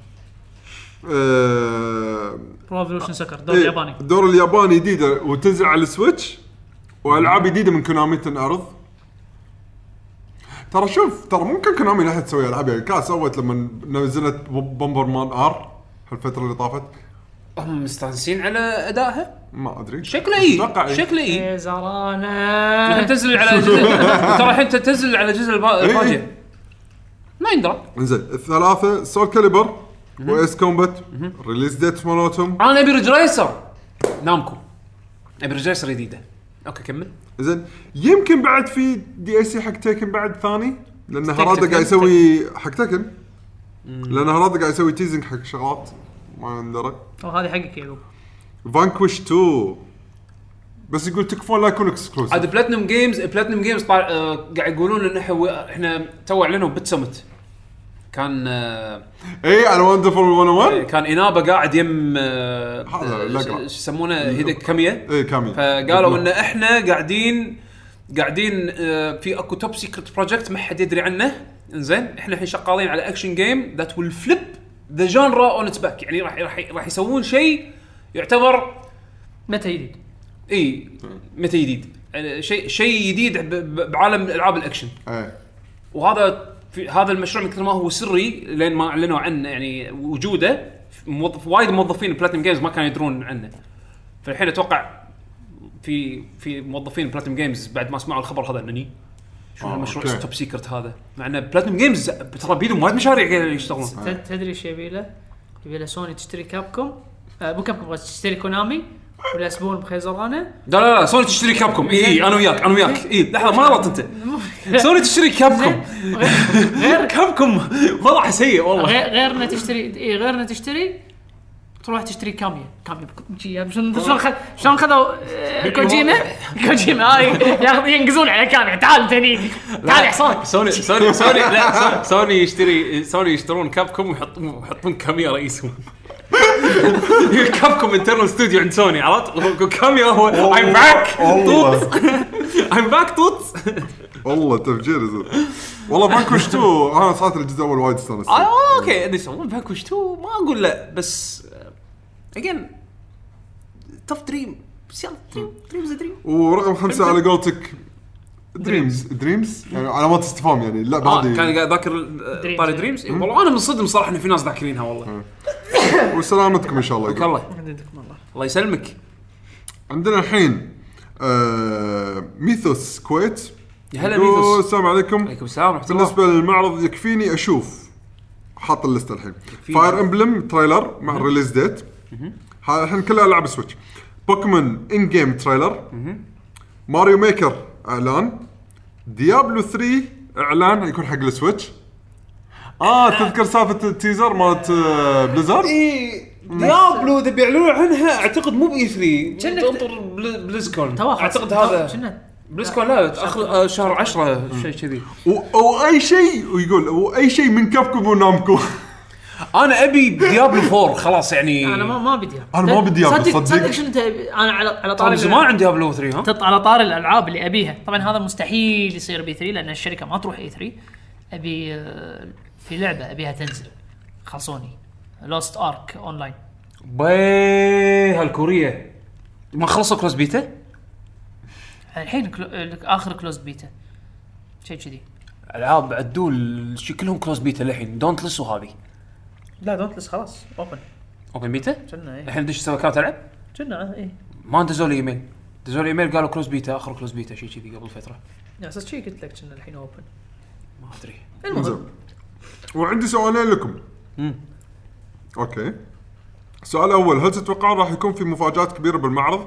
[SPEAKER 4] آه، إيه.
[SPEAKER 3] ريفولوشن سكر دور ياباني
[SPEAKER 4] الدور الياباني جديده وتنزل على السويتش والعاب جديده من كونامي تنعرض ترى شوف ترى ممكن كونامي لها تسوي العاب يعني كان سوت لما نزلت بومبر مان ار الفتره اللي طافت
[SPEAKER 1] هم مستانسين على ادائها
[SPEAKER 4] ما ادري
[SPEAKER 1] شكله اي
[SPEAKER 4] أتوقع إيه.
[SPEAKER 1] شكله اي
[SPEAKER 3] إيه،
[SPEAKER 1] الحين
[SPEAKER 3] زرانا
[SPEAKER 1] تنزل على ترى الحين تنزل على الجزء البا-
[SPEAKER 4] إيه.
[SPEAKER 1] الباجي ما يندرى
[SPEAKER 4] انزين الثلاثه سول كاليبر وايس كومبات ريليز ديت مالتهم
[SPEAKER 1] انا ابي ريج ريسر نامكو ابي ريج ريسر جديده اوكي كمل
[SPEAKER 4] زين يمكن بعد في دي اي سي حق تيكن بعد ثاني لان هرادا
[SPEAKER 1] تكن-
[SPEAKER 4] قاعد يسوي حق تيكن لان هرادا قاعد يسوي تيزنج حق شغلات ما ندري
[SPEAKER 3] وهذه حقك يا يعقوب
[SPEAKER 4] فانكوش 2 بس يقول تكفون لا يكون اكسكلوسيف
[SPEAKER 1] عاد بلاتنم جيمز بلاتنم جيمز طالع آه، قاعد يقولون ان إحنا- احنا تو اعلنوا بت سمت كان آه،
[SPEAKER 4] اي إيه، على oh وندرفول 101
[SPEAKER 1] كان انابه قاعد يم آه،
[SPEAKER 4] هذا
[SPEAKER 1] آه،
[SPEAKER 4] الأقرع.
[SPEAKER 1] شو يسمونه هيدك كاميه
[SPEAKER 4] اي إيه، كامل
[SPEAKER 1] فقالوا ان احنا قاعدين قاعدين آه، في اكو توب سيكرت بروجكت ما حد يدري عنه انزين احنا الحين شغالين على اكشن جيم ذات ويل فليب ذا جانرا اون اتس باك يعني راح راح راح يسوون شيء يعتبر
[SPEAKER 3] متى جديد
[SPEAKER 1] اي متى جديد يعني شيء شيء جديد ب- ب- بعالم العاب الاكشن
[SPEAKER 4] إيه.
[SPEAKER 1] وهذا في هذا المشروع من كثر ما هو سري لين ما اعلنوا عنه يعني وجوده موظف وايد موظفين بلاتينم جيمز ما كانوا يدرون عنه فالحين اتوقع في في موظفين بلاتينم جيمز بعد ما سمعوا الخبر هذا انني شو
[SPEAKER 4] آه،
[SPEAKER 1] المشروع
[SPEAKER 4] أوكي.
[SPEAKER 1] توب سيكرت هذا مع ان بلاتينم جيمز ترى بيدهم وايد مشاريع قاعد يشتغلون
[SPEAKER 3] ت- تدري ايش يبي له؟ يبي له سوني تشتري كابكوم آه، مو كابكوم بس تشتري كونامي والاسبون بخيزرانه
[SPEAKER 1] لا لا لا سوني تشتري كابكم اي اي انا وياك انا وياك اي لحظه ما غلطت انت سوني تشتري كابكم غير كابكم وضعها سيء والله
[SPEAKER 3] غير غير انه تشتري اي غير انه تشتري تروح تشتري كاميا كاميا بك- جي- يعني شلون شلون خذ- شلون خذوا آه، كوجيما كوجيما هاي ياخذ- ينقزون على كاميا تعال انت هني تعال حصان
[SPEAKER 1] سوني سوني سوني لا سوني- سوني يشتري سوني يشترون كابكم ويحطون ويحطون كاميا رئيسهم كابكم انترنال ستوديو عند سوني عرفت؟ كاميا هو I'm back
[SPEAKER 4] والله
[SPEAKER 1] I'm back توتس
[SPEAKER 4] والله تفجير زين والله فانكوش 2 انا صارت الجزء الاول وايد استانست
[SPEAKER 1] آه، اوكي اللي يسوون باك وش تو ما اقول لا بس آه، اجين تف دريم بس يلا دريم دريمز دريم
[SPEAKER 4] ورقم خمسه على قولتك دريمز دريمز يعني علامات استفهام يعني اللعبه
[SPEAKER 1] اه كان
[SPEAKER 4] هذه
[SPEAKER 1] قاعد ذاكر آه،
[SPEAKER 3] Dreams.
[SPEAKER 1] طاري دريمز والله انا منصدم صراحه ان في ناس ذاكرينها والله
[SPEAKER 4] وسلامتكم ان شاء الله
[SPEAKER 1] الله الله يسلمك
[SPEAKER 4] عندنا الحين آه ميثوس كويت
[SPEAKER 7] هلا
[SPEAKER 4] يقول
[SPEAKER 7] ميثوس.
[SPEAKER 4] السلام عليكم
[SPEAKER 7] عليكم السلام ورحمه الله
[SPEAKER 4] بالنسبه للمعرض يكفيني اشوف حاط الليسته الحين فاير امبلم تريلر مع الريليز ديت ها- الحين كلها العاب سويتش بوكيمون ان جيم تريلر ماريو ميكر اعلان ديابلو 3 اعلان يكون حق السويتش اه تذكر سالفه التيزر مالت آه، بليزرد
[SPEAKER 7] إيه. اي ديابلو اذا بيعلنون عنها اعتقد مو باي 3
[SPEAKER 3] كأنك-
[SPEAKER 7] انطر بل- بليزكون
[SPEAKER 3] توا خلاص.
[SPEAKER 7] اعتقد
[SPEAKER 3] توا
[SPEAKER 7] هذا
[SPEAKER 3] شنو؟
[SPEAKER 7] بليزكون لا آخر- آه، شهر 10 شيء كذي
[SPEAKER 4] و- واي شيء ويقول واي شيء من كابكم ونامكو
[SPEAKER 1] انا ابي ديابلو 4 خلاص يعني
[SPEAKER 3] انا ما ما بدي
[SPEAKER 4] أنا ما بدي إياه،
[SPEAKER 3] صدق
[SPEAKER 4] تصدق؟
[SPEAKER 3] صدق شنو تبي؟ انا على على طاري
[SPEAKER 1] من زمان عندي ديابلو 3 ها
[SPEAKER 3] تط على طار الالعاب اللي ابيها طبعا هذا مستحيل يصير بي 3 لان الشركه ما تروح اي 3 ابي آه، في لعبه ابيها تنزل خلصوني لوست ارك اون لاين
[SPEAKER 1] باي هالكوريه ما خلصوا كروس بيتا؟
[SPEAKER 3] الحين كلو... اخر كلوز بيتا شيء كذي
[SPEAKER 1] العاب عدول شي كلهم كروس بيتا للحين دونت لس وهذه
[SPEAKER 3] لا دونتلس خلاص اوبن
[SPEAKER 1] اوبن بيتا؟
[SPEAKER 3] كنا اي
[SPEAKER 1] الحين دش سوي كارت العب؟
[SPEAKER 3] كنا إيه. اي
[SPEAKER 1] ما دزوا لي ايميل دزوا لي ايميل قالوا كروس بيتا اخر كروس بيتا شيء كذي قبل فتره
[SPEAKER 3] على اساس شيء يعني قلت لك كنا الحين اوبن
[SPEAKER 1] ما ادري
[SPEAKER 4] زين.
[SPEAKER 3] المهم
[SPEAKER 4] وعندي سؤالين لكم اوكي السؤال الاول هل تتوقعون راح يكون في مفاجات كبيره بالمعرض؟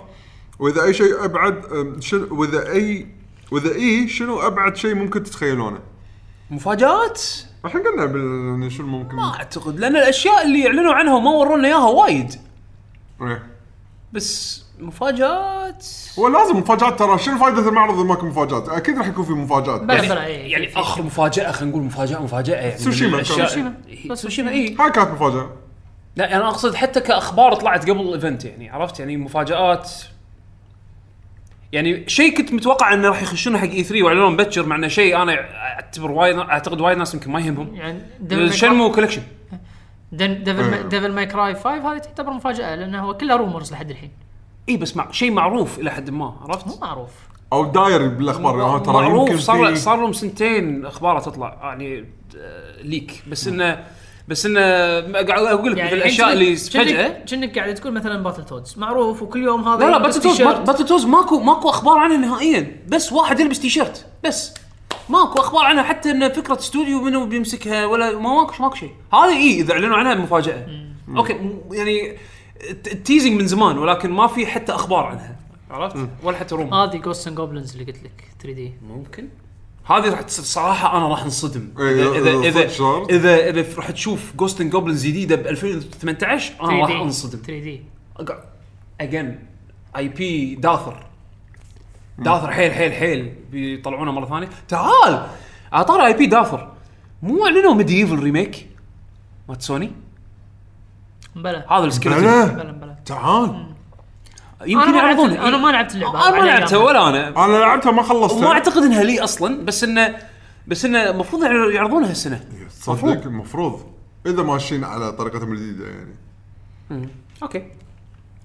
[SPEAKER 4] واذا اي شيء ابعد أم، شنو واذا اي واذا اي إيه، شنو ابعد شيء ممكن تتخيلونه؟
[SPEAKER 1] مفاجات؟
[SPEAKER 4] الحين قلنا بال- يعني شنو ممكن
[SPEAKER 1] ما اعتقد لان الاشياء اللي اعلنوا عنها ما ورونا اياها وايد
[SPEAKER 4] إيه.
[SPEAKER 1] بس مفاجات
[SPEAKER 4] هو لازم مفاجات ترى شنو فائده المعرض اذا ماكو مفاجات؟ اكيد راح يكون في مفاجات
[SPEAKER 3] بلا بلا اي
[SPEAKER 1] يعني اخر مفاجاه خلينا نقول مفاجاه مفاجاه يعني إيه،
[SPEAKER 4] سوشيما
[SPEAKER 1] سوشيما سوشيما اي
[SPEAKER 4] هاي كانت مفاجاه
[SPEAKER 1] لا انا اقصد حتى كاخبار طلعت قبل الايفنت يعني عرفت يعني مفاجات يعني شيء كنت متوقع انه راح يخشونه حق E اي 3 واعلنوا مبكر مع انه شيء انا اعتبر وايد اعتقد وايد ناس يمكن ما يهمهم
[SPEAKER 3] يعني
[SPEAKER 1] شنمو كولكشن
[SPEAKER 3] ديفل ديفل ماي كراي 5 هذه تعتبر مفاجاه لانه هو كلها رومرز لحد الحين
[SPEAKER 1] اي إيه، بس مع شيء معروف الى حد ما عرفت؟
[SPEAKER 3] مو معروف
[SPEAKER 4] او داير بالاخبار يعني هو ترى يمكن
[SPEAKER 1] معروف صار
[SPEAKER 4] في
[SPEAKER 1] صار لهم سنتين اخباره تطلع يعني آه، ليك بس انه بس انه قاعد اقول لك مثل
[SPEAKER 3] يعني الحين
[SPEAKER 1] الاشياء اللي
[SPEAKER 3] كأنك-
[SPEAKER 1] فجاه
[SPEAKER 3] كأنك- كأنك قاعد تقول مثلا باتل تودز معروف وكل يوم هذا
[SPEAKER 1] لا لا
[SPEAKER 3] يلبس
[SPEAKER 1] باتل توز
[SPEAKER 3] تيشيرت.
[SPEAKER 1] باتل توز ماكو ماكو اخبار عنها نهائيا بس واحد يلبس تيشيرت بس ماكو اخبار عنها حتى ان فكره استوديو منو بيمسكها ولا ما ماكو ماكو شيء هذه اي اذا اعلنوا عنها مفاجاه اوكي م- يعني الت- التيزنج من زمان ولكن ما في حتى اخبار عنها عرفت ولا حتى روم
[SPEAKER 3] هذه جوست اند جوبلنز اللي قلت لك 3 دي
[SPEAKER 1] ممكن هذه راح تصير صراحه انا راح انصدم
[SPEAKER 4] إيه،
[SPEAKER 1] اذا اذا اذا
[SPEAKER 4] صدق.
[SPEAKER 1] اذا, إذا راح تشوف جوست اند جوبلنز جديده ب 2018 انا راح انصدم
[SPEAKER 3] 3 دي
[SPEAKER 1] اجين اي بي داثر داثر حيل حيل حيل بيطلعونه مره ثانيه تعال على طار اي بي داثر مو اعلنوا ميديفل ريميك مات سوني
[SPEAKER 3] بلا
[SPEAKER 1] هذا السكيلتون
[SPEAKER 4] بلا
[SPEAKER 3] بلا بلا
[SPEAKER 4] تعال
[SPEAKER 3] انا
[SPEAKER 1] يمكن
[SPEAKER 3] ما لعبت
[SPEAKER 1] يعرضونه
[SPEAKER 3] انا ما لعبت اللعبه
[SPEAKER 1] انا ما لعبتها ولا انا
[SPEAKER 4] انا لعبتها ما خلصتها
[SPEAKER 1] وما اعتقد انها لي اصلا بس انه بس انه المفروض يعر- يعرضونها هالسنه
[SPEAKER 4] صدق المفروض اذا ماشيين على طريقتهم الجديده يعني
[SPEAKER 1] اوكي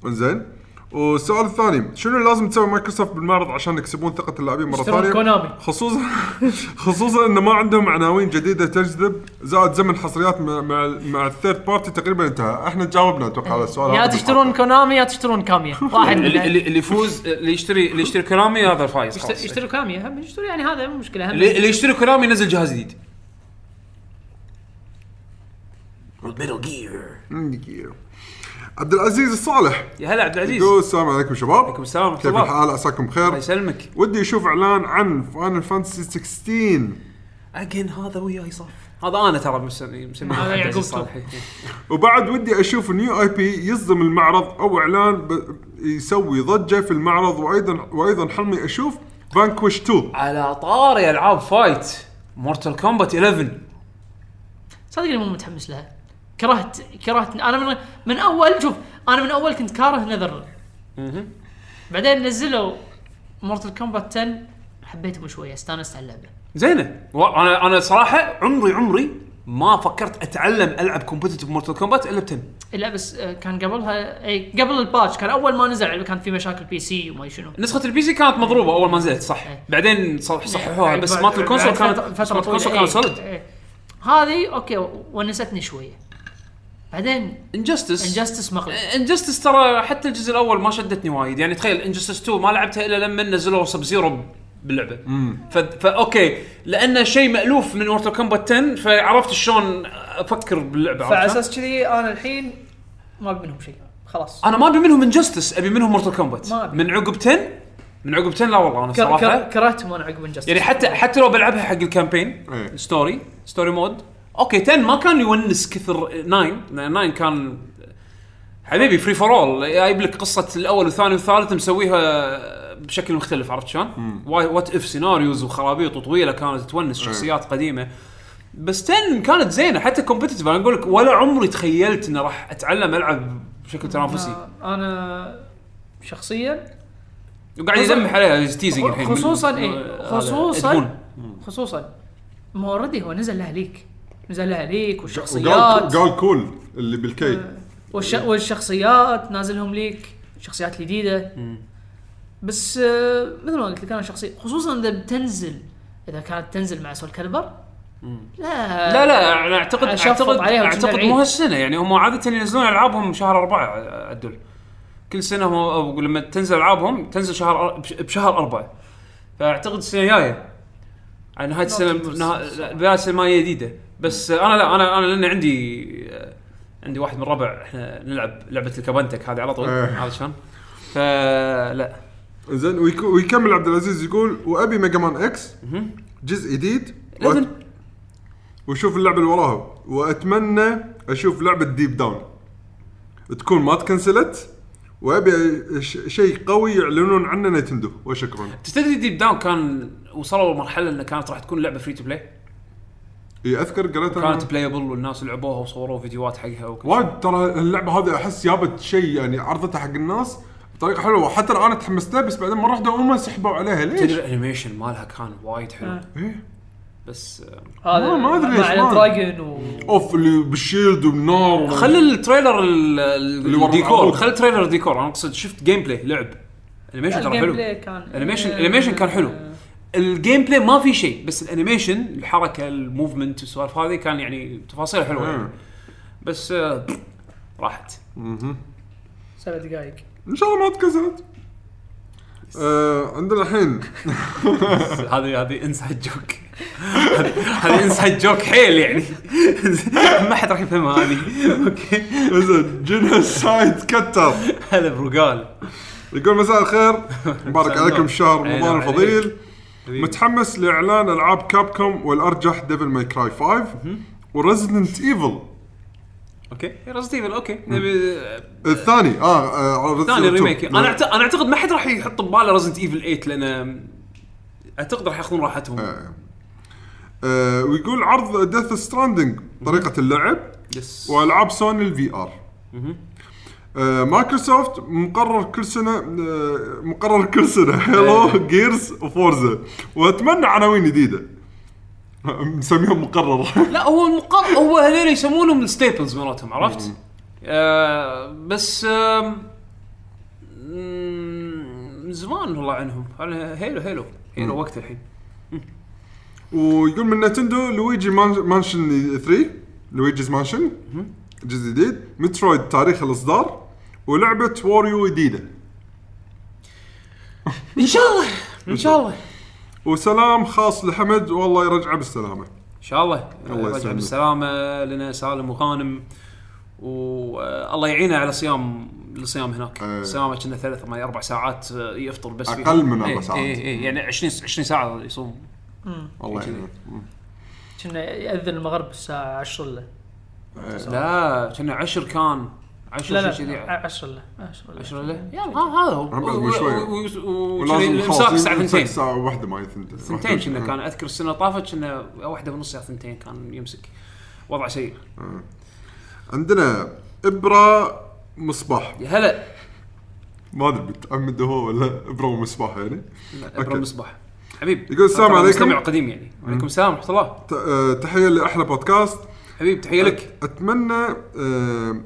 [SPEAKER 4] انزين والسؤال الثاني شنو لازم تسوي مايكروسوفت بالمعرض عشان يكسبون ثقه اللاعبين مره
[SPEAKER 3] يشترون
[SPEAKER 4] ثانيه
[SPEAKER 3] كونامي.
[SPEAKER 4] خصوصا خصوصا ان ما عندهم عناوين جديده تجذب زائد زمن حصريات مع مع, مع الثيرد بارتي تقريبا انتهى احنا جاوبنا اتوقع على السؤال
[SPEAKER 3] يا
[SPEAKER 4] هذا
[SPEAKER 3] تشترون كونامي يا تشترون كاميا واحد
[SPEAKER 1] اللي
[SPEAKER 3] منهم.
[SPEAKER 1] اللي اللي يفوز اللي يشتري اللي يشتري كونامي هذا الفايز
[SPEAKER 3] يشت-
[SPEAKER 1] خلاص اللي
[SPEAKER 3] يشتروا كاميا هم يشتروا يعني هذا مو مشكله هم
[SPEAKER 1] اللي يشتري كونامي ينزل جهاز جديد
[SPEAKER 4] بالحلقة. عبد العزيز الصالح
[SPEAKER 1] يا هلا عبد العزيز
[SPEAKER 4] يقول السلام عليكم شباب عليكم
[SPEAKER 1] السلام ورحمة
[SPEAKER 4] كيف
[SPEAKER 1] الله.
[SPEAKER 4] الحال عساكم
[SPEAKER 1] الله
[SPEAKER 4] بخير
[SPEAKER 1] يسلمك
[SPEAKER 4] ودي اشوف اعلان عن فاينل فانتسي 16
[SPEAKER 1] اجين هذا وياي صار هذا انا ترى مسمي مسمي
[SPEAKER 3] هذا
[SPEAKER 1] عبد العزيز
[SPEAKER 3] يعقوب
[SPEAKER 1] صالح.
[SPEAKER 4] وبعد ودي اشوف نيو اي بي يصدم المعرض او اعلان ب... يسوي ضجه في المعرض وايضا وايضا حلمي اشوف فانكوش 2
[SPEAKER 1] على طاري العاب فايت مورتال كومبات 11
[SPEAKER 3] صدق اني مو متحمس لها كرهت كرهت انا من من اول شوف انا من اول كنت كاره نذر بعدين نزلوا مورتل كومبات 10 حبيتهم شويه استانست على اللعبه
[SPEAKER 1] زينه و- انا انا صراحه عمري عمري ما فكرت اتعلم العب كومبتيتيف مورتال كومبات الا ب 10
[SPEAKER 3] لا بس آه، كان قبلها اي قبل الباتش كان اول ما نزل يعني كان في مشاكل بي سي وما شنو
[SPEAKER 1] نسخه البي سي كانت مضروبه اول ما نزلت صح
[SPEAKER 3] إيه.
[SPEAKER 1] بعدين صح صححوها
[SPEAKER 3] يعني بعد-
[SPEAKER 1] بس
[SPEAKER 3] بعد-
[SPEAKER 1] مالت الكونسول
[SPEAKER 3] بعد
[SPEAKER 1] كانت
[SPEAKER 3] فترة- فترة
[SPEAKER 1] مالت الكونسول
[SPEAKER 3] طويلة،
[SPEAKER 1] كانت
[SPEAKER 3] إيه،
[SPEAKER 1] سوليد
[SPEAKER 3] إيه. هذه اوكي ونستني شويه بعدين
[SPEAKER 1] انجستس
[SPEAKER 3] انجستس مقلب
[SPEAKER 1] إيه. انجستس ترى حتى الجزء الاول ما شدتني وايد يعني تخيل انجستس 2 ما لعبتها الا لما نزلوا سب زيرو باللعبه ف... فاوكي لانه شيء مالوف من مورتال كومبات 10 فعرفت شلون افكر باللعبه
[SPEAKER 3] فعلى
[SPEAKER 1] عرفت شلون؟
[SPEAKER 3] اساس كذي انا الحين ما ابي منهم شيء خلاص
[SPEAKER 1] انا ما ابي منهم انجستس ابي منهم مورتال كومبات
[SPEAKER 3] ما أبي.
[SPEAKER 1] من عقب 10 من عقب 10 لا والله انا
[SPEAKER 3] كر-
[SPEAKER 1] صراحه
[SPEAKER 3] كر- كرهتهم انا عقب انجستس
[SPEAKER 1] يعني حتى حتى لو بلعبها حق الكامبين
[SPEAKER 4] إيه.
[SPEAKER 1] ستوري ستوري مود اوكي 10 ما كان يونس كثر 9 لأن 9 كان حبيبي فري فور اول جايب لك قصه الاول والثاني والثالث مسويها بشكل مختلف عرفت شلون؟ وات اف سيناريوز وخرابيط وطويله كانت تونس شخصيات قديمه بس 10 كانت زينه حتى كومبتتف انا اقول لك ولا عمري تخيلت اني راح اتعلم العب بشكل تنافسي
[SPEAKER 3] آه، انا شخصيا
[SPEAKER 1] وقاعد يذمح عليها تيزنج الحين آه،
[SPEAKER 3] خصوصاً
[SPEAKER 1] بال-
[SPEAKER 3] إيه،
[SPEAKER 1] هذا
[SPEAKER 3] خصوصاً
[SPEAKER 1] أدمون.
[SPEAKER 3] خصوصا ما اوريدي هو نزل لها ليك نزل لها ليك والشخصيات
[SPEAKER 4] قال كول اللي بالكي
[SPEAKER 3] والش... والشخصيات نازلهم ليك شخصيات جديده بس آه، مثل ما قلت لك انا شخصيا خصوصا اذا بتنزل اذا كانت تنزل مع سول كالبر لا
[SPEAKER 1] لا لا انا اعتقد
[SPEAKER 3] أشفط
[SPEAKER 1] اعتقد
[SPEAKER 3] عليها وتجمع
[SPEAKER 1] اعتقد
[SPEAKER 3] العيد.
[SPEAKER 1] مو هالسنه يعني هم عاده ينزلون العابهم شهر اربعه الدل كل سنه هم أو لما تنزل العابهم تنزل شهر أر- بش- بشهر اربعه فاعتقد السنه الجايه على نهايه السنه
[SPEAKER 3] تدرس.
[SPEAKER 1] نها- لا، بدايه السنه ما هي جديده بس انا لا انا انا لان عندي آه، عندي واحد من ربع احنا نلعب لعبه الكابنتك هذه على طول
[SPEAKER 4] إيه.
[SPEAKER 1] عرفت شلون؟ فلا
[SPEAKER 4] زين ويك- ويكمل عبد العزيز يقول وابي ميجا مان اكس جزء جديد
[SPEAKER 1] لازم
[SPEAKER 4] وأت- وشوف اللعبه اللي وراها واتمنى اشوف لعبه ديب داون تكون ما تكنسلت وابي ش- شيء قوي يعلنون عنه نتندو وشكرا
[SPEAKER 1] تدري ديب داون كان وصلوا لمرحله انه كانت راح تكون لعبه فري تو بلاي
[SPEAKER 4] إي، اذكر قريتها
[SPEAKER 1] كانت بلايبل والناس لعبوها وصوروا فيديوهات حقها وكل
[SPEAKER 4] وايد ترى اللعبه هذه احس جابت شيء يعني عرضتها حق الناس بطريقه حلوه حتى انا تحمست لها بس بعدين مره واحده هم سحبوا عليها
[SPEAKER 1] تدري
[SPEAKER 4] ليش؟
[SPEAKER 1] الانيميشن مالها كان وايد حلو
[SPEAKER 4] إيه.
[SPEAKER 1] بس آه،
[SPEAKER 3] هذا
[SPEAKER 4] ما- ما أدري ليش
[SPEAKER 3] مع
[SPEAKER 4] ما-
[SPEAKER 3] الدراجون و
[SPEAKER 4] اوف اللي بالشيلد والنار
[SPEAKER 1] خلي التريلر ال- ال-
[SPEAKER 4] اللي ورا
[SPEAKER 1] الديكور
[SPEAKER 4] العروض.
[SPEAKER 1] خلي التريلر الديكور انا اقصد شفت جيم بلاي لعب انيميشن ترى
[SPEAKER 3] الجيم
[SPEAKER 1] حلو
[SPEAKER 3] بلاي كان إيه،
[SPEAKER 1] انيميشن انيميشن كان حلو الجيم بلاي ما في شيء بس الانيميشن الحركه الموفمنت والسوالف هذه كان يعني تفاصيل حلوه يعني.
[SPEAKER 4] مم.
[SPEAKER 1] بس آه، راحت
[SPEAKER 3] سبع دقائق
[SPEAKER 4] ان شاء الله ما تكسرت آه عندنا الحين
[SPEAKER 1] هذه هذه انسايد جوك هذه- هذه انسايد جوك حيل يعني ما حد راح يفهمها هذه اوكي
[SPEAKER 4] زين جنها سايد كتر
[SPEAKER 1] هذا برقال
[SPEAKER 4] يقول مساء الخير مبارك
[SPEAKER 1] مساء
[SPEAKER 4] عليكم
[SPEAKER 1] النور.
[SPEAKER 4] شهر
[SPEAKER 1] عينا
[SPEAKER 4] رمضان
[SPEAKER 1] عليك.
[SPEAKER 4] الفضيل متحمس لاعلان العاب كابكوم والارجح ديفل ماي كراي 5 وريزدنت ايفل
[SPEAKER 1] اوكي ريزنت ايفل اوكي نبي
[SPEAKER 4] الثاني اه, آه Resident
[SPEAKER 1] ثاني
[SPEAKER 4] Evil 2.
[SPEAKER 1] ريميك انا أعت- انا اعتقد ما حد راح يحط بباله ريزنت ايفل 8 لان اعتقد راح ياخذون راحتهم
[SPEAKER 4] آه. آه ويقول عرض ديث ستراندنج طريقه اللعب
[SPEAKER 1] يس
[SPEAKER 4] والعاب سوني الفي ار آه، مايكروسوفت مقرر كل سنه آه، مقرر كل سنه هيلو جيرز وفورزا واتمنى عناوين جديده مسميهم مقرر
[SPEAKER 1] لا هو المقر هو هذول يسمونهم الستيبلز مالتهم عرفت؟ آه بس آم، مم، من زمان والله عنهم على هيلو هيلو هيلو وقت الحين
[SPEAKER 4] ويقول من نتندو لويجي مان- مانشن 3 لويجيز مانشن جزء جديد مترويد تاريخ الاصدار ولعبه واريو جديده
[SPEAKER 1] ان شاء الله ان شاء الله
[SPEAKER 4] وسلام خاص لحمد والله يرجعه بالسلامه
[SPEAKER 1] ان شاء الله
[SPEAKER 4] الله
[SPEAKER 1] رجع
[SPEAKER 4] يسلمك.
[SPEAKER 1] بالسلامه لنا سالم وغانم والله يعينه على صيام الصيام هناك
[SPEAKER 4] إيه.
[SPEAKER 1] صيامه كنا ثلاث ما اربع ساعات آه، يفطر بس
[SPEAKER 4] أقل
[SPEAKER 1] فيهم.
[SPEAKER 4] من أربع
[SPEAKER 1] إيه،
[SPEAKER 4] ساعات.
[SPEAKER 1] إيه، إيه، يعني 20 20 ساعه يصوم
[SPEAKER 4] الله يعينك
[SPEAKER 3] كنا ياذن المغرب الساعه 10 له
[SPEAKER 1] لا كنا 10 كان 10
[SPEAKER 3] لا
[SPEAKER 1] شيء كذي
[SPEAKER 3] لا 10 له 10 له
[SPEAKER 1] 10 لا يلا ها- هذا هو
[SPEAKER 4] بعد مو شوي. ولازم
[SPEAKER 1] والمساك
[SPEAKER 4] نخلص
[SPEAKER 1] الساعه
[SPEAKER 4] نمسك
[SPEAKER 1] 2
[SPEAKER 4] الساعه واحده ما ثنتين
[SPEAKER 1] ثنتين كنا كان اذكر السنه طافت كنا واحده ونص يا ثنتين كان يمسك وضع سيء
[SPEAKER 4] عندنا ابره مصباح
[SPEAKER 1] يا هلا
[SPEAKER 4] ما ادري بتعمد هو ولا ابره ومصباح يعني
[SPEAKER 1] ابرم مصباح حبيب
[SPEAKER 4] يقول السلام
[SPEAKER 1] ترى
[SPEAKER 4] عليكم.
[SPEAKER 1] مستمع قديم يعني وعليكم السلام ورحمه الله
[SPEAKER 4] ت- آه، تحيه لاحلى بودكاست
[SPEAKER 1] حبيب تحيه لك
[SPEAKER 4] اتمنى آه،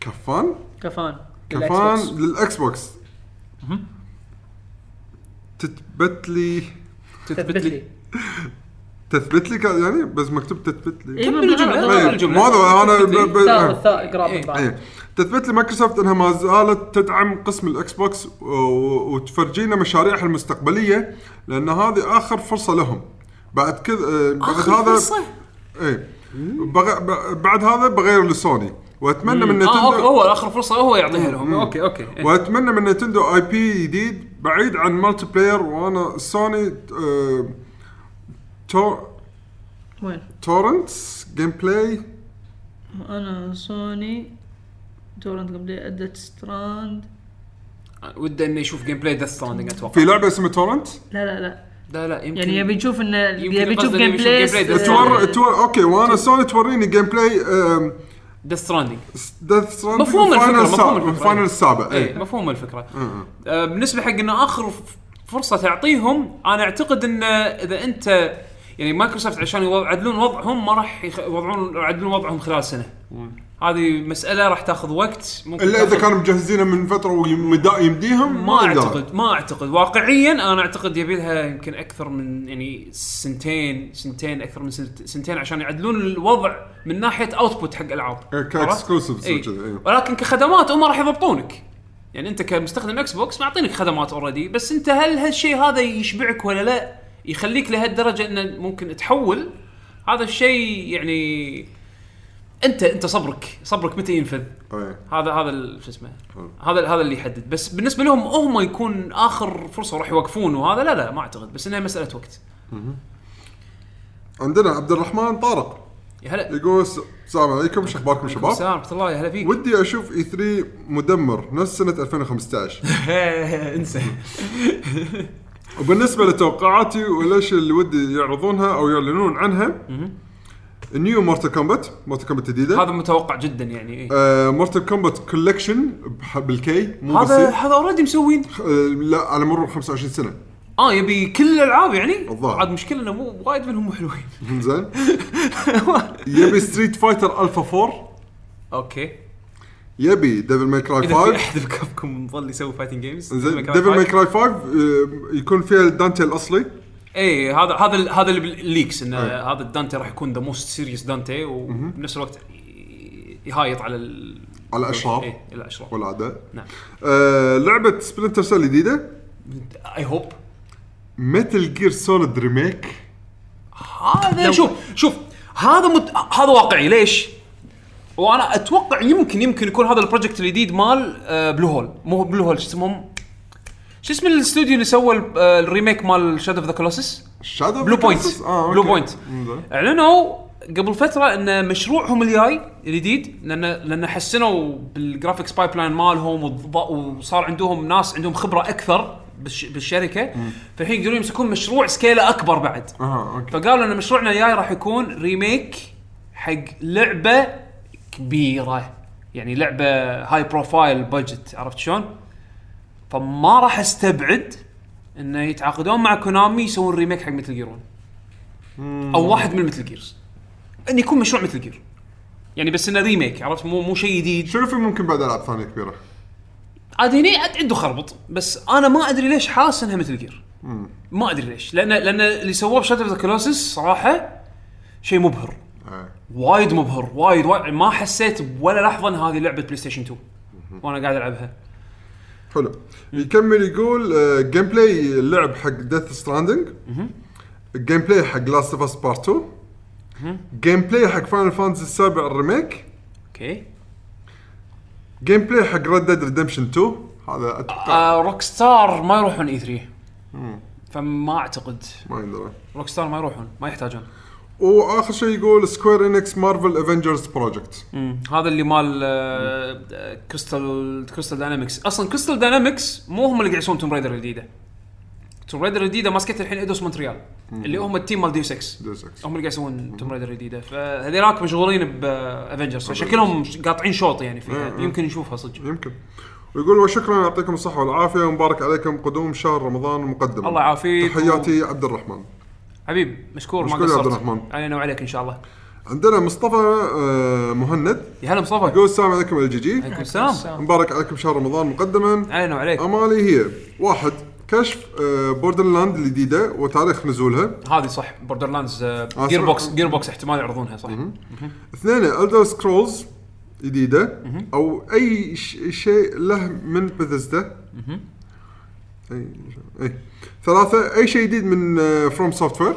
[SPEAKER 4] كفان
[SPEAKER 3] كفان
[SPEAKER 4] كفان
[SPEAKER 3] للأكس بوكس.
[SPEAKER 4] للاكس بوكس تثبت لي
[SPEAKER 1] تثبت
[SPEAKER 3] تثبت
[SPEAKER 1] لي
[SPEAKER 3] لي
[SPEAKER 4] تثبت لي كان- يعني بس مكتوب تثبت لي
[SPEAKER 3] إيه،
[SPEAKER 1] كمل الجملة،
[SPEAKER 3] بالغلط.
[SPEAKER 1] كمل
[SPEAKER 4] إيه،
[SPEAKER 1] الجملة.
[SPEAKER 4] مو هذا انا ب- ب-
[SPEAKER 3] الثاء
[SPEAKER 4] إيه.
[SPEAKER 3] والثاء اقرا من بعض.
[SPEAKER 4] ايه تثبت لمايكروسوفت انها ما زالت تدعم قسم الاكس بوكس و- وتفرجينا مشاريعها المستقبليه لان هذه اخر فرصه لهم بعد كذا آه، بعد هذا ايه بغ... ب- بعد هذا بغير لسوني واتمنى من
[SPEAKER 1] اه اوكي
[SPEAKER 4] نتندو
[SPEAKER 1] هو اخر فرصه هو يعطيها لهم اوكي اوكي إيه.
[SPEAKER 4] واتمنى من نتندو اي بي جديد بعيد عن مالتي بلاير وانا سوني آه، تو...
[SPEAKER 3] وين؟
[SPEAKER 4] تورنتس جيم بلاي
[SPEAKER 3] انا سوني تورنت قبل ادت ستراند
[SPEAKER 1] وده انه يشوف جيم بلاي ديث ستراندنج اتوقع
[SPEAKER 4] في لعبه اسمها تورنت
[SPEAKER 3] لا لا لا
[SPEAKER 1] لا لا يمكن
[SPEAKER 3] يعني يبي نشوف انه
[SPEAKER 1] يمكن
[SPEAKER 3] يبي نشوف
[SPEAKER 1] قصده يبي
[SPEAKER 3] جيم
[SPEAKER 1] يشوف
[SPEAKER 3] بلاي
[SPEAKER 1] gameplay ده.
[SPEAKER 4] تور... تور... اوكي وانا سوني توريني جيم بلاي آم،
[SPEAKER 1] ديث ستراندنج
[SPEAKER 4] ديث
[SPEAKER 1] مفهوم الفكرة، مفهوم الفكرة. إيه.
[SPEAKER 4] الفاينل السابع
[SPEAKER 1] اي
[SPEAKER 4] اي
[SPEAKER 1] مفهوم الفكره آه، بالنسبه حق انه اخر ف- فرصه تعطيهم انا اعتقد انه اذا انت يعني مايكروسوفت عشان يو- يعدلون وضعهم ما راح يخ- يوضعون يعدلون وضعهم خلال سنه هذه مساله راح تاخذ وقت ممكن
[SPEAKER 4] الا اذا
[SPEAKER 1] تاخذ-
[SPEAKER 4] كانوا مجهزينها من فتره ويمدا- يمديهم
[SPEAKER 1] ما
[SPEAKER 4] يقدر.
[SPEAKER 1] اعتقد ما اعتقد واقعيا انا اعتقد يبي لها يمكن اكثر من يعني سنتين سنتين اكثر من سنت- سنتين عشان يعدلون الوضع من ناحيه اوتبوت حق العاب
[SPEAKER 4] إيه، كاكسكلوسيفز
[SPEAKER 1] إيه.
[SPEAKER 4] وكذا، إيه.
[SPEAKER 1] ولكن كخدمات هم راح يضبطونك يعني انت كمستخدم اكس بوكس معطينك خدمات اوريدي بس انت هل هالشيء هذا يشبعك ولا لا يخليك لهالدرجه انه ممكن تحول هذا الشيء يعني انت انت صبرك صبرك متى ينفذ
[SPEAKER 4] إيه.
[SPEAKER 1] هذا هذا ال- شو اسمه هذا هذا اللي يحدد بس بالنسبه لهم هم يكون اخر فرصه راح يوقفون وهذا لا لا ما اعتقد بس انها مساله وقت
[SPEAKER 4] عندنا عبد الرحمن طارق
[SPEAKER 1] يا هلا
[SPEAKER 4] يقول الس- السلام عليكم ايش اخباركم شباب؟
[SPEAKER 1] سلام ورحمه الله يا هلا فيك
[SPEAKER 4] ودي اشوف اي 3 مدمر نفس سنه 2015
[SPEAKER 1] انسى
[SPEAKER 4] وبالنسبه لتوقعاتي وليش اللي ودي يعرضونها او يعلنون عنها نيو مورتال كومبات مورتال كومبات جديده
[SPEAKER 1] هذا متوقع جدا يعني إيه.
[SPEAKER 4] مورتال كومبات كولكشن بالكي مو
[SPEAKER 1] هذا
[SPEAKER 4] بالسي
[SPEAKER 1] هذا اوريدي مسوين
[SPEAKER 4] آه، لا على مرور 25 سنه
[SPEAKER 1] اه يبي كل الالعاب يعني
[SPEAKER 4] الظاهر.
[SPEAKER 1] عاد مشكله انه مو وايد منهم مو حلوين
[SPEAKER 4] زين يبي ستريت فايتر الفا 4
[SPEAKER 1] اوكي
[SPEAKER 4] يبي ديفل ماي كراي
[SPEAKER 1] اذا في
[SPEAKER 4] 5
[SPEAKER 1] احد بكابكم مظل يسوي فايتنج جيمز
[SPEAKER 4] زين ديفل ماي كراي 5 آه، يكون فيها دانتي الاصلي
[SPEAKER 1] اي إيه، هذا هذا ال- هذا اللي بالليكس انه هذا الدانتي راح يكون ذا موست سيريس دانتي وبنفس الوقت ي- يهايط على ال...
[SPEAKER 4] على الأشرار.
[SPEAKER 1] اي على الاشرار
[SPEAKER 4] والعاده
[SPEAKER 1] نعم
[SPEAKER 4] آه، لعبه سبلنتر سيل جديده
[SPEAKER 1] اي هوب
[SPEAKER 4] متل جير سوليد ريميك
[SPEAKER 1] هذا شوف شوف هذا مت... هذا واقعي ليش؟ وانا اتوقع يمكن يمكن يكون هذا البروجكت الجديد مال آه، بلو هول مو بلو هول شو اسمهم؟ شو اسم الاستوديو اللي سوى ال- آه، الريميك مال شاد اوف ذا كولوسس؟
[SPEAKER 4] شادو
[SPEAKER 1] بلو بوينت
[SPEAKER 4] آه،
[SPEAKER 1] بلو بوينت اعلنوا قبل فتره ان مشروعهم الجاي الجديد لان لان حسنوا بالجرافيكس بايب لاين مالهم والض- وصار عندهم ناس عندهم خبره اكثر بالش- بالشركه فالحين يقدرون يمسكون مشروع سكيله اكبر بعد
[SPEAKER 4] اها اوكي
[SPEAKER 1] فقالوا ان مشروعنا الجاي راح يكون ريميك حق لعبه كبيره يعني لعبه هاي بروفايل بادجت عرفت شلون؟ فما راح استبعد انه يتعاقدون مع كونامي يسوون ريميك حق مثل جيرون او واحد من مثل جيرز ان يكون مشروع مثل جير يعني بس انه ريميك عرفت مو مو شيء جديد
[SPEAKER 4] شنو في ممكن بعد العاب ثانيه كبيره؟
[SPEAKER 1] عاد هني عاد عنده خربط بس انا ما ادري ليش حاسس انها مثل جير ما ادري ليش لان لان اللي سووه بشاتر ذا كلوسس صراحه شيء مبهر
[SPEAKER 4] آه.
[SPEAKER 1] وايد مبهر وايد, وايد ما حسيت ولا لحظه ان هذه لعبه بلاي ستيشن 2 وانا قاعد العبها
[SPEAKER 4] حلو يكمل يقول جيم بلاي اللعب حق ديث ستراندنج جيم بلاي حق لاست اوف اس بارت 2 جيم بلاي حق فاينل فانتسي السابع الريميك
[SPEAKER 1] اوكي
[SPEAKER 4] جيم بلاي حق ريد ديد ريدمشن 2 هذا اتوقع
[SPEAKER 1] آه روك ستار ما يروحون اي 3 فما اعتقد
[SPEAKER 4] ما يندرى
[SPEAKER 1] روك ستار ما يروحون ما يحتاجون
[SPEAKER 4] واخر شيء يقول سكوير انكس مارفل افنجرز بروجكت
[SPEAKER 1] هذا اللي مال آه، آه، كريستال كريستال داينامكس اصلا كريستال داينامكس مو هم اللي قاعد يسوون توم رايدر الجديده توم رايدر الجديده ماسكتها الحين ادوس مونتريال اللي هم التيم مال ديوس اكس
[SPEAKER 4] Deus Ex.
[SPEAKER 1] هم اللي قاعد يسوون توم رايدر الجديده فهذيلاك مشغولين بافنجرز فشكلهم قاطعين شوط يعني فيها يمكن نشوفها صدق
[SPEAKER 4] يمكن ويقول وشكرا يعطيكم الصحه والعافيه ومبارك عليكم قدوم شهر رمضان مقدما
[SPEAKER 1] الله يعافيك.
[SPEAKER 4] تحياتي عبد الرحمن
[SPEAKER 1] حبيب مشكور ما
[SPEAKER 4] مشكور يا
[SPEAKER 1] قصرت
[SPEAKER 4] عبد الرحمن.
[SPEAKER 1] علينا وعليك ان شاء الله
[SPEAKER 4] عندنا مصطفى آه، مهند
[SPEAKER 1] يا هلا مصطفى
[SPEAKER 4] يقول السلام عليكم الجي جي
[SPEAKER 1] عليكم السلام
[SPEAKER 4] مبارك عليكم شهر رمضان مقدما
[SPEAKER 1] علينا وعليك
[SPEAKER 4] امالي هي واحد كشف بوردر لاند الجديده وتاريخ نزولها
[SPEAKER 1] هذه صح بوردر لاندز
[SPEAKER 4] آه،
[SPEAKER 1] جير
[SPEAKER 4] صح.
[SPEAKER 1] بوكس جير بوكس احتمال يعرضونها صح
[SPEAKER 4] اثنين الدر سكرولز جديده او اي ش- شيء له من بثزدا اي اي ثلاثه اي إيه. شيء جديد من آه، فروم سوفت وير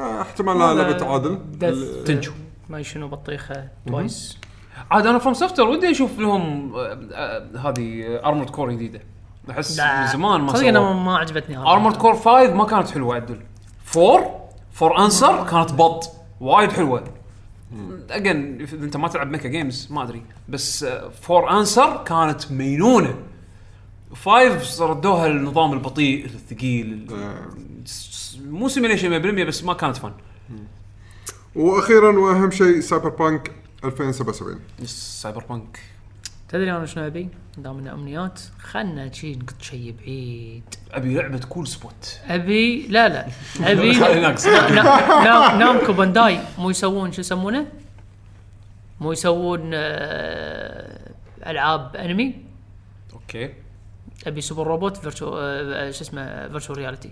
[SPEAKER 4] آه، احتمال لا لعبه تعادل ال-
[SPEAKER 3] تنشو ما شنو بطيخه توايس
[SPEAKER 1] عاد انا فروم سوفتر ودي اشوف لهم آه، آه، هذه ارمورد كور جديده احس من زمان ما
[SPEAKER 3] صدق انا
[SPEAKER 1] سووا
[SPEAKER 3] ما- ما عجبتني هذا.
[SPEAKER 1] ارمورد كور 5 ما كانت حلوه عدل 4 فور انسر كانت بط وايد حلوه اجين إذا انت ما تلعب ميكا جيمز ما ادري بس فور انسر كانت مينونه فايف ردوها النظام البطيء الثقيل
[SPEAKER 4] آه.
[SPEAKER 1] س- مو سيميليشن 100% بس ما كانت فن
[SPEAKER 4] واخيرا واهم شيء سايبر بانك 2077
[SPEAKER 1] سايبر بانك
[SPEAKER 3] تدري انا شنو ابي؟ دام إنه امنيات خلنا شي نقط شي بعيد
[SPEAKER 1] ابي لعبه كول سبوت
[SPEAKER 3] ابي لا لا ابي
[SPEAKER 1] ناقص.
[SPEAKER 3] نا- نا- نامكو بانداي مو يسوون شو يسمونه؟ مو يسوون آه، العاب انمي
[SPEAKER 1] اوكي
[SPEAKER 3] ابي سوبر روبوت فيرتشو آه، شو اسمه فيرتشو رياليتي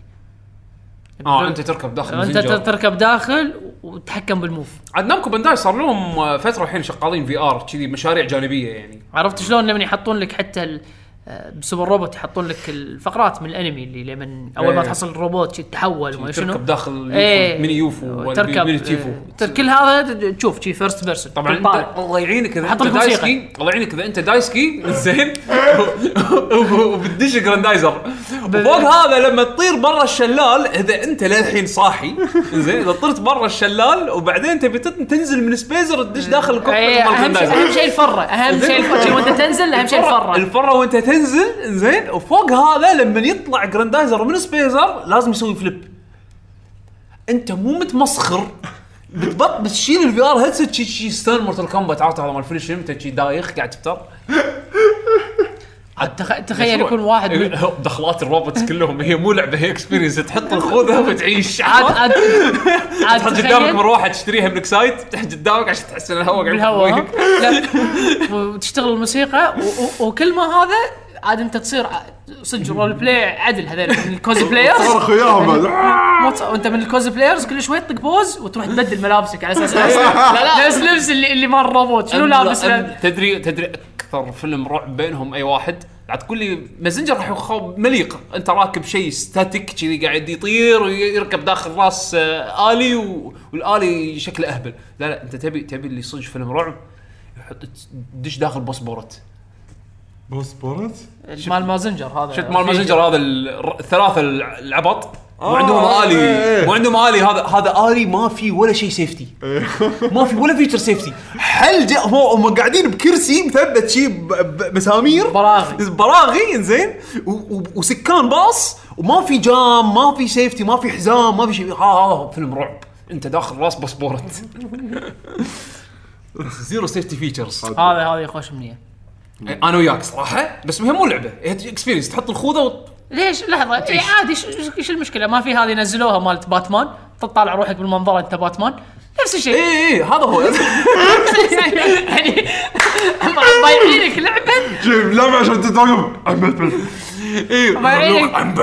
[SPEAKER 1] اه انت تركب داخل
[SPEAKER 3] انت
[SPEAKER 1] مزنجر
[SPEAKER 3] تركب داخل وتتحكم بالموف
[SPEAKER 1] عاد نامكو بانداي صار لهم آه، فتره الحين شغالين في ار كذي مشاريع جانبيه يعني
[SPEAKER 3] عرفت شلون لما يحطون لك حتى ال- آه، بسوبر روبوت يحطون لك الفقرات من الانمي اللي لما اول ما
[SPEAKER 1] إيه.
[SPEAKER 3] تحصل الروبوت شي تتحول وما شنو
[SPEAKER 1] تركب داخل يوفو،
[SPEAKER 3] إيه.
[SPEAKER 1] ميني يوفو ولا
[SPEAKER 3] تركب
[SPEAKER 1] ميني تيفو
[SPEAKER 3] تركب كل هذا تشوف شي فيرست بيرسون
[SPEAKER 1] طبعا انت الله يعينك اذا انت
[SPEAKER 3] حط لك موسيقى.
[SPEAKER 1] دايسكي الله يعينك اذا انت دايسكي زين وبتدش جراندايزر وفوق هذا لما تطير برا الشلال اذا انت للحين صاحي زين اذا طرت برا الشلال وبعدين تبي تت- تنزل من سبيزر تدش داخل الكوكب
[SPEAKER 3] إيه،
[SPEAKER 1] مال
[SPEAKER 3] اهم شيء
[SPEAKER 1] جراندايزر.
[SPEAKER 3] اهم شيء الفره اهم شيء الفره شي وانت تنزل اهم شيء الفره
[SPEAKER 1] الفره وانت تنزل زين وفوق هذا لما يطلع جراندايزر من سبيزر لازم يسوي فليب انت مو متمسخر بتبط بتشيل الفي ار هيدسيت شي شي ستان مورتال كومبات عرفت هذا مال فينش انت شي دايخ قاعد تفتر
[SPEAKER 3] تخ- تخيل يكون واحد من-
[SPEAKER 1] دخلات الروبوتس كلهم هي مو لعبه هي اكسبيرينس تحط الخوذه وتعيش
[SPEAKER 3] عاد عاد عاد
[SPEAKER 1] تحط قدامك
[SPEAKER 3] تخيل
[SPEAKER 1] مروحه تشتريها من اكسايد تحط قدامك عشان تحس ان الهواء قاعد
[SPEAKER 3] بالهواء
[SPEAKER 1] يحوك.
[SPEAKER 3] ها؟ لا وتشتغل الموسيقى و- و- وكل ما هذا عاد انت تصير ع- صدق رول بلاي عدل هذول من الكوز بلايرز
[SPEAKER 4] صرخ وياهم بعد.
[SPEAKER 3] مو تص- وانت من الكوز بلايرز كل شوي تطق بوز وتروح تبدل ملابسك على اساس نفس لبس اللي اللي مال الروبوت شنو لابس له؟
[SPEAKER 1] أم- تدري تدري اكثر فيلم رعب بينهم اي واحد لا تقول لي مازنجر راح يخوض مليقه انت راكب شيء ستاتيك كذي قاعد يطير ويركب داخل راس آه، الي و... والالي شكله اهبل لا لا انت تبي تبي اللي صدق فيلم رعب يحط دش داخل بوسبورت
[SPEAKER 4] بوسبورت
[SPEAKER 3] مال مازنجر هذا
[SPEAKER 1] شفت مال مازنجر هذا ال- الثلاثه الع- العبط وعندهم
[SPEAKER 4] آه، إيه،
[SPEAKER 1] الي
[SPEAKER 4] إيه.
[SPEAKER 1] وعندهم الي هذا هذا الي ما في ولا شيء سيفتي ما في ولا فيتشر سيفتي
[SPEAKER 8] حل جاء هو هم قاعدين بكرسي مثبت شي ب- ب- بمسامير
[SPEAKER 3] براغي
[SPEAKER 8] براغي انزين و- و- وسكان باص وما في جام ما في سيفتي ما في حزام ما في شيء
[SPEAKER 1] ها ها فيلم رعب انت داخل راس باسبورت زيرو سيفتي فيتشرز
[SPEAKER 3] هذا هذه خوش امنيه
[SPEAKER 1] انا وياك صراحه بس مهم مو لعبه اكسبيرينس تحط الخوذه وت-
[SPEAKER 3] ليش لحظه إيه عادي ش- ش- ايش المشكله ما في هذه نزلوها مالت باتمان تطالع روحك بالمنظره انت باتمان نفس الشيء
[SPEAKER 1] اي اي إيه، هذا هو
[SPEAKER 3] إيه. يعني هم بايعينك لعبه
[SPEAKER 4] جيب لعبه عشان تتوقف
[SPEAKER 1] إيه.
[SPEAKER 3] بايعينك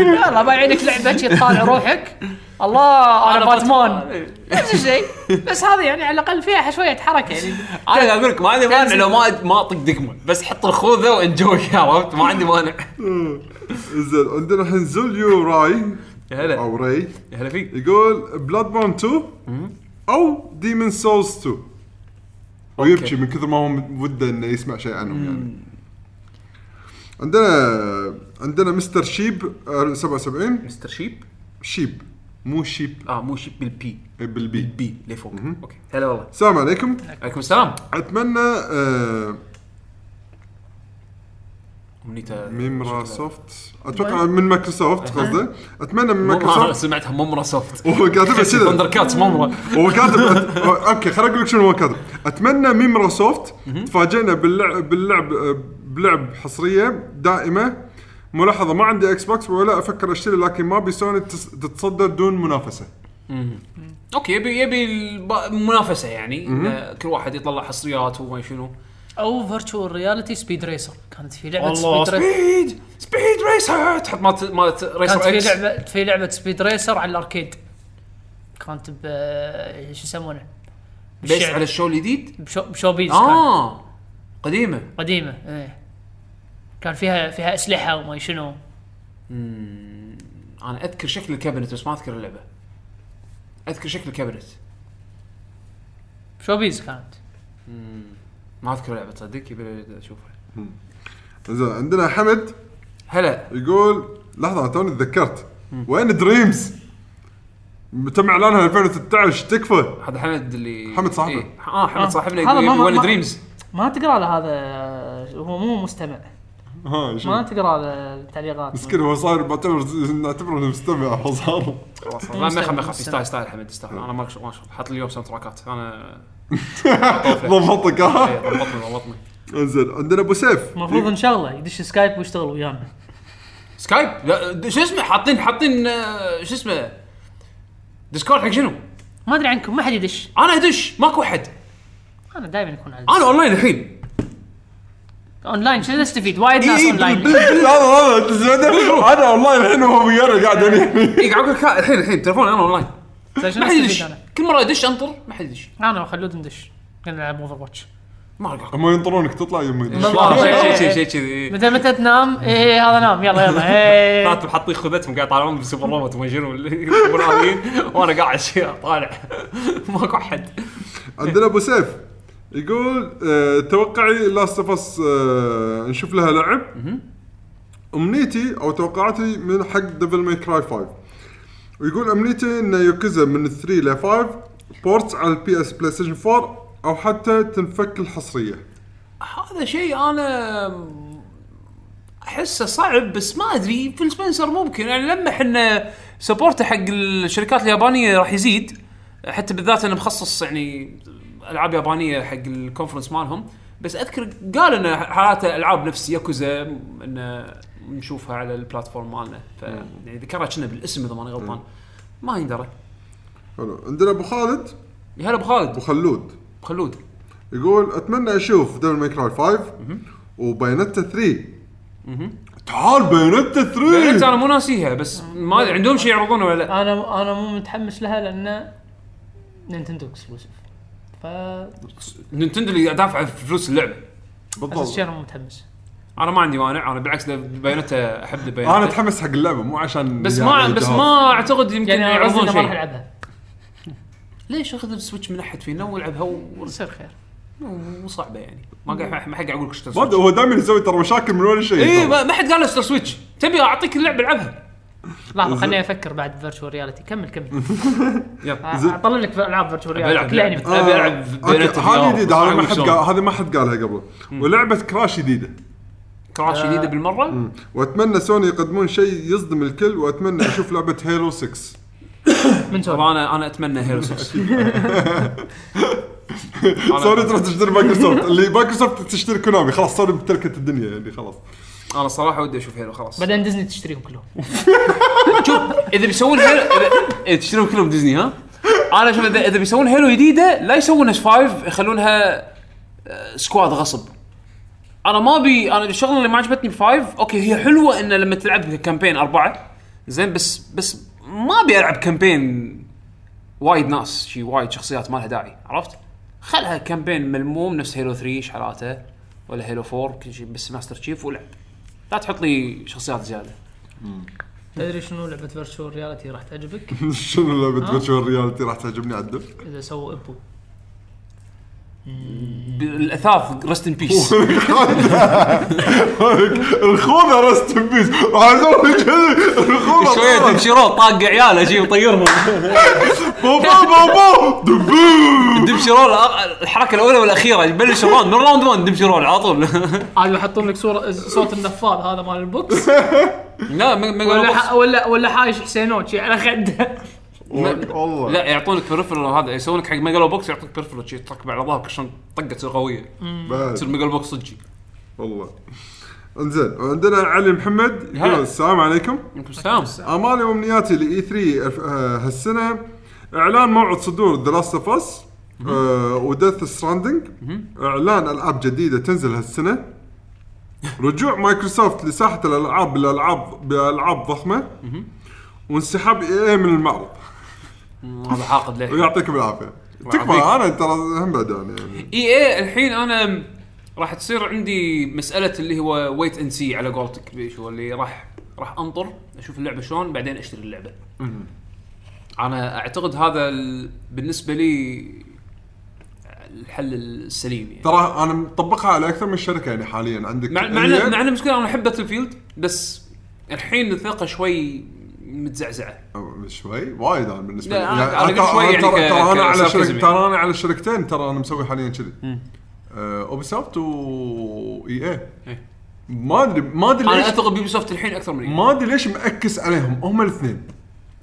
[SPEAKER 3] يلا بايعينك لعبه شي تطالع روحك الله انا
[SPEAKER 1] أنا
[SPEAKER 3] باتمان نفس الشيء بس هذه يعني على الاقل فيها شويه حركه يعني
[SPEAKER 1] انا قاعد اقول لك ما عندي مانع لو ما ما اطق دقمه بس حط الخوذه وانجوي عرفت ما عندي مانع
[SPEAKER 4] زين عندنا الحين زوليو راي
[SPEAKER 1] يا هلا
[SPEAKER 4] او راي
[SPEAKER 1] يا هلا فيك
[SPEAKER 4] يقول بلاد بورن 2 او ديمن سولز 2 ويبكي من كثر ما هو مت- وده انه يسمع شيء عنهم يعني عندنا عندنا مستر شيب آه، 77
[SPEAKER 1] مستر شيب
[SPEAKER 4] شيب مو شيب
[SPEAKER 1] اه مو شيب بالبي
[SPEAKER 4] بالبي
[SPEAKER 1] بي لفوق اوكي هلا والله
[SPEAKER 4] السلام عليكم
[SPEAKER 1] عليكم السلام
[SPEAKER 4] اتمنى آه،
[SPEAKER 1] امنيته
[SPEAKER 4] ميمرا سوفت اتوقع من مايكروسوفت قصده اتمنى من
[SPEAKER 1] ممرا
[SPEAKER 4] مايكروسوفت
[SPEAKER 1] سمعتها ممرا سوفت
[SPEAKER 4] هو كاتبها كذا
[SPEAKER 1] ثندر كاتس ممرا
[SPEAKER 4] هو كاتب أت- اوكي خليني اقول لك شنو هو كاتب اتمنى ميمرا سوفت تفاجئنا باللعب باللعب بلعب حصريه دائمه ملاحظه ما عندي اكس بوكس ولا افكر اشتري لكن ما ابي سوني تس- تتصدر دون منافسه
[SPEAKER 1] آه، اوكي يبي يبي المنافسه يعني إن كل واحد يطلع حصريات وما شنو
[SPEAKER 3] او فيرتشوال رياليتي سبيد ريسر كانت في لعبه
[SPEAKER 1] والله
[SPEAKER 3] سبيد ريسر
[SPEAKER 1] سبيد سبيد ريسر تحط مالت مالت
[SPEAKER 3] كانت
[SPEAKER 1] ريسر
[SPEAKER 3] في
[SPEAKER 1] اكس
[SPEAKER 3] لعبه في لعبه سبيد ريسر على الاركيد كانت ب شو يسمونه؟
[SPEAKER 1] بيس
[SPEAKER 3] بالشعر.
[SPEAKER 1] على الشو الجديد
[SPEAKER 3] بشو بشوبيز كانت
[SPEAKER 1] اه قديمه
[SPEAKER 3] قديمه ايه كان فيها فيها اسلحه وما شنو
[SPEAKER 1] انا اذكر شكل الكابينت بس ما اذكر اللعبه اذكر شكل الكابينت
[SPEAKER 3] شوبيز كانت
[SPEAKER 1] ما اذكر اللعبه تصدق يبي اشوفها
[SPEAKER 4] زين عندنا حمد
[SPEAKER 1] هلا
[SPEAKER 4] يقول لحظه انا توني تذكرت وين دريمز؟ تم اعلانها 2016 تكفى
[SPEAKER 1] هذا حمد اللي
[SPEAKER 4] حمد صاحبنا.
[SPEAKER 1] إيه. اه حمد
[SPEAKER 3] آه.
[SPEAKER 1] صاحبنا
[SPEAKER 3] هذا
[SPEAKER 1] يقول
[SPEAKER 3] ما- ما-
[SPEAKER 1] وين
[SPEAKER 3] ما-
[SPEAKER 1] دريمز
[SPEAKER 3] ما تقرا له هذا هو مو مستمع
[SPEAKER 4] ها شو
[SPEAKER 3] ما تقرا له التعليقات
[SPEAKER 4] مسكين هو صاير معتبر نعتبره إنه مستمع هو صار
[SPEAKER 1] خلاص ما ما يخاف ما يخاف
[SPEAKER 3] مستمع.
[SPEAKER 1] يستاهل يستاهل حمد يستاهل انا ما ما حاط لي اليوم ساوند تراكات انا
[SPEAKER 4] ضبطك
[SPEAKER 3] آه.
[SPEAKER 1] إيه،
[SPEAKER 4] ها
[SPEAKER 1] ضبطني ضبطني
[SPEAKER 4] انزين عندنا ابو سيف
[SPEAKER 3] المفروض ان شاء الله يدش سكايب ويشتغل ويانا
[SPEAKER 1] سكايب لا د- شو اسمه حاطين حاطين آه، شو اسمه ديسكورد حق شنو؟
[SPEAKER 3] ما ادري عنكم ما حد يدش
[SPEAKER 1] انا ادش ماكو احد
[SPEAKER 3] انا دائما اكون على
[SPEAKER 1] انا اونلاين الحين
[SPEAKER 3] اونلاين شنو استفيد وايد ناس
[SPEAKER 1] إي،
[SPEAKER 3] اونلاين
[SPEAKER 4] لحظه لحظه انا والله الحين هو ويانا قاعد هني
[SPEAKER 1] اي إيه، قاعد اقول لك ها، الحين الحين تليفوني انا اونلاين
[SPEAKER 3] تدري شنو
[SPEAKER 1] ما حد يدش
[SPEAKER 3] استفيد انا
[SPEAKER 1] كل مره ادش انطر ما حد يدش
[SPEAKER 3] انا وخلود ندش قلنا نلعب اوفر واتش
[SPEAKER 1] ما ارقع
[SPEAKER 4] هم ينطرونك تطلع يمين
[SPEAKER 1] شيء شيء شيء شيء
[SPEAKER 3] متى متى تنام ايه هذا نام يلا يلا ايه
[SPEAKER 1] كاتب حاطين خذتهم قاعد يطالعون بالسوبر روبوت وما شنو اللي يكون آليين، وانا قاعد شي طالع ماكو احد
[SPEAKER 4] عندنا ابو سيف يقول آه، توقعي لاست اوف اس آه، نشوف لها لعب امنيتي او توقعاتي من حق ديفل ماي كراي 5 ويقول امنيتي ان يوكوزا من 3 ل 5 بورتس على البي اس بلاي ستيشن 4 او حتى تنفك الحصريه
[SPEAKER 1] هذا شيء انا احسه صعب بس ما ادري فيل سبنسر ممكن يعني لما احنا سبورته حق الشركات اليابانيه راح يزيد حتى بالذات انه مخصص يعني العاب يابانيه حق الكونفرنس مالهم بس اذكر قال انه حالاته العاب نفس ياكوزا انه نشوفها على البلاتفورم مالنا ف يعني ذكرها كنا بالاسم اذا ماني غلطان ما يندرى
[SPEAKER 4] حلو عندنا ابو خالد
[SPEAKER 1] يا هلا ابو
[SPEAKER 4] ابو
[SPEAKER 1] خالد
[SPEAKER 4] خلود
[SPEAKER 1] خلود
[SPEAKER 4] يقول اتمنى اشوف ديفل ماي كراي 5 وبايونتا 3 تعال بايونتا 3
[SPEAKER 1] بعرفت انا مو ناسيها بس ما أدري عندهم شيء يعرضونه ولا لا
[SPEAKER 3] انا انا مو متحمس لها لان نينتندو اكسكلوسيف ف
[SPEAKER 1] نينتندو اللي قاعد دافعه فلوس اللعبه طيب.
[SPEAKER 3] اساس
[SPEAKER 4] بالضبط
[SPEAKER 3] شيء انا مو متحمس
[SPEAKER 1] انا ما عندي مانع انا بالعكس بايونتا احب
[SPEAKER 4] انا
[SPEAKER 1] بايونتا
[SPEAKER 4] اتحمس حق اللعبه مو عشان
[SPEAKER 1] بس
[SPEAKER 4] يعني
[SPEAKER 1] ما بس
[SPEAKER 4] الجهاز.
[SPEAKER 1] ما اعتقد يمكن
[SPEAKER 3] يعني أنا قصدي
[SPEAKER 1] يعرضون
[SPEAKER 3] إنه ما راح
[SPEAKER 1] شيء
[SPEAKER 3] العبها
[SPEAKER 1] ليش اخذ السويتش من احد فينا والعبها و-
[SPEAKER 3] يصير خير
[SPEAKER 1] وصعبه يعني ما قاعد ما حد قاعد اقول لك اشتري
[SPEAKER 4] ما أدري،
[SPEAKER 1] سويتش
[SPEAKER 4] هو دائما يسوي ترى مشاكل من ولا شيء
[SPEAKER 1] اي
[SPEAKER 4] ترى.
[SPEAKER 1] ما ما حد قال لي اشتري سويتش تبي اعطيك اللعبه العبها
[SPEAKER 3] لحظه خليني افكر بعد فيرتشوال رياليتي كمل كمل آه،
[SPEAKER 1] يلا
[SPEAKER 4] زين.
[SPEAKER 3] اطلع لك العاب فيرتشوال رياليتي
[SPEAKER 1] بلعب
[SPEAKER 3] كلها انمي
[SPEAKER 1] بلعب. ابي العب في
[SPEAKER 4] آه، أوكي،
[SPEAKER 1] بيانات
[SPEAKER 4] هذه
[SPEAKER 1] VR.
[SPEAKER 4] جديده هذه ما حد
[SPEAKER 1] شلون.
[SPEAKER 4] قال هذه ما حد قالها قبل ولعبه كراش جديده
[SPEAKER 1] كراش جديده بالمره
[SPEAKER 4] واتمنى سوني يقدمون شيء يصدم الكل واتمنى اشوف لعبه هيلو 6
[SPEAKER 3] من سوني
[SPEAKER 1] والله انا انا اتمنى هيرو 6
[SPEAKER 4] سوني تروح تشتري مايكروسوفت اللي مايكروسوفت تشتري كونامي خلاص سوني تركت الدنيا يعني خلاص
[SPEAKER 1] انا صراحه ودي اشوف هيرو خلاص
[SPEAKER 3] بعدين ديزني تشتريهم كلهم
[SPEAKER 1] شوف اذا بيسوون هيلو إذا- إيه، تشترون كلهم ديزني ها انا شوف اذا إذا بيسوون هيلو جديده لا يسوون اش 5 يخلونها آه، سكواد غصب انا ما ابي انا الشغله اللي ما عجبتني بفايف اوكي هي حلوه انه لما تلعب كامبين اربعه زين بس بس ما ابي العب كامبين وايد ناس شي وايد شخصيات ما لها داعي عرفت؟ خلها كامبين ملموم نفس هيلو 3 شحالاته ولا هيلو 4 كل شيء بس ماستر تشيف ولعب لا تحط لي شخصيات زياده
[SPEAKER 3] تدري شنو لعبه فيرتشوال رياليتي راح تعجبك
[SPEAKER 4] شنو لعبه
[SPEAKER 1] آه.
[SPEAKER 4] فيرتشوال ريالتي راح تعجبني عدل
[SPEAKER 3] اذا سووا ابو
[SPEAKER 1] الاثاث رست ان بيس
[SPEAKER 4] الخوذه رست ان بيس راح اسوي كذي الخوذه
[SPEAKER 1] شويه
[SPEAKER 4] طارت.
[SPEAKER 1] دبشيرو طاق عياله شي وطيرهم
[SPEAKER 4] بابا بابا دبوم.
[SPEAKER 1] دبشيرو الحركه الاولى والاخيره يبلش الراوند من راوند 1 دبشيرو على طول
[SPEAKER 3] عاد يحطون لك صوره صوت النفاذ هذا مال البوكس
[SPEAKER 1] لا ما- ما
[SPEAKER 3] ولا
[SPEAKER 1] يقولوا
[SPEAKER 3] ح- ولا ولا حايش حسينوتشي على خده
[SPEAKER 4] والله
[SPEAKER 1] لا يعطونك بريفرال هذا يسوون لك حق ميجالو بوكس يعطونك بريفرال شي تركبه على ظهرك عشان طقه تصير قويه
[SPEAKER 4] بعد.
[SPEAKER 1] تصير ميجالو بوكس صجي
[SPEAKER 4] والله انزين عندنا علي محمد يقول
[SPEAKER 1] هلا.
[SPEAKER 4] السلام عليكم
[SPEAKER 1] عليكم السلام
[SPEAKER 4] امالي E آه، وامنياتي لاي 3 هالسنه اعلان موعد صدور ذا لاست اوف اس آه وديث ستراندنج اعلان العاب جديده تنزل هالسنه رجوع مايكروسوفت لساحه الالعاب بالالعاب بالالعاب ضخمه وانسحاب اي من المعرض
[SPEAKER 1] هذا حاقد ليه
[SPEAKER 4] ويعطيكم العافيه تكفى انا ترى هم بعد يعني- يعني
[SPEAKER 1] اي اي إيه، الحين انا راح تصير عندي مساله اللي هو ويت اند سي على قولتك بيش هو اللي راح راح انطر اشوف اللعبه شلون بعدين اشتري اللعبه. انا اعتقد هذا ال... بالنسبه لي الحل السليم يعني
[SPEAKER 4] ترى انا مطبقها على اكثر من شركه يعني حاليا عندك
[SPEAKER 1] مع مع
[SPEAKER 4] EA.
[SPEAKER 1] إن- مع إن المشكله انا احب باتل فيلد بس الحين الثقه شوي متزعزعه
[SPEAKER 4] أو شوي وايد انا بالنسبه لي
[SPEAKER 1] لا، أنا-
[SPEAKER 4] يعني
[SPEAKER 1] أنا قلت شوي
[SPEAKER 4] ترى-
[SPEAKER 1] يعني
[SPEAKER 4] ترى
[SPEAKER 1] ك-
[SPEAKER 4] ترى انا على
[SPEAKER 1] كساركزم
[SPEAKER 4] شركة
[SPEAKER 1] يعني.
[SPEAKER 4] ترى انا على شركتين ترى انا مسوي حاليا كذي آه، اوبي سوفت واي اي
[SPEAKER 1] إيه.
[SPEAKER 4] E ما ادري ما ادري
[SPEAKER 1] انا
[SPEAKER 4] ليش
[SPEAKER 1] اثق بيوبي سوفت الحين اكثر من إيه.
[SPEAKER 4] ما ادري ليش مأكس عليهم هم الاثنين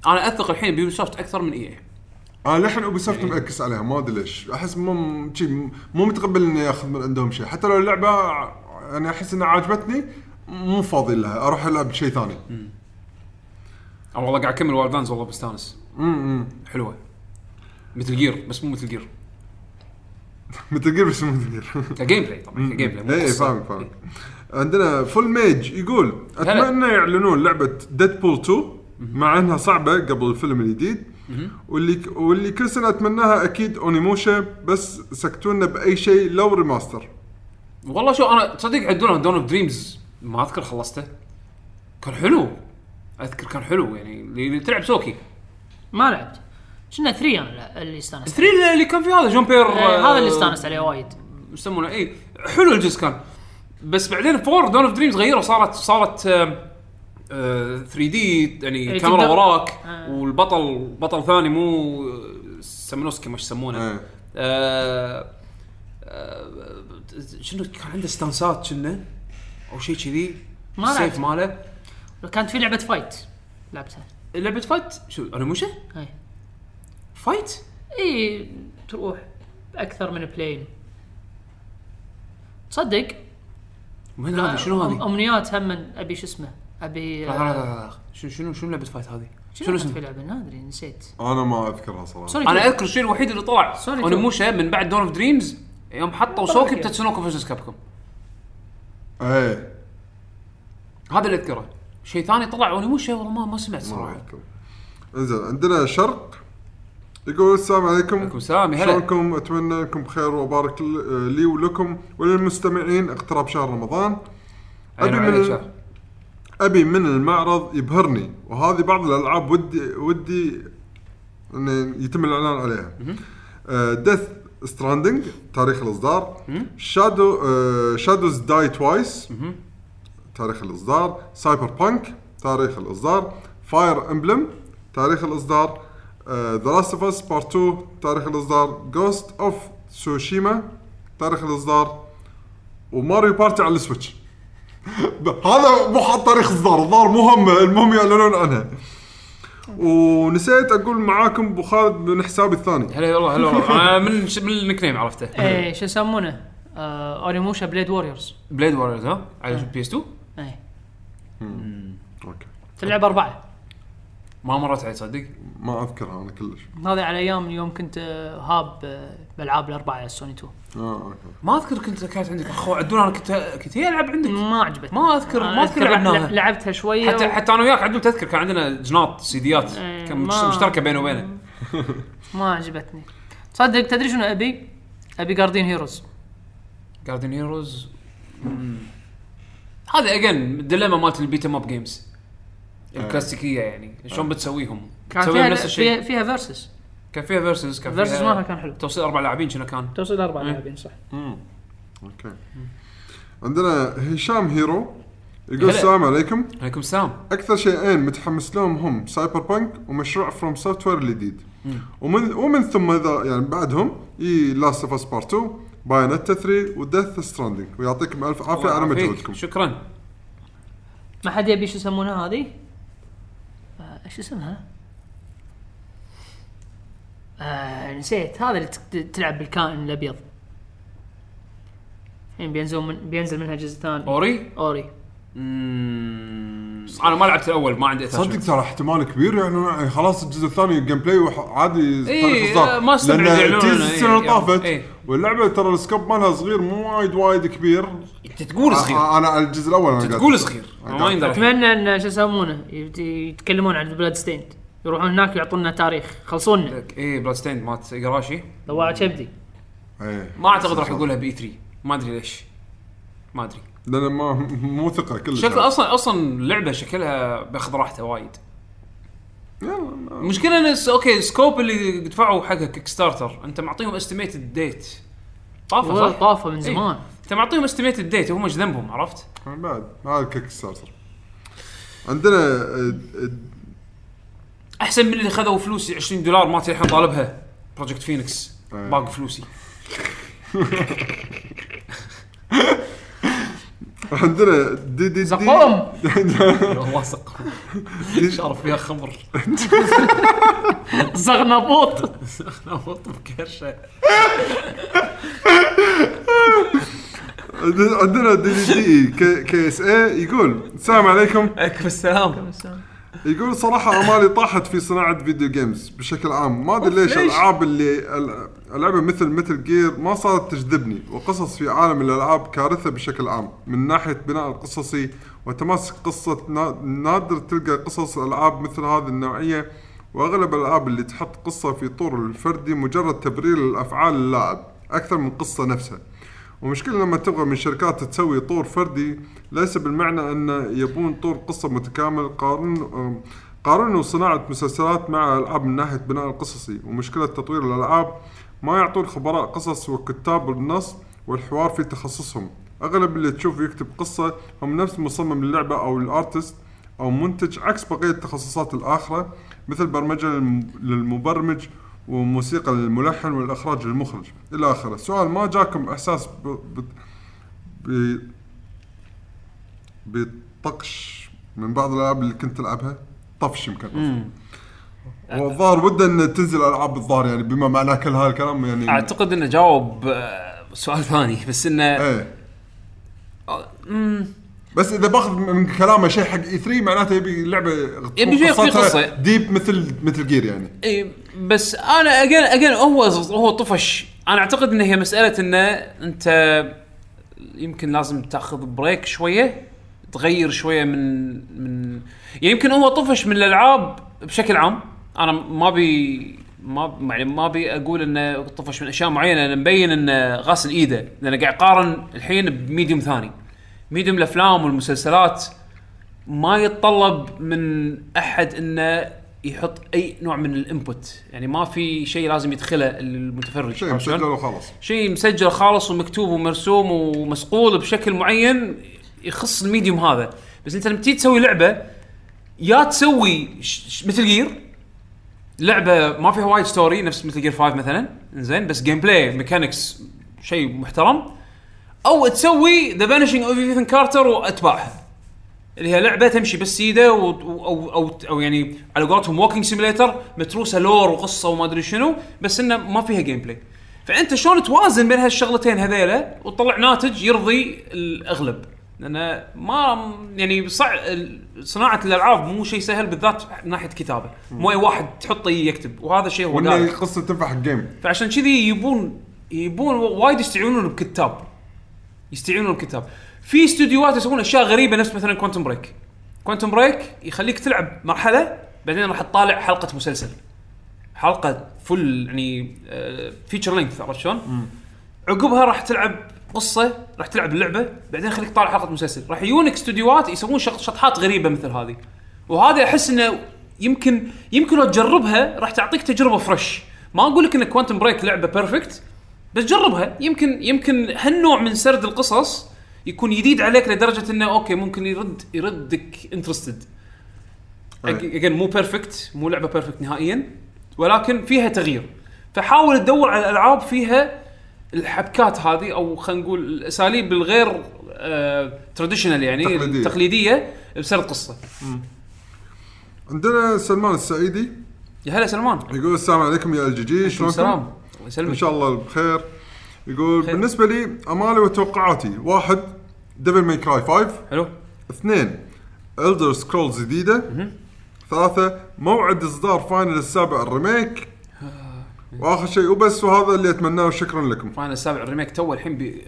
[SPEAKER 1] انا اثق الحين بيوبي سوفت اكثر من إيه. اي
[SPEAKER 4] انا آه، للحين اوبي
[SPEAKER 1] يعني
[SPEAKER 4] سوفت مأكس عليهم ما ادري ليش احس مو م- شي م- مو متقبل اني اخذ من عندهم شيء حتى لو اللعبه ع- يعني احس انها عجبتني مو فاضي لها اروح العب شيء ثاني
[SPEAKER 1] انا والله قاعد اكمل وايلد والله بستانس
[SPEAKER 4] امم
[SPEAKER 1] حلوه مثل جير بس مو مثل جير
[SPEAKER 4] مثل جير بس مو مثل جير
[SPEAKER 1] كجيم بلاي طبعا كجيم بلاي إيه، مو
[SPEAKER 4] اي
[SPEAKER 1] قصة. إيه.
[SPEAKER 4] فاهمك فاهمك عندنا فول ميج يقول اتمنى يعلنون لعبه ديدبول 2 مع انها صعبه قبل الفيلم الجديد واللي واللي كل سنه اتمناها اكيد اونيموشا بس سكتونا باي شيء لو ريماستر
[SPEAKER 1] والله شو انا تصدق عدونا دون اوف دريمز ما اذكر خلصته كان حلو اذكر كان حلو يعني اللي اللي تلعب سوكي
[SPEAKER 3] ما لعبت كنا 3 انا لا- اللي استانست
[SPEAKER 1] الثري اللي- اللي كان فيه هذا جون بير
[SPEAKER 3] آه، هذا اللي
[SPEAKER 1] آه،
[SPEAKER 3] استانست عليه وايد
[SPEAKER 1] يسمونه اي حلو الجزء كان بس بعدين فور دون اوف دريمز غيره صارت صارت آه، 3 دي يعني
[SPEAKER 3] إيه،
[SPEAKER 1] كاميرا
[SPEAKER 3] تقدر-
[SPEAKER 1] وراك
[SPEAKER 3] آه.
[SPEAKER 1] والبطل بطل ثاني مو آه، سمنوسكي ما إيش يسمونه
[SPEAKER 4] إيه.
[SPEAKER 1] آه، آه، شنو كان عنده استانسات كنا او شيء كذي
[SPEAKER 3] ما
[SPEAKER 1] السيف
[SPEAKER 3] لعبت.
[SPEAKER 1] ماله
[SPEAKER 3] كانت في لعبه فايت لعبتها إيه.
[SPEAKER 1] لعبه فايت شو انيموشا
[SPEAKER 3] هاي
[SPEAKER 1] فايت
[SPEAKER 3] اي تروح اكثر من بلاين تصدق
[SPEAKER 1] وين هذه شنو
[SPEAKER 3] أم-
[SPEAKER 1] هذه؟
[SPEAKER 3] امنيات هم من- ابي شو اسمه ابي
[SPEAKER 1] لا لا لا لا شنو شنو شنو لعبه فايت هذه؟ شنو
[SPEAKER 3] شنو اسمه في
[SPEAKER 1] اسمها؟
[SPEAKER 3] لعبه ما ادري نسيت
[SPEAKER 4] انا ما اذكرها صراحه
[SPEAKER 3] سوري
[SPEAKER 1] انا اذكر الشيء الوحيد اللي طلع
[SPEAKER 3] سوري تو.
[SPEAKER 1] انيموشا من بعد دون اوف دريمز يوم حطوا سوكي بتاتسونوكو فيرسس كابكوم
[SPEAKER 4] ايه
[SPEAKER 1] هذا اللي اذكره شيء ثاني طلع انيموشا والله ما ما سمعت
[SPEAKER 4] ما
[SPEAKER 1] صراحه
[SPEAKER 4] أذكر. انزين عندنا شرق يقول السلام عليكم
[SPEAKER 1] عليكم السلام، يا هلا.
[SPEAKER 4] شلونكم اتمنى انكم بخير وبارك ل- لي ولكم وللمستمعين اقتراب شهر رمضان
[SPEAKER 1] عيني
[SPEAKER 4] أبي من-
[SPEAKER 1] عليك شهر.
[SPEAKER 4] ابي من المعرض يبهرني وهذه بعض الالعاب ودي ودي ان يتم الاعلان عليها ديث ستراندنج آه، تاريخ آه، الاصدار شادو شادوز داي توايس تاريخ الاصدار سايبر بانك تاريخ الاصدار فاير امبلم تاريخ آه، الاصدار ذا لاست اوف اس بارت 2 تاريخ الاصدار جوست اوف تسوشيما تاريخ الاصدار وماريو بارتي على السويتش ب- هذا مو حاط تاريخ اصدار الظاهر مو همه المهم يعلنون عنها ونسيت اقول معاكم ابو خالد من حسابي الثاني
[SPEAKER 1] هلا والله هلا والله انا من ش- من النيك نيم عرفته
[SPEAKER 3] ايه شو يسمونه؟ آه، اوريموشا بليد ووريرز
[SPEAKER 1] بليد واريرز ها على بي اس 2
[SPEAKER 3] ايه
[SPEAKER 4] اوكي
[SPEAKER 3] تلعب اربعه
[SPEAKER 1] ما مرت علي تصدق
[SPEAKER 4] ما اذكرها انا كلش
[SPEAKER 3] هذا على ايام يوم كنت آه، هاب آه، بالعاب الاربعه على سوني 2
[SPEAKER 4] اه اوكي
[SPEAKER 1] ما اذكر كنت كانت عندك اخو عدول انا كنت كنت هي العب عندك
[SPEAKER 3] ما عجبتني آه،
[SPEAKER 1] ما أذكر- ما أذكر لعبناها.
[SPEAKER 3] لعبتها شويه
[SPEAKER 1] حتى
[SPEAKER 3] و-
[SPEAKER 1] حتى انا وياك عدول تذكر كان عندنا جناط سيديات
[SPEAKER 3] إيه،
[SPEAKER 1] كان
[SPEAKER 3] ما-
[SPEAKER 1] مشتركه بينه وبينه
[SPEAKER 3] ما عجبتني تصدق تدري شنو ابي؟ ابي جاردين هيروز
[SPEAKER 1] جاردن هيروز hmm. هذا اجين الديليما مالت البيتا ماب جيمز
[SPEAKER 4] آه.
[SPEAKER 1] الكلاسيكيه يعني شلون بتسويهم؟
[SPEAKER 3] كان
[SPEAKER 1] تسويهم
[SPEAKER 3] فيها
[SPEAKER 1] نفس
[SPEAKER 3] فيها,
[SPEAKER 1] الشيء
[SPEAKER 3] فيها فيرسز
[SPEAKER 1] كان فيها فيرسز كان
[SPEAKER 3] فيرسز
[SPEAKER 1] فيها
[SPEAKER 3] مالها كان حلو
[SPEAKER 1] توصيل اربع لاعبين شنو كان؟
[SPEAKER 3] توصل اربع
[SPEAKER 1] إيه.
[SPEAKER 3] لاعبين صح
[SPEAKER 4] اوكي عندنا هشام هيرو يقول
[SPEAKER 1] هلا.
[SPEAKER 4] السلام عليكم
[SPEAKER 1] عليكم السلام
[SPEAKER 4] اكثر شيئين متحمس لهم هم سايبر بانك ومشروع فروم سوفت وير الجديد ومن ومن ثم ذا يعني بعدهم اي لاست اوف اس بارت 2 بايونيتا 3 وديث ستراندنج ويعطيكم الف عافيه على
[SPEAKER 1] الله يعافيك.
[SPEAKER 4] مجهودكم
[SPEAKER 1] شكرا
[SPEAKER 3] ما حد يبي شو يسمونها هذه؟ آه، ايش اسمها؟ آه نسيت هذا اللي تك- تلعب بالكائن الابيض الحين بينزل من بينزل منها جزء ثاني
[SPEAKER 1] اوري
[SPEAKER 3] اوري
[SPEAKER 1] مم،
[SPEAKER 7] بس انا ما لعبت الاول ما عندي
[SPEAKER 4] صدق ترى احتمال كبير يعني خلاص الجزء الثاني الجيم بلاي وح- عادي
[SPEAKER 7] إيه،
[SPEAKER 4] تاريخ إصدار.
[SPEAKER 7] ما استبعد
[SPEAKER 4] لأن
[SPEAKER 7] يعلنون
[SPEAKER 4] تيز
[SPEAKER 7] عنه، إيه،
[SPEAKER 4] السنه اللي
[SPEAKER 7] يعني،
[SPEAKER 4] طافت
[SPEAKER 7] إيه.
[SPEAKER 4] واللعبه ترى السكوب مالها صغير مو وايد وايد كبير
[SPEAKER 7] انت تقول صغير
[SPEAKER 4] آه، انا على الجزء الاول انا
[SPEAKER 7] تقول صغير ما يندرى
[SPEAKER 3] اتمنى ان شو يسمونه يت- يتكلمون عن بلاد ستيند يروحون هناك يعطونا تاريخ
[SPEAKER 1] إيه.
[SPEAKER 3] خلصونا
[SPEAKER 7] اي بلاد ستيند مالت جراشي
[SPEAKER 3] ضواع كبدي
[SPEAKER 4] إيه.
[SPEAKER 7] ما اعتقد راح يقولها بي 3 ما ادري ليش ما ادري
[SPEAKER 4] لان ما مو ثقه كلش
[SPEAKER 7] شكل اصلا اصلا اللعبه شكلها باخذ راحته وايد
[SPEAKER 4] يلا،
[SPEAKER 7] المشكله ان الس- اوكي السكوب اللي دفعوا حقها كيك ستارتر انت معطيهم استيميتد ديت طافه
[SPEAKER 3] والله
[SPEAKER 7] صح؟
[SPEAKER 3] طافه من
[SPEAKER 7] إيه.
[SPEAKER 3] زمان
[SPEAKER 7] انت معطيهم استيميتد ديت هم ايش ذنبهم عرفت؟
[SPEAKER 4] بعد هذا كيك ستارتر عندنا آه، آه،
[SPEAKER 7] احسن من اللي خذوا فلوسي 20 دولار ما الحين طالبها بروجكت فينيكس
[SPEAKER 4] أي.
[SPEAKER 7] باق فلوسي
[SPEAKER 4] عندنا دي دي دي
[SPEAKER 3] زقوم
[SPEAKER 7] واثق شارف فيها خمر
[SPEAKER 3] زغنبوط
[SPEAKER 7] نوط بكرشه
[SPEAKER 4] عندنا- عندنا دي دي دي كي- كي اس اي يقول السلام عليكم
[SPEAKER 6] عليكم السلام
[SPEAKER 4] يقول صراحة امالي طاحت في صناعة فيديو جيمز بشكل عام، ما ادري ليش الالعاب اللي ال- العبها مثل مثل جير ما صارت تجذبني، وقصص في عالم الالعاب كارثة بشكل عام، من ناحية بناء القصصي وتماسك قصة نا- نادر تلقى قصص العاب مثل هذه النوعية، واغلب الالعاب اللي تحط قصة في طور الفردي مجرد تبرير لافعال اللاعب، اكثر من قصة نفسها. ومشكلة لما تبغى من شركات تسوي طور فردي ليس بالمعنى ان يبون طور قصة متكامل قارن أم، قارنوا صناعة مسلسلات مع العاب من ناحية بناء القصصي ومشكلة تطوير الالعاب ما يعطون خبراء قصص وكتاب النص والحوار في تخصصهم اغلب اللي تشوفه يكتب قصة هم نفس مصمم اللعبة او الارتست او منتج عكس بقية التخصصات الاخرى مثل برمجة للم- للمبرمج وموسيقى للملحن والاخراج للمخرج الى اخره سؤال ما جاكم احساس ب... ب... ب... بطقش من بعض الالعاب اللي كنت تلعبها طفش يمكن والظاهر وده ان تنزل العاب الظاهر يعني بما معناه كل هذا الكلام يعني
[SPEAKER 1] اعتقد انه جاوب آه، سؤال ثاني بس آه، انه
[SPEAKER 4] ايه بس اذا باخذ من كلامه شيء حق اي 3 معناته يبي لعبه
[SPEAKER 1] يبي شيء في
[SPEAKER 4] قصتها
[SPEAKER 1] قصة.
[SPEAKER 4] ديب مثل مثل جير يعني
[SPEAKER 1] اي بس انا اجين اجين هو هو طفش انا اعتقد ان هي مساله انه انت يمكن لازم تاخذ بريك شويه تغير شويه من من يعني يمكن هو طفش من الالعاب بشكل عام انا ما بي ما يعني ما بي اقول انه طفش من اشياء معينه انا مبين انه غاسل ايده لانه قاعد اقارن الحين بميديوم ثاني ميديوم الافلام والمسلسلات ما يتطلب من احد انه يحط اي نوع من الانبوت يعني ما في شيء لازم يدخله المتفرج
[SPEAKER 4] شيء
[SPEAKER 1] عرفت شلون؟
[SPEAKER 4] مسجل وخلاص
[SPEAKER 1] شيء مسجل خالص ومكتوب ومرسوم ومصقول بشكل معين يخص الميديوم هذا بس انت لما تيجي تسوي لعبه يا تسوي مثل جير لعبه ما فيها وايد ستوري نفس مثل جير 5 مثلا زين بس جيم بلاي ميكانكس شيء محترم او تسوي ذا بانشنج اوف ايثن كارتر واتباعها اللي هي لعبه تمشي بس سيده و... و- او او او يعني على قولتهم ووكينج سيميليتر متروسه لور وقصه وما ادري شنو بس انه ما فيها جيم بلاي فانت شلون توازن بين هالشغلتين هذيلا وتطلع ناتج يرضي الاغلب لان ما يعني صع... ال- صناعه الالعاب مو شيء سهل بالذات من ناحيه كتابه مو اي واحد تحطه يكتب وهذا الشيء هو
[SPEAKER 4] وان
[SPEAKER 1] قاعد.
[SPEAKER 4] القصه تنفع حق جيم
[SPEAKER 1] فعشان كذي يبون يبون وايد يستعينون بكتاب يستعينون بكتاب في استديوهات يسوون اشياء غريبه نفس مثلا كوانتم بريك كوانتم بريك يخليك تلعب مرحله بعدين راح تطالع حلقه مسلسل حلقه فل يعني فيتشر لينث عرفت شلون؟ عقبها راح تلعب قصه راح تلعب اللعبه بعدين خليك طالع حلقه مسلسل راح يجونك استديوهات يسوون شط- شطحات غريبه مثل هذه وهذا احس انه يمكن يمكن لو تجربها راح تعطيك تجربه فريش ما اقول لك ان كوانتم بريك لعبه بيرفكت بس جربها يمكن يمكن هالنوع من سرد القصص يكون جديد عليك لدرجه انه اوكي ممكن يرد يردك انترستد اجين مو بيرفكت مو لعبه بيرفكت نهائيا ولكن فيها تغيير فحاول تدور على الالعاب فيها الحبكات هذه او خلينا نقول الاساليب الغير تراديشنال يعني
[SPEAKER 4] تقليدية.
[SPEAKER 1] التقليديه بسرد قصه
[SPEAKER 4] عندنا سلمان السعيدي
[SPEAKER 1] يا هلا سلمان
[SPEAKER 4] يقول السلام عليكم يا الجي جي شلونكم؟
[SPEAKER 1] سلام الله
[SPEAKER 4] ان
[SPEAKER 1] يسلمك
[SPEAKER 4] شاء الله بخير يقول خير. بالنسبه لي امالي وتوقعاتي واحد ديفل ماي كراي 5
[SPEAKER 1] حلو
[SPEAKER 4] اثنين الدر سكرولز جديده ثلاثه موعد اصدار فاينل السابع الريميك واخر شيء وبس وهذا اللي اتمناه شكرا لكم
[SPEAKER 1] فاينل السابع الريميك تو الحين بي...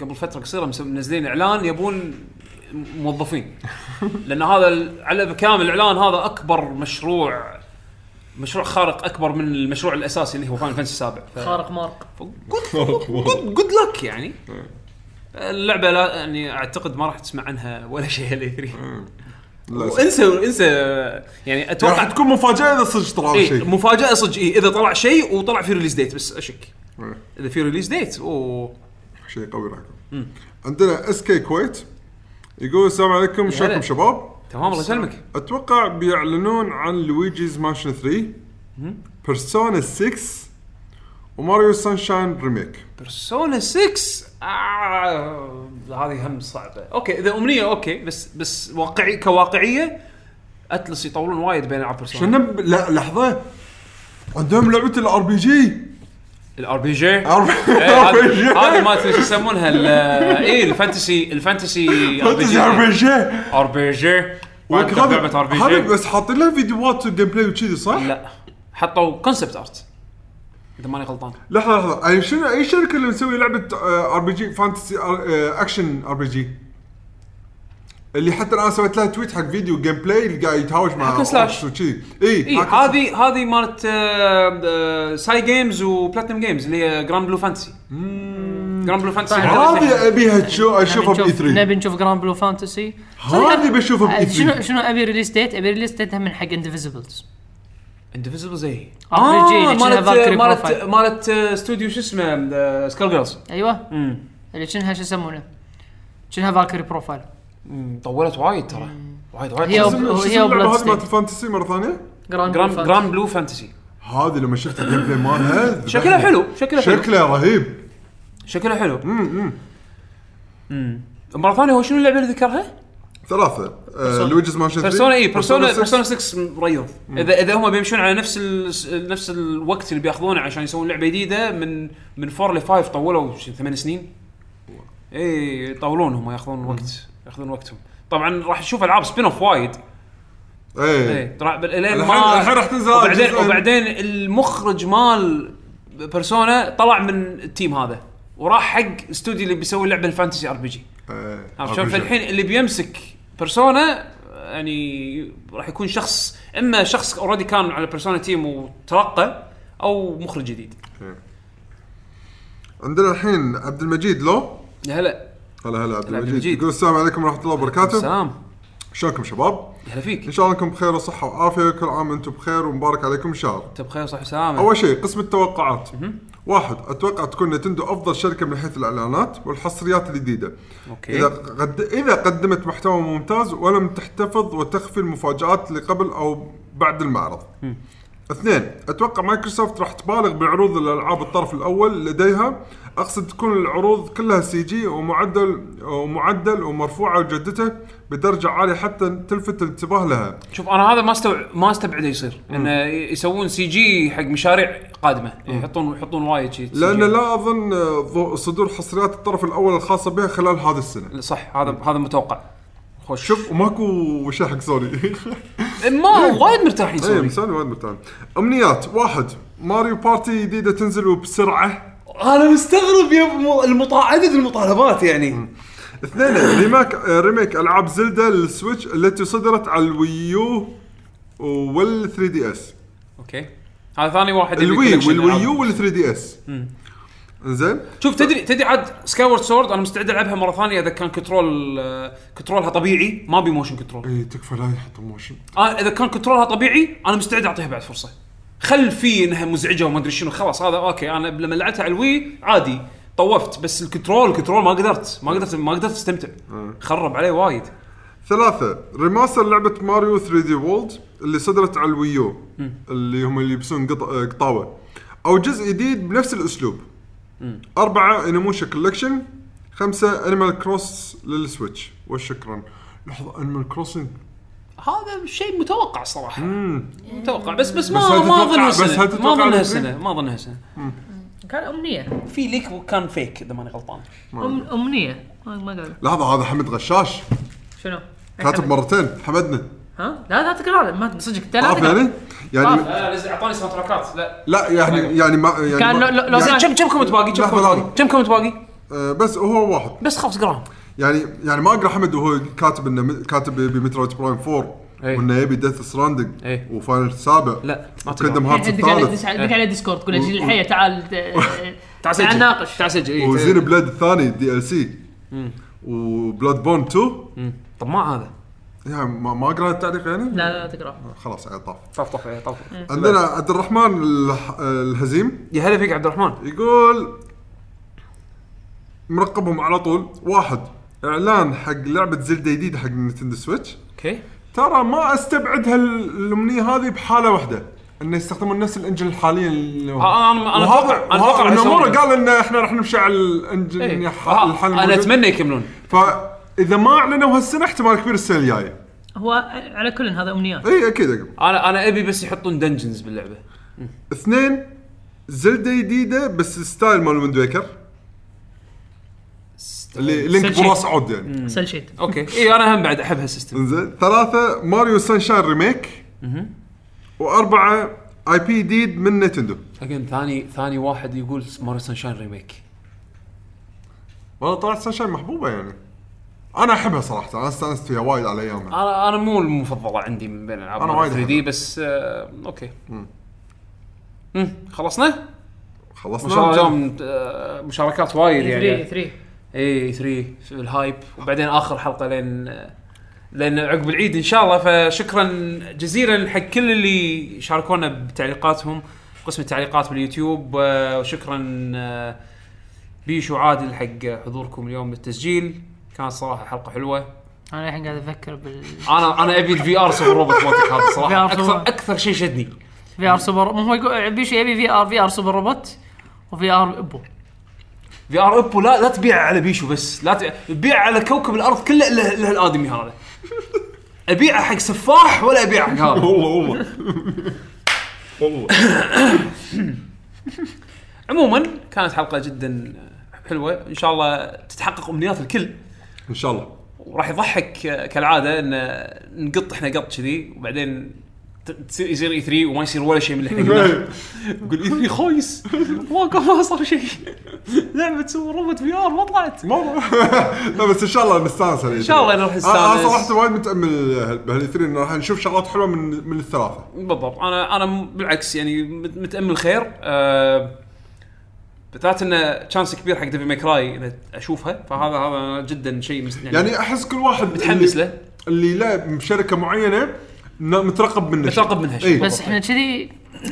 [SPEAKER 1] قبل فتره قصيره مس- منزلين اعلان يبون موظفين لان هذا ال- على بكامل الاعلان هذا اكبر مشروع مشروع خارق اكبر من المشروع الاساسي اللي هو فاينل فانسي السابع ف...
[SPEAKER 3] خارق مارق
[SPEAKER 1] جود جود لك يعني اللعبه لا يعني اعتقد ما راح تسمع عنها ولا شيء الاي 3
[SPEAKER 4] للأسف.
[SPEAKER 1] انسى انسى يعني اتوقع
[SPEAKER 4] راح تكون مفاجاه اذا صدق طلع
[SPEAKER 1] إيه
[SPEAKER 4] شيء
[SPEAKER 1] مفاجاه صدق إيه اذا طلع شيء وطلع في ريليز ديت بس اشك
[SPEAKER 4] مم.
[SPEAKER 1] اذا في ريليز ديت اوه
[SPEAKER 4] شيء قوي راح يكون عندنا اس كي كويت يقول السلام عليكم شلونكم شباب؟
[SPEAKER 1] تمام الله يسلمك
[SPEAKER 4] اتوقع بيعلنون عن لويجيز ماشن 3 بيرسونا 6 وماريو سانشاين ريميك
[SPEAKER 1] بيرسونا 6 آه Ah, هذه هم صعبه اوكي اذا امنيه اوكي بس بس واقعي كواقعيه اتلس يطولون وايد بين العاب بيرسونا
[SPEAKER 4] شنو ب- لا لحظه عندهم لعبه الار بي جي
[SPEAKER 1] الار بي جي
[SPEAKER 4] ار بي جي
[SPEAKER 1] هذه مالت ايش يسمونها ال- ايه الفانتسي الفانتسي
[SPEAKER 4] ار بي جي
[SPEAKER 1] ار بي جي بعد لعبه ار بي
[SPEAKER 4] هذا
[SPEAKER 1] جي
[SPEAKER 4] بس حاطين لها فيديوهات وجيم بلاي وكذي صح؟
[SPEAKER 1] لا حطوا كونسبت ارت اذا ماني غلطان
[SPEAKER 4] لحظه لحظه اي شنو اي شركه اللي مسوي آه، لعبه ار بي جي فانتسي اكشن ار بي جي اللي حتى الان سويت لها تويت حق فيديو جيم بلاي اللي قاعد يتهاوش مع
[SPEAKER 1] Hack and slash.
[SPEAKER 4] وكذي اي
[SPEAKER 1] اي إيه، هذه هذه مالت آه، آه، ساي جيمز وبلاتنم جيمز اللي هي جراند بلو فانتسي جراند بلو فانتسي
[SPEAKER 4] طيب، هذه ابيها تشو-
[SPEAKER 1] يعني
[SPEAKER 4] E اشوفها
[SPEAKER 3] نبي
[SPEAKER 4] باي
[SPEAKER 3] نشوف
[SPEAKER 4] 3
[SPEAKER 3] نبي نشوف جراند بلو فانتسي
[SPEAKER 4] هذه بشوفها بإي ثري.
[SPEAKER 3] آه، شنو شنو ابي ريليس ديت؟ ابي ريليس ديت من حق اندفيزبلز
[SPEAKER 1] اندفيزبل زي
[SPEAKER 3] ار بي جي اللي
[SPEAKER 1] آه،
[SPEAKER 3] شنها
[SPEAKER 1] مالت
[SPEAKER 3] فالكري
[SPEAKER 1] مالت
[SPEAKER 3] بروفايل
[SPEAKER 1] مالت آه، استوديو شو اسمه آه، سكال جيرلز
[SPEAKER 3] ايوه اللي شنها شو يسمونه؟ شنها فالكري بروفايل
[SPEAKER 1] طولت وايد ترى وايد وايد
[SPEAKER 3] هي
[SPEAKER 4] شو اسم
[SPEAKER 3] هي
[SPEAKER 4] اللعبة هذه مالت
[SPEAKER 3] بلاد
[SPEAKER 4] الفانتسي مره ثانيه؟
[SPEAKER 3] جراند
[SPEAKER 1] جراند
[SPEAKER 3] بلو
[SPEAKER 1] جراند بلو فانتسي
[SPEAKER 4] هذه لما شفت الجيم بلاي مالها
[SPEAKER 1] شكلها حلو شكلها حلو
[SPEAKER 4] شكله رهيب
[SPEAKER 1] شكلها حلو امم مره ثانيه هو شنو اللعبه اللي ذكرها؟
[SPEAKER 4] ثلاثه آه، لويجز مانشن
[SPEAKER 1] بيرسونا اي بيرسونا بيرسونا 6 مريض اذا اذا هم بيمشون على نفس ال... نفس الوقت اللي بياخذونه عشان يسوون لعبه جديده من من 4 ل 5 طولوا شي ثمان سنين اي يطولون هم ياخذون وقت ياخذون وقتهم طبعا راح نشوف العاب سبين اوف وايد إيه،
[SPEAKER 4] اي
[SPEAKER 1] اي راح الين
[SPEAKER 4] إيه. الحين-
[SPEAKER 1] ما
[SPEAKER 4] الحين راح تنزل
[SPEAKER 1] وبعدين
[SPEAKER 4] جزء-
[SPEAKER 1] وبعدين المخرج مال بيرسونا طلع من التيم هذا وراح حق استوديو اللي بيسوي لعبه الفانتسي ار بي جي
[SPEAKER 4] آه،
[SPEAKER 1] عرفت شلون؟ فالحين اللي بيمسك بيرسونا يعني راح يكون شخص اما شخص اوريدي كان على بيرسونا تيم وترقى او مخرج جديد
[SPEAKER 4] عندنا الحين عبد المجيد لو
[SPEAKER 1] يا هلا
[SPEAKER 4] هلا هلا عبد
[SPEAKER 1] هلا عبد
[SPEAKER 4] المجيد
[SPEAKER 1] المجيد.
[SPEAKER 4] يقول السلام عليكم ورحمه الله وبركاته
[SPEAKER 1] سلام
[SPEAKER 4] شلونكم شباب؟
[SPEAKER 1] يا هلا فيك
[SPEAKER 4] ان شاء الله انكم بخير وصحه وعافيه كل عام وانتم بخير ومبارك عليكم شهر
[SPEAKER 1] انت بخير وصحه وسلامه
[SPEAKER 4] اول شيء قسم التوقعات واحد اتوقع تكون نتندو افضل شركه من حيث الاعلانات والحصريات الجديده اذا
[SPEAKER 1] اوكي
[SPEAKER 4] قد... اذا قدمت محتوى ممتاز ولم تحتفظ وتخفي المفاجات اللي قبل او بعد المعرض اثنين اتوقع مايكروسوفت راح تبالغ بعروض الالعاب الطرف الاول لديها اقصد تكون العروض كلها سي جي ومعدل ومعدل ومرفوعه وجدته بدرجه عاليه حتى تلفت الانتباه لها
[SPEAKER 1] شوف انا هذا ما استوعب ما استبعده يصير انه يسوون سي جي حق مشاريع قادمه يحطون يحطون وايد شيء
[SPEAKER 4] لان لا اظن آه، ظو- صدور حصريات الطرف الاول الخاصه بها خلال هذه السنه
[SPEAKER 1] صح هذا هذا متوقع خوش شوف
[SPEAKER 4] شوف إيه. وماكو شيء حق سوني
[SPEAKER 1] ما وايد مرتاحين
[SPEAKER 4] اي
[SPEAKER 1] سوري
[SPEAKER 4] مساني وايد مرتاح امنيات واحد ماريو بارتي جديده تنزل وبسرعه
[SPEAKER 8] انا مستغرب يا م- المطا... عدد المطالبات يعني
[SPEAKER 4] اثنين ريماك آه، ريميك العاب زلدا للسويتش التي صدرت على الويو وال 3 دي اس
[SPEAKER 1] اوكي هذا ثاني واحد يبي
[SPEAKER 4] الوي
[SPEAKER 1] collection ألعاب.
[SPEAKER 4] والويو وال 3 دي اس زين
[SPEAKER 1] شوف تدري تدري عاد سكاي وورد سورد انا مستعد العبها مره ثانيه اذا كان كنترول آه، كنترولها طبيعي ما بي موشن كنترول
[SPEAKER 4] اي تكفى لا يحط موشن
[SPEAKER 1] انا اذا كان كنترولها طبيعي انا مستعد اعطيها بعد فرصه خل في انها مزعجه وما ادري شنو خلاص هذا اوكي انا لما لعبتها على الوي عادي طوفت بس الكنترول الكنترول ما قدرت ما قدرت ما قدرت استمتع
[SPEAKER 4] آه.
[SPEAKER 1] خرب عليه وايد
[SPEAKER 4] ثلاثة ريماستر لعبة ماريو 3 دي وولد اللي صدرت على الويو اللي هم اللي يلبسون قط- آه، قطاوة أو جزء جديد بنفس الأسلوب أربعة انيموشا كولكشن خمسة انيمال كروس للسويتش وشكرا لحظة انيمال كروسنج
[SPEAKER 1] هذا شيء متوقع صراحه متوقع بس بس
[SPEAKER 4] بس
[SPEAKER 1] ما
[SPEAKER 4] هل
[SPEAKER 1] ما
[SPEAKER 4] تتوقع-
[SPEAKER 1] اظنها
[SPEAKER 4] بس
[SPEAKER 1] سنه
[SPEAKER 4] هل
[SPEAKER 1] ما
[SPEAKER 4] تتوقع
[SPEAKER 1] اظنها
[SPEAKER 4] الأمريكي؟
[SPEAKER 1] سنه ما اظنها سنه
[SPEAKER 3] كان امنيه
[SPEAKER 1] في ليك وكان فيك اذا ماني غلطان
[SPEAKER 3] أم- امنيه ما ما قال
[SPEAKER 4] لحظة هذا حمد غشاش
[SPEAKER 3] شنو؟
[SPEAKER 4] كاتب مرتين حمدنا
[SPEAKER 3] ها لا لا تقرا له، ما صدق انت لا
[SPEAKER 4] عارف
[SPEAKER 3] تقرا
[SPEAKER 4] يعني؟ يعني
[SPEAKER 1] لا لازم اعطاني ساوند تراكات لا
[SPEAKER 4] لا يعني يعني ما يعني
[SPEAKER 3] كان
[SPEAKER 4] ما-
[SPEAKER 3] لو- لو- لو
[SPEAKER 4] يعني-
[SPEAKER 3] كان-
[SPEAKER 1] كم كم كومنت باقي كم
[SPEAKER 4] لحظة،
[SPEAKER 1] كومنت
[SPEAKER 4] لحظة.
[SPEAKER 1] باقي كم كومنت باقي
[SPEAKER 4] آه، بس هو واحد
[SPEAKER 1] بس خلاص اقراهم
[SPEAKER 4] يعني يعني ما اقرا حمد وهو كاتب انه م- كاتب يبي مترويد برايم 4
[SPEAKER 1] إيه.
[SPEAKER 4] وانه يبي ديث ستراندنج
[SPEAKER 1] إيه.
[SPEAKER 4] وفاينل السابع
[SPEAKER 1] لا، ما تقدر.
[SPEAKER 4] وكندم هارتس
[SPEAKER 3] دق عليه
[SPEAKER 4] الثالث
[SPEAKER 3] دق عليه ديسكورد قول له
[SPEAKER 4] إيه.
[SPEAKER 3] جيل الحيه تعال آه،
[SPEAKER 1] تعال
[SPEAKER 3] تعال
[SPEAKER 1] سجل
[SPEAKER 3] ناقش
[SPEAKER 1] تعال سجل إيه.
[SPEAKER 4] وزين بلاد الثاني دي ال سي وبلاد بون 2
[SPEAKER 1] طب ما هذا
[SPEAKER 4] يعني ما ما اقرا التعليق يعني
[SPEAKER 3] لا لا تقرا
[SPEAKER 4] خلاص يعني طاف
[SPEAKER 1] طف طف إيه، طف
[SPEAKER 4] عندنا عبد الرحمن الح- الهزيم
[SPEAKER 1] يا هلا فيك عبد الرحمن
[SPEAKER 4] يقول مرقبهم على طول واحد اعلان حق لعبه زلده جديده حق نينتندو سويتش
[SPEAKER 1] اوكي
[SPEAKER 4] ترى ما استبعد هالامنيه هذه بحاله واحده انه يستخدمون نفس الانجن الحالي اللي هو
[SPEAKER 1] آه، أنا- أنا
[SPEAKER 4] وهذا-
[SPEAKER 1] أتوقع- أنا
[SPEAKER 4] وهذا
[SPEAKER 1] أتوقع
[SPEAKER 4] نامورا
[SPEAKER 1] يسوون.
[SPEAKER 4] قال ان احنا راح نمشي على الانجن
[SPEAKER 1] إيه. آه،
[SPEAKER 4] الح- الحالي
[SPEAKER 1] انا
[SPEAKER 4] الموجود.
[SPEAKER 1] اتمنى يكملون
[SPEAKER 4] فاذا ما اعلنوا هالسنه احتمال كبير إيه، السنه الجايه
[SPEAKER 3] هو على كل هذا امنيات
[SPEAKER 4] اي اكيد اقول
[SPEAKER 1] انا انا ابي بس يحطون دنجنز باللعبه
[SPEAKER 4] اثنين زلده جديده بس ستايل مال ويند ويكر اللي لينك
[SPEAKER 3] سلشي.
[SPEAKER 4] براس عود يعني
[SPEAKER 3] سل شيء
[SPEAKER 1] اوكي اي انا إيه، هم بعد احب هالسيستم
[SPEAKER 4] انزين ثلاثه ماريو سانشاين ريميك واربعه اي بي جديد من نتندو
[SPEAKER 1] اجين ثاني ثاني واحد يقول ماريو سانشاين ريميك
[SPEAKER 4] والله طلعت سانشاين محبوبه يعني انا احبها صراحه انا استانست فيها وايد على ايامها
[SPEAKER 1] انا انا مو المفضله عندي من بين العاب
[SPEAKER 4] أنا
[SPEAKER 1] ماريو
[SPEAKER 4] وايد
[SPEAKER 1] 3 دي
[SPEAKER 4] أحبها.
[SPEAKER 1] بس آه اوكي امم خلصنا؟ ما شاء الله
[SPEAKER 4] خلصنا
[SPEAKER 1] اليوم آه، مشاركات وايد يعني
[SPEAKER 3] 3 3
[SPEAKER 1] اي 3 الهايب E وبعدين اخر حلقه لين لان عقب العيد ان شاء الله فشكرا جزيلا حق كل اللي شاركونا بتعليقاتهم قسم التعليقات باليوتيوب آه، وشكرا آه، بيشو عادل حق حضوركم اليوم للتسجيل كانت صراحه حلقه حلوه
[SPEAKER 3] انا الحين قاعد افكر بال
[SPEAKER 1] انا انا ابي الفي ار سوبر روبوت مالتك هذا صراحه
[SPEAKER 3] VR
[SPEAKER 1] اكثر
[SPEAKER 3] سوبر.
[SPEAKER 1] اكثر شيء شدني
[SPEAKER 3] في ار سوبر مو هو يقول بيشو يبي في ار في ار سوبر روبوت وفي ار ابو
[SPEAKER 1] في ار ابو لا لا تبيع على بيشو بس لا ت- تبيع على كوكب الارض كله الا إلا هالادمي هذا ابيعه حق سفاح ولا ابيعه حق هذا
[SPEAKER 4] والله والله والله
[SPEAKER 1] عموما كانت حلقه جدا حلوه ان شاء الله تتحقق امنيات الكل
[SPEAKER 4] ان شاء الله
[SPEAKER 1] وراح يضحك آه، كالعاده ان آه، نقط احنا قط كذي وبعدين ت- تصير- يصير اي 3 وما يصير ولا شيء من اللي احنا قلناه يقول اي 3 خايس ما ما صار شيء لعبه سوبر روبوت في ار ما طلعت
[SPEAKER 4] لا بس ان شاء الله نستانس ان
[SPEAKER 1] شاء الله نروح
[SPEAKER 4] انا
[SPEAKER 1] نستانس.
[SPEAKER 4] صراحه وايد متامل بهالاثنين انه راح نشوف شغلات حلوه من من الثلاثه
[SPEAKER 1] بالضبط انا انا م- بالعكس يعني مت- متامل خير آه بالذات انه تشانس كبير حق ديفي ماكراي انه اشوفها فهذا هذا جدا شيء مس- يعني, يعني
[SPEAKER 4] يعني احس كل واحد
[SPEAKER 1] متحمس
[SPEAKER 4] اللي-
[SPEAKER 1] له
[SPEAKER 4] اللي لا بشركه معينه ن- مترقب منه شيء.
[SPEAKER 1] مترقب منها شيء.
[SPEAKER 4] إيه.
[SPEAKER 3] بس احنا كذي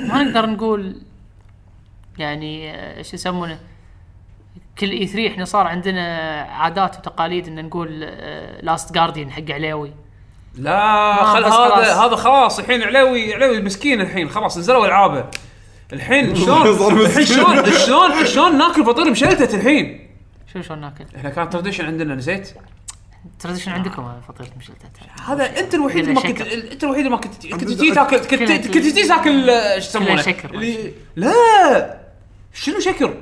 [SPEAKER 3] ما نقدر نقول يعني آه، ايش يسمونه كل اي 3 احنا صار عندنا عادات وتقاليد ان نقول لاست جارديان حق عليوي
[SPEAKER 1] لا
[SPEAKER 3] ما
[SPEAKER 1] خل
[SPEAKER 3] آه، بس
[SPEAKER 1] هذا
[SPEAKER 3] خلاص.
[SPEAKER 1] هذا خلاص الحين علاوي علاوي مسكين الحين خلاص نزلوا العابه الحين
[SPEAKER 4] صار
[SPEAKER 1] شلون الحين
[SPEAKER 4] مسكين.
[SPEAKER 1] شلون شلون شلون ناكل فطير مشلتت الحين
[SPEAKER 3] شو شلون ناكل
[SPEAKER 1] احنا كان تراديشن عندنا نسيت
[SPEAKER 3] تراديشن عندكم فطيره مشلتت
[SPEAKER 1] هذا انت الوحيد اللي ما كنت
[SPEAKER 3] شكر.
[SPEAKER 1] انت الوحيد اللي ما كنت كنت تجي تاكل كنت
[SPEAKER 3] كلها-
[SPEAKER 1] كنت تجي تاكل آه، شو يسمونه
[SPEAKER 3] شكر، ما
[SPEAKER 1] اللي- لا شنو شكر؟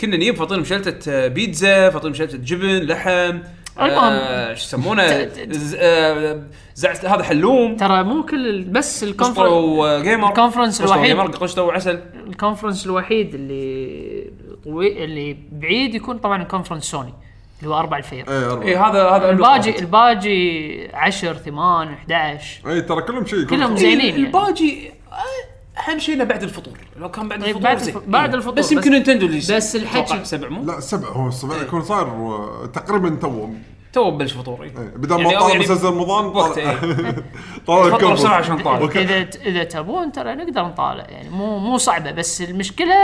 [SPEAKER 1] كنا نجيب فطير مشلتت آه، بيتزا فطير مشلتت جبن لحم آه،
[SPEAKER 3] المهم.
[SPEAKER 1] شو يسمونه ز- آه، زعتر- هذا حلوم
[SPEAKER 3] ترى مو كل ال- بس
[SPEAKER 1] قشطه
[SPEAKER 3] الكونفرنس
[SPEAKER 1] وجيمر
[SPEAKER 3] الكونفرنس
[SPEAKER 1] قشطة
[SPEAKER 3] الوحيد.
[SPEAKER 1] وجيمر قشطه وعسل
[SPEAKER 3] الكونفرنس الوحيد اللي طوي اللي بعيد يكون طبعا الكونفرنس سوني اللي هو 4 الفير
[SPEAKER 4] اي اربعه
[SPEAKER 1] اي إيه، هذا هذا إيه، أملك
[SPEAKER 3] الباجي
[SPEAKER 1] واحد.
[SPEAKER 3] الباجي 10 8 11
[SPEAKER 4] اي إيه، ترى كلهم شيء
[SPEAKER 3] كلهم
[SPEAKER 1] إيه،
[SPEAKER 3] زينين يعني.
[SPEAKER 1] الباجي آه، اهم شيء انه بعد الفطور لو كان بعد
[SPEAKER 3] إيه،
[SPEAKER 1] الفطور
[SPEAKER 3] بعد
[SPEAKER 1] زين.
[SPEAKER 3] الف- بعد
[SPEAKER 1] إيه.
[SPEAKER 3] الفطور،
[SPEAKER 1] بس
[SPEAKER 3] بس-
[SPEAKER 1] يمكن نينتندو اللي
[SPEAKER 3] بس الحكي.
[SPEAKER 1] أتوقع سبع مو
[SPEAKER 4] لا سبع هو
[SPEAKER 1] إيه.
[SPEAKER 4] الصبح يكون صاير آه، تقريبا تو
[SPEAKER 1] تو ببلش فطور إيه.
[SPEAKER 4] بدل
[SPEAKER 1] يعني
[SPEAKER 4] ما
[SPEAKER 1] أو
[SPEAKER 4] طالع
[SPEAKER 1] يعني إيه.
[SPEAKER 4] مسلسل رمضان
[SPEAKER 1] بوقت،
[SPEAKER 4] طالع- طالع
[SPEAKER 1] فطر
[SPEAKER 4] الكوكب.
[SPEAKER 1] بسرعه عشان طالع
[SPEAKER 4] أوكي.
[SPEAKER 3] اذا اذا تبون ترى نقدر نطالع يعني مو مو صعبه بس المشكله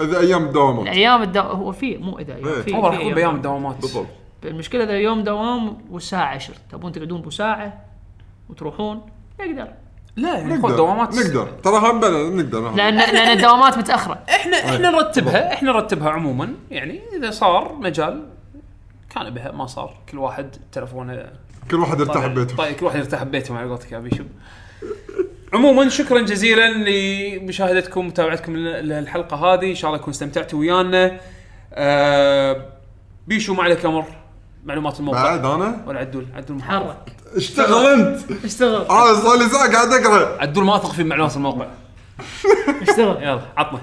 [SPEAKER 4] اذا ايام دوامه
[SPEAKER 3] الايام الدو... هو في مو اذا يوم
[SPEAKER 4] إيه.
[SPEAKER 3] في
[SPEAKER 1] هو
[SPEAKER 3] في
[SPEAKER 1] راح يكون
[SPEAKER 3] أيام.
[SPEAKER 1] بايام الدوامات بالضبط
[SPEAKER 3] المشكله اذا يوم دوام والساعه 10 تبون تقعدون بساعه وتروحون نقدر
[SPEAKER 1] لا يعني خذ
[SPEAKER 4] نقدر
[SPEAKER 1] دوامات
[SPEAKER 4] نقدر ترى هم بلا نقدر نعم. هم.
[SPEAKER 3] لان لان الدوامات متاخره
[SPEAKER 1] احنا احنا نرتبها احنا نرتبها عموما يعني اذا صار مجال كان بها ما صار كل واحد تلفونه
[SPEAKER 4] كل واحد ارتاح ببيته
[SPEAKER 1] طيب كل واحد يرتاح ببيته مع قولتك يا بيشو عموما شكرا جزيلا لمشاهدتكم ومتابعتكم ل- للحلقه هذه ان شاء الله تكونوا استمتعتوا ويانا آه بيشو ما عليك امر معلومات الموقع
[SPEAKER 4] بعد انا
[SPEAKER 1] ولا عدول عدول ما-
[SPEAKER 3] حرك
[SPEAKER 4] اشتغل
[SPEAKER 1] طيب.
[SPEAKER 4] انت
[SPEAKER 3] اشتغل
[SPEAKER 4] انا آه، صار لي ساعه قاعد اقرا
[SPEAKER 1] عدول ما اثق في معلومات الموقع
[SPEAKER 3] اشتغل
[SPEAKER 1] يلا عطنا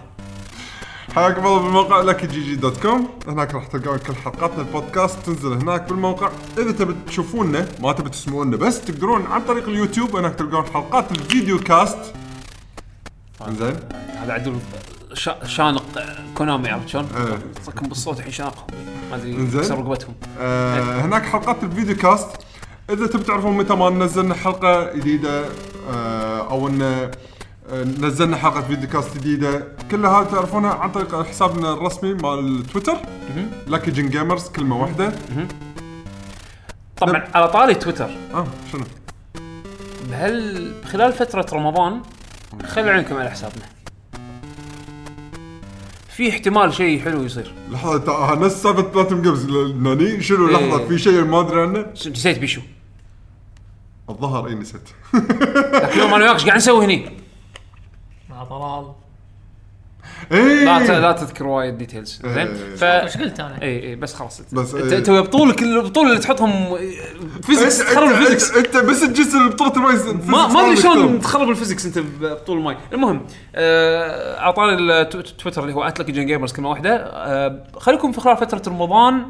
[SPEAKER 4] حياكم الله بالموقع لكي جي جي دوت كوم هناك راح تلقون كل حلقاتنا البودكاست تنزل هناك بالموقع اذا تبي تشوفونا ما تبي تسمعونا بس تقدرون عن طريق اليوتيوب هناك تلقون حلقات الفيديو كاست
[SPEAKER 1] طيب.
[SPEAKER 4] زين
[SPEAKER 1] هذا عدول شا- شانق آه، كونامي عرفت شلون؟
[SPEAKER 4] إيه.
[SPEAKER 1] صكم بالصوت الحين شانقهم ما ادري
[SPEAKER 4] إنزين.
[SPEAKER 1] كسر رقبتهم
[SPEAKER 4] آه، هناك حلقات الفيديو كاست اذا تبي تعرفون متى ما نزلنا حلقه جديده آه، او ان آه، نزلنا حلقه فيديو كاست جديده كلها تعرفونها عن طريق حسابنا الرسمي مال تويتر لاكي جن جيمرز كلمه واحده
[SPEAKER 1] طبعا على طاري تويتر
[SPEAKER 4] اه شنو
[SPEAKER 1] هل خلال فترة رمضان خلوا عينكم على حسابنا في احتمال شيء حلو يصير
[SPEAKER 4] لحظه تع- نفس سالفه بلاتم جيمز ناني شنو لحظه
[SPEAKER 1] إيه.
[SPEAKER 4] في شيء ما ادري عنه
[SPEAKER 1] س- نسيت بيشو
[SPEAKER 4] الظهر اي نسيت
[SPEAKER 1] ذاك اليوم انا وياك ايش قاعد نسوي هني؟
[SPEAKER 3] مع طلال
[SPEAKER 4] إيه.
[SPEAKER 1] لا ت- لا
[SPEAKER 4] اي
[SPEAKER 1] تذكر وايد ديتيلز زين
[SPEAKER 4] إيه.
[SPEAKER 1] ف
[SPEAKER 3] ايش قلت انا؟
[SPEAKER 1] اي اي بس خلاص
[SPEAKER 4] بس
[SPEAKER 1] انت
[SPEAKER 4] إيه.
[SPEAKER 1] انت ويا بطولك البطوله اللي تحطهم فيزكس
[SPEAKER 4] انت
[SPEAKER 1] تخرب الفيزكس
[SPEAKER 4] انت- انت بس تجس بطوله المايز
[SPEAKER 1] ما ما ادري شلون تخرب الفيزكس انت بطول الماي المهم آه، اعطاني التويتر اللي هو اتلك جن جيمرز كلمه واحده آه، خليكم في خلال فتره رمضان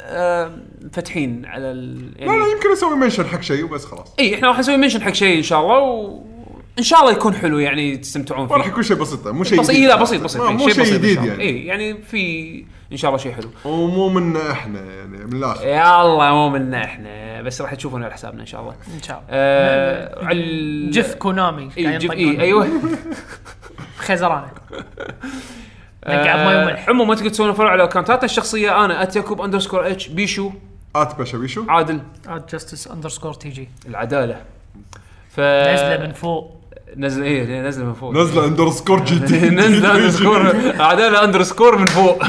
[SPEAKER 1] آه، فاتحين على ال
[SPEAKER 4] لا لا
[SPEAKER 1] يعني
[SPEAKER 4] يمكن اسوي منشن حق شيء وبس خلاص
[SPEAKER 1] اي احنا راح نسوي منشن حق شيء ان شاء الله وان شاء الله يكون حلو يعني تستمتعون
[SPEAKER 4] ما راح
[SPEAKER 1] فيه
[SPEAKER 4] يكون شيء بسيط مو شيء
[SPEAKER 1] بس
[SPEAKER 4] جديد.
[SPEAKER 1] اي لا بسيط بسيط
[SPEAKER 4] ما-
[SPEAKER 1] يعني
[SPEAKER 4] مو شيء
[SPEAKER 1] بسيط إن
[SPEAKER 4] جديد
[SPEAKER 1] شاء الله.
[SPEAKER 4] يعني
[SPEAKER 1] اي يعني في ان شاء الله شيء حلو
[SPEAKER 4] ومو من احنا يعني من الاخر
[SPEAKER 1] يلا مو منا احنا بس راح تشوفون على حسابنا ان شاء الله
[SPEAKER 3] ان شاء الله
[SPEAKER 1] آه على ال-
[SPEAKER 3] جف كونامي
[SPEAKER 1] اي
[SPEAKER 3] قاعد
[SPEAKER 1] جف
[SPEAKER 3] ينطقون.
[SPEAKER 1] اي ايوه
[SPEAKER 3] خزرانه نقع بمي وملح
[SPEAKER 1] عموما آه، تقدر تسوون فولو على اكونتاتنا الشخصيه انا اتيكوب اندرسكور اتش بيشو
[SPEAKER 4] ات بشويشو
[SPEAKER 1] عادل
[SPEAKER 3] جاستس اندرسكور تي جي
[SPEAKER 1] العداله ف
[SPEAKER 3] نزله من فوق
[SPEAKER 1] نزل ايه نزله من فوق
[SPEAKER 4] نزله اندرسكور جي تي
[SPEAKER 1] نزله اندرسكور عداله اندرسكور من فوق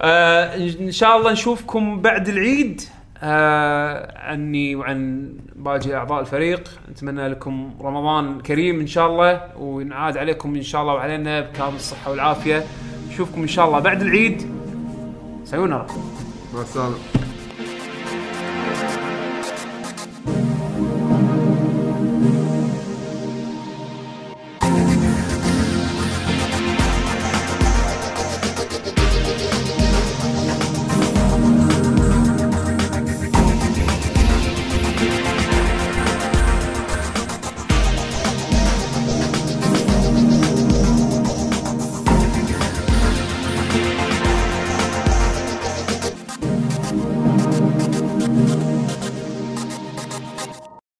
[SPEAKER 1] آه، ان شاء الله نشوفكم بعد العيد آه، عني وعن باقي اعضاء الفريق نتمنى لكم رمضان كريم ان شاء الله ونعاد عليكم ان شاء الله وعلينا بكامل الصحه والعافيه نشوفكم ان شاء الله بعد العيد سايونارا
[SPEAKER 4] مع السلامه